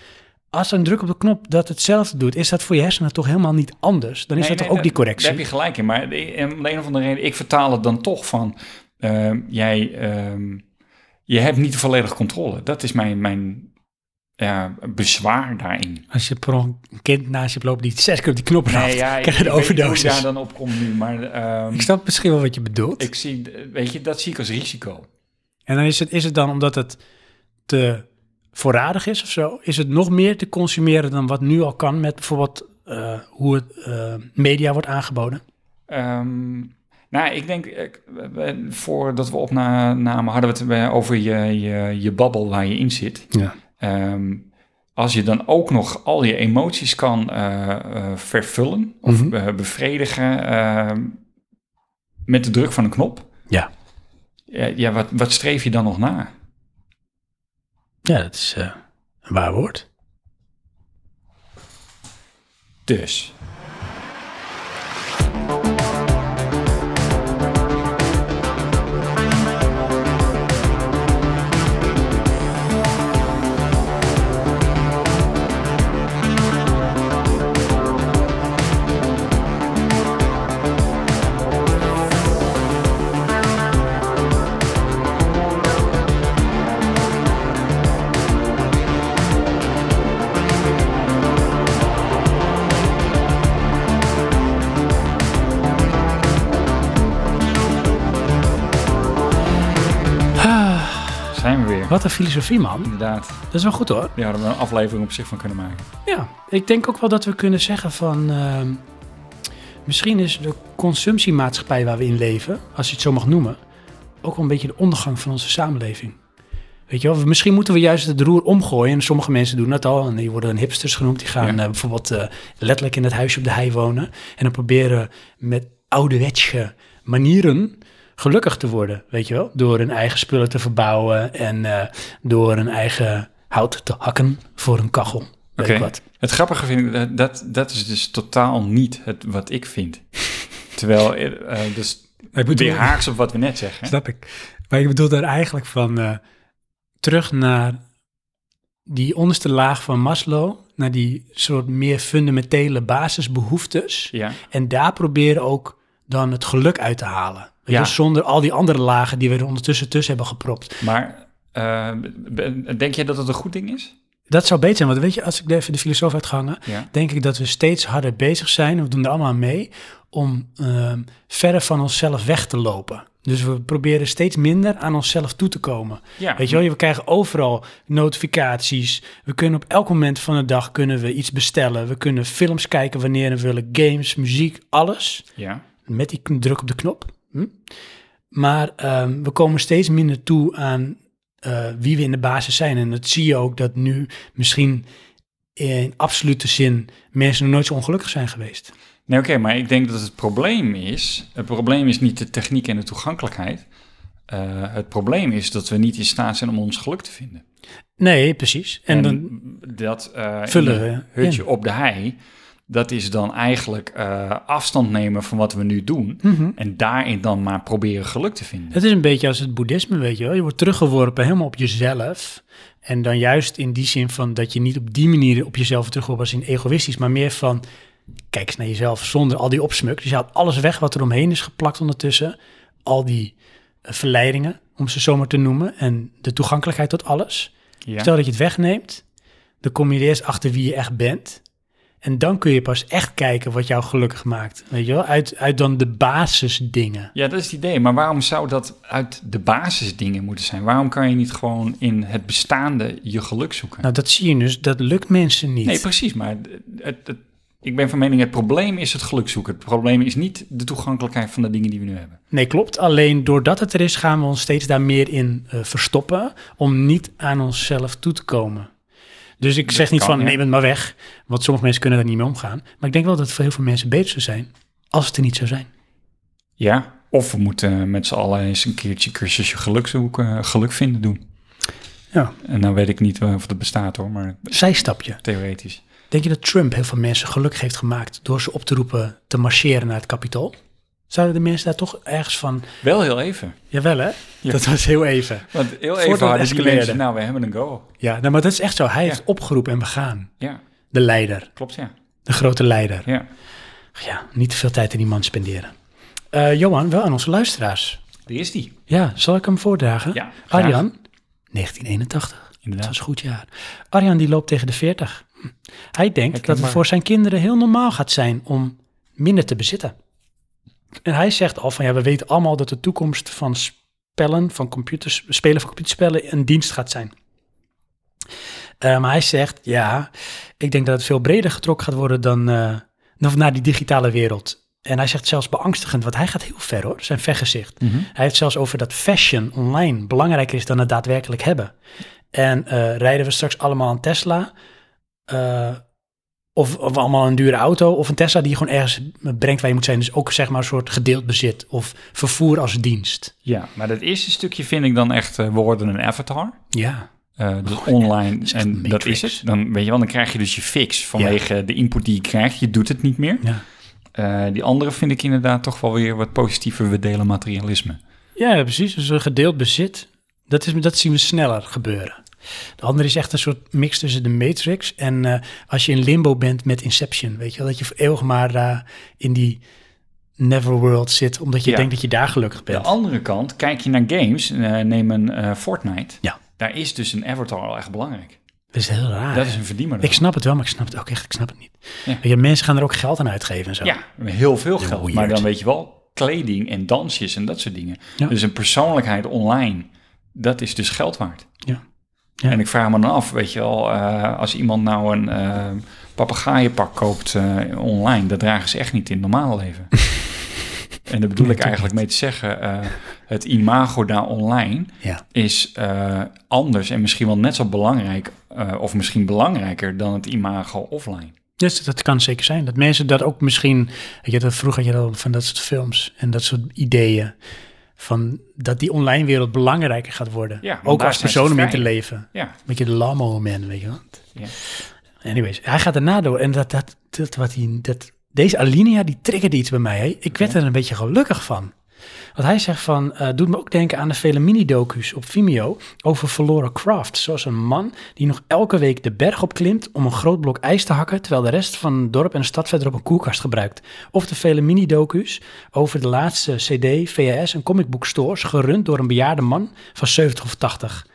Als er een druk op de knop dat hetzelfde doet, is dat voor je hersenen toch helemaal niet anders. Dan is
Nee,
dat toch
nee,
ook die correctie.
Daar heb je gelijk in. Maar de, en om de een of andere reden, ik vertaal het dan toch van... ehm, jij, ehm, je hebt niet de volledige controle. Dat is mijn, mijn ja, bezwaar daarin.
Als je per ongeluk een kind naast je hebt lopen die zes keer op die knop raakt,
ik,
Nou, krijg je de
ik weet niet hoe
overdosis.
ik daar dan op kom nu. Maar ehm,
Ik snap misschien wel wat je bedoelt.
ik zie, weet je, dat zie ik als risico.
En dan is het, is het dan omdat het te voorradig is of zo, is het nog meer te consumeren dan wat nu al kan met bijvoorbeeld eh, hoe het eh, media wordt aangeboden?
Ehm, nou, ik denk, ik, we- we- voordat we opnamen, hadden we het eh, over je, je, je babbel waar je in zit.
Ja.
Ehm, als je dan ook nog al je emoties kan eh, eh, vervullen of
Mhm.
eh, bevredigen ehm, met de druk van een knop.
Ja.
Ja, ja, wat, wat streef je dan nog na?
Ja, dat is eh, een waar woord.
Dus. Zijn we weer.
Wat een filosofie, man.
Inderdaad.
Dat is wel goed hoor.
Daar hadden we een aflevering op zich van kunnen maken.
Ja, ik denk ook wel dat we kunnen zeggen van. ehm, misschien is de consumptiemaatschappij waar we in leven, als je het zo mag noemen, ook wel een beetje de ondergang van onze samenleving. Weet je wel, misschien moeten we juist het roer omgooien. En sommige mensen doen dat al. En die worden dan hipsters genoemd. Die gaan
Ja.
eh, bijvoorbeeld eh, letterlijk in het huisje op de hei wonen. En dan proberen met ouderwetse manieren gelukkig te worden. Weet je wel, door hun eigen spullen te verbouwen. En eh, door hun eigen hout te hakken voor een kachel. Weet
Oké.
ik wat.
Het grappige vind ik, eh, dat, dat is dus totaal niet het, wat ik vind. Terwijl, eh, eh, dus
Ik
weer haaks op wat we net zeggen. hè?
Snap ik. Maar ik bedoel daar eigenlijk van eh, terug naar die onderste laag van Maslow, naar die soort meer fundamentele basisbehoeftes.
Ja.
En daar proberen ook dan het geluk uit te halen. Weet
Ja.
je, zonder al die andere lagen die we er ondertussen tussen hebben gepropt.
Maar eh, be- denk je dat het een goed ding is?
Dat zou beter zijn, want weet je, als ik even de filosoof had gehangen,
Ja.
denk ik dat we steeds harder bezig zijn, we doen er allemaal aan mee, om ehm, verder van onszelf weg te lopen. Dus we proberen steeds minder aan onszelf toe te komen.
ja.
Weet je wel, we krijgen overal notificaties. We kunnen op elk moment van de dag kunnen we iets bestellen. We kunnen films kijken wanneer we willen, games, muziek, alles.
Ja.
Met die kn- druk op de knop. Hm? Maar ehm, we komen steeds minder toe aan eh, wie we in de basis zijn. En dat zie je ook dat nu misschien in absolute zin mensen nog nooit zo ongelukkig zijn geweest.
Nee, oké, maar ik denk dat het probleem is... Het probleem is niet de techniek en de toegankelijkheid. Eh, het probleem is dat we niet in staat zijn om ons geluk te vinden.
Nee, precies. En,
En,
dan
dat eh,
vullen
in
we
een hutje op de hei, dat is dan eigenlijk eh, afstand nemen van wat we nu doen.
Mhm.
En daarin dan maar proberen geluk te vinden.
Het is een beetje als het boeddhisme, weet je wel. Je wordt teruggeworpen helemaal op jezelf. En dan juist in die zin van dat je niet op die manier op jezelf teruggeworpen als in egoïstisch, maar meer van kijk eens naar jezelf zonder al die opsmuk. Dus je haalt alles weg wat er omheen is geplakt ondertussen. Al die eh, verleidingen, om ze zo maar te noemen. En de toegankelijkheid tot alles.
Ja.
Stel dat je het wegneemt, dan kom je er eerst achter wie je echt bent. En dan kun je pas echt kijken wat jou gelukkig maakt. Weet je wel, uit, uit dan de basisdingen.
ja, dat is het idee. Maar waarom zou dat uit de basisdingen moeten zijn? Waarom kan je niet gewoon in het bestaande je geluk zoeken?
Nou, dat zie je dus, dat lukt mensen niet.
nee, precies. Maar het, het- ik ben van mening, het probleem is het geluk zoeken. Het probleem is niet de toegankelijkheid van de dingen die we nu hebben.
Nee, klopt. Alleen doordat het er is, gaan we ons steeds daar meer in eh, verstoppen om niet aan onszelf toe te komen. Dus ik zeg niet
kan,
van
ja.
neem het maar weg, want sommige mensen kunnen daar niet mee omgaan. Maar ik denk wel dat het voor heel veel mensen beter zou zijn als het er niet zou zijn.
Ja, of we moeten met z'n allen eens een keertje cursusje geluk zoeken, geluk vinden doen.
Ja,
En nou weet ik niet eh, of dat bestaat hoor, maar
zijstapje.
theoretisch.
Denk je dat Trump heel veel mensen gelukkig heeft gemaakt door ze op te roepen te marcheren naar het kapitool? Zouden de mensen daar toch ergens van,
Wel heel even.
jawel hè,
Ja.
dat was heel even.
Want heel
Voordat het
even hadden die
escaleerde.
mensen, nou we hebben een goal.
Ja, nou, maar dat is echt zo. Hij
Ja.
heeft opgeroepen en we gaan.
Ja,
De leider,
klopt ja.
de grote leider.
ja.
Ja, niet te veel tijd in die man spenderen. Eh, Johan, wel aan onze luisteraars.
Die is die.
Ja, zal ik hem voordragen?
Ja, graag.
Arjan, 1981. Dat
Inderdaad.
was een goed jaar. Arjan die loopt tegen de 40. Hm. Hij denkt dat
Herkenbaar.
het voor zijn kinderen heel normaal gaat zijn om minder te bezitten. En hij zegt al van ja, we weten allemaal dat de toekomst van spellen, van computers, spelen van computerspellen een dienst gaat zijn. Eh, maar hij zegt ja, ik denk dat het veel breder getrokken gaat worden dan eh, dan naar die digitale wereld. En hij zegt zelfs beangstigend, want hij gaat heel ver hoor, zijn vergezicht.
Mhm.
Hij heeft zelfs over dat fashion online belangrijker is dan het daadwerkelijk hebben. En eh, rijden we straks allemaal een Tesla, eh, of, of allemaal een dure auto, of een Tesla die je gewoon ergens brengt waar je moet zijn. Dus ook zeg maar een soort gedeeld bezit of vervoer als dienst.
Ja, maar dat eerste stukje vind ik dan echt, eh, we worden een avatar.
Ja.
Eh, dus online
is echt
en
een
dat is
matrix.
het. Dan weet je wel, dan krijg je dus je fix vanwege de input die je krijgt. Je doet het niet meer.
Ja.
Eh, die andere vind ik inderdaad toch wel weer wat positiever. We delen materialisme.
Ja, precies. Dus een gedeeld bezit, dat, is, dat zien we sneller gebeuren. De andere is echt een soort mix tussen de Matrix en eh, als je in limbo bent met Inception. Weet je wel, dat je voor eeuwig maar eh, in die Neverworld zit, omdat je
Ja.
denkt dat je daar gelukkig
De
bent.
andere kant, kijk je naar games, eh, neem een eh, Fortnite.
Ja.
Daar is dus een avatar al echt belangrijk.
Dat is heel raar.
Dat is een verdiener.
Ah, Ik snap het wel, maar ik snap het ook echt, ik snap het niet.
Ja.
Weet je, mensen gaan er ook geld aan uitgeven en zo.
Ja, heel veel geld. Maar
weird.
dan weet je wel, kleding en dansjes en dat soort dingen.
Ja.
Dus een persoonlijkheid online, dat is dus geld waard.
Ja. Ja.
En ik vraag me dan af, weet je wel, eh, als iemand nou een eh papegaaienpak koopt eh, online, dat dragen ze echt niet in het normale leven. en daar bedoel ik eigenlijk mee te zeggen, eh, het imago daar online
Ja.
is eh, anders en misschien wel net zo belangrijk, eh, of misschien belangrijker dan het imago offline.
Dus dat kan zeker zijn. Dat mensen dat ook misschien. Weet je, dat vroeger had je dat van dat soort films en dat soort ideeën. Van dat die online wereld belangrijker gaat worden.
Ja, want
ook
daar
als
zijn ze
persoon om in te
vrij.
leven.
Ja,
Een beetje de lamo man, weet je wel.
Ja.
Anyways, hij gaat erna door. En dat, dat, dat, wat hij, dat, deze Alinea, die triggerde iets bij mij. Hè? Ik werd er een beetje gelukkig van. Want hij zegt van, eh, doet me ook denken aan de vele mini-docu's op Vimeo over verloren craft. Zoals een man die nog elke week de berg opklimt om een groot blok ijs te hakken, terwijl de rest van het dorp en de stad verder op een koelkast gebruikt. Of de vele mini-docu's over de laatste CD, VHS en comic book stores, gerund door een bejaarde man van 70 of 80.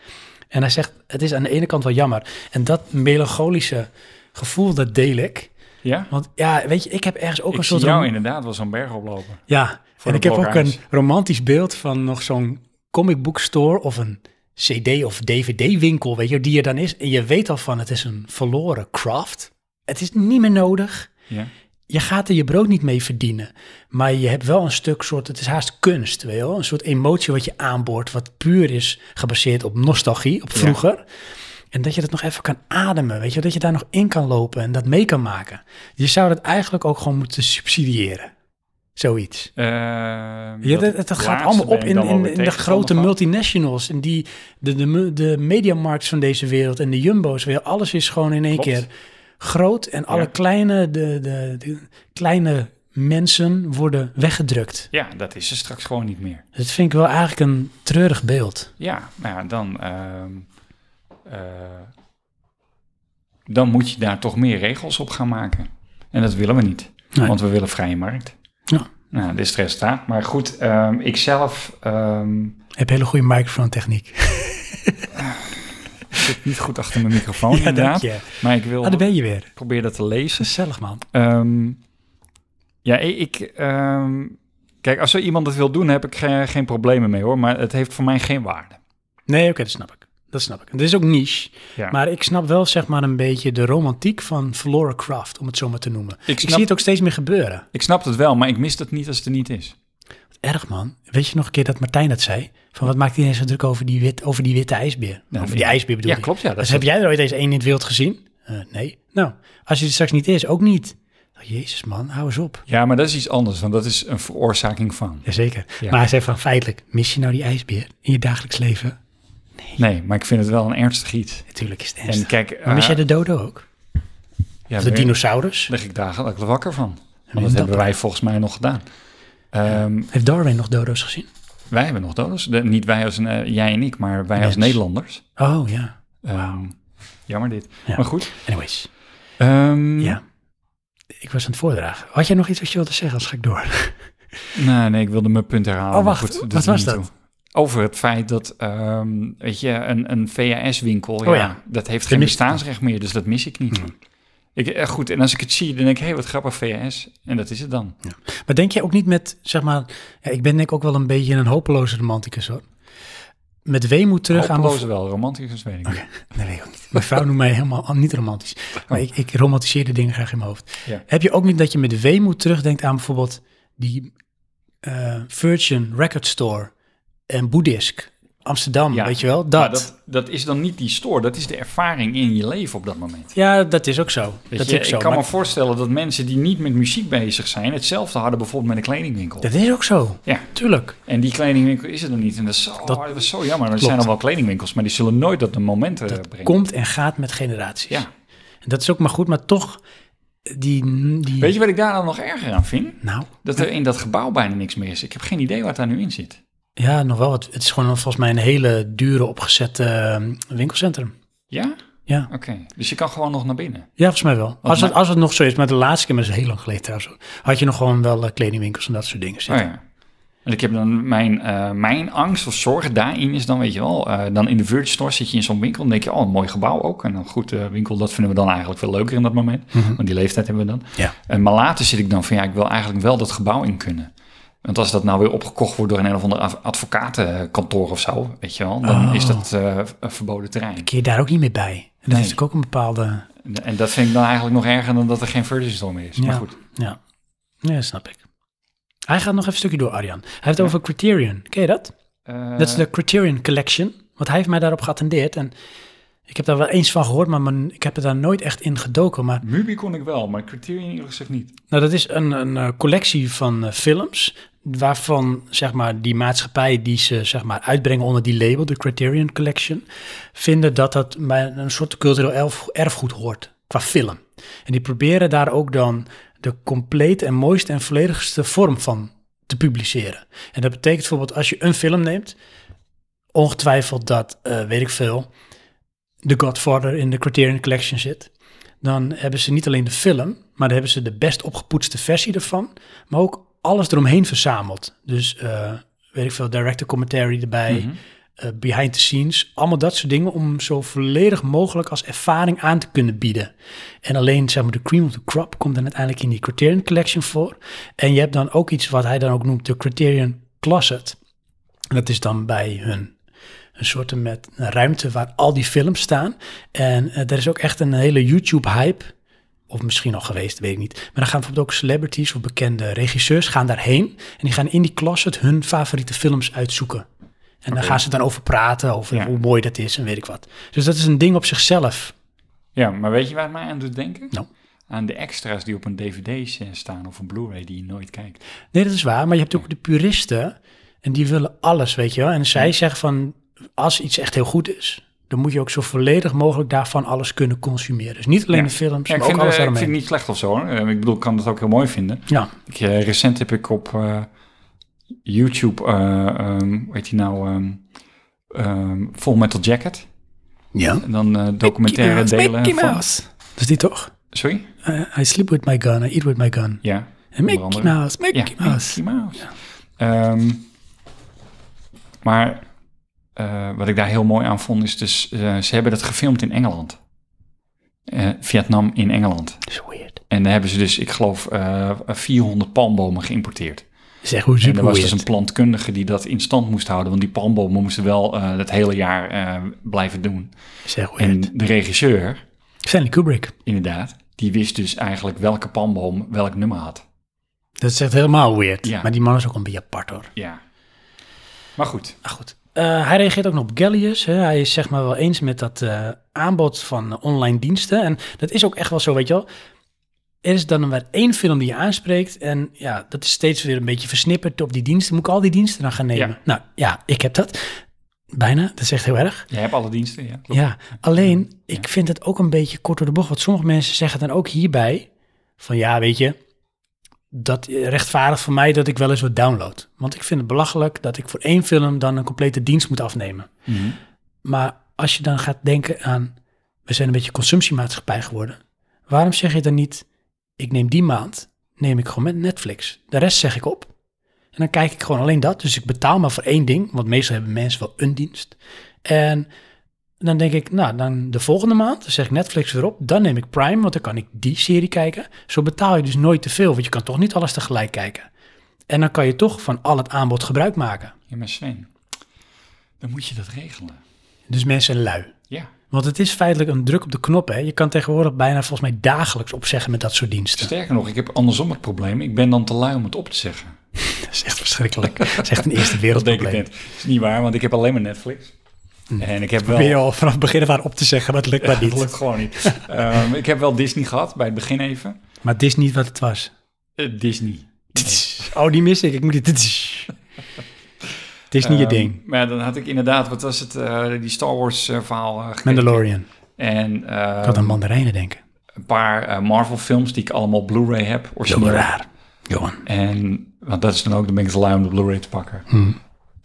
En hij zegt, het is aan de ene kant wel jammer. En dat melancholische gevoel, dat deel ik.
ja.
Want ja, weet je, ik heb ergens ook
Ik
een
zie
soort...
jou
rom-
inderdaad wel zo'n berg oplopen.
ja, en
voor een
ik heb
blok
ook
ijs.
een romantisch beeld van nog zo'n comic book store of een cd of dvd winkel, weet je, die er dan is. En je weet al van, het is een verloren craft. Het is niet meer nodig.
Ja.
je gaat er je brood niet mee verdienen. Maar je hebt wel een stuk soort, het is haast kunst, weet je wel? Een soort emotie wat je aanboort, wat puur is gebaseerd op nostalgie, op vroeger. En dat je dat nog even kan ademen, weet je wel? Dat je daar nog in kan lopen en dat mee kan maken. Je zou dat eigenlijk ook gewoon moeten subsidiëren. Zoiets.
Ehm,
Ja, dat, dat gaat allemaal op in, in, in de grote multinationals. En die, de, de, mu- de mediamarkts van deze wereld en de jumbo's. Weer, alles is gewoon in één
Klopt.
keer groot. En alle
Ja.
kleine, de, de, de kleine mensen worden weggedrukt.
Ja, dat is er straks gewoon niet meer.
Dat vind ik wel eigenlijk een treurig beeld.
Ja, nou ja, dan, ehm, eh, dan moet je daar toch meer regels op gaan maken. En dat willen we niet,
Nee.
want we willen vrije markt.
Ja.
Nou, dit is het resultaat. Maar goed, ehm, ik zelf ehm,
Je hebt hele goede microfoon techniek.
zit niet goed achter mijn microfoon, inderdaad.
je.
Maar ik wil
Ah, daar ben je weer.
proberen dat te lezen.
Gezellig, man.
Ehm, ja, i- ik. ehm, kijk, als zo iemand dat wil doen, heb ik ge- geen problemen mee hoor. Maar het heeft voor mij geen waarde.
Nee, oké, dat snap ik. Dat snap ik. En dit is ook niche.
Ja.
Maar ik snap wel zeg maar een beetje de romantiek van Flora Craft, om het zo maar te noemen.
Ik
Ik
snap,
zie het ook steeds meer gebeuren.
ik snap het wel, maar ik mis dat niet als het er niet is.
Erg man. Weet je nog een keer dat Martijn dat zei? Van wat maakt iedereen zo druk over die, wit, over die witte ijsbeer?
Nou,
over die ijsbeer bedoel
Ja,
ik.
klopt. Ja, dat
Dus
is
heb jij er ooit eens één in het wild gezien? Eh, nee. Nou, als hij er straks niet is, ook niet. Oh, Jezus man, hou eens op.
Ja, maar dat is iets anders, want dat is een veroorzaking van.
Jazeker.
Ja.
Maar hij zei van feitelijk, mis je nou die ijsbeer in je dagelijks leven?
Nee, maar ik vind het wel een ernstig iets.
Natuurlijk is het
En
ernstig.
kijk,
maar mis
eh,
jij de dodo ook?
ja,
Of de
daar
dinosaurus?
lig ik dagelijks wakker van. Want
dat
dat hebben
dan?
wij volgens mij nog gedaan. Ehm,
Heeft Darwin nog dodo's gezien?
wij hebben nog dodos. De- niet wij als een, eh, jij en ik, maar wij als
Mens.
Nederlanders.
Oh ja.
Ehm, jammer dit.
Ja.
Maar goed.
Anyways,
Ehm,
ja. Ik was aan het voordragen. Had jij nog iets wat je wilde zeggen? Als ga ik door.
Nee, nee, ik wilde mijn punt herhalen.
Oh,
maar
wacht.
doet
Wat
er
was
niet
dat?
toe. Over het feit dat, ehm, weet je, een, een VHS-winkel, ja,
Oh ja.
dat heeft
Je
geen
mist- Hmm.
bestaansrecht meer, dus dat mis ik niet. Ik, eh, goed, en als ik het zie, dan denk ik, hé, hey, wat grappig, VHS. En dat is het dan.
Maar denk jij ook niet met, zeg maar, ja, ik ben denk ik ook wel een beetje een hopeloze romanticus hoor. Met weemoed terug aan
Hopeloze wel, romantisch is, weet ik niet.
mijn... Nee, weet ik ook niet. Mijn vrouw noemt mij helemaal an- niet romantisch. Maar ik, ik romantiseer de dingen graag in mijn hoofd.
Ja.
Heb je ook niet dat je met weemoed terugdenkt aan bijvoorbeeld die eh, Virgin Record Store en Boeddhisk, Amsterdam,
Ja.
weet je wel?
Maar
Dat.
dat, dat is dan niet die store, dat is de ervaring in je leven op dat moment.
Ja, dat is ook zo.
Weet
dat
je,
is ook zo.
ik kan
Maar
me voorstellen dat mensen die niet met muziek bezig zijn, hetzelfde hadden bijvoorbeeld met een kledingwinkel.
Dat is ook zo.
Ja.
Tuurlijk.
En die kledingwinkel is er dan niet. En dat is zo,
Dat-
dat, is zo jammer. Er zijn dan wel kledingwinkels, maar die zullen nooit dat de momenten
Dat
brengen.
komt en gaat met generaties.
Ja.
En dat is ook maar goed, maar toch die... die
Weet je wat ik daar dan nog erger aan vind?
Nou,
Dat er in dat gebouw bijna niks meer is. Ik heb geen idee wat daar nu in zit.
Ja, nog wel. wat. Het is gewoon volgens mij een hele dure opgezette ehm, winkelcentrum.
Ja?
Ja.
Oké. Dus je kan gewoon nog naar binnen.
ja, volgens mij wel. Als het,
maar-
als het nog zo is, maar de laatste keer, maar dat is heel lang geleden trouwens, hoor, had je nog gewoon wel eh, kledingwinkels en dat soort dingen
Oh
zitten.
ja. En ik heb dan mijn, eh, mijn angst of zorg daarin is dan, weet je wel, eh, dan in de Virgin Store zit je in zo'n winkel en denk je, oh, een mooi gebouw ook. En dan goed, eh, winkel, dat vinden we dan eigenlijk veel leuker in dat moment,
Mhm.
want die leeftijd hebben we dan.
Ja.
En Eh, maar later zit ik dan van, ja, ik wil eigenlijk wel dat gebouw in kunnen. Want als dat nou weer opgekocht wordt door een een of ander adv- advocatenkantoor of zo, weet je wel, dan
Oh.
is dat eh, een verboden terrein.
Keer je daar ook niet meer bij. En dat
Nee.
is natuurlijk ook een bepaalde...
En- En dat vind ik dan eigenlijk nog erger dan dat er geen Virgin Store meer is.
Ja.
Maar goed,
Ja. ja, snap ik. Hij gaat nog even een stukje door, Arjan. Hij heeft het over Criterion. Ken je dat?
eh,
Dat is de Criterion Collection. Want hij heeft mij daarop geattendeerd. En ik heb daar wel eens van gehoord, maar mijn- ik heb het daar nooit echt in gedoken. Maar
Mubi kon ik wel, maar Criterion eerlijk gezegd niet.
Nou, dat is een, een eh, collectie van eh, films. Waarvan zeg maar, die maatschappij die ze zeg maar, uitbrengen onder die label, de Criterion Collection, vinden dat dat bij een soort cultureel erf- erfgoed hoort qua film. En die proberen daar ook dan de complete en mooiste en volledigste vorm van te publiceren. En dat betekent bijvoorbeeld als je een film neemt, ongetwijfeld dat, eh, weet ik veel, The Godfather in de Criterion Collection zit dan hebben ze niet alleen de film, maar dan hebben ze de best opgepoetste versie ervan, maar ook alles eromheen verzameld. Dus eh, weet ik veel, director commentary erbij, eh, behind the scenes, allemaal dat soort dingen om zo volledig mogelijk als ervaring aan te kunnen bieden. En alleen zeg maar de cream of the crop komt dan uiteindelijk in die Criterion Collection voor. En je hebt dan ook iets wat hij dan ook noemt de Criterion Closet. En dat is dan bij hun een soort met een ruimte waar al die films staan. En eh, er is ook echt een hele YouTube-hype Of misschien al geweest, weet ik niet. Maar dan gaan bijvoorbeeld ook celebrities of bekende regisseurs gaan daarheen. En die gaan in die closet hun favoriete films uitzoeken. En daar
Oké.
gaan ze dan over praten, over
Ja.
hoe mooi dat is en weet ik wat. Dus dat is een ding op zichzelf.
Ja, maar weet je waar het mij aan doet denken?
Nou.
Aan de extra's die op een dvd staan of een blu-ray die je nooit kijkt.
Nee, dat is waar. Maar je hebt ook de puristen. En die willen alles, weet je wel. En zij zeggen van, als iets echt heel goed is... dan moet je ook zo volledig mogelijk daarvan alles kunnen consumeren. Dus niet alleen
Ja.
de films,
Ja,
maar
ik,
ook
vind, eh,
alles
ik vind
daaromheen.
het niet slecht of zo. hoor. Eh, Ik bedoel, ik kan dat ook heel mooi vinden.
Ja,
Ik, eh, recent heb ik op eh, YouTube, eh ehm hoe heet die nou, ehm ehm, Full Metal Jacket.
Ja.
En dan eh, documentaire delen van...
Dat is die toch?
Sorry?
I sleep with my gun, I eat with my gun.
Ja.
En
onder
Mickey
andere.
Mouse, Mickey
ja,
Mouse.
Mickey Mouse. Ehm, maar eh, wat ik daar heel mooi aan vond is dus, eh, ze hebben dat gefilmd in Engeland. Eh, Vietnam in Engeland.
Dat is weird.
En daar hebben ze dus, ik geloof, eh 400 palmbomen geïmporteerd.
Dat is echt hoe
En er
super
was
weird.
dus een plantkundige die dat in stand moest houden, want die palmbomen moesten wel eh, het hele jaar eh, blijven doen.
Dat is echt
En
weird.
de regisseur,
Stanley Kubrick.
inderdaad, die wist dus eigenlijk welke palmboom welk nummer had.
Dat is echt helemaal weird.
Ja.
Maar die man is ook een beetje apart hoor.
Ja. Maar goed,
Maar goed. Eh, hij reageert ook nog op Gallius. Hè. Hij is zeg maar wel eens met dat eh, aanbod van eh, online diensten. En dat is ook echt wel zo, weet je wel. Er is dan maar één film die je aanspreekt. En ja, dat is steeds weer een beetje versnipperd op die diensten. Moet ik al die diensten dan gaan nemen?
Ja.
Nou ja, ik heb dat. Bijna. Dat is echt heel erg.
jij hebt alle diensten, ja. klopt.
Ja, alleen ik vind het ook een beetje kort door de bocht. Want sommige mensen zeggen dan ook hierbij: van ja, weet je, dat rechtvaardigt voor mij dat ik wel eens wat download. Want ik vind het belachelijk dat ik voor één film dan een complete dienst moet afnemen.
Mhm.
Maar als je dan gaat denken aan: we zijn een beetje consumptiemaatschappij geworden. Waarom zeg je dan niet: ik neem die maand, neem ik gewoon met Netflix. De rest zeg ik op. En dan kijk ik gewoon alleen dat. Dus ik betaal maar voor één ding, want meestal hebben mensen wel een dienst. En dan denk ik, nou, dan de volgende maand dan zeg ik Netflix weer op. Dan neem ik Prime, want dan kan ik die serie kijken. Zo betaal je dus nooit te veel, want je kan toch niet alles tegelijk kijken. En dan kan je toch van al het aanbod gebruik maken.
Ja, maar Sven, dan moet je dat regelen.
Dus mensen zijn lui.
Ja,
Want het is feitelijk een druk op de knop. Hè? Je kan tegenwoordig bijna volgens mij dagelijks opzeggen met dat soort diensten.
sterker nog, ik heb andersom het probleem. Ik ben dan te lui om het op te zeggen.
Dat is echt verschrikkelijk. Dat is echt een eerste
Dat denk ik
wereldprobleem.
net. is niet waar, want ik heb alleen maar Netflix. En ik heb
Mm.
wel...
Probeer je al vanaf het begin af aan op te zeggen, maar het lukt maar
Dat
niet.
lukt gewoon niet. Ehm, ik heb wel Disney gehad, bij het begin even.
Maar het is niet wat het was.
Eh, Disney.
Oh, die mis ik. Ik moet dit. Het is niet je
Ehm,
ding.
Maar dan had ik inderdaad, wat was het, eh, die Star Wars eh, verhaal eh, gekeken.
Mandalorian.
En eh,
Ik had aan mandarijnen denken.
een paar eh, Marvel films die ik allemaal Blu-ray heb.
Zo
Origineel.
raar. Johan.
En, want dat is dan ook, dan ben ik te lui om de Blu-ray te pakken.
Hmm.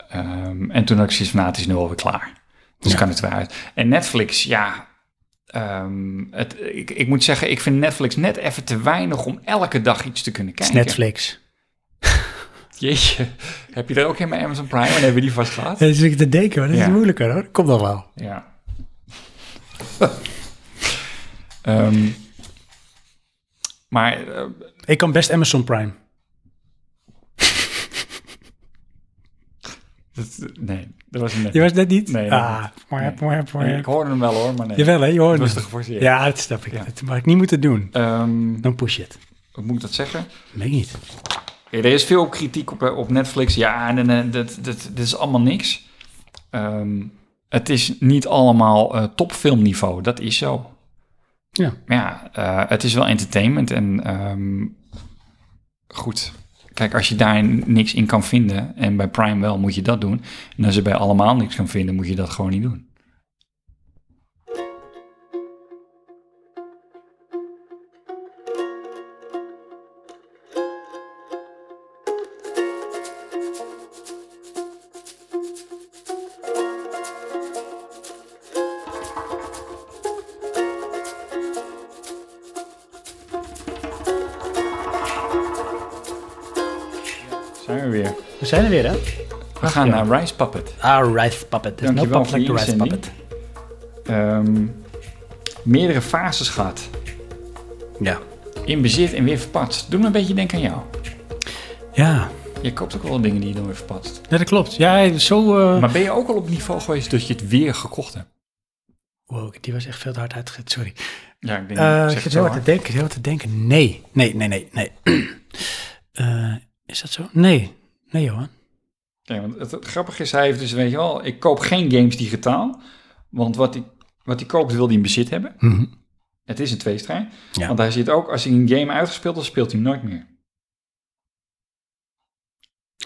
Ehm, en toen had ik zoiets van, nou, het is nu alweer klaar. Dus
Ja.
kan het weer uit. En Netflix, ja... ehm, het, ik, ik moet zeggen, ik vind Netflix net even te weinig om elke dag iets te kunnen
Het is
kijken.
Netflix.
Jeetje, heb je er ook helemaal Amazon Prime? En hebben we die vast gehad?
Dat is ik te denken, maar dat is
Ja.
moeilijker hoor. Komt dan wel.
Ja. Ehm, maar eh,
Ik kan best Amazon Prime.
dat, nee, dat was hem net.
Je was net niet?
Nee,
Ah,
nee.
mwah, mwah, mwah.
Nee, Ik hoorde hem wel hoor, maar nee.
Jawel hè, je
Het
hoort
was te
me.
geforceerd.
Ja, dat snap ik.
Ja.
Dat mag ik niet moeten doen.
Ehm,
Dan push je het.
hoe moet ik dat zeggen?
Weet ik niet.
Ja, er is veel kritiek op, eh, op Netflix. Ja, en, en, eh, dat, dat, dat is allemaal niks. Ehm, het is niet allemaal eh, topfilmniveau. Dat is zo.
Ja.
Maar ja, eh, het is wel entertainment. En ehm, goed. Kijk, als je daar niks in kan vinden. En bij Prime wel, moet je dat doen. En als je bij allemaal niks kan vinden, moet je dat gewoon niet doen. Zijn we weer.
We zijn er weer hè?
We gaan
ja.
naar Rice Puppet.
Ah, Rice Puppet. There's no
Dankjewel
puppet
voor
like
je
the Rice
inzending.
Puppet.
Ehm, meerdere fases gehad.
Ja.
In bezit en weer verpatst. Doe me een beetje denken aan jou.
Ja,
Je koopt ook wel dingen die je dan weer verpatst.
dat klopt. Ja, zo... eh,
Maar ben je ook al op niveau geweest dat je het weer gekocht hebt?
Wow, die was echt veel te hard uitgezet, sorry.
Ja, ik denk,
Eh,
ik
ik
zeg
zit
het
heel
zo
hard te
hard.
denken, heel hard te denken. Nee, nee, nee, nee, nee. Eh, is dat zo? Nee, nee Johan.
Ja, want het, het grappige is, hij heeft dus, weet je wel, ik koop geen games digitaal, want wat hij, wat hij koopt wil hij in bezit hebben. Het is een tweestrijd,
Ja.
want hij zit ook, als hij een game uitgespeeld heeft, speelt hij hem nooit meer.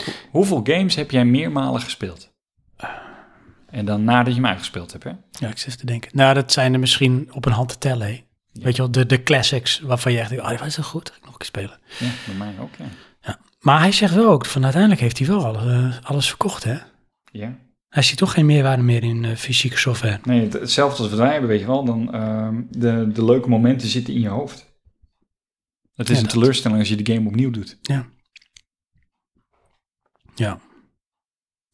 Hoe- Hoeveel games heb jij meermalen gespeeld?
Ah.
En dan nadat je hem uitgespeeld hebt, hè?
Ja, ik zit te denken. Nou, dat zijn er misschien op een hand te tellen, hè. Weet je wel, de, de classics waarvan je echt denkt, oh, dat was zo goed, ga ik nog een keer spelen.
Ja, bij mij ook, ja.
Maar hij zegt wel ook, van uiteindelijk heeft hij wel alles, eh, alles verkocht, hè.
ja.
Hij ziet toch geen meerwaarde meer in eh, fysieke software.
Nee, het- hetzelfde als wat wij hebben, weet je wel. Dan, ehm, de, de leuke momenten zitten in je hoofd. Het is
Ja,
een
dat-
teleurstelling als je de game opnieuw doet.
Ja,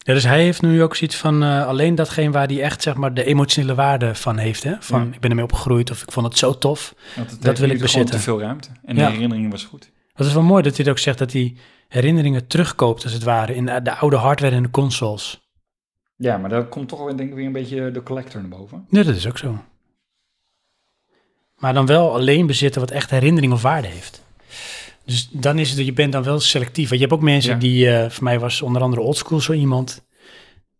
dus hij heeft nu ook zoiets van eh, alleen datgene waar hij echt zeg maar, de emotionele waarde van heeft. Hè? Van
Ja.
ik ben ermee opgegroeid of ik vond het zo tof.
Want het
wil ik
heeft nu gewoon
bezitten.
te veel ruimte. En
Ja.
de herinnering was goed.
Dat is wel mooi dat hij het ook zegt dat hij herinneringen terugkoopt als het ware in de, de oude hardware en de consoles.
Ja, maar daar komt toch wel denk ik weer een beetje de collector naar boven.
Nee, dat is ook zo. Maar dan wel alleen bezitten wat echt herinnering of waarde heeft. Dus dan is het dat je bent dan wel selectief. Want je hebt ook mensen
Ja.
die, eh, voor mij was onder andere oldschool zo iemand,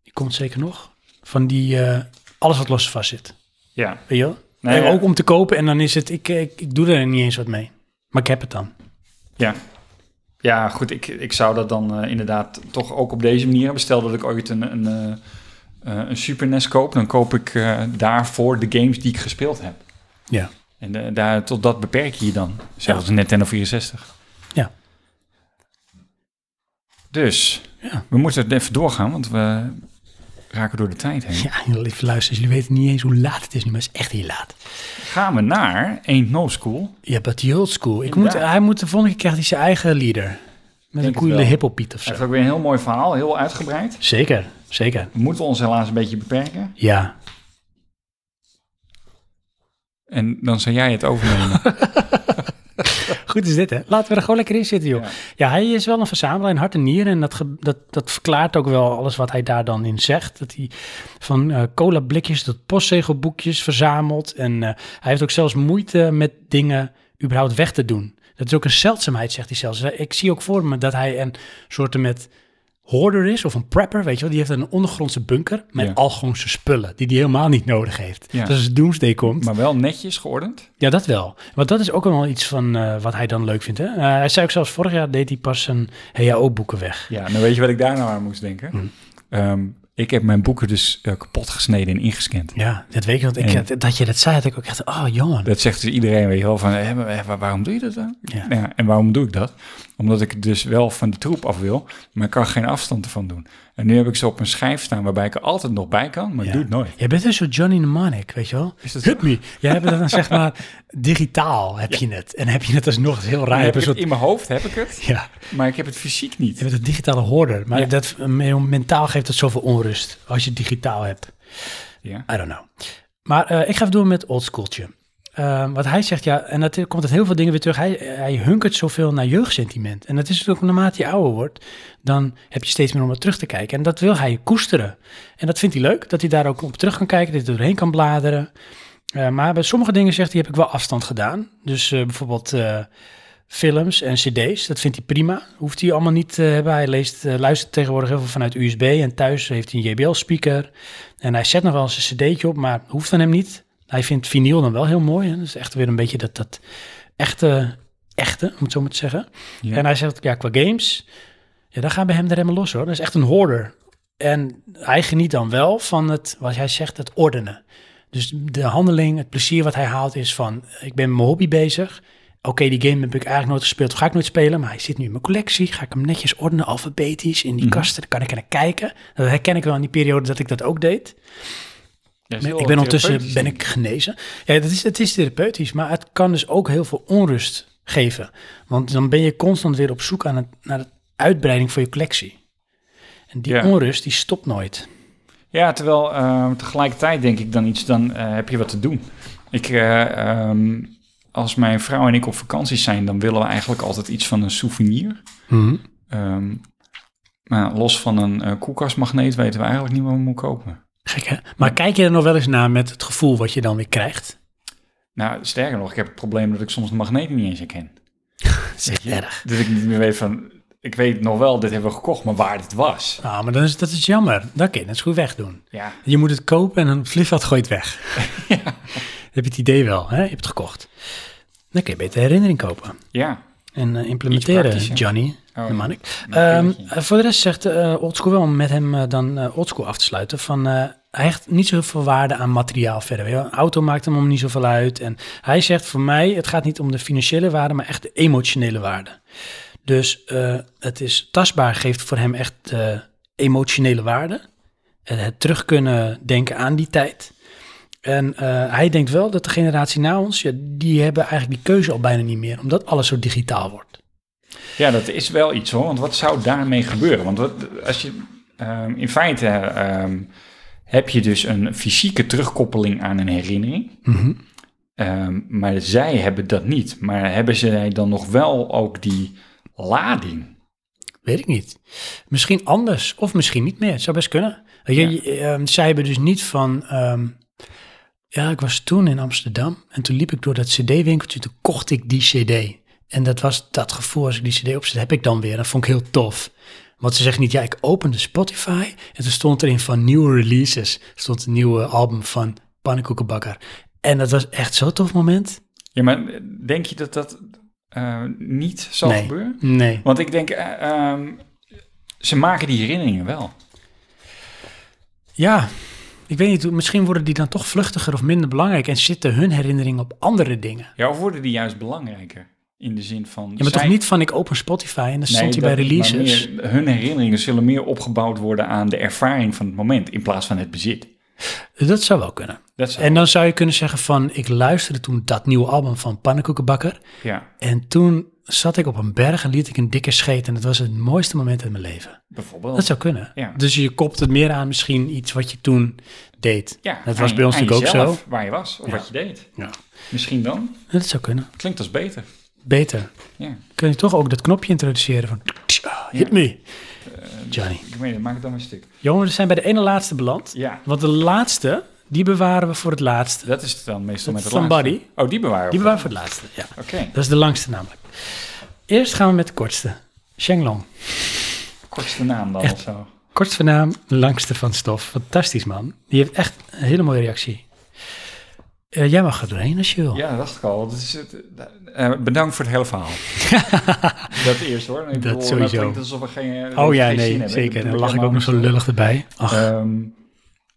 die komt zeker nog, van die eh, alles wat los en vast zit.
Ja.
Weet je wel?
Nee,
En
ja.
Eh, Ook om te kopen en dan is het, ik, ik, ik doe er niet eens wat mee. Maar ik heb het dan.
Ja. Ja, goed, ik, ik zou dat dan eh, inderdaad toch ook op deze manier hebben. Stel dat ik ooit een, een, eh, eh, een Super NES koop, dan koop ik eh, daarvoor de games die ik gespeeld heb.
Ja.
En eh, daar, tot dat beperk je je dan. Zelfs een Nintendo 64.
Ja.
Dus,
Ja.
we moeten het even doorgaan, want we raken door de tijd heen.
Ja, lieve luisteraars, jullie weten niet eens hoe laat het is nu, maar het is echt heel laat.
Gaan we naar Ain't No School.
Ja, but the old school. Ik moet,
Inderdaad.
hij moet de volgende keer krijgt hij zijn eigen leader. Met een
het
coole
wel.
hippopiet of
Dat is
zo.
ook weer een heel mooi verhaal, heel uitgebreid.
Zeker, zeker.
We moeten ons helaas een beetje beperken.
Ja.
En dan zou jij het overnemen.
Goed is dit, hè? Laten we er gewoon lekker in zitten, joh. Ja,
Ja.
hij is wel een verzamelaar in hart en nieren. En dat, ge- dat, dat verklaart ook wel alles wat hij daar dan in zegt. Dat hij van eh cola blikjes tot postzegelboekjes verzamelt. En eh, hij heeft ook zelfs moeite met dingen überhaupt weg te doen. Dat is ook een zeldzaamheid, zegt hij zelfs. Ik zie ook voor me dat hij een soort met hoorder is of een prepper, weet je wel. Die heeft een ondergrondse bunker met
Ja.
algoonse spullen die hij helemaal niet nodig heeft.
Ja.
Dus als het doomsday komt,
maar wel netjes geordend.
ja, dat wel. Want dat is ook wel iets van eh, wat hij dan leuk vindt. Hè? Eh, hij zei ook zelfs vorig jaar deed hij pas zijn HAO-boeken weg.
Ja, nou weet je wat ik daar nou aan moest denken? Ehm, ik heb mijn boeken dus eh, kapot gesneden en ingescand.
Ja, dat weet ik. Want ik,
En-
dat je dat zei, had ik ook echt... Oh, jongen.
Dat zegt dus iedereen, weet je wel, van hè, maar- maar waarom doe je dat dan?
Ja.
Nou en waarom doe ik dat? Omdat ik dus wel van de troep af wil, maar ik kan geen afstand ervan doen. En nu heb ik ze op een schijf staan waarbij ik er altijd nog bij kan, maar
Ja.
ik doe het nooit.
Jij bent een soort Johnny Mnemonic, weet je wel?
Is dat
Hit me. Jij hebt het dan zeg maar digitaal, heb je het. En heb je het alsnog dat is heel raar.
heb
een
ik het,
soort,
in mijn hoofd heb ik het,
ja,
maar ik heb het fysiek
je
niet.
bent een digitale hoorder. Maar
Ja.
dat, mentaal geeft het zoveel onrust als je het digitaal hebt.
Ja.
I don't know. Maar eh, ik ga even door met oldschooltje. Eh, wat hij zegt, ja, en dat komt uit heel veel dingen weer terug. Hij, hij hunkert zoveel naar jeugdsentiment. En dat is natuurlijk ook naarmate je ouder wordt, dan heb je steeds meer om naar terug te kijken. En dat wil hij koesteren. En dat vindt hij leuk, dat hij daar ook op terug kan kijken, dat hij er doorheen kan bladeren. Eh, maar bij sommige dingen zegt hij, heb ik wel afstand gedaan. Dus eh, bijvoorbeeld eh, films en cd's, dat vindt hij prima. Hoeft hij allemaal niet te hebben. Hij leest, eh, luistert tegenwoordig heel veel vanuit USB. En thuis heeft hij een JBL-speaker. En hij zet nog wel eens een cd'tje op, maar hoeft van hem niet. Hij vindt vinyl dan wel heel mooi. Hè? Dat is echt weer een beetje dat, dat echte, echte, om het zo maar te zeggen.
Ja.
En hij zegt, ja, qua games, ja, daar gaan bij hem de remmen los hoor. Dat is echt een hoorder. En hij geniet dan wel van het, wat hij zegt, het ordenen. Dus de handeling, het plezier wat hij haalt is van, ik ben met mijn hobby bezig. Oké, die game heb ik eigenlijk nooit gespeeld of ga ik nooit spelen, maar hij zit nu in mijn collectie. Ga ik hem netjes ordenen, alfabetisch, in die kasten, dan kan ik er naar kijken. Dat herken ik wel in die periode dat ik dat ook deed.
Ja, is
Ik
heel
ben ondertussen
therapeutisch,
ben
denk
ik genezen. Ja, dat is, het is therapeutisch, maar het kan dus ook heel veel onrust geven. Want dan ben je constant weer op zoek aan het, naar de uitbreiding van je collectie. En die
Ja.
onrust, die stopt nooit.
Ja, terwijl ehm, tegelijkertijd denk ik dan iets, dan eh, heb je wat te doen. Ik, eh, ehm, als mijn vrouw en ik op vakantie zijn, dan willen we eigenlijk altijd iets van een souvenir.
Mhm.
Ehm, maar los van een eh, koelkastmagneet weten we eigenlijk niet wat we moeten kopen.
Gek hè? Maar kijk je er nog wel eens naar met het gevoel wat je dan weer krijgt?
Nou, sterker nog, ik heb het probleem dat ik soms de magneten niet eens herken.
Dat is echt erg.
Dat ik niet meer weet van, ik weet nog wel, dit hebben we gekocht, maar waar dit was.
Nou, maar dan is, dat is jammer. Dat kun je net zo goed wegdoen.
Ja,
Je moet het kopen en een vliegveld gooit weg. Dan heb je het idee wel, hè? je hebt het gekocht. Dan kun je beter herinnering kopen
ja.
en eh, implementeren,
praktischer.
Johnny.
Oh,
de Manik.
ja.
Ehm,
Een
eh, voor de rest zegt eh Oldschool wel, om met hem eh, dan eh, Oldschool af te sluiten, van eh, hij hecht niet zoveel waarde aan materiaal verder. Weet je wel. Een auto maakt hem om niet zoveel uit. En hij zegt voor mij, het gaat niet om de financiële waarde, maar echt de emotionele waarde. Dus eh, het is tastbaar, geeft voor hem echt de emotionele waarde. Het, het terug kunnen denken aan die tijd. En eh, hij denkt wel dat de generatie na ons, ja, die hebben eigenlijk die keuze al bijna niet meer, omdat alles zo digitaal wordt.
Ja, dat is wel iets hoor. Want wat zou daarmee gebeuren? Want wat, als je, ehm, in feite ehm, heb je dus een fysieke terugkoppeling aan een herinnering.
Mhm.
Ehm, maar zij hebben dat niet. Maar hebben zij dan nog wel ook die lading?
Weet ik niet. Misschien anders of misschien niet meer. Het zou best kunnen. Weet je,
Ja.
je, ehm, zij hebben dus niet van... ehm, ja, ik was toen in Amsterdam en toen liep ik door dat cd-winkeltje. Toen kocht ik die cd. En dat was dat gevoel als ik die cd opzet, heb ik dan weer. Dat vond ik heel tof. Want ze zeggen niet, ja, ik opende Spotify en toen stond erin van nieuwe releases. Er stond een nieuwe album van Pannenkoekenbakker. En dat was echt zo'n tof moment.
Ja, maar denk je dat dat eh, niet zal
nee.
gebeuren?
Nee.
Want ik denk, eh, ehm, ze maken die herinneringen wel.
Ja, ik weet niet. Misschien worden die dan toch vluchtiger of minder belangrijk en zitten hun herinneringen op andere dingen.
Ja, of worden die juist belangrijker? In de zin van...
Ja, maar
zij-
toch niet van ik open Spotify en dan
Nee,
stond hij
dat
bij
niet, maar
releases.
meer- hun herinneringen zullen meer opgebouwd worden aan de ervaring van het moment in plaats van het bezit.
Dus Dat zou wel kunnen.
Dat zou,
En dan zou je kunnen zeggen van ik luisterde toen dat nieuwe album van Pannenkoekenbakker.
ja,
En toen zat ik op een berg en liet ik een dikke scheet en dat was het mooiste moment uit mijn leven.
bijvoorbeeld.
Dat zou kunnen.
Ja.
Dus je kopt het meer aan misschien iets wat je toen deed.
ja,
dat
aan
was
je-
bij ons
aan
natuurlijk ook
jezelf,
zo.
Waar je was of wat je deed.
Ja.
Misschien dan.
Dat zou kunnen.
Klinkt als beter.
Beter.
Ja.
Kun je toch ook dat knopje introduceren van hit me, Johnny.
Ik weet het, maak het dan maar stuk.
Jongen, we zijn bij de ene laatste beland.
Ja,
Want de laatste, die bewaren we voor het laatste.
dat is het dan meestal
Dat
met het
van
laatste.
Buddy.
Oh, die bewaren we.
Die bewaren we voor het laatste, ja.
Oké.
Dat is de langste namelijk. Eerst gaan we met de kortste. Shenglong.
Kortste naam dan of zo.
Kortste naam, langste van stof. Fantastisch man. Die heeft echt een hele mooie reactie. Eh, jij mag er doorheen als je wil.
Ja, dat dacht ik al. Dat is het, eh, bedankt voor het hele verhaal. dat eerst hoor. Ik bedoel,
sowieso.
klinkt alsof we geen eh,
oh ja,
geen zin
nee,
hebben.
zeker.
Dat
Dan lag ik
helemaal
ook nog zo
niet.
lullig erbij. Ach,
Ehm,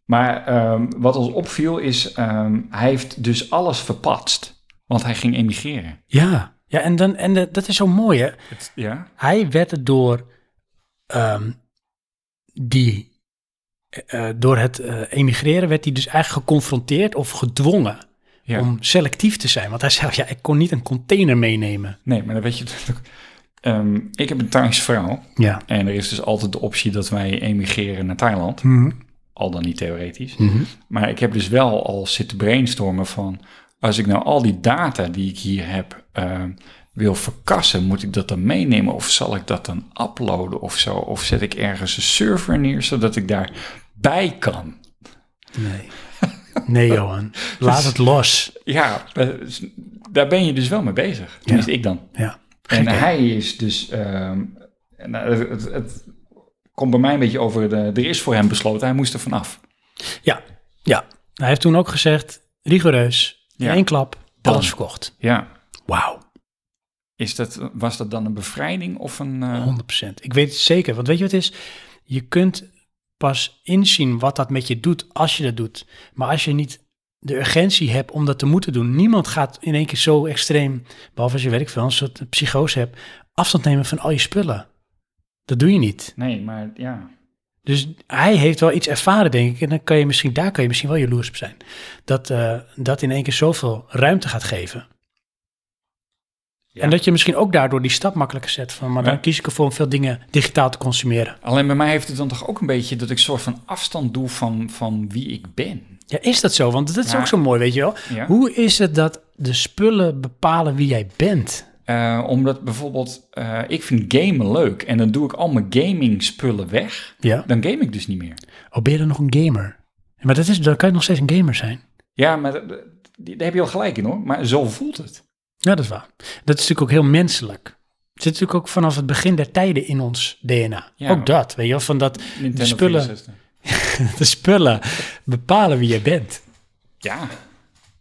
maar ehm, wat ons opviel is, ehm, hij heeft dus alles verpatst. Want hij ging emigreren.
ja. Ja, en, dan, en de- dat is zo mooi hè.
ja?
Hij werd door, ehm, die, eh, eh, door het eh, emigreren werd hij dus eigenlijk geconfronteerd of gedwongen
ja.
om selectief te zijn. Want hij zei, ja, ik kon niet een container meenemen.
Nee, maar dan weet je... dat ook. Ehm, ik heb een Thaise vrouw.
Ja.
En er is dus altijd de optie dat wij emigreren naar Thailand. Al dan niet theoretisch. Maar ik heb dus wel al zitten brainstormen van... als ik nou al die data die ik hier heb ehm, wil verkassen... moet ik dat dan meenemen of zal ik dat dan uploaden of zo? Of zet ik ergens een server neer zodat ik daar bij kan?
Nee. Nee, Johan. Laat het los.
Ja, eh, s- daar ben je dus wel mee bezig. Tenminste, ik dan.
Ja.
En hij is dus... ehm, nou, het, het, het komt bij mij een beetje over... De, er is voor hem besloten, hij moest er vanaf.
Ja. Ja. Hij heeft toen ook gezegd, rigoureus, in
Ja.
één klap,
Dan.
alles verkocht.
Ja,
Wauw.
is dat, was dat dan een bevrijding of een... eh,
100%. Ik weet het zeker. Want weet je wat het is? Je kunt pas inzien wat dat met je doet als je dat doet. Maar als je niet de urgentie hebt om dat te moeten doen. Niemand gaat in één keer zo extreem, behalve als je weet ik veel, een soort psychose hebt, afstand nemen van al je spullen. Dat doe je niet.
Nee, maar ja...
Dus hij heeft wel iets ervaren, denk ik. En dan kan je misschien, daar kan je misschien wel jaloers op zijn. Dat eh, dat in één keer zoveel ruimte gaat geven.
Ja.
En dat je misschien ook daardoor die stap makkelijker zet. Van, maar
Ja.
dan kies ik ervoor om veel dingen digitaal te consumeren.
Alleen bij mij heeft het dan toch ook een beetje dat ik soort van afstand doe van, van wie ik ben.
Ja, is dat zo? Want dat is
Ja.
ook zo mooi, weet je wel.
Ja?
Hoe is het dat de spullen bepalen wie jij bent?
Eh, omdat bijvoorbeeld, eh, ik vind gamen leuk en dan doe ik al mijn gaming spullen weg.
Ja.
Dan game ik dus niet meer.
Oh, ben je dan nog een gamer? Maar dat is, dan kan je nog steeds een gamer zijn.
Ja, maar dat- dat- die- daar heb je wel gelijk in hoor. Maar zo voelt het.
Ja, dat is waar. Dat is natuurlijk ook heel menselijk. Het zit natuurlijk ook vanaf het begin der tijden in ons DNA.
Ja.
Ook dat, weet je wel, van dat
Nintendo
spullen.
64.
de spullen bepalen wie je bent.
Ja,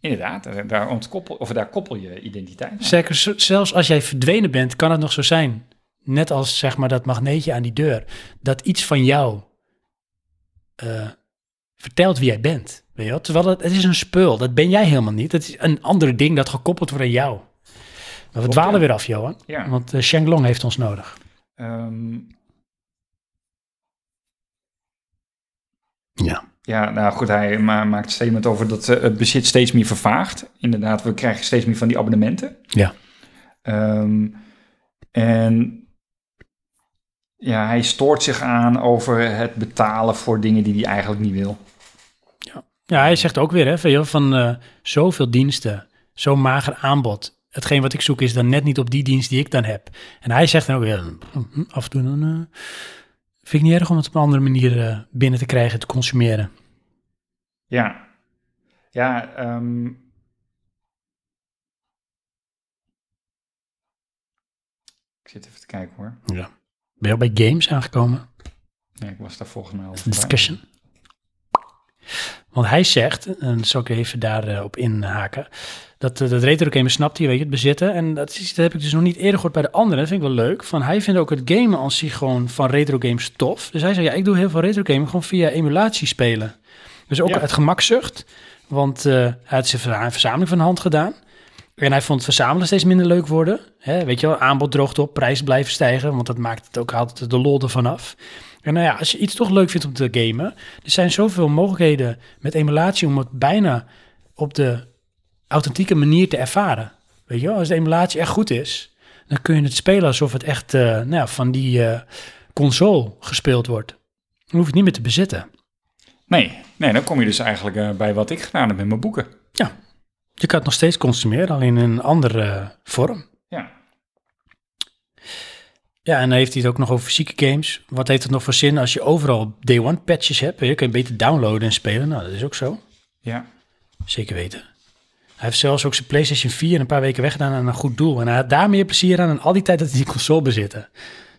inderdaad. Daar- Daar, ontkoppel, of daar koppel je identiteit aan.
Zeker, z- zelfs als jij verdwenen bent, kan het nog zo zijn. Net als zeg maar dat magneetje aan die deur. Dat iets van jou eh, vertelt wie jij bent. Weet je wel? Terwijl het, het is een spul, dat ben jij helemaal niet. Het is een ander ding dat gekoppeld wordt aan jou. Maar we
Klopt,
dwalen
ja.
weer af, Johan.
Ja.
Want eh, Shenglong heeft ons nodig.
Ehm,
Ja.
ja, nou goed, hij ma- maakt een statement over dat eh, het bezit steeds meer vervaagt. Inderdaad, we krijgen steeds meer van die abonnementen.
Ja.
Ehm, en ja, hij stoort zich aan over het betalen voor dingen die hij eigenlijk niet wil.
Ja, hij zegt ook weer, hè, van, joh, van eh, zoveel diensten, zo'n mager aanbod. Hetgeen wat ik zoek is dan net niet op die dienst die ik dan heb. En hij zegt dan ook weer, "Mhm, af en toe dan, eh, vind ik niet erg om het op een andere manier eh, binnen te krijgen, te consumeren.
Ja. Ja, ehm, Ik zit even te kijken hoor.
Ja. Ben je al bij games aangekomen?
Nee, ik was daar volgens mij al. voorbij.
Discussion. Want hij zegt, en dat zal ik even daarop inhaken, dat, eh, dat retrogamen snapt hij, weet je, het bezitten. En dat, is, iets, dat heb ik dus nog niet eerder gehoord bij de anderen. Dat vind ik wel leuk. Van hij vindt ook het gamen als zich gewoon van retrogames tof. Dus hij zei, ja, ik doe heel veel retrogamen gewoon via emulatie spelen. Dus ook
Ja.
uit gemakzucht, want eh, hij had zijn verza- verzameling van de hand gedaan. En hij vond verzamelen steeds minder leuk worden. Hè, weet je wel, aanbod droogt op, prijzen blijven stijgen, want dat maakt het ook altijd de lol ervan af. En nou ja, als je iets toch leuk vindt om te gamen, er zijn zoveel mogelijkheden met emulatie om het bijna op de authentieke manier te ervaren. Weet je wel, als de emulatie echt goed is, dan kun je het spelen alsof het echt eh, nou ja, van die eh, console gespeeld wordt. Dan hoef je het niet meer te bezitten.
Nee, nee, dan kom je dus eigenlijk eh, bij wat ik gedaan heb met mijn boeken.
Je kan het nog steeds consumeren, alleen in een andere eh, vorm.
Ja.
Ja, en dan heeft hij het ook nog over fysieke games. Wat heeft het nog voor zin als je overal day one patches hebt? Je kan je beter downloaden en spelen. Nou, dat is ook zo.
Ja.
Zeker weten. Hij heeft zelfs ook zijn PlayStation 4 een paar weken weggedaan aan een goed doel. En hij had daar meer plezier aan dan al die tijd dat hij die console bezitte. Dat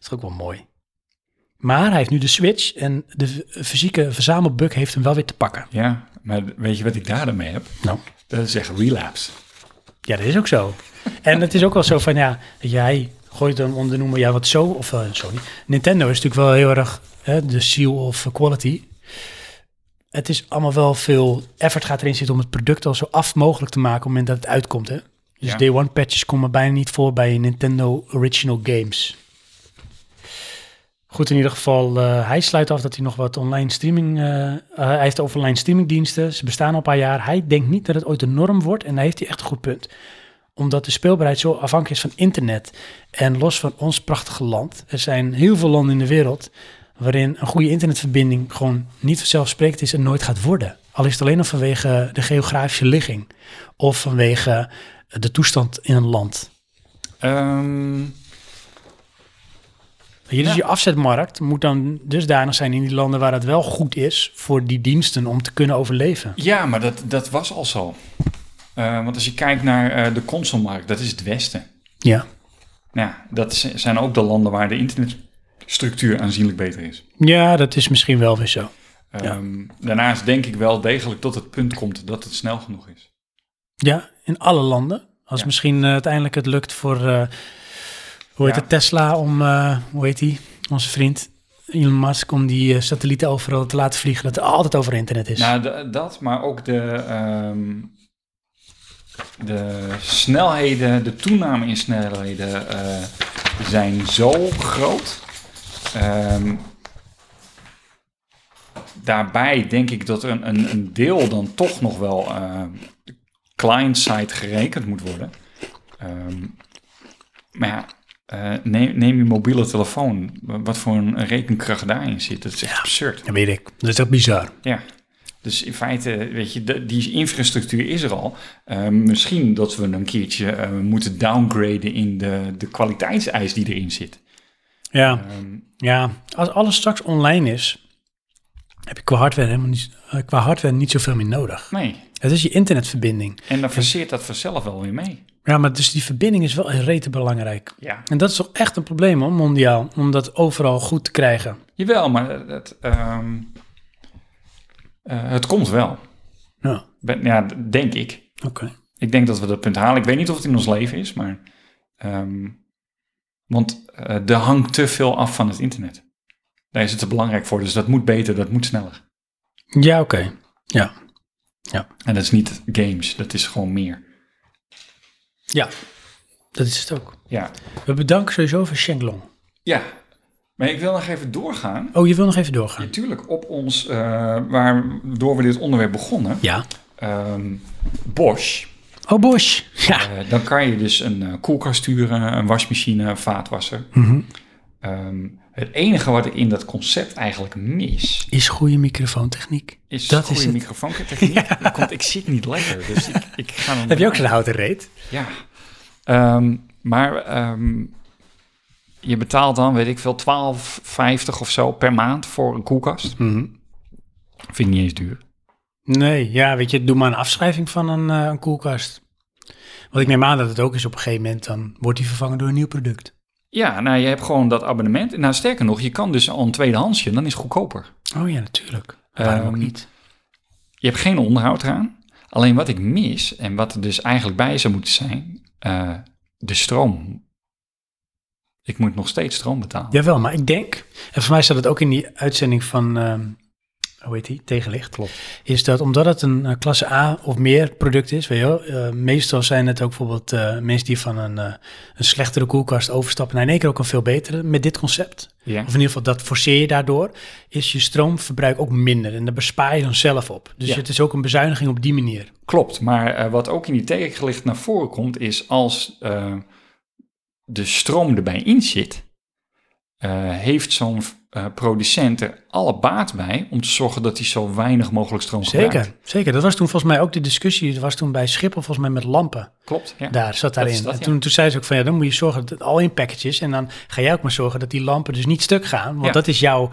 is toch ook wel mooi. Maar hij heeft nu de Switch en de v- fysieke verzamelbug heeft hem wel weer te pakken.
Ja, maar weet je wat ik daar dan mee heb?
Nou.
Dat is echt relapse.
Ja, dat is ook zo. En het is ook wel zo van, ja, jij gooit hem onder de noemer, ja, wat zo, of eh, sorry. Nintendo is natuurlijk wel heel erg hè, de seal of quality. Het is allemaal wel veel effort gaat erin zitten om het product al zo af mogelijk te maken op het moment dat het uitkomt, hè. Dus
Ja.
day one patches komen bijna niet voor bij Nintendo Original Games. Goed, in ieder geval, eh, hij sluit af dat hij nog wat online streaming... eh, eh, hij heeft over online streamingdiensten. Ze bestaan al een paar jaar. Hij denkt niet dat het ooit de norm wordt. En daar heeft hij echt een goed punt. Omdat de speelbaarheid zo afhankelijk is van internet. En los van ons prachtige land. Er zijn heel veel landen in de wereld... waarin een goede internetverbinding gewoon niet vanzelfsprekend is... en nooit gaat worden. Al is het alleen al vanwege de geografische ligging. Of vanwege de toestand in een land.
Ehm,
Weet je, dus
Ja.
je afzetmarkt moet dan dusdanig zijn in die landen waar het wel goed is voor die diensten om te kunnen overleven.
ja, maar dat, dat was al zo. Eh, want als je kijkt naar eh, de consolemarkt, dat is het Westen.
Ja.
Nou, ja, dat z- zijn ook de landen waar de internetstructuur aanzienlijk beter is.
Ja, dat is misschien wel weer zo.
Ehm, Daarnaast denk ik wel degelijk tot het punt komt dat het snel genoeg is.
Ja, in alle landen. Als
Ja.
misschien eh, uiteindelijk het lukt voor, eh, hoe heet
Ja.
het, Tesla om, eh, hoe heet die, onze vriend Elon Musk, om die eh, satellieten overal te laten vliegen, dat er altijd over internet is.
Nou, de- dat, maar ook de, ehm, de snelheden, de toename in snelheden eh, zijn zo groot. Ehm, daarbij denk ik dat een, een, een deel dan toch nog wel ehm, client-side gerekend moet worden. Ehm, maar ja, eh, neem, neem je mobiele telefoon. Wat voor een rekenkracht daarin zit, dat is echt absurd.
dat weet ik. Dat is ook bizar.
Ja, dus in feite, weet je, de- die infrastructuur is er al. Eh, misschien dat we een keertje eh, moeten downgraden in de, de kwaliteitseis die erin zit.
Ja,
Ehm,
ja. Als alles straks online is, heb je qua hardware, helemaal niet, eh, qua hardware niet zoveel meer nodig.
Nee.
Het is je internetverbinding.
En dan verseert dat vanzelf wel weer mee.
Ja, maar dus die verbinding is wel rete belangrijk.
Ja.
En dat is toch echt een probleem hoor, mondiaal, om dat overal goed te krijgen.
Jawel, maar het, het, ehm, eh, het komt wel.
Ja,
Ben- Ja, d- denk ik.
oké.
Ik denk dat we dat punt halen. Ik weet niet of het in ons leven is, maar... ehm, want eh er hangt te veel af van het internet. Daar is het te belangrijk voor. Dus dat moet beter, dat moet sneller.
Ja, oké.
En dat is niet games, dat is gewoon meer.
Ja, dat is het ook.
Ja,
We bedanken sowieso voor Shenglong.
ja. maar ik wil nog even doorgaan.
Oh, je wil nog even doorgaan?
Natuurlijk, op ons, eh, waardoor we dit onderwerp begonnen,
Ja.
ehm, Bosch,
Oh, Bosch. Ja.
eh, dan kan je dus een eh, koelkast sturen, een wasmachine, een vaatwasser.
Mhm.
Ehm, het enige wat ik in dat concept eigenlijk mis,
Is goede microfoontechniek.
is
Dat
goede
is het.
microfoontechniek. Dat komt, ik zit niet lekker, dus ik, ik ga dan...
Heb je ook zo'n houten reet?
Ja. Ehm, maar ehm, je betaalt dan, weet ik veel, 12,50 of zo per maand voor een koelkast. Vind ik niet eens duur.
Mhm. Nee, ja, weet je, doe maar een afschrijving van een, eh, een koelkast. Want ik neem aan dat het ook is op een gegeven moment, dan wordt die vervangen door een nieuw product.
Ja, nou, je hebt gewoon dat abonnement. Nou, sterker nog, je kan dus al een tweedehandsje, dan is het goedkoper.
Oh ja, natuurlijk. Waarom ook
Ehm,
niet?
Je hebt geen onderhoud eraan. Alleen wat ik mis, en wat er dus eigenlijk bij zou moeten zijn, eh, de stroom. Ik moet nog steeds stroom betalen.
Jawel, maar ik denk, en voor mij staat het ook in die uitzending van, ehm, hoe heet die, Tegenlicht.
klopt.
Is dat omdat het een eh, klasse A of meer product is, weet je wel, eh, meestal zijn het ook bijvoorbeeld eh, mensen die van een, eh, een slechtere koelkast overstappen naar in één keer ook een veel betere met dit concept.
Ja.
Of in ieder geval, dat forceer je daardoor, is je stroomverbruik ook minder. En daar bespaar je dan zelf op. Dus
Ja.
het is ook een bezuiniging op die manier.
Klopt, maar eh, wat ook in die tegenlicht naar voren komt, is als eh, de stroom erbij in zit, eh, heeft zo'n eh, producent er alle baat bij om te zorgen dat hij zo weinig mogelijk stroom gebruikt.
Zeker, zeker. Dat was toen volgens mij ook de discussie. Dat was toen bij Schiphol volgens mij met lampen.
Klopt, ja.
Daar zat
Dat is
daarin.
dat,
en
ja.
toen, toen zei ze ook van, ja, dan moet je zorgen dat het al in packages. En dan ga jij ook maar zorgen dat die lampen dus niet stuk gaan. Want
Ja.
dat is jouw,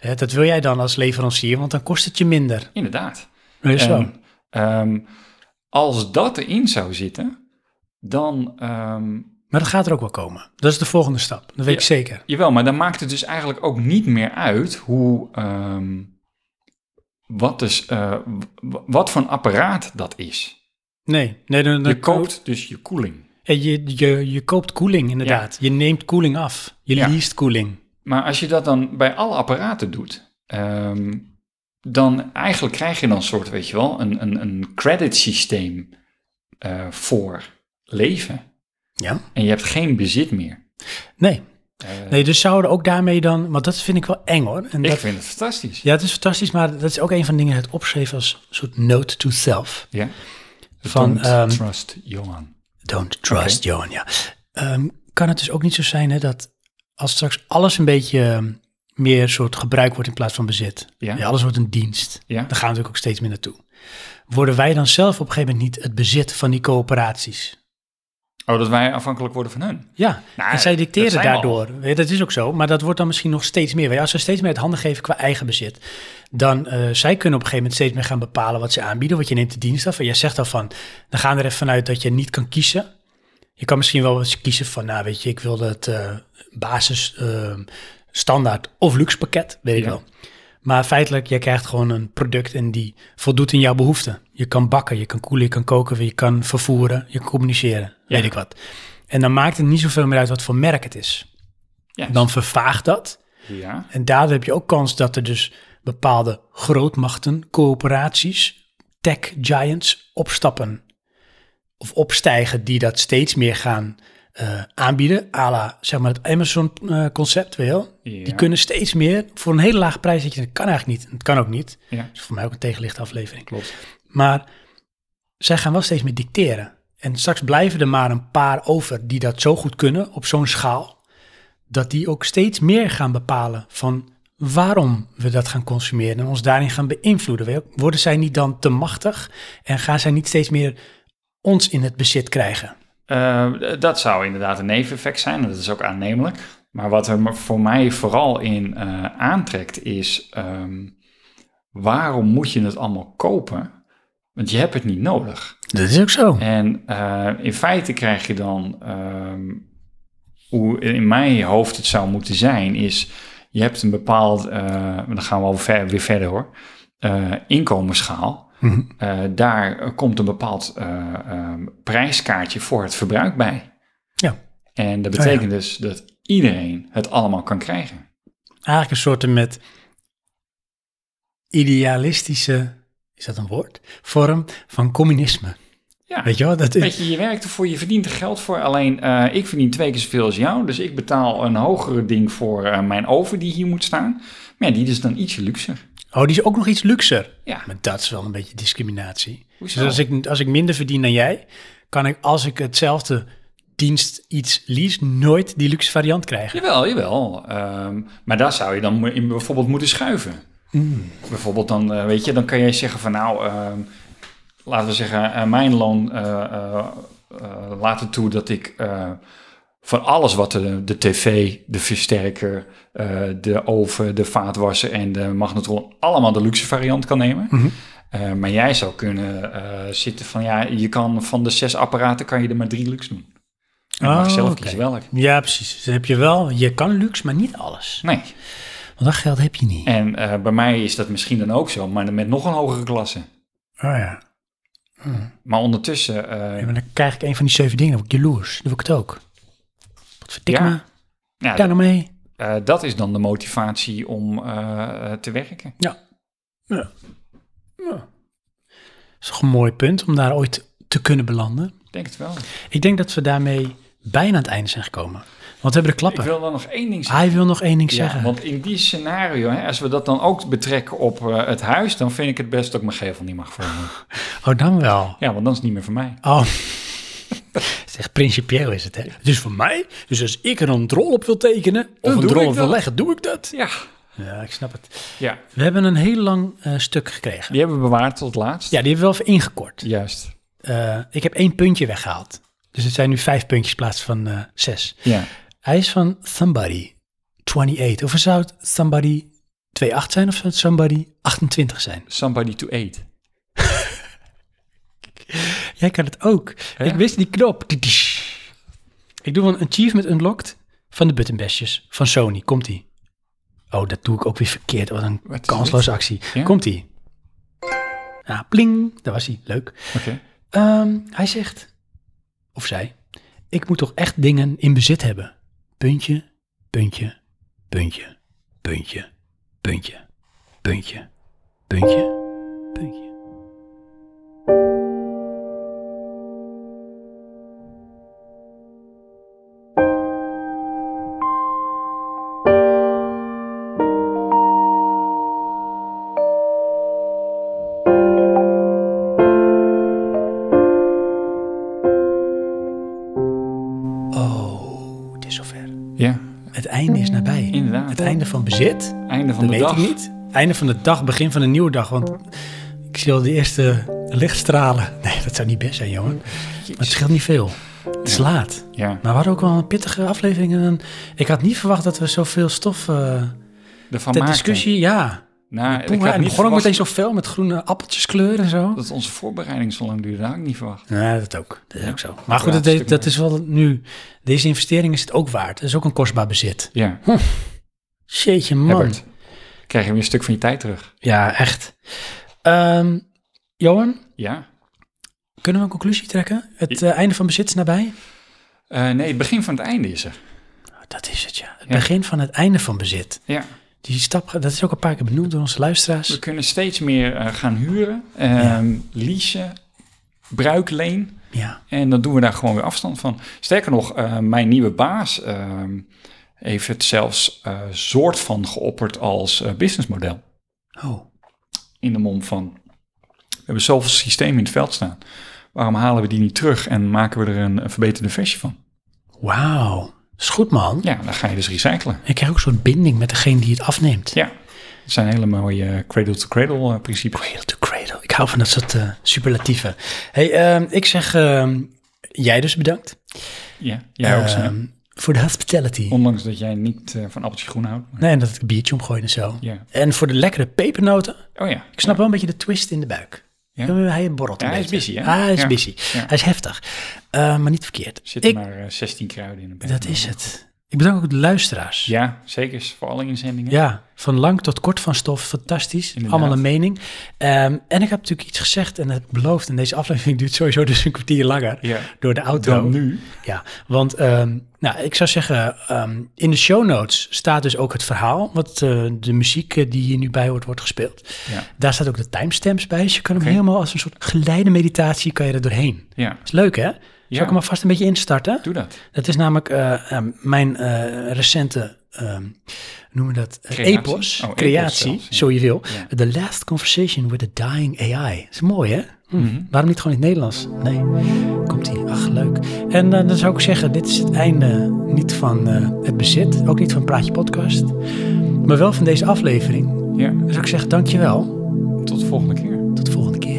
eh, dat wil jij dan als leverancier, want dan kost het je minder.
Inderdaad.
Is zo.
En, ehm, als dat erin zou zitten, dan. ehm,
Maar dat gaat er ook wel komen. Dat is de volgende stap. Dat weet
Ja.
ik zeker.
jawel, maar dan maakt het dus eigenlijk ook niet meer uit hoe. ehm, wat, dus, eh, w- wat voor een apparaat dat is.
Nee, nee dan, dan
Je koopt dus je koeling.
Ja, je, je, je koopt koeling, inderdaad. Je neemt koeling af. Je
Ja.
leest koeling.
Maar als je dat dan bij alle apparaten doet, ehm, dan eigenlijk krijg je dan een soort, weet je wel, een, een, een credit systeem eh, voor leven.
Ja.
En je hebt geen bezit meer.
Nee.
Eh,
nee, dus zouden ook daarmee dan... Want dat vind ik wel eng, hoor. En
Ik
dat,
vind het fantastisch.
ja, het is fantastisch, maar dat is ook een van de dingen... het opschreven als een soort note to self.
Ja.
Van,
Don't
ehm,
trust Johan.
Don't trust, Johan, ja. Ehm, kan het dus ook niet zo zijn hè, dat als straks alles een beetje ehm, meer soort gebruik wordt in plaats van bezit.
Ja.
alles wordt een dienst.
Ja.
Daar gaan we natuurlijk ook steeds meer naartoe. Worden wij dan zelf op een gegeven moment niet het bezit van die coöperaties?
Oh, dat wij afhankelijk worden van hun.
Ja,
Nou,
en zij
dat
dicteren
zijn we al.
daardoor. Ja, dat is ook zo, maar dat wordt dan misschien nog steeds meer. Want Als ze steeds meer het handen geven qua eigen bezit, dan eh, zij kunnen op een gegeven moment steeds meer gaan bepalen wat ze aanbieden. Want je neemt de dienst af en jij zegt al van, dan gaan we er even vanuit dat je niet kan kiezen. Je kan misschien wel eens kiezen van, nou weet je, ik wil het eh, basis, eh, standaard of luxe pakket, weet ik
Ja.
wel. Maar feitelijk, jij krijgt gewoon een product en die voldoet in jouw behoeften. Je kan bakken, je kan koelen, je kan koken, je kan vervoeren, je kan communiceren, weet ik wat. En dan maakt het niet zoveel meer uit wat voor merk het is.
Ja.
Dan vervaagt dat.
Ja.
En daardoor heb je ook kans dat er dus bepaalde grootmachten, corporaties, tech giants opstappen. Of opstijgen die dat steeds meer gaan eh, aanbieden. À la, zeg maar, het eh, Amazon-concept wel.
Ja.
Die kunnen steeds meer voor een hele lage prijs. Dat je, dat kan eigenlijk niet. Dat kan ook niet.
Ja,
Dat is voor mij ook een tegenlicht aflevering.
klopt.
Maar zij gaan wel steeds meer dicteren. En straks blijven er maar een paar over die dat zo goed kunnen op zo'n schaal, dat die ook steeds meer gaan bepalen van waarom we dat gaan consumeren en ons daarin gaan beïnvloeden. We- Worden zij niet dan te machtig en gaan zij niet steeds meer ons in het bezit krijgen?
Eh, dat zou inderdaad een neveneffect zijn en dat is ook aannemelijk. Maar wat er me- voor mij vooral in eh, aantrekt is ehm, waarom moet je het allemaal kopen? Want je hebt het niet nodig.
Dat is ook zo.
En eh, in feite krijg je dan, ehm, hoe in mijn hoofd het zou moeten zijn, is je hebt een bepaald, eh, maar dan gaan we al ver, weer verder hoor, eh inkomensschaal.
Mhm.
Eh, daar komt een bepaald eh, ehm, prijskaartje voor het verbruik bij.
Ja.
En dat
ja.
betekent dus dat iedereen het allemaal kan krijgen.
Eigenlijk een soort met
Idealistische, is dat een woord? Vorm van communisme.
Ja.
Weet je wel? Dat is,
Weet je, je werkt ervoor, je verdient er geld voor. Alleen eh, ik verdien twee keer zoveel als jou. Dus ik betaal een hogere ding voor eh, mijn oven die hier moet staan. Maar ja, die is dan ietsje luxer.
oh, die is ook nog iets luxer.
Ja,
Maar dat is wel een beetje discriminatie.
hoezo?
Dus als ik, als ik minder verdien dan jij, kan ik als ik hetzelfde dienst iets lease, nooit die luxe variant krijgen.
Jawel, jawel. Ehm, maar daar zou je dan mo- in bijvoorbeeld moeten schuiven. Bijvoorbeeld dan, eh, weet je, dan kan jij zeggen van nou, ehm, laten we zeggen, eh, mijn loon eh, eh, eh, laat het toe dat ik eh, van alles wat de, de tv, de versterker, eh, de oven, de vaatwasser en de magnetron allemaal de luxe variant kan nemen. Eh, maar jij zou kunnen eh, zitten van ja, je kan van de zes apparaten kan je er maar drie luxe doen. En je mag
Oh,
zelf
oké.
kiezen welk.
Ja, precies. Dus dan heb je wel, je kan luxe, maar niet alles.
Nee.
Want dat geld heb je niet.
En eh, bij mij is dat misschien dan ook zo, maar dan met nog een hogere klasse.
Oh ja.
Maar ondertussen, eh,
Ja, maar dan krijg ik een van die zeven dingen, dan word ik jaloers. Dan wil ik het ook. Wat vertik
Ja.
me.
ja,
Daar nou mee.
eh, dat is dan de motivatie om eh, eh, te werken.
Dat is toch een mooi punt om daar ooit te kunnen belanden.
Ik denk het wel.
Ik denk dat we daarmee bijna aan het einde zijn gekomen. Want we hebben de
Ik
klappen.
wil dan nog één ding zeggen.
Hij wil nog één ding
Ja,
zeggen.
want in die scenario, hè, als we dat dan ook betrekken op eh, het huis, dan vind ik het best dat ik mijn gevel niet mag veranderen.
Oh, dan wel.
Ja, want dan is het niet meer voor mij.
Oh. Het is echt principieel is het, hè? Het is voor mij. Dus als ik er een drol op wil tekenen... of
Dan
een
doe
drol
ik
op wil
dat.
leggen, doe ik dat.
Ja.
Ja, ik snap het.
ja,
We hebben een heel lang eh, stuk gekregen.
die hebben we bewaard tot laatst.
Ja, die hebben we wel even ingekort.
Juist.
Eh, ik heb één puntje weggehaald. Dus het zijn nu vijf puntjes in plaats van eh, zes.
Ja.
Hij is van Somebody 28. Of zou het Somebody 28 zijn of zou het Somebody 28 zijn?
Somebody to eat.
Jij kan het ook.
Hè?
Ik wist die knop. Titish. Ik doe wel een achievement unlocked van de buttonbestjes van Sony. Komt ie. Oh, dat doe ik ook weer verkeerd. Wat een
Wat is
kansloze actie.
Ja?
Komt ie. Ah, pling. Daar was hij. Leuk.
Oké.
Ehm, hij zegt, of zij, ik moet toch echt dingen in bezit hebben. Puntje, puntje, puntje, puntje, puntje, puntje, puntje, puntje. Oh, het is zover.
Ja,
Het einde is nabij.
Inderdaad.
Het einde van bezit,
einde van
dat
de
weet
dag.
ik niet. Einde van de dag, begin van een nieuwe dag. Want ik zie al de eerste lichtstralen. Nee, dat zou niet best zijn, jongen. Maar het scheelt niet veel. Het is laat.
Ja,
Maar we hadden ook wel een pittige aflevering. En ik had niet verwacht dat we zoveel stof eh,
ervan
ter
maakten.
discussie. Ja,
Nou, ik
Toen we-
had
en
niet
begon ook
verwacht
meteen zoveel met groene appeltjeskleur en zo.
dat onze voorbereiding zo lang duurde. Dat had ik niet verwacht.
Ja, dat ook. Dat is ook zo. Maar goed,
Ja,
dat,
een stuk
dat is wel nu. Deze investering is het ook waard. Dat is ook een kostbaar bezit.
Ja,
Shitje, man.
Herbert. Krijg je weer een stuk van je tijd terug.
Ja, echt. Ehm, Johan,
Ja.
Kunnen we een conclusie trekken? Het eh, einde van bezit is nabij?
Eh, nee, het begin van het einde is er.
Dat is het, ja. Het
Ja.
begin van het einde van bezit.
Ja.
Die stap, dat is ook een paar keer benoemd door onze
We
luisteraars.
kunnen steeds meer eh, gaan huren, ehm leasen, bruikleen.
Ja.
En dan doen we daar gewoon weer afstand van. Sterker nog, eh, mijn nieuwe baas ehm, heeft het zelfs eh, soort van geopperd als eh, businessmodel.
Oh.
in de mond van. We hebben zoveel systemen in het veld staan. Waarom halen we die niet terug en maken we er een, een verbeterde versie van?
Wauw. Is goed, man.
Ja, dan ga je dus recyclen.
Ik krijg ook een soort binding met degene die het afneemt.
Ja, het zijn hele mooie cradle-to-cradle eh, principes.
Cradle to cradle. Ik hou van dat soort eh, superlatieven. hey, ehm, ik zeg ehm, jij dus bedankt.
Ja, jij ook. Sam.
Ehm, Voor de hospitality.
Ondanks dat jij niet eh, van appeltje groen houdt. maar-
Nee, en dat ik een biertje omgooide en zo.
Ja.
En voor de lekkere pepernoten.
Oh ja.
Ik snap wel een beetje de twist in de buik.
Ja.
Hij borrelt een
Ja, hij is
beetje. Ah,
busy, hè?
Hij is
Ja.
busy.
Ja.
Hij is heftig. Eh, maar niet verkeerd.
Er zitten
Ik,
maar eh, 16 kruiden in de bed.
dat is het. Ik bedank ook de luisteraars.
Ja, zeker. is Voor alle inzendingen.
Ja, van lang tot kort van stof, fantastisch.
Inderdaad.
Allemaal een mening. Ehm, en ik heb natuurlijk iets gezegd en dat heb ik beloofd. En deze aflevering duurt sowieso dus een kwartier langer.
Ja.
Door de auto.
Dan nu.
Ja, want ehm, nou, ik zou zeggen, ehm, in de show notes staat dus ook het verhaal. Wat eh, de muziek eh, die hier nu bij hoort, wordt gespeeld.
Ja.
Daar staat ook de timestamps bij. Dus je kan hem
Oké.
helemaal als een soort geleide meditatie kan je er doorheen.
Ja.
Is leuk hè? Zal
Ja.
ik hem alvast een beetje instarten?
Doe dat.
Dat is namelijk eh, eh, mijn eh, recente, ehm noemen we dat, eh,
Creatie?
epos,
Oh, epos
creatie,
zelfs, ja.
zo je wil.
Ja.
The Last Conversation with a Dying AI. Dat is mooi, hè? Hm. Waarom niet gewoon in het Nederlands? Nee, komt-ie. Ach, leuk. En eh, dan zou ik zeggen, dit is het einde niet van eh, het bezit, ook niet van Praatje Podcast, maar wel van deze aflevering. Dan
Ja.
zou ik zeggen, dankjewel.
Tot de volgende keer.
Tot de volgende keer.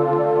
Thank you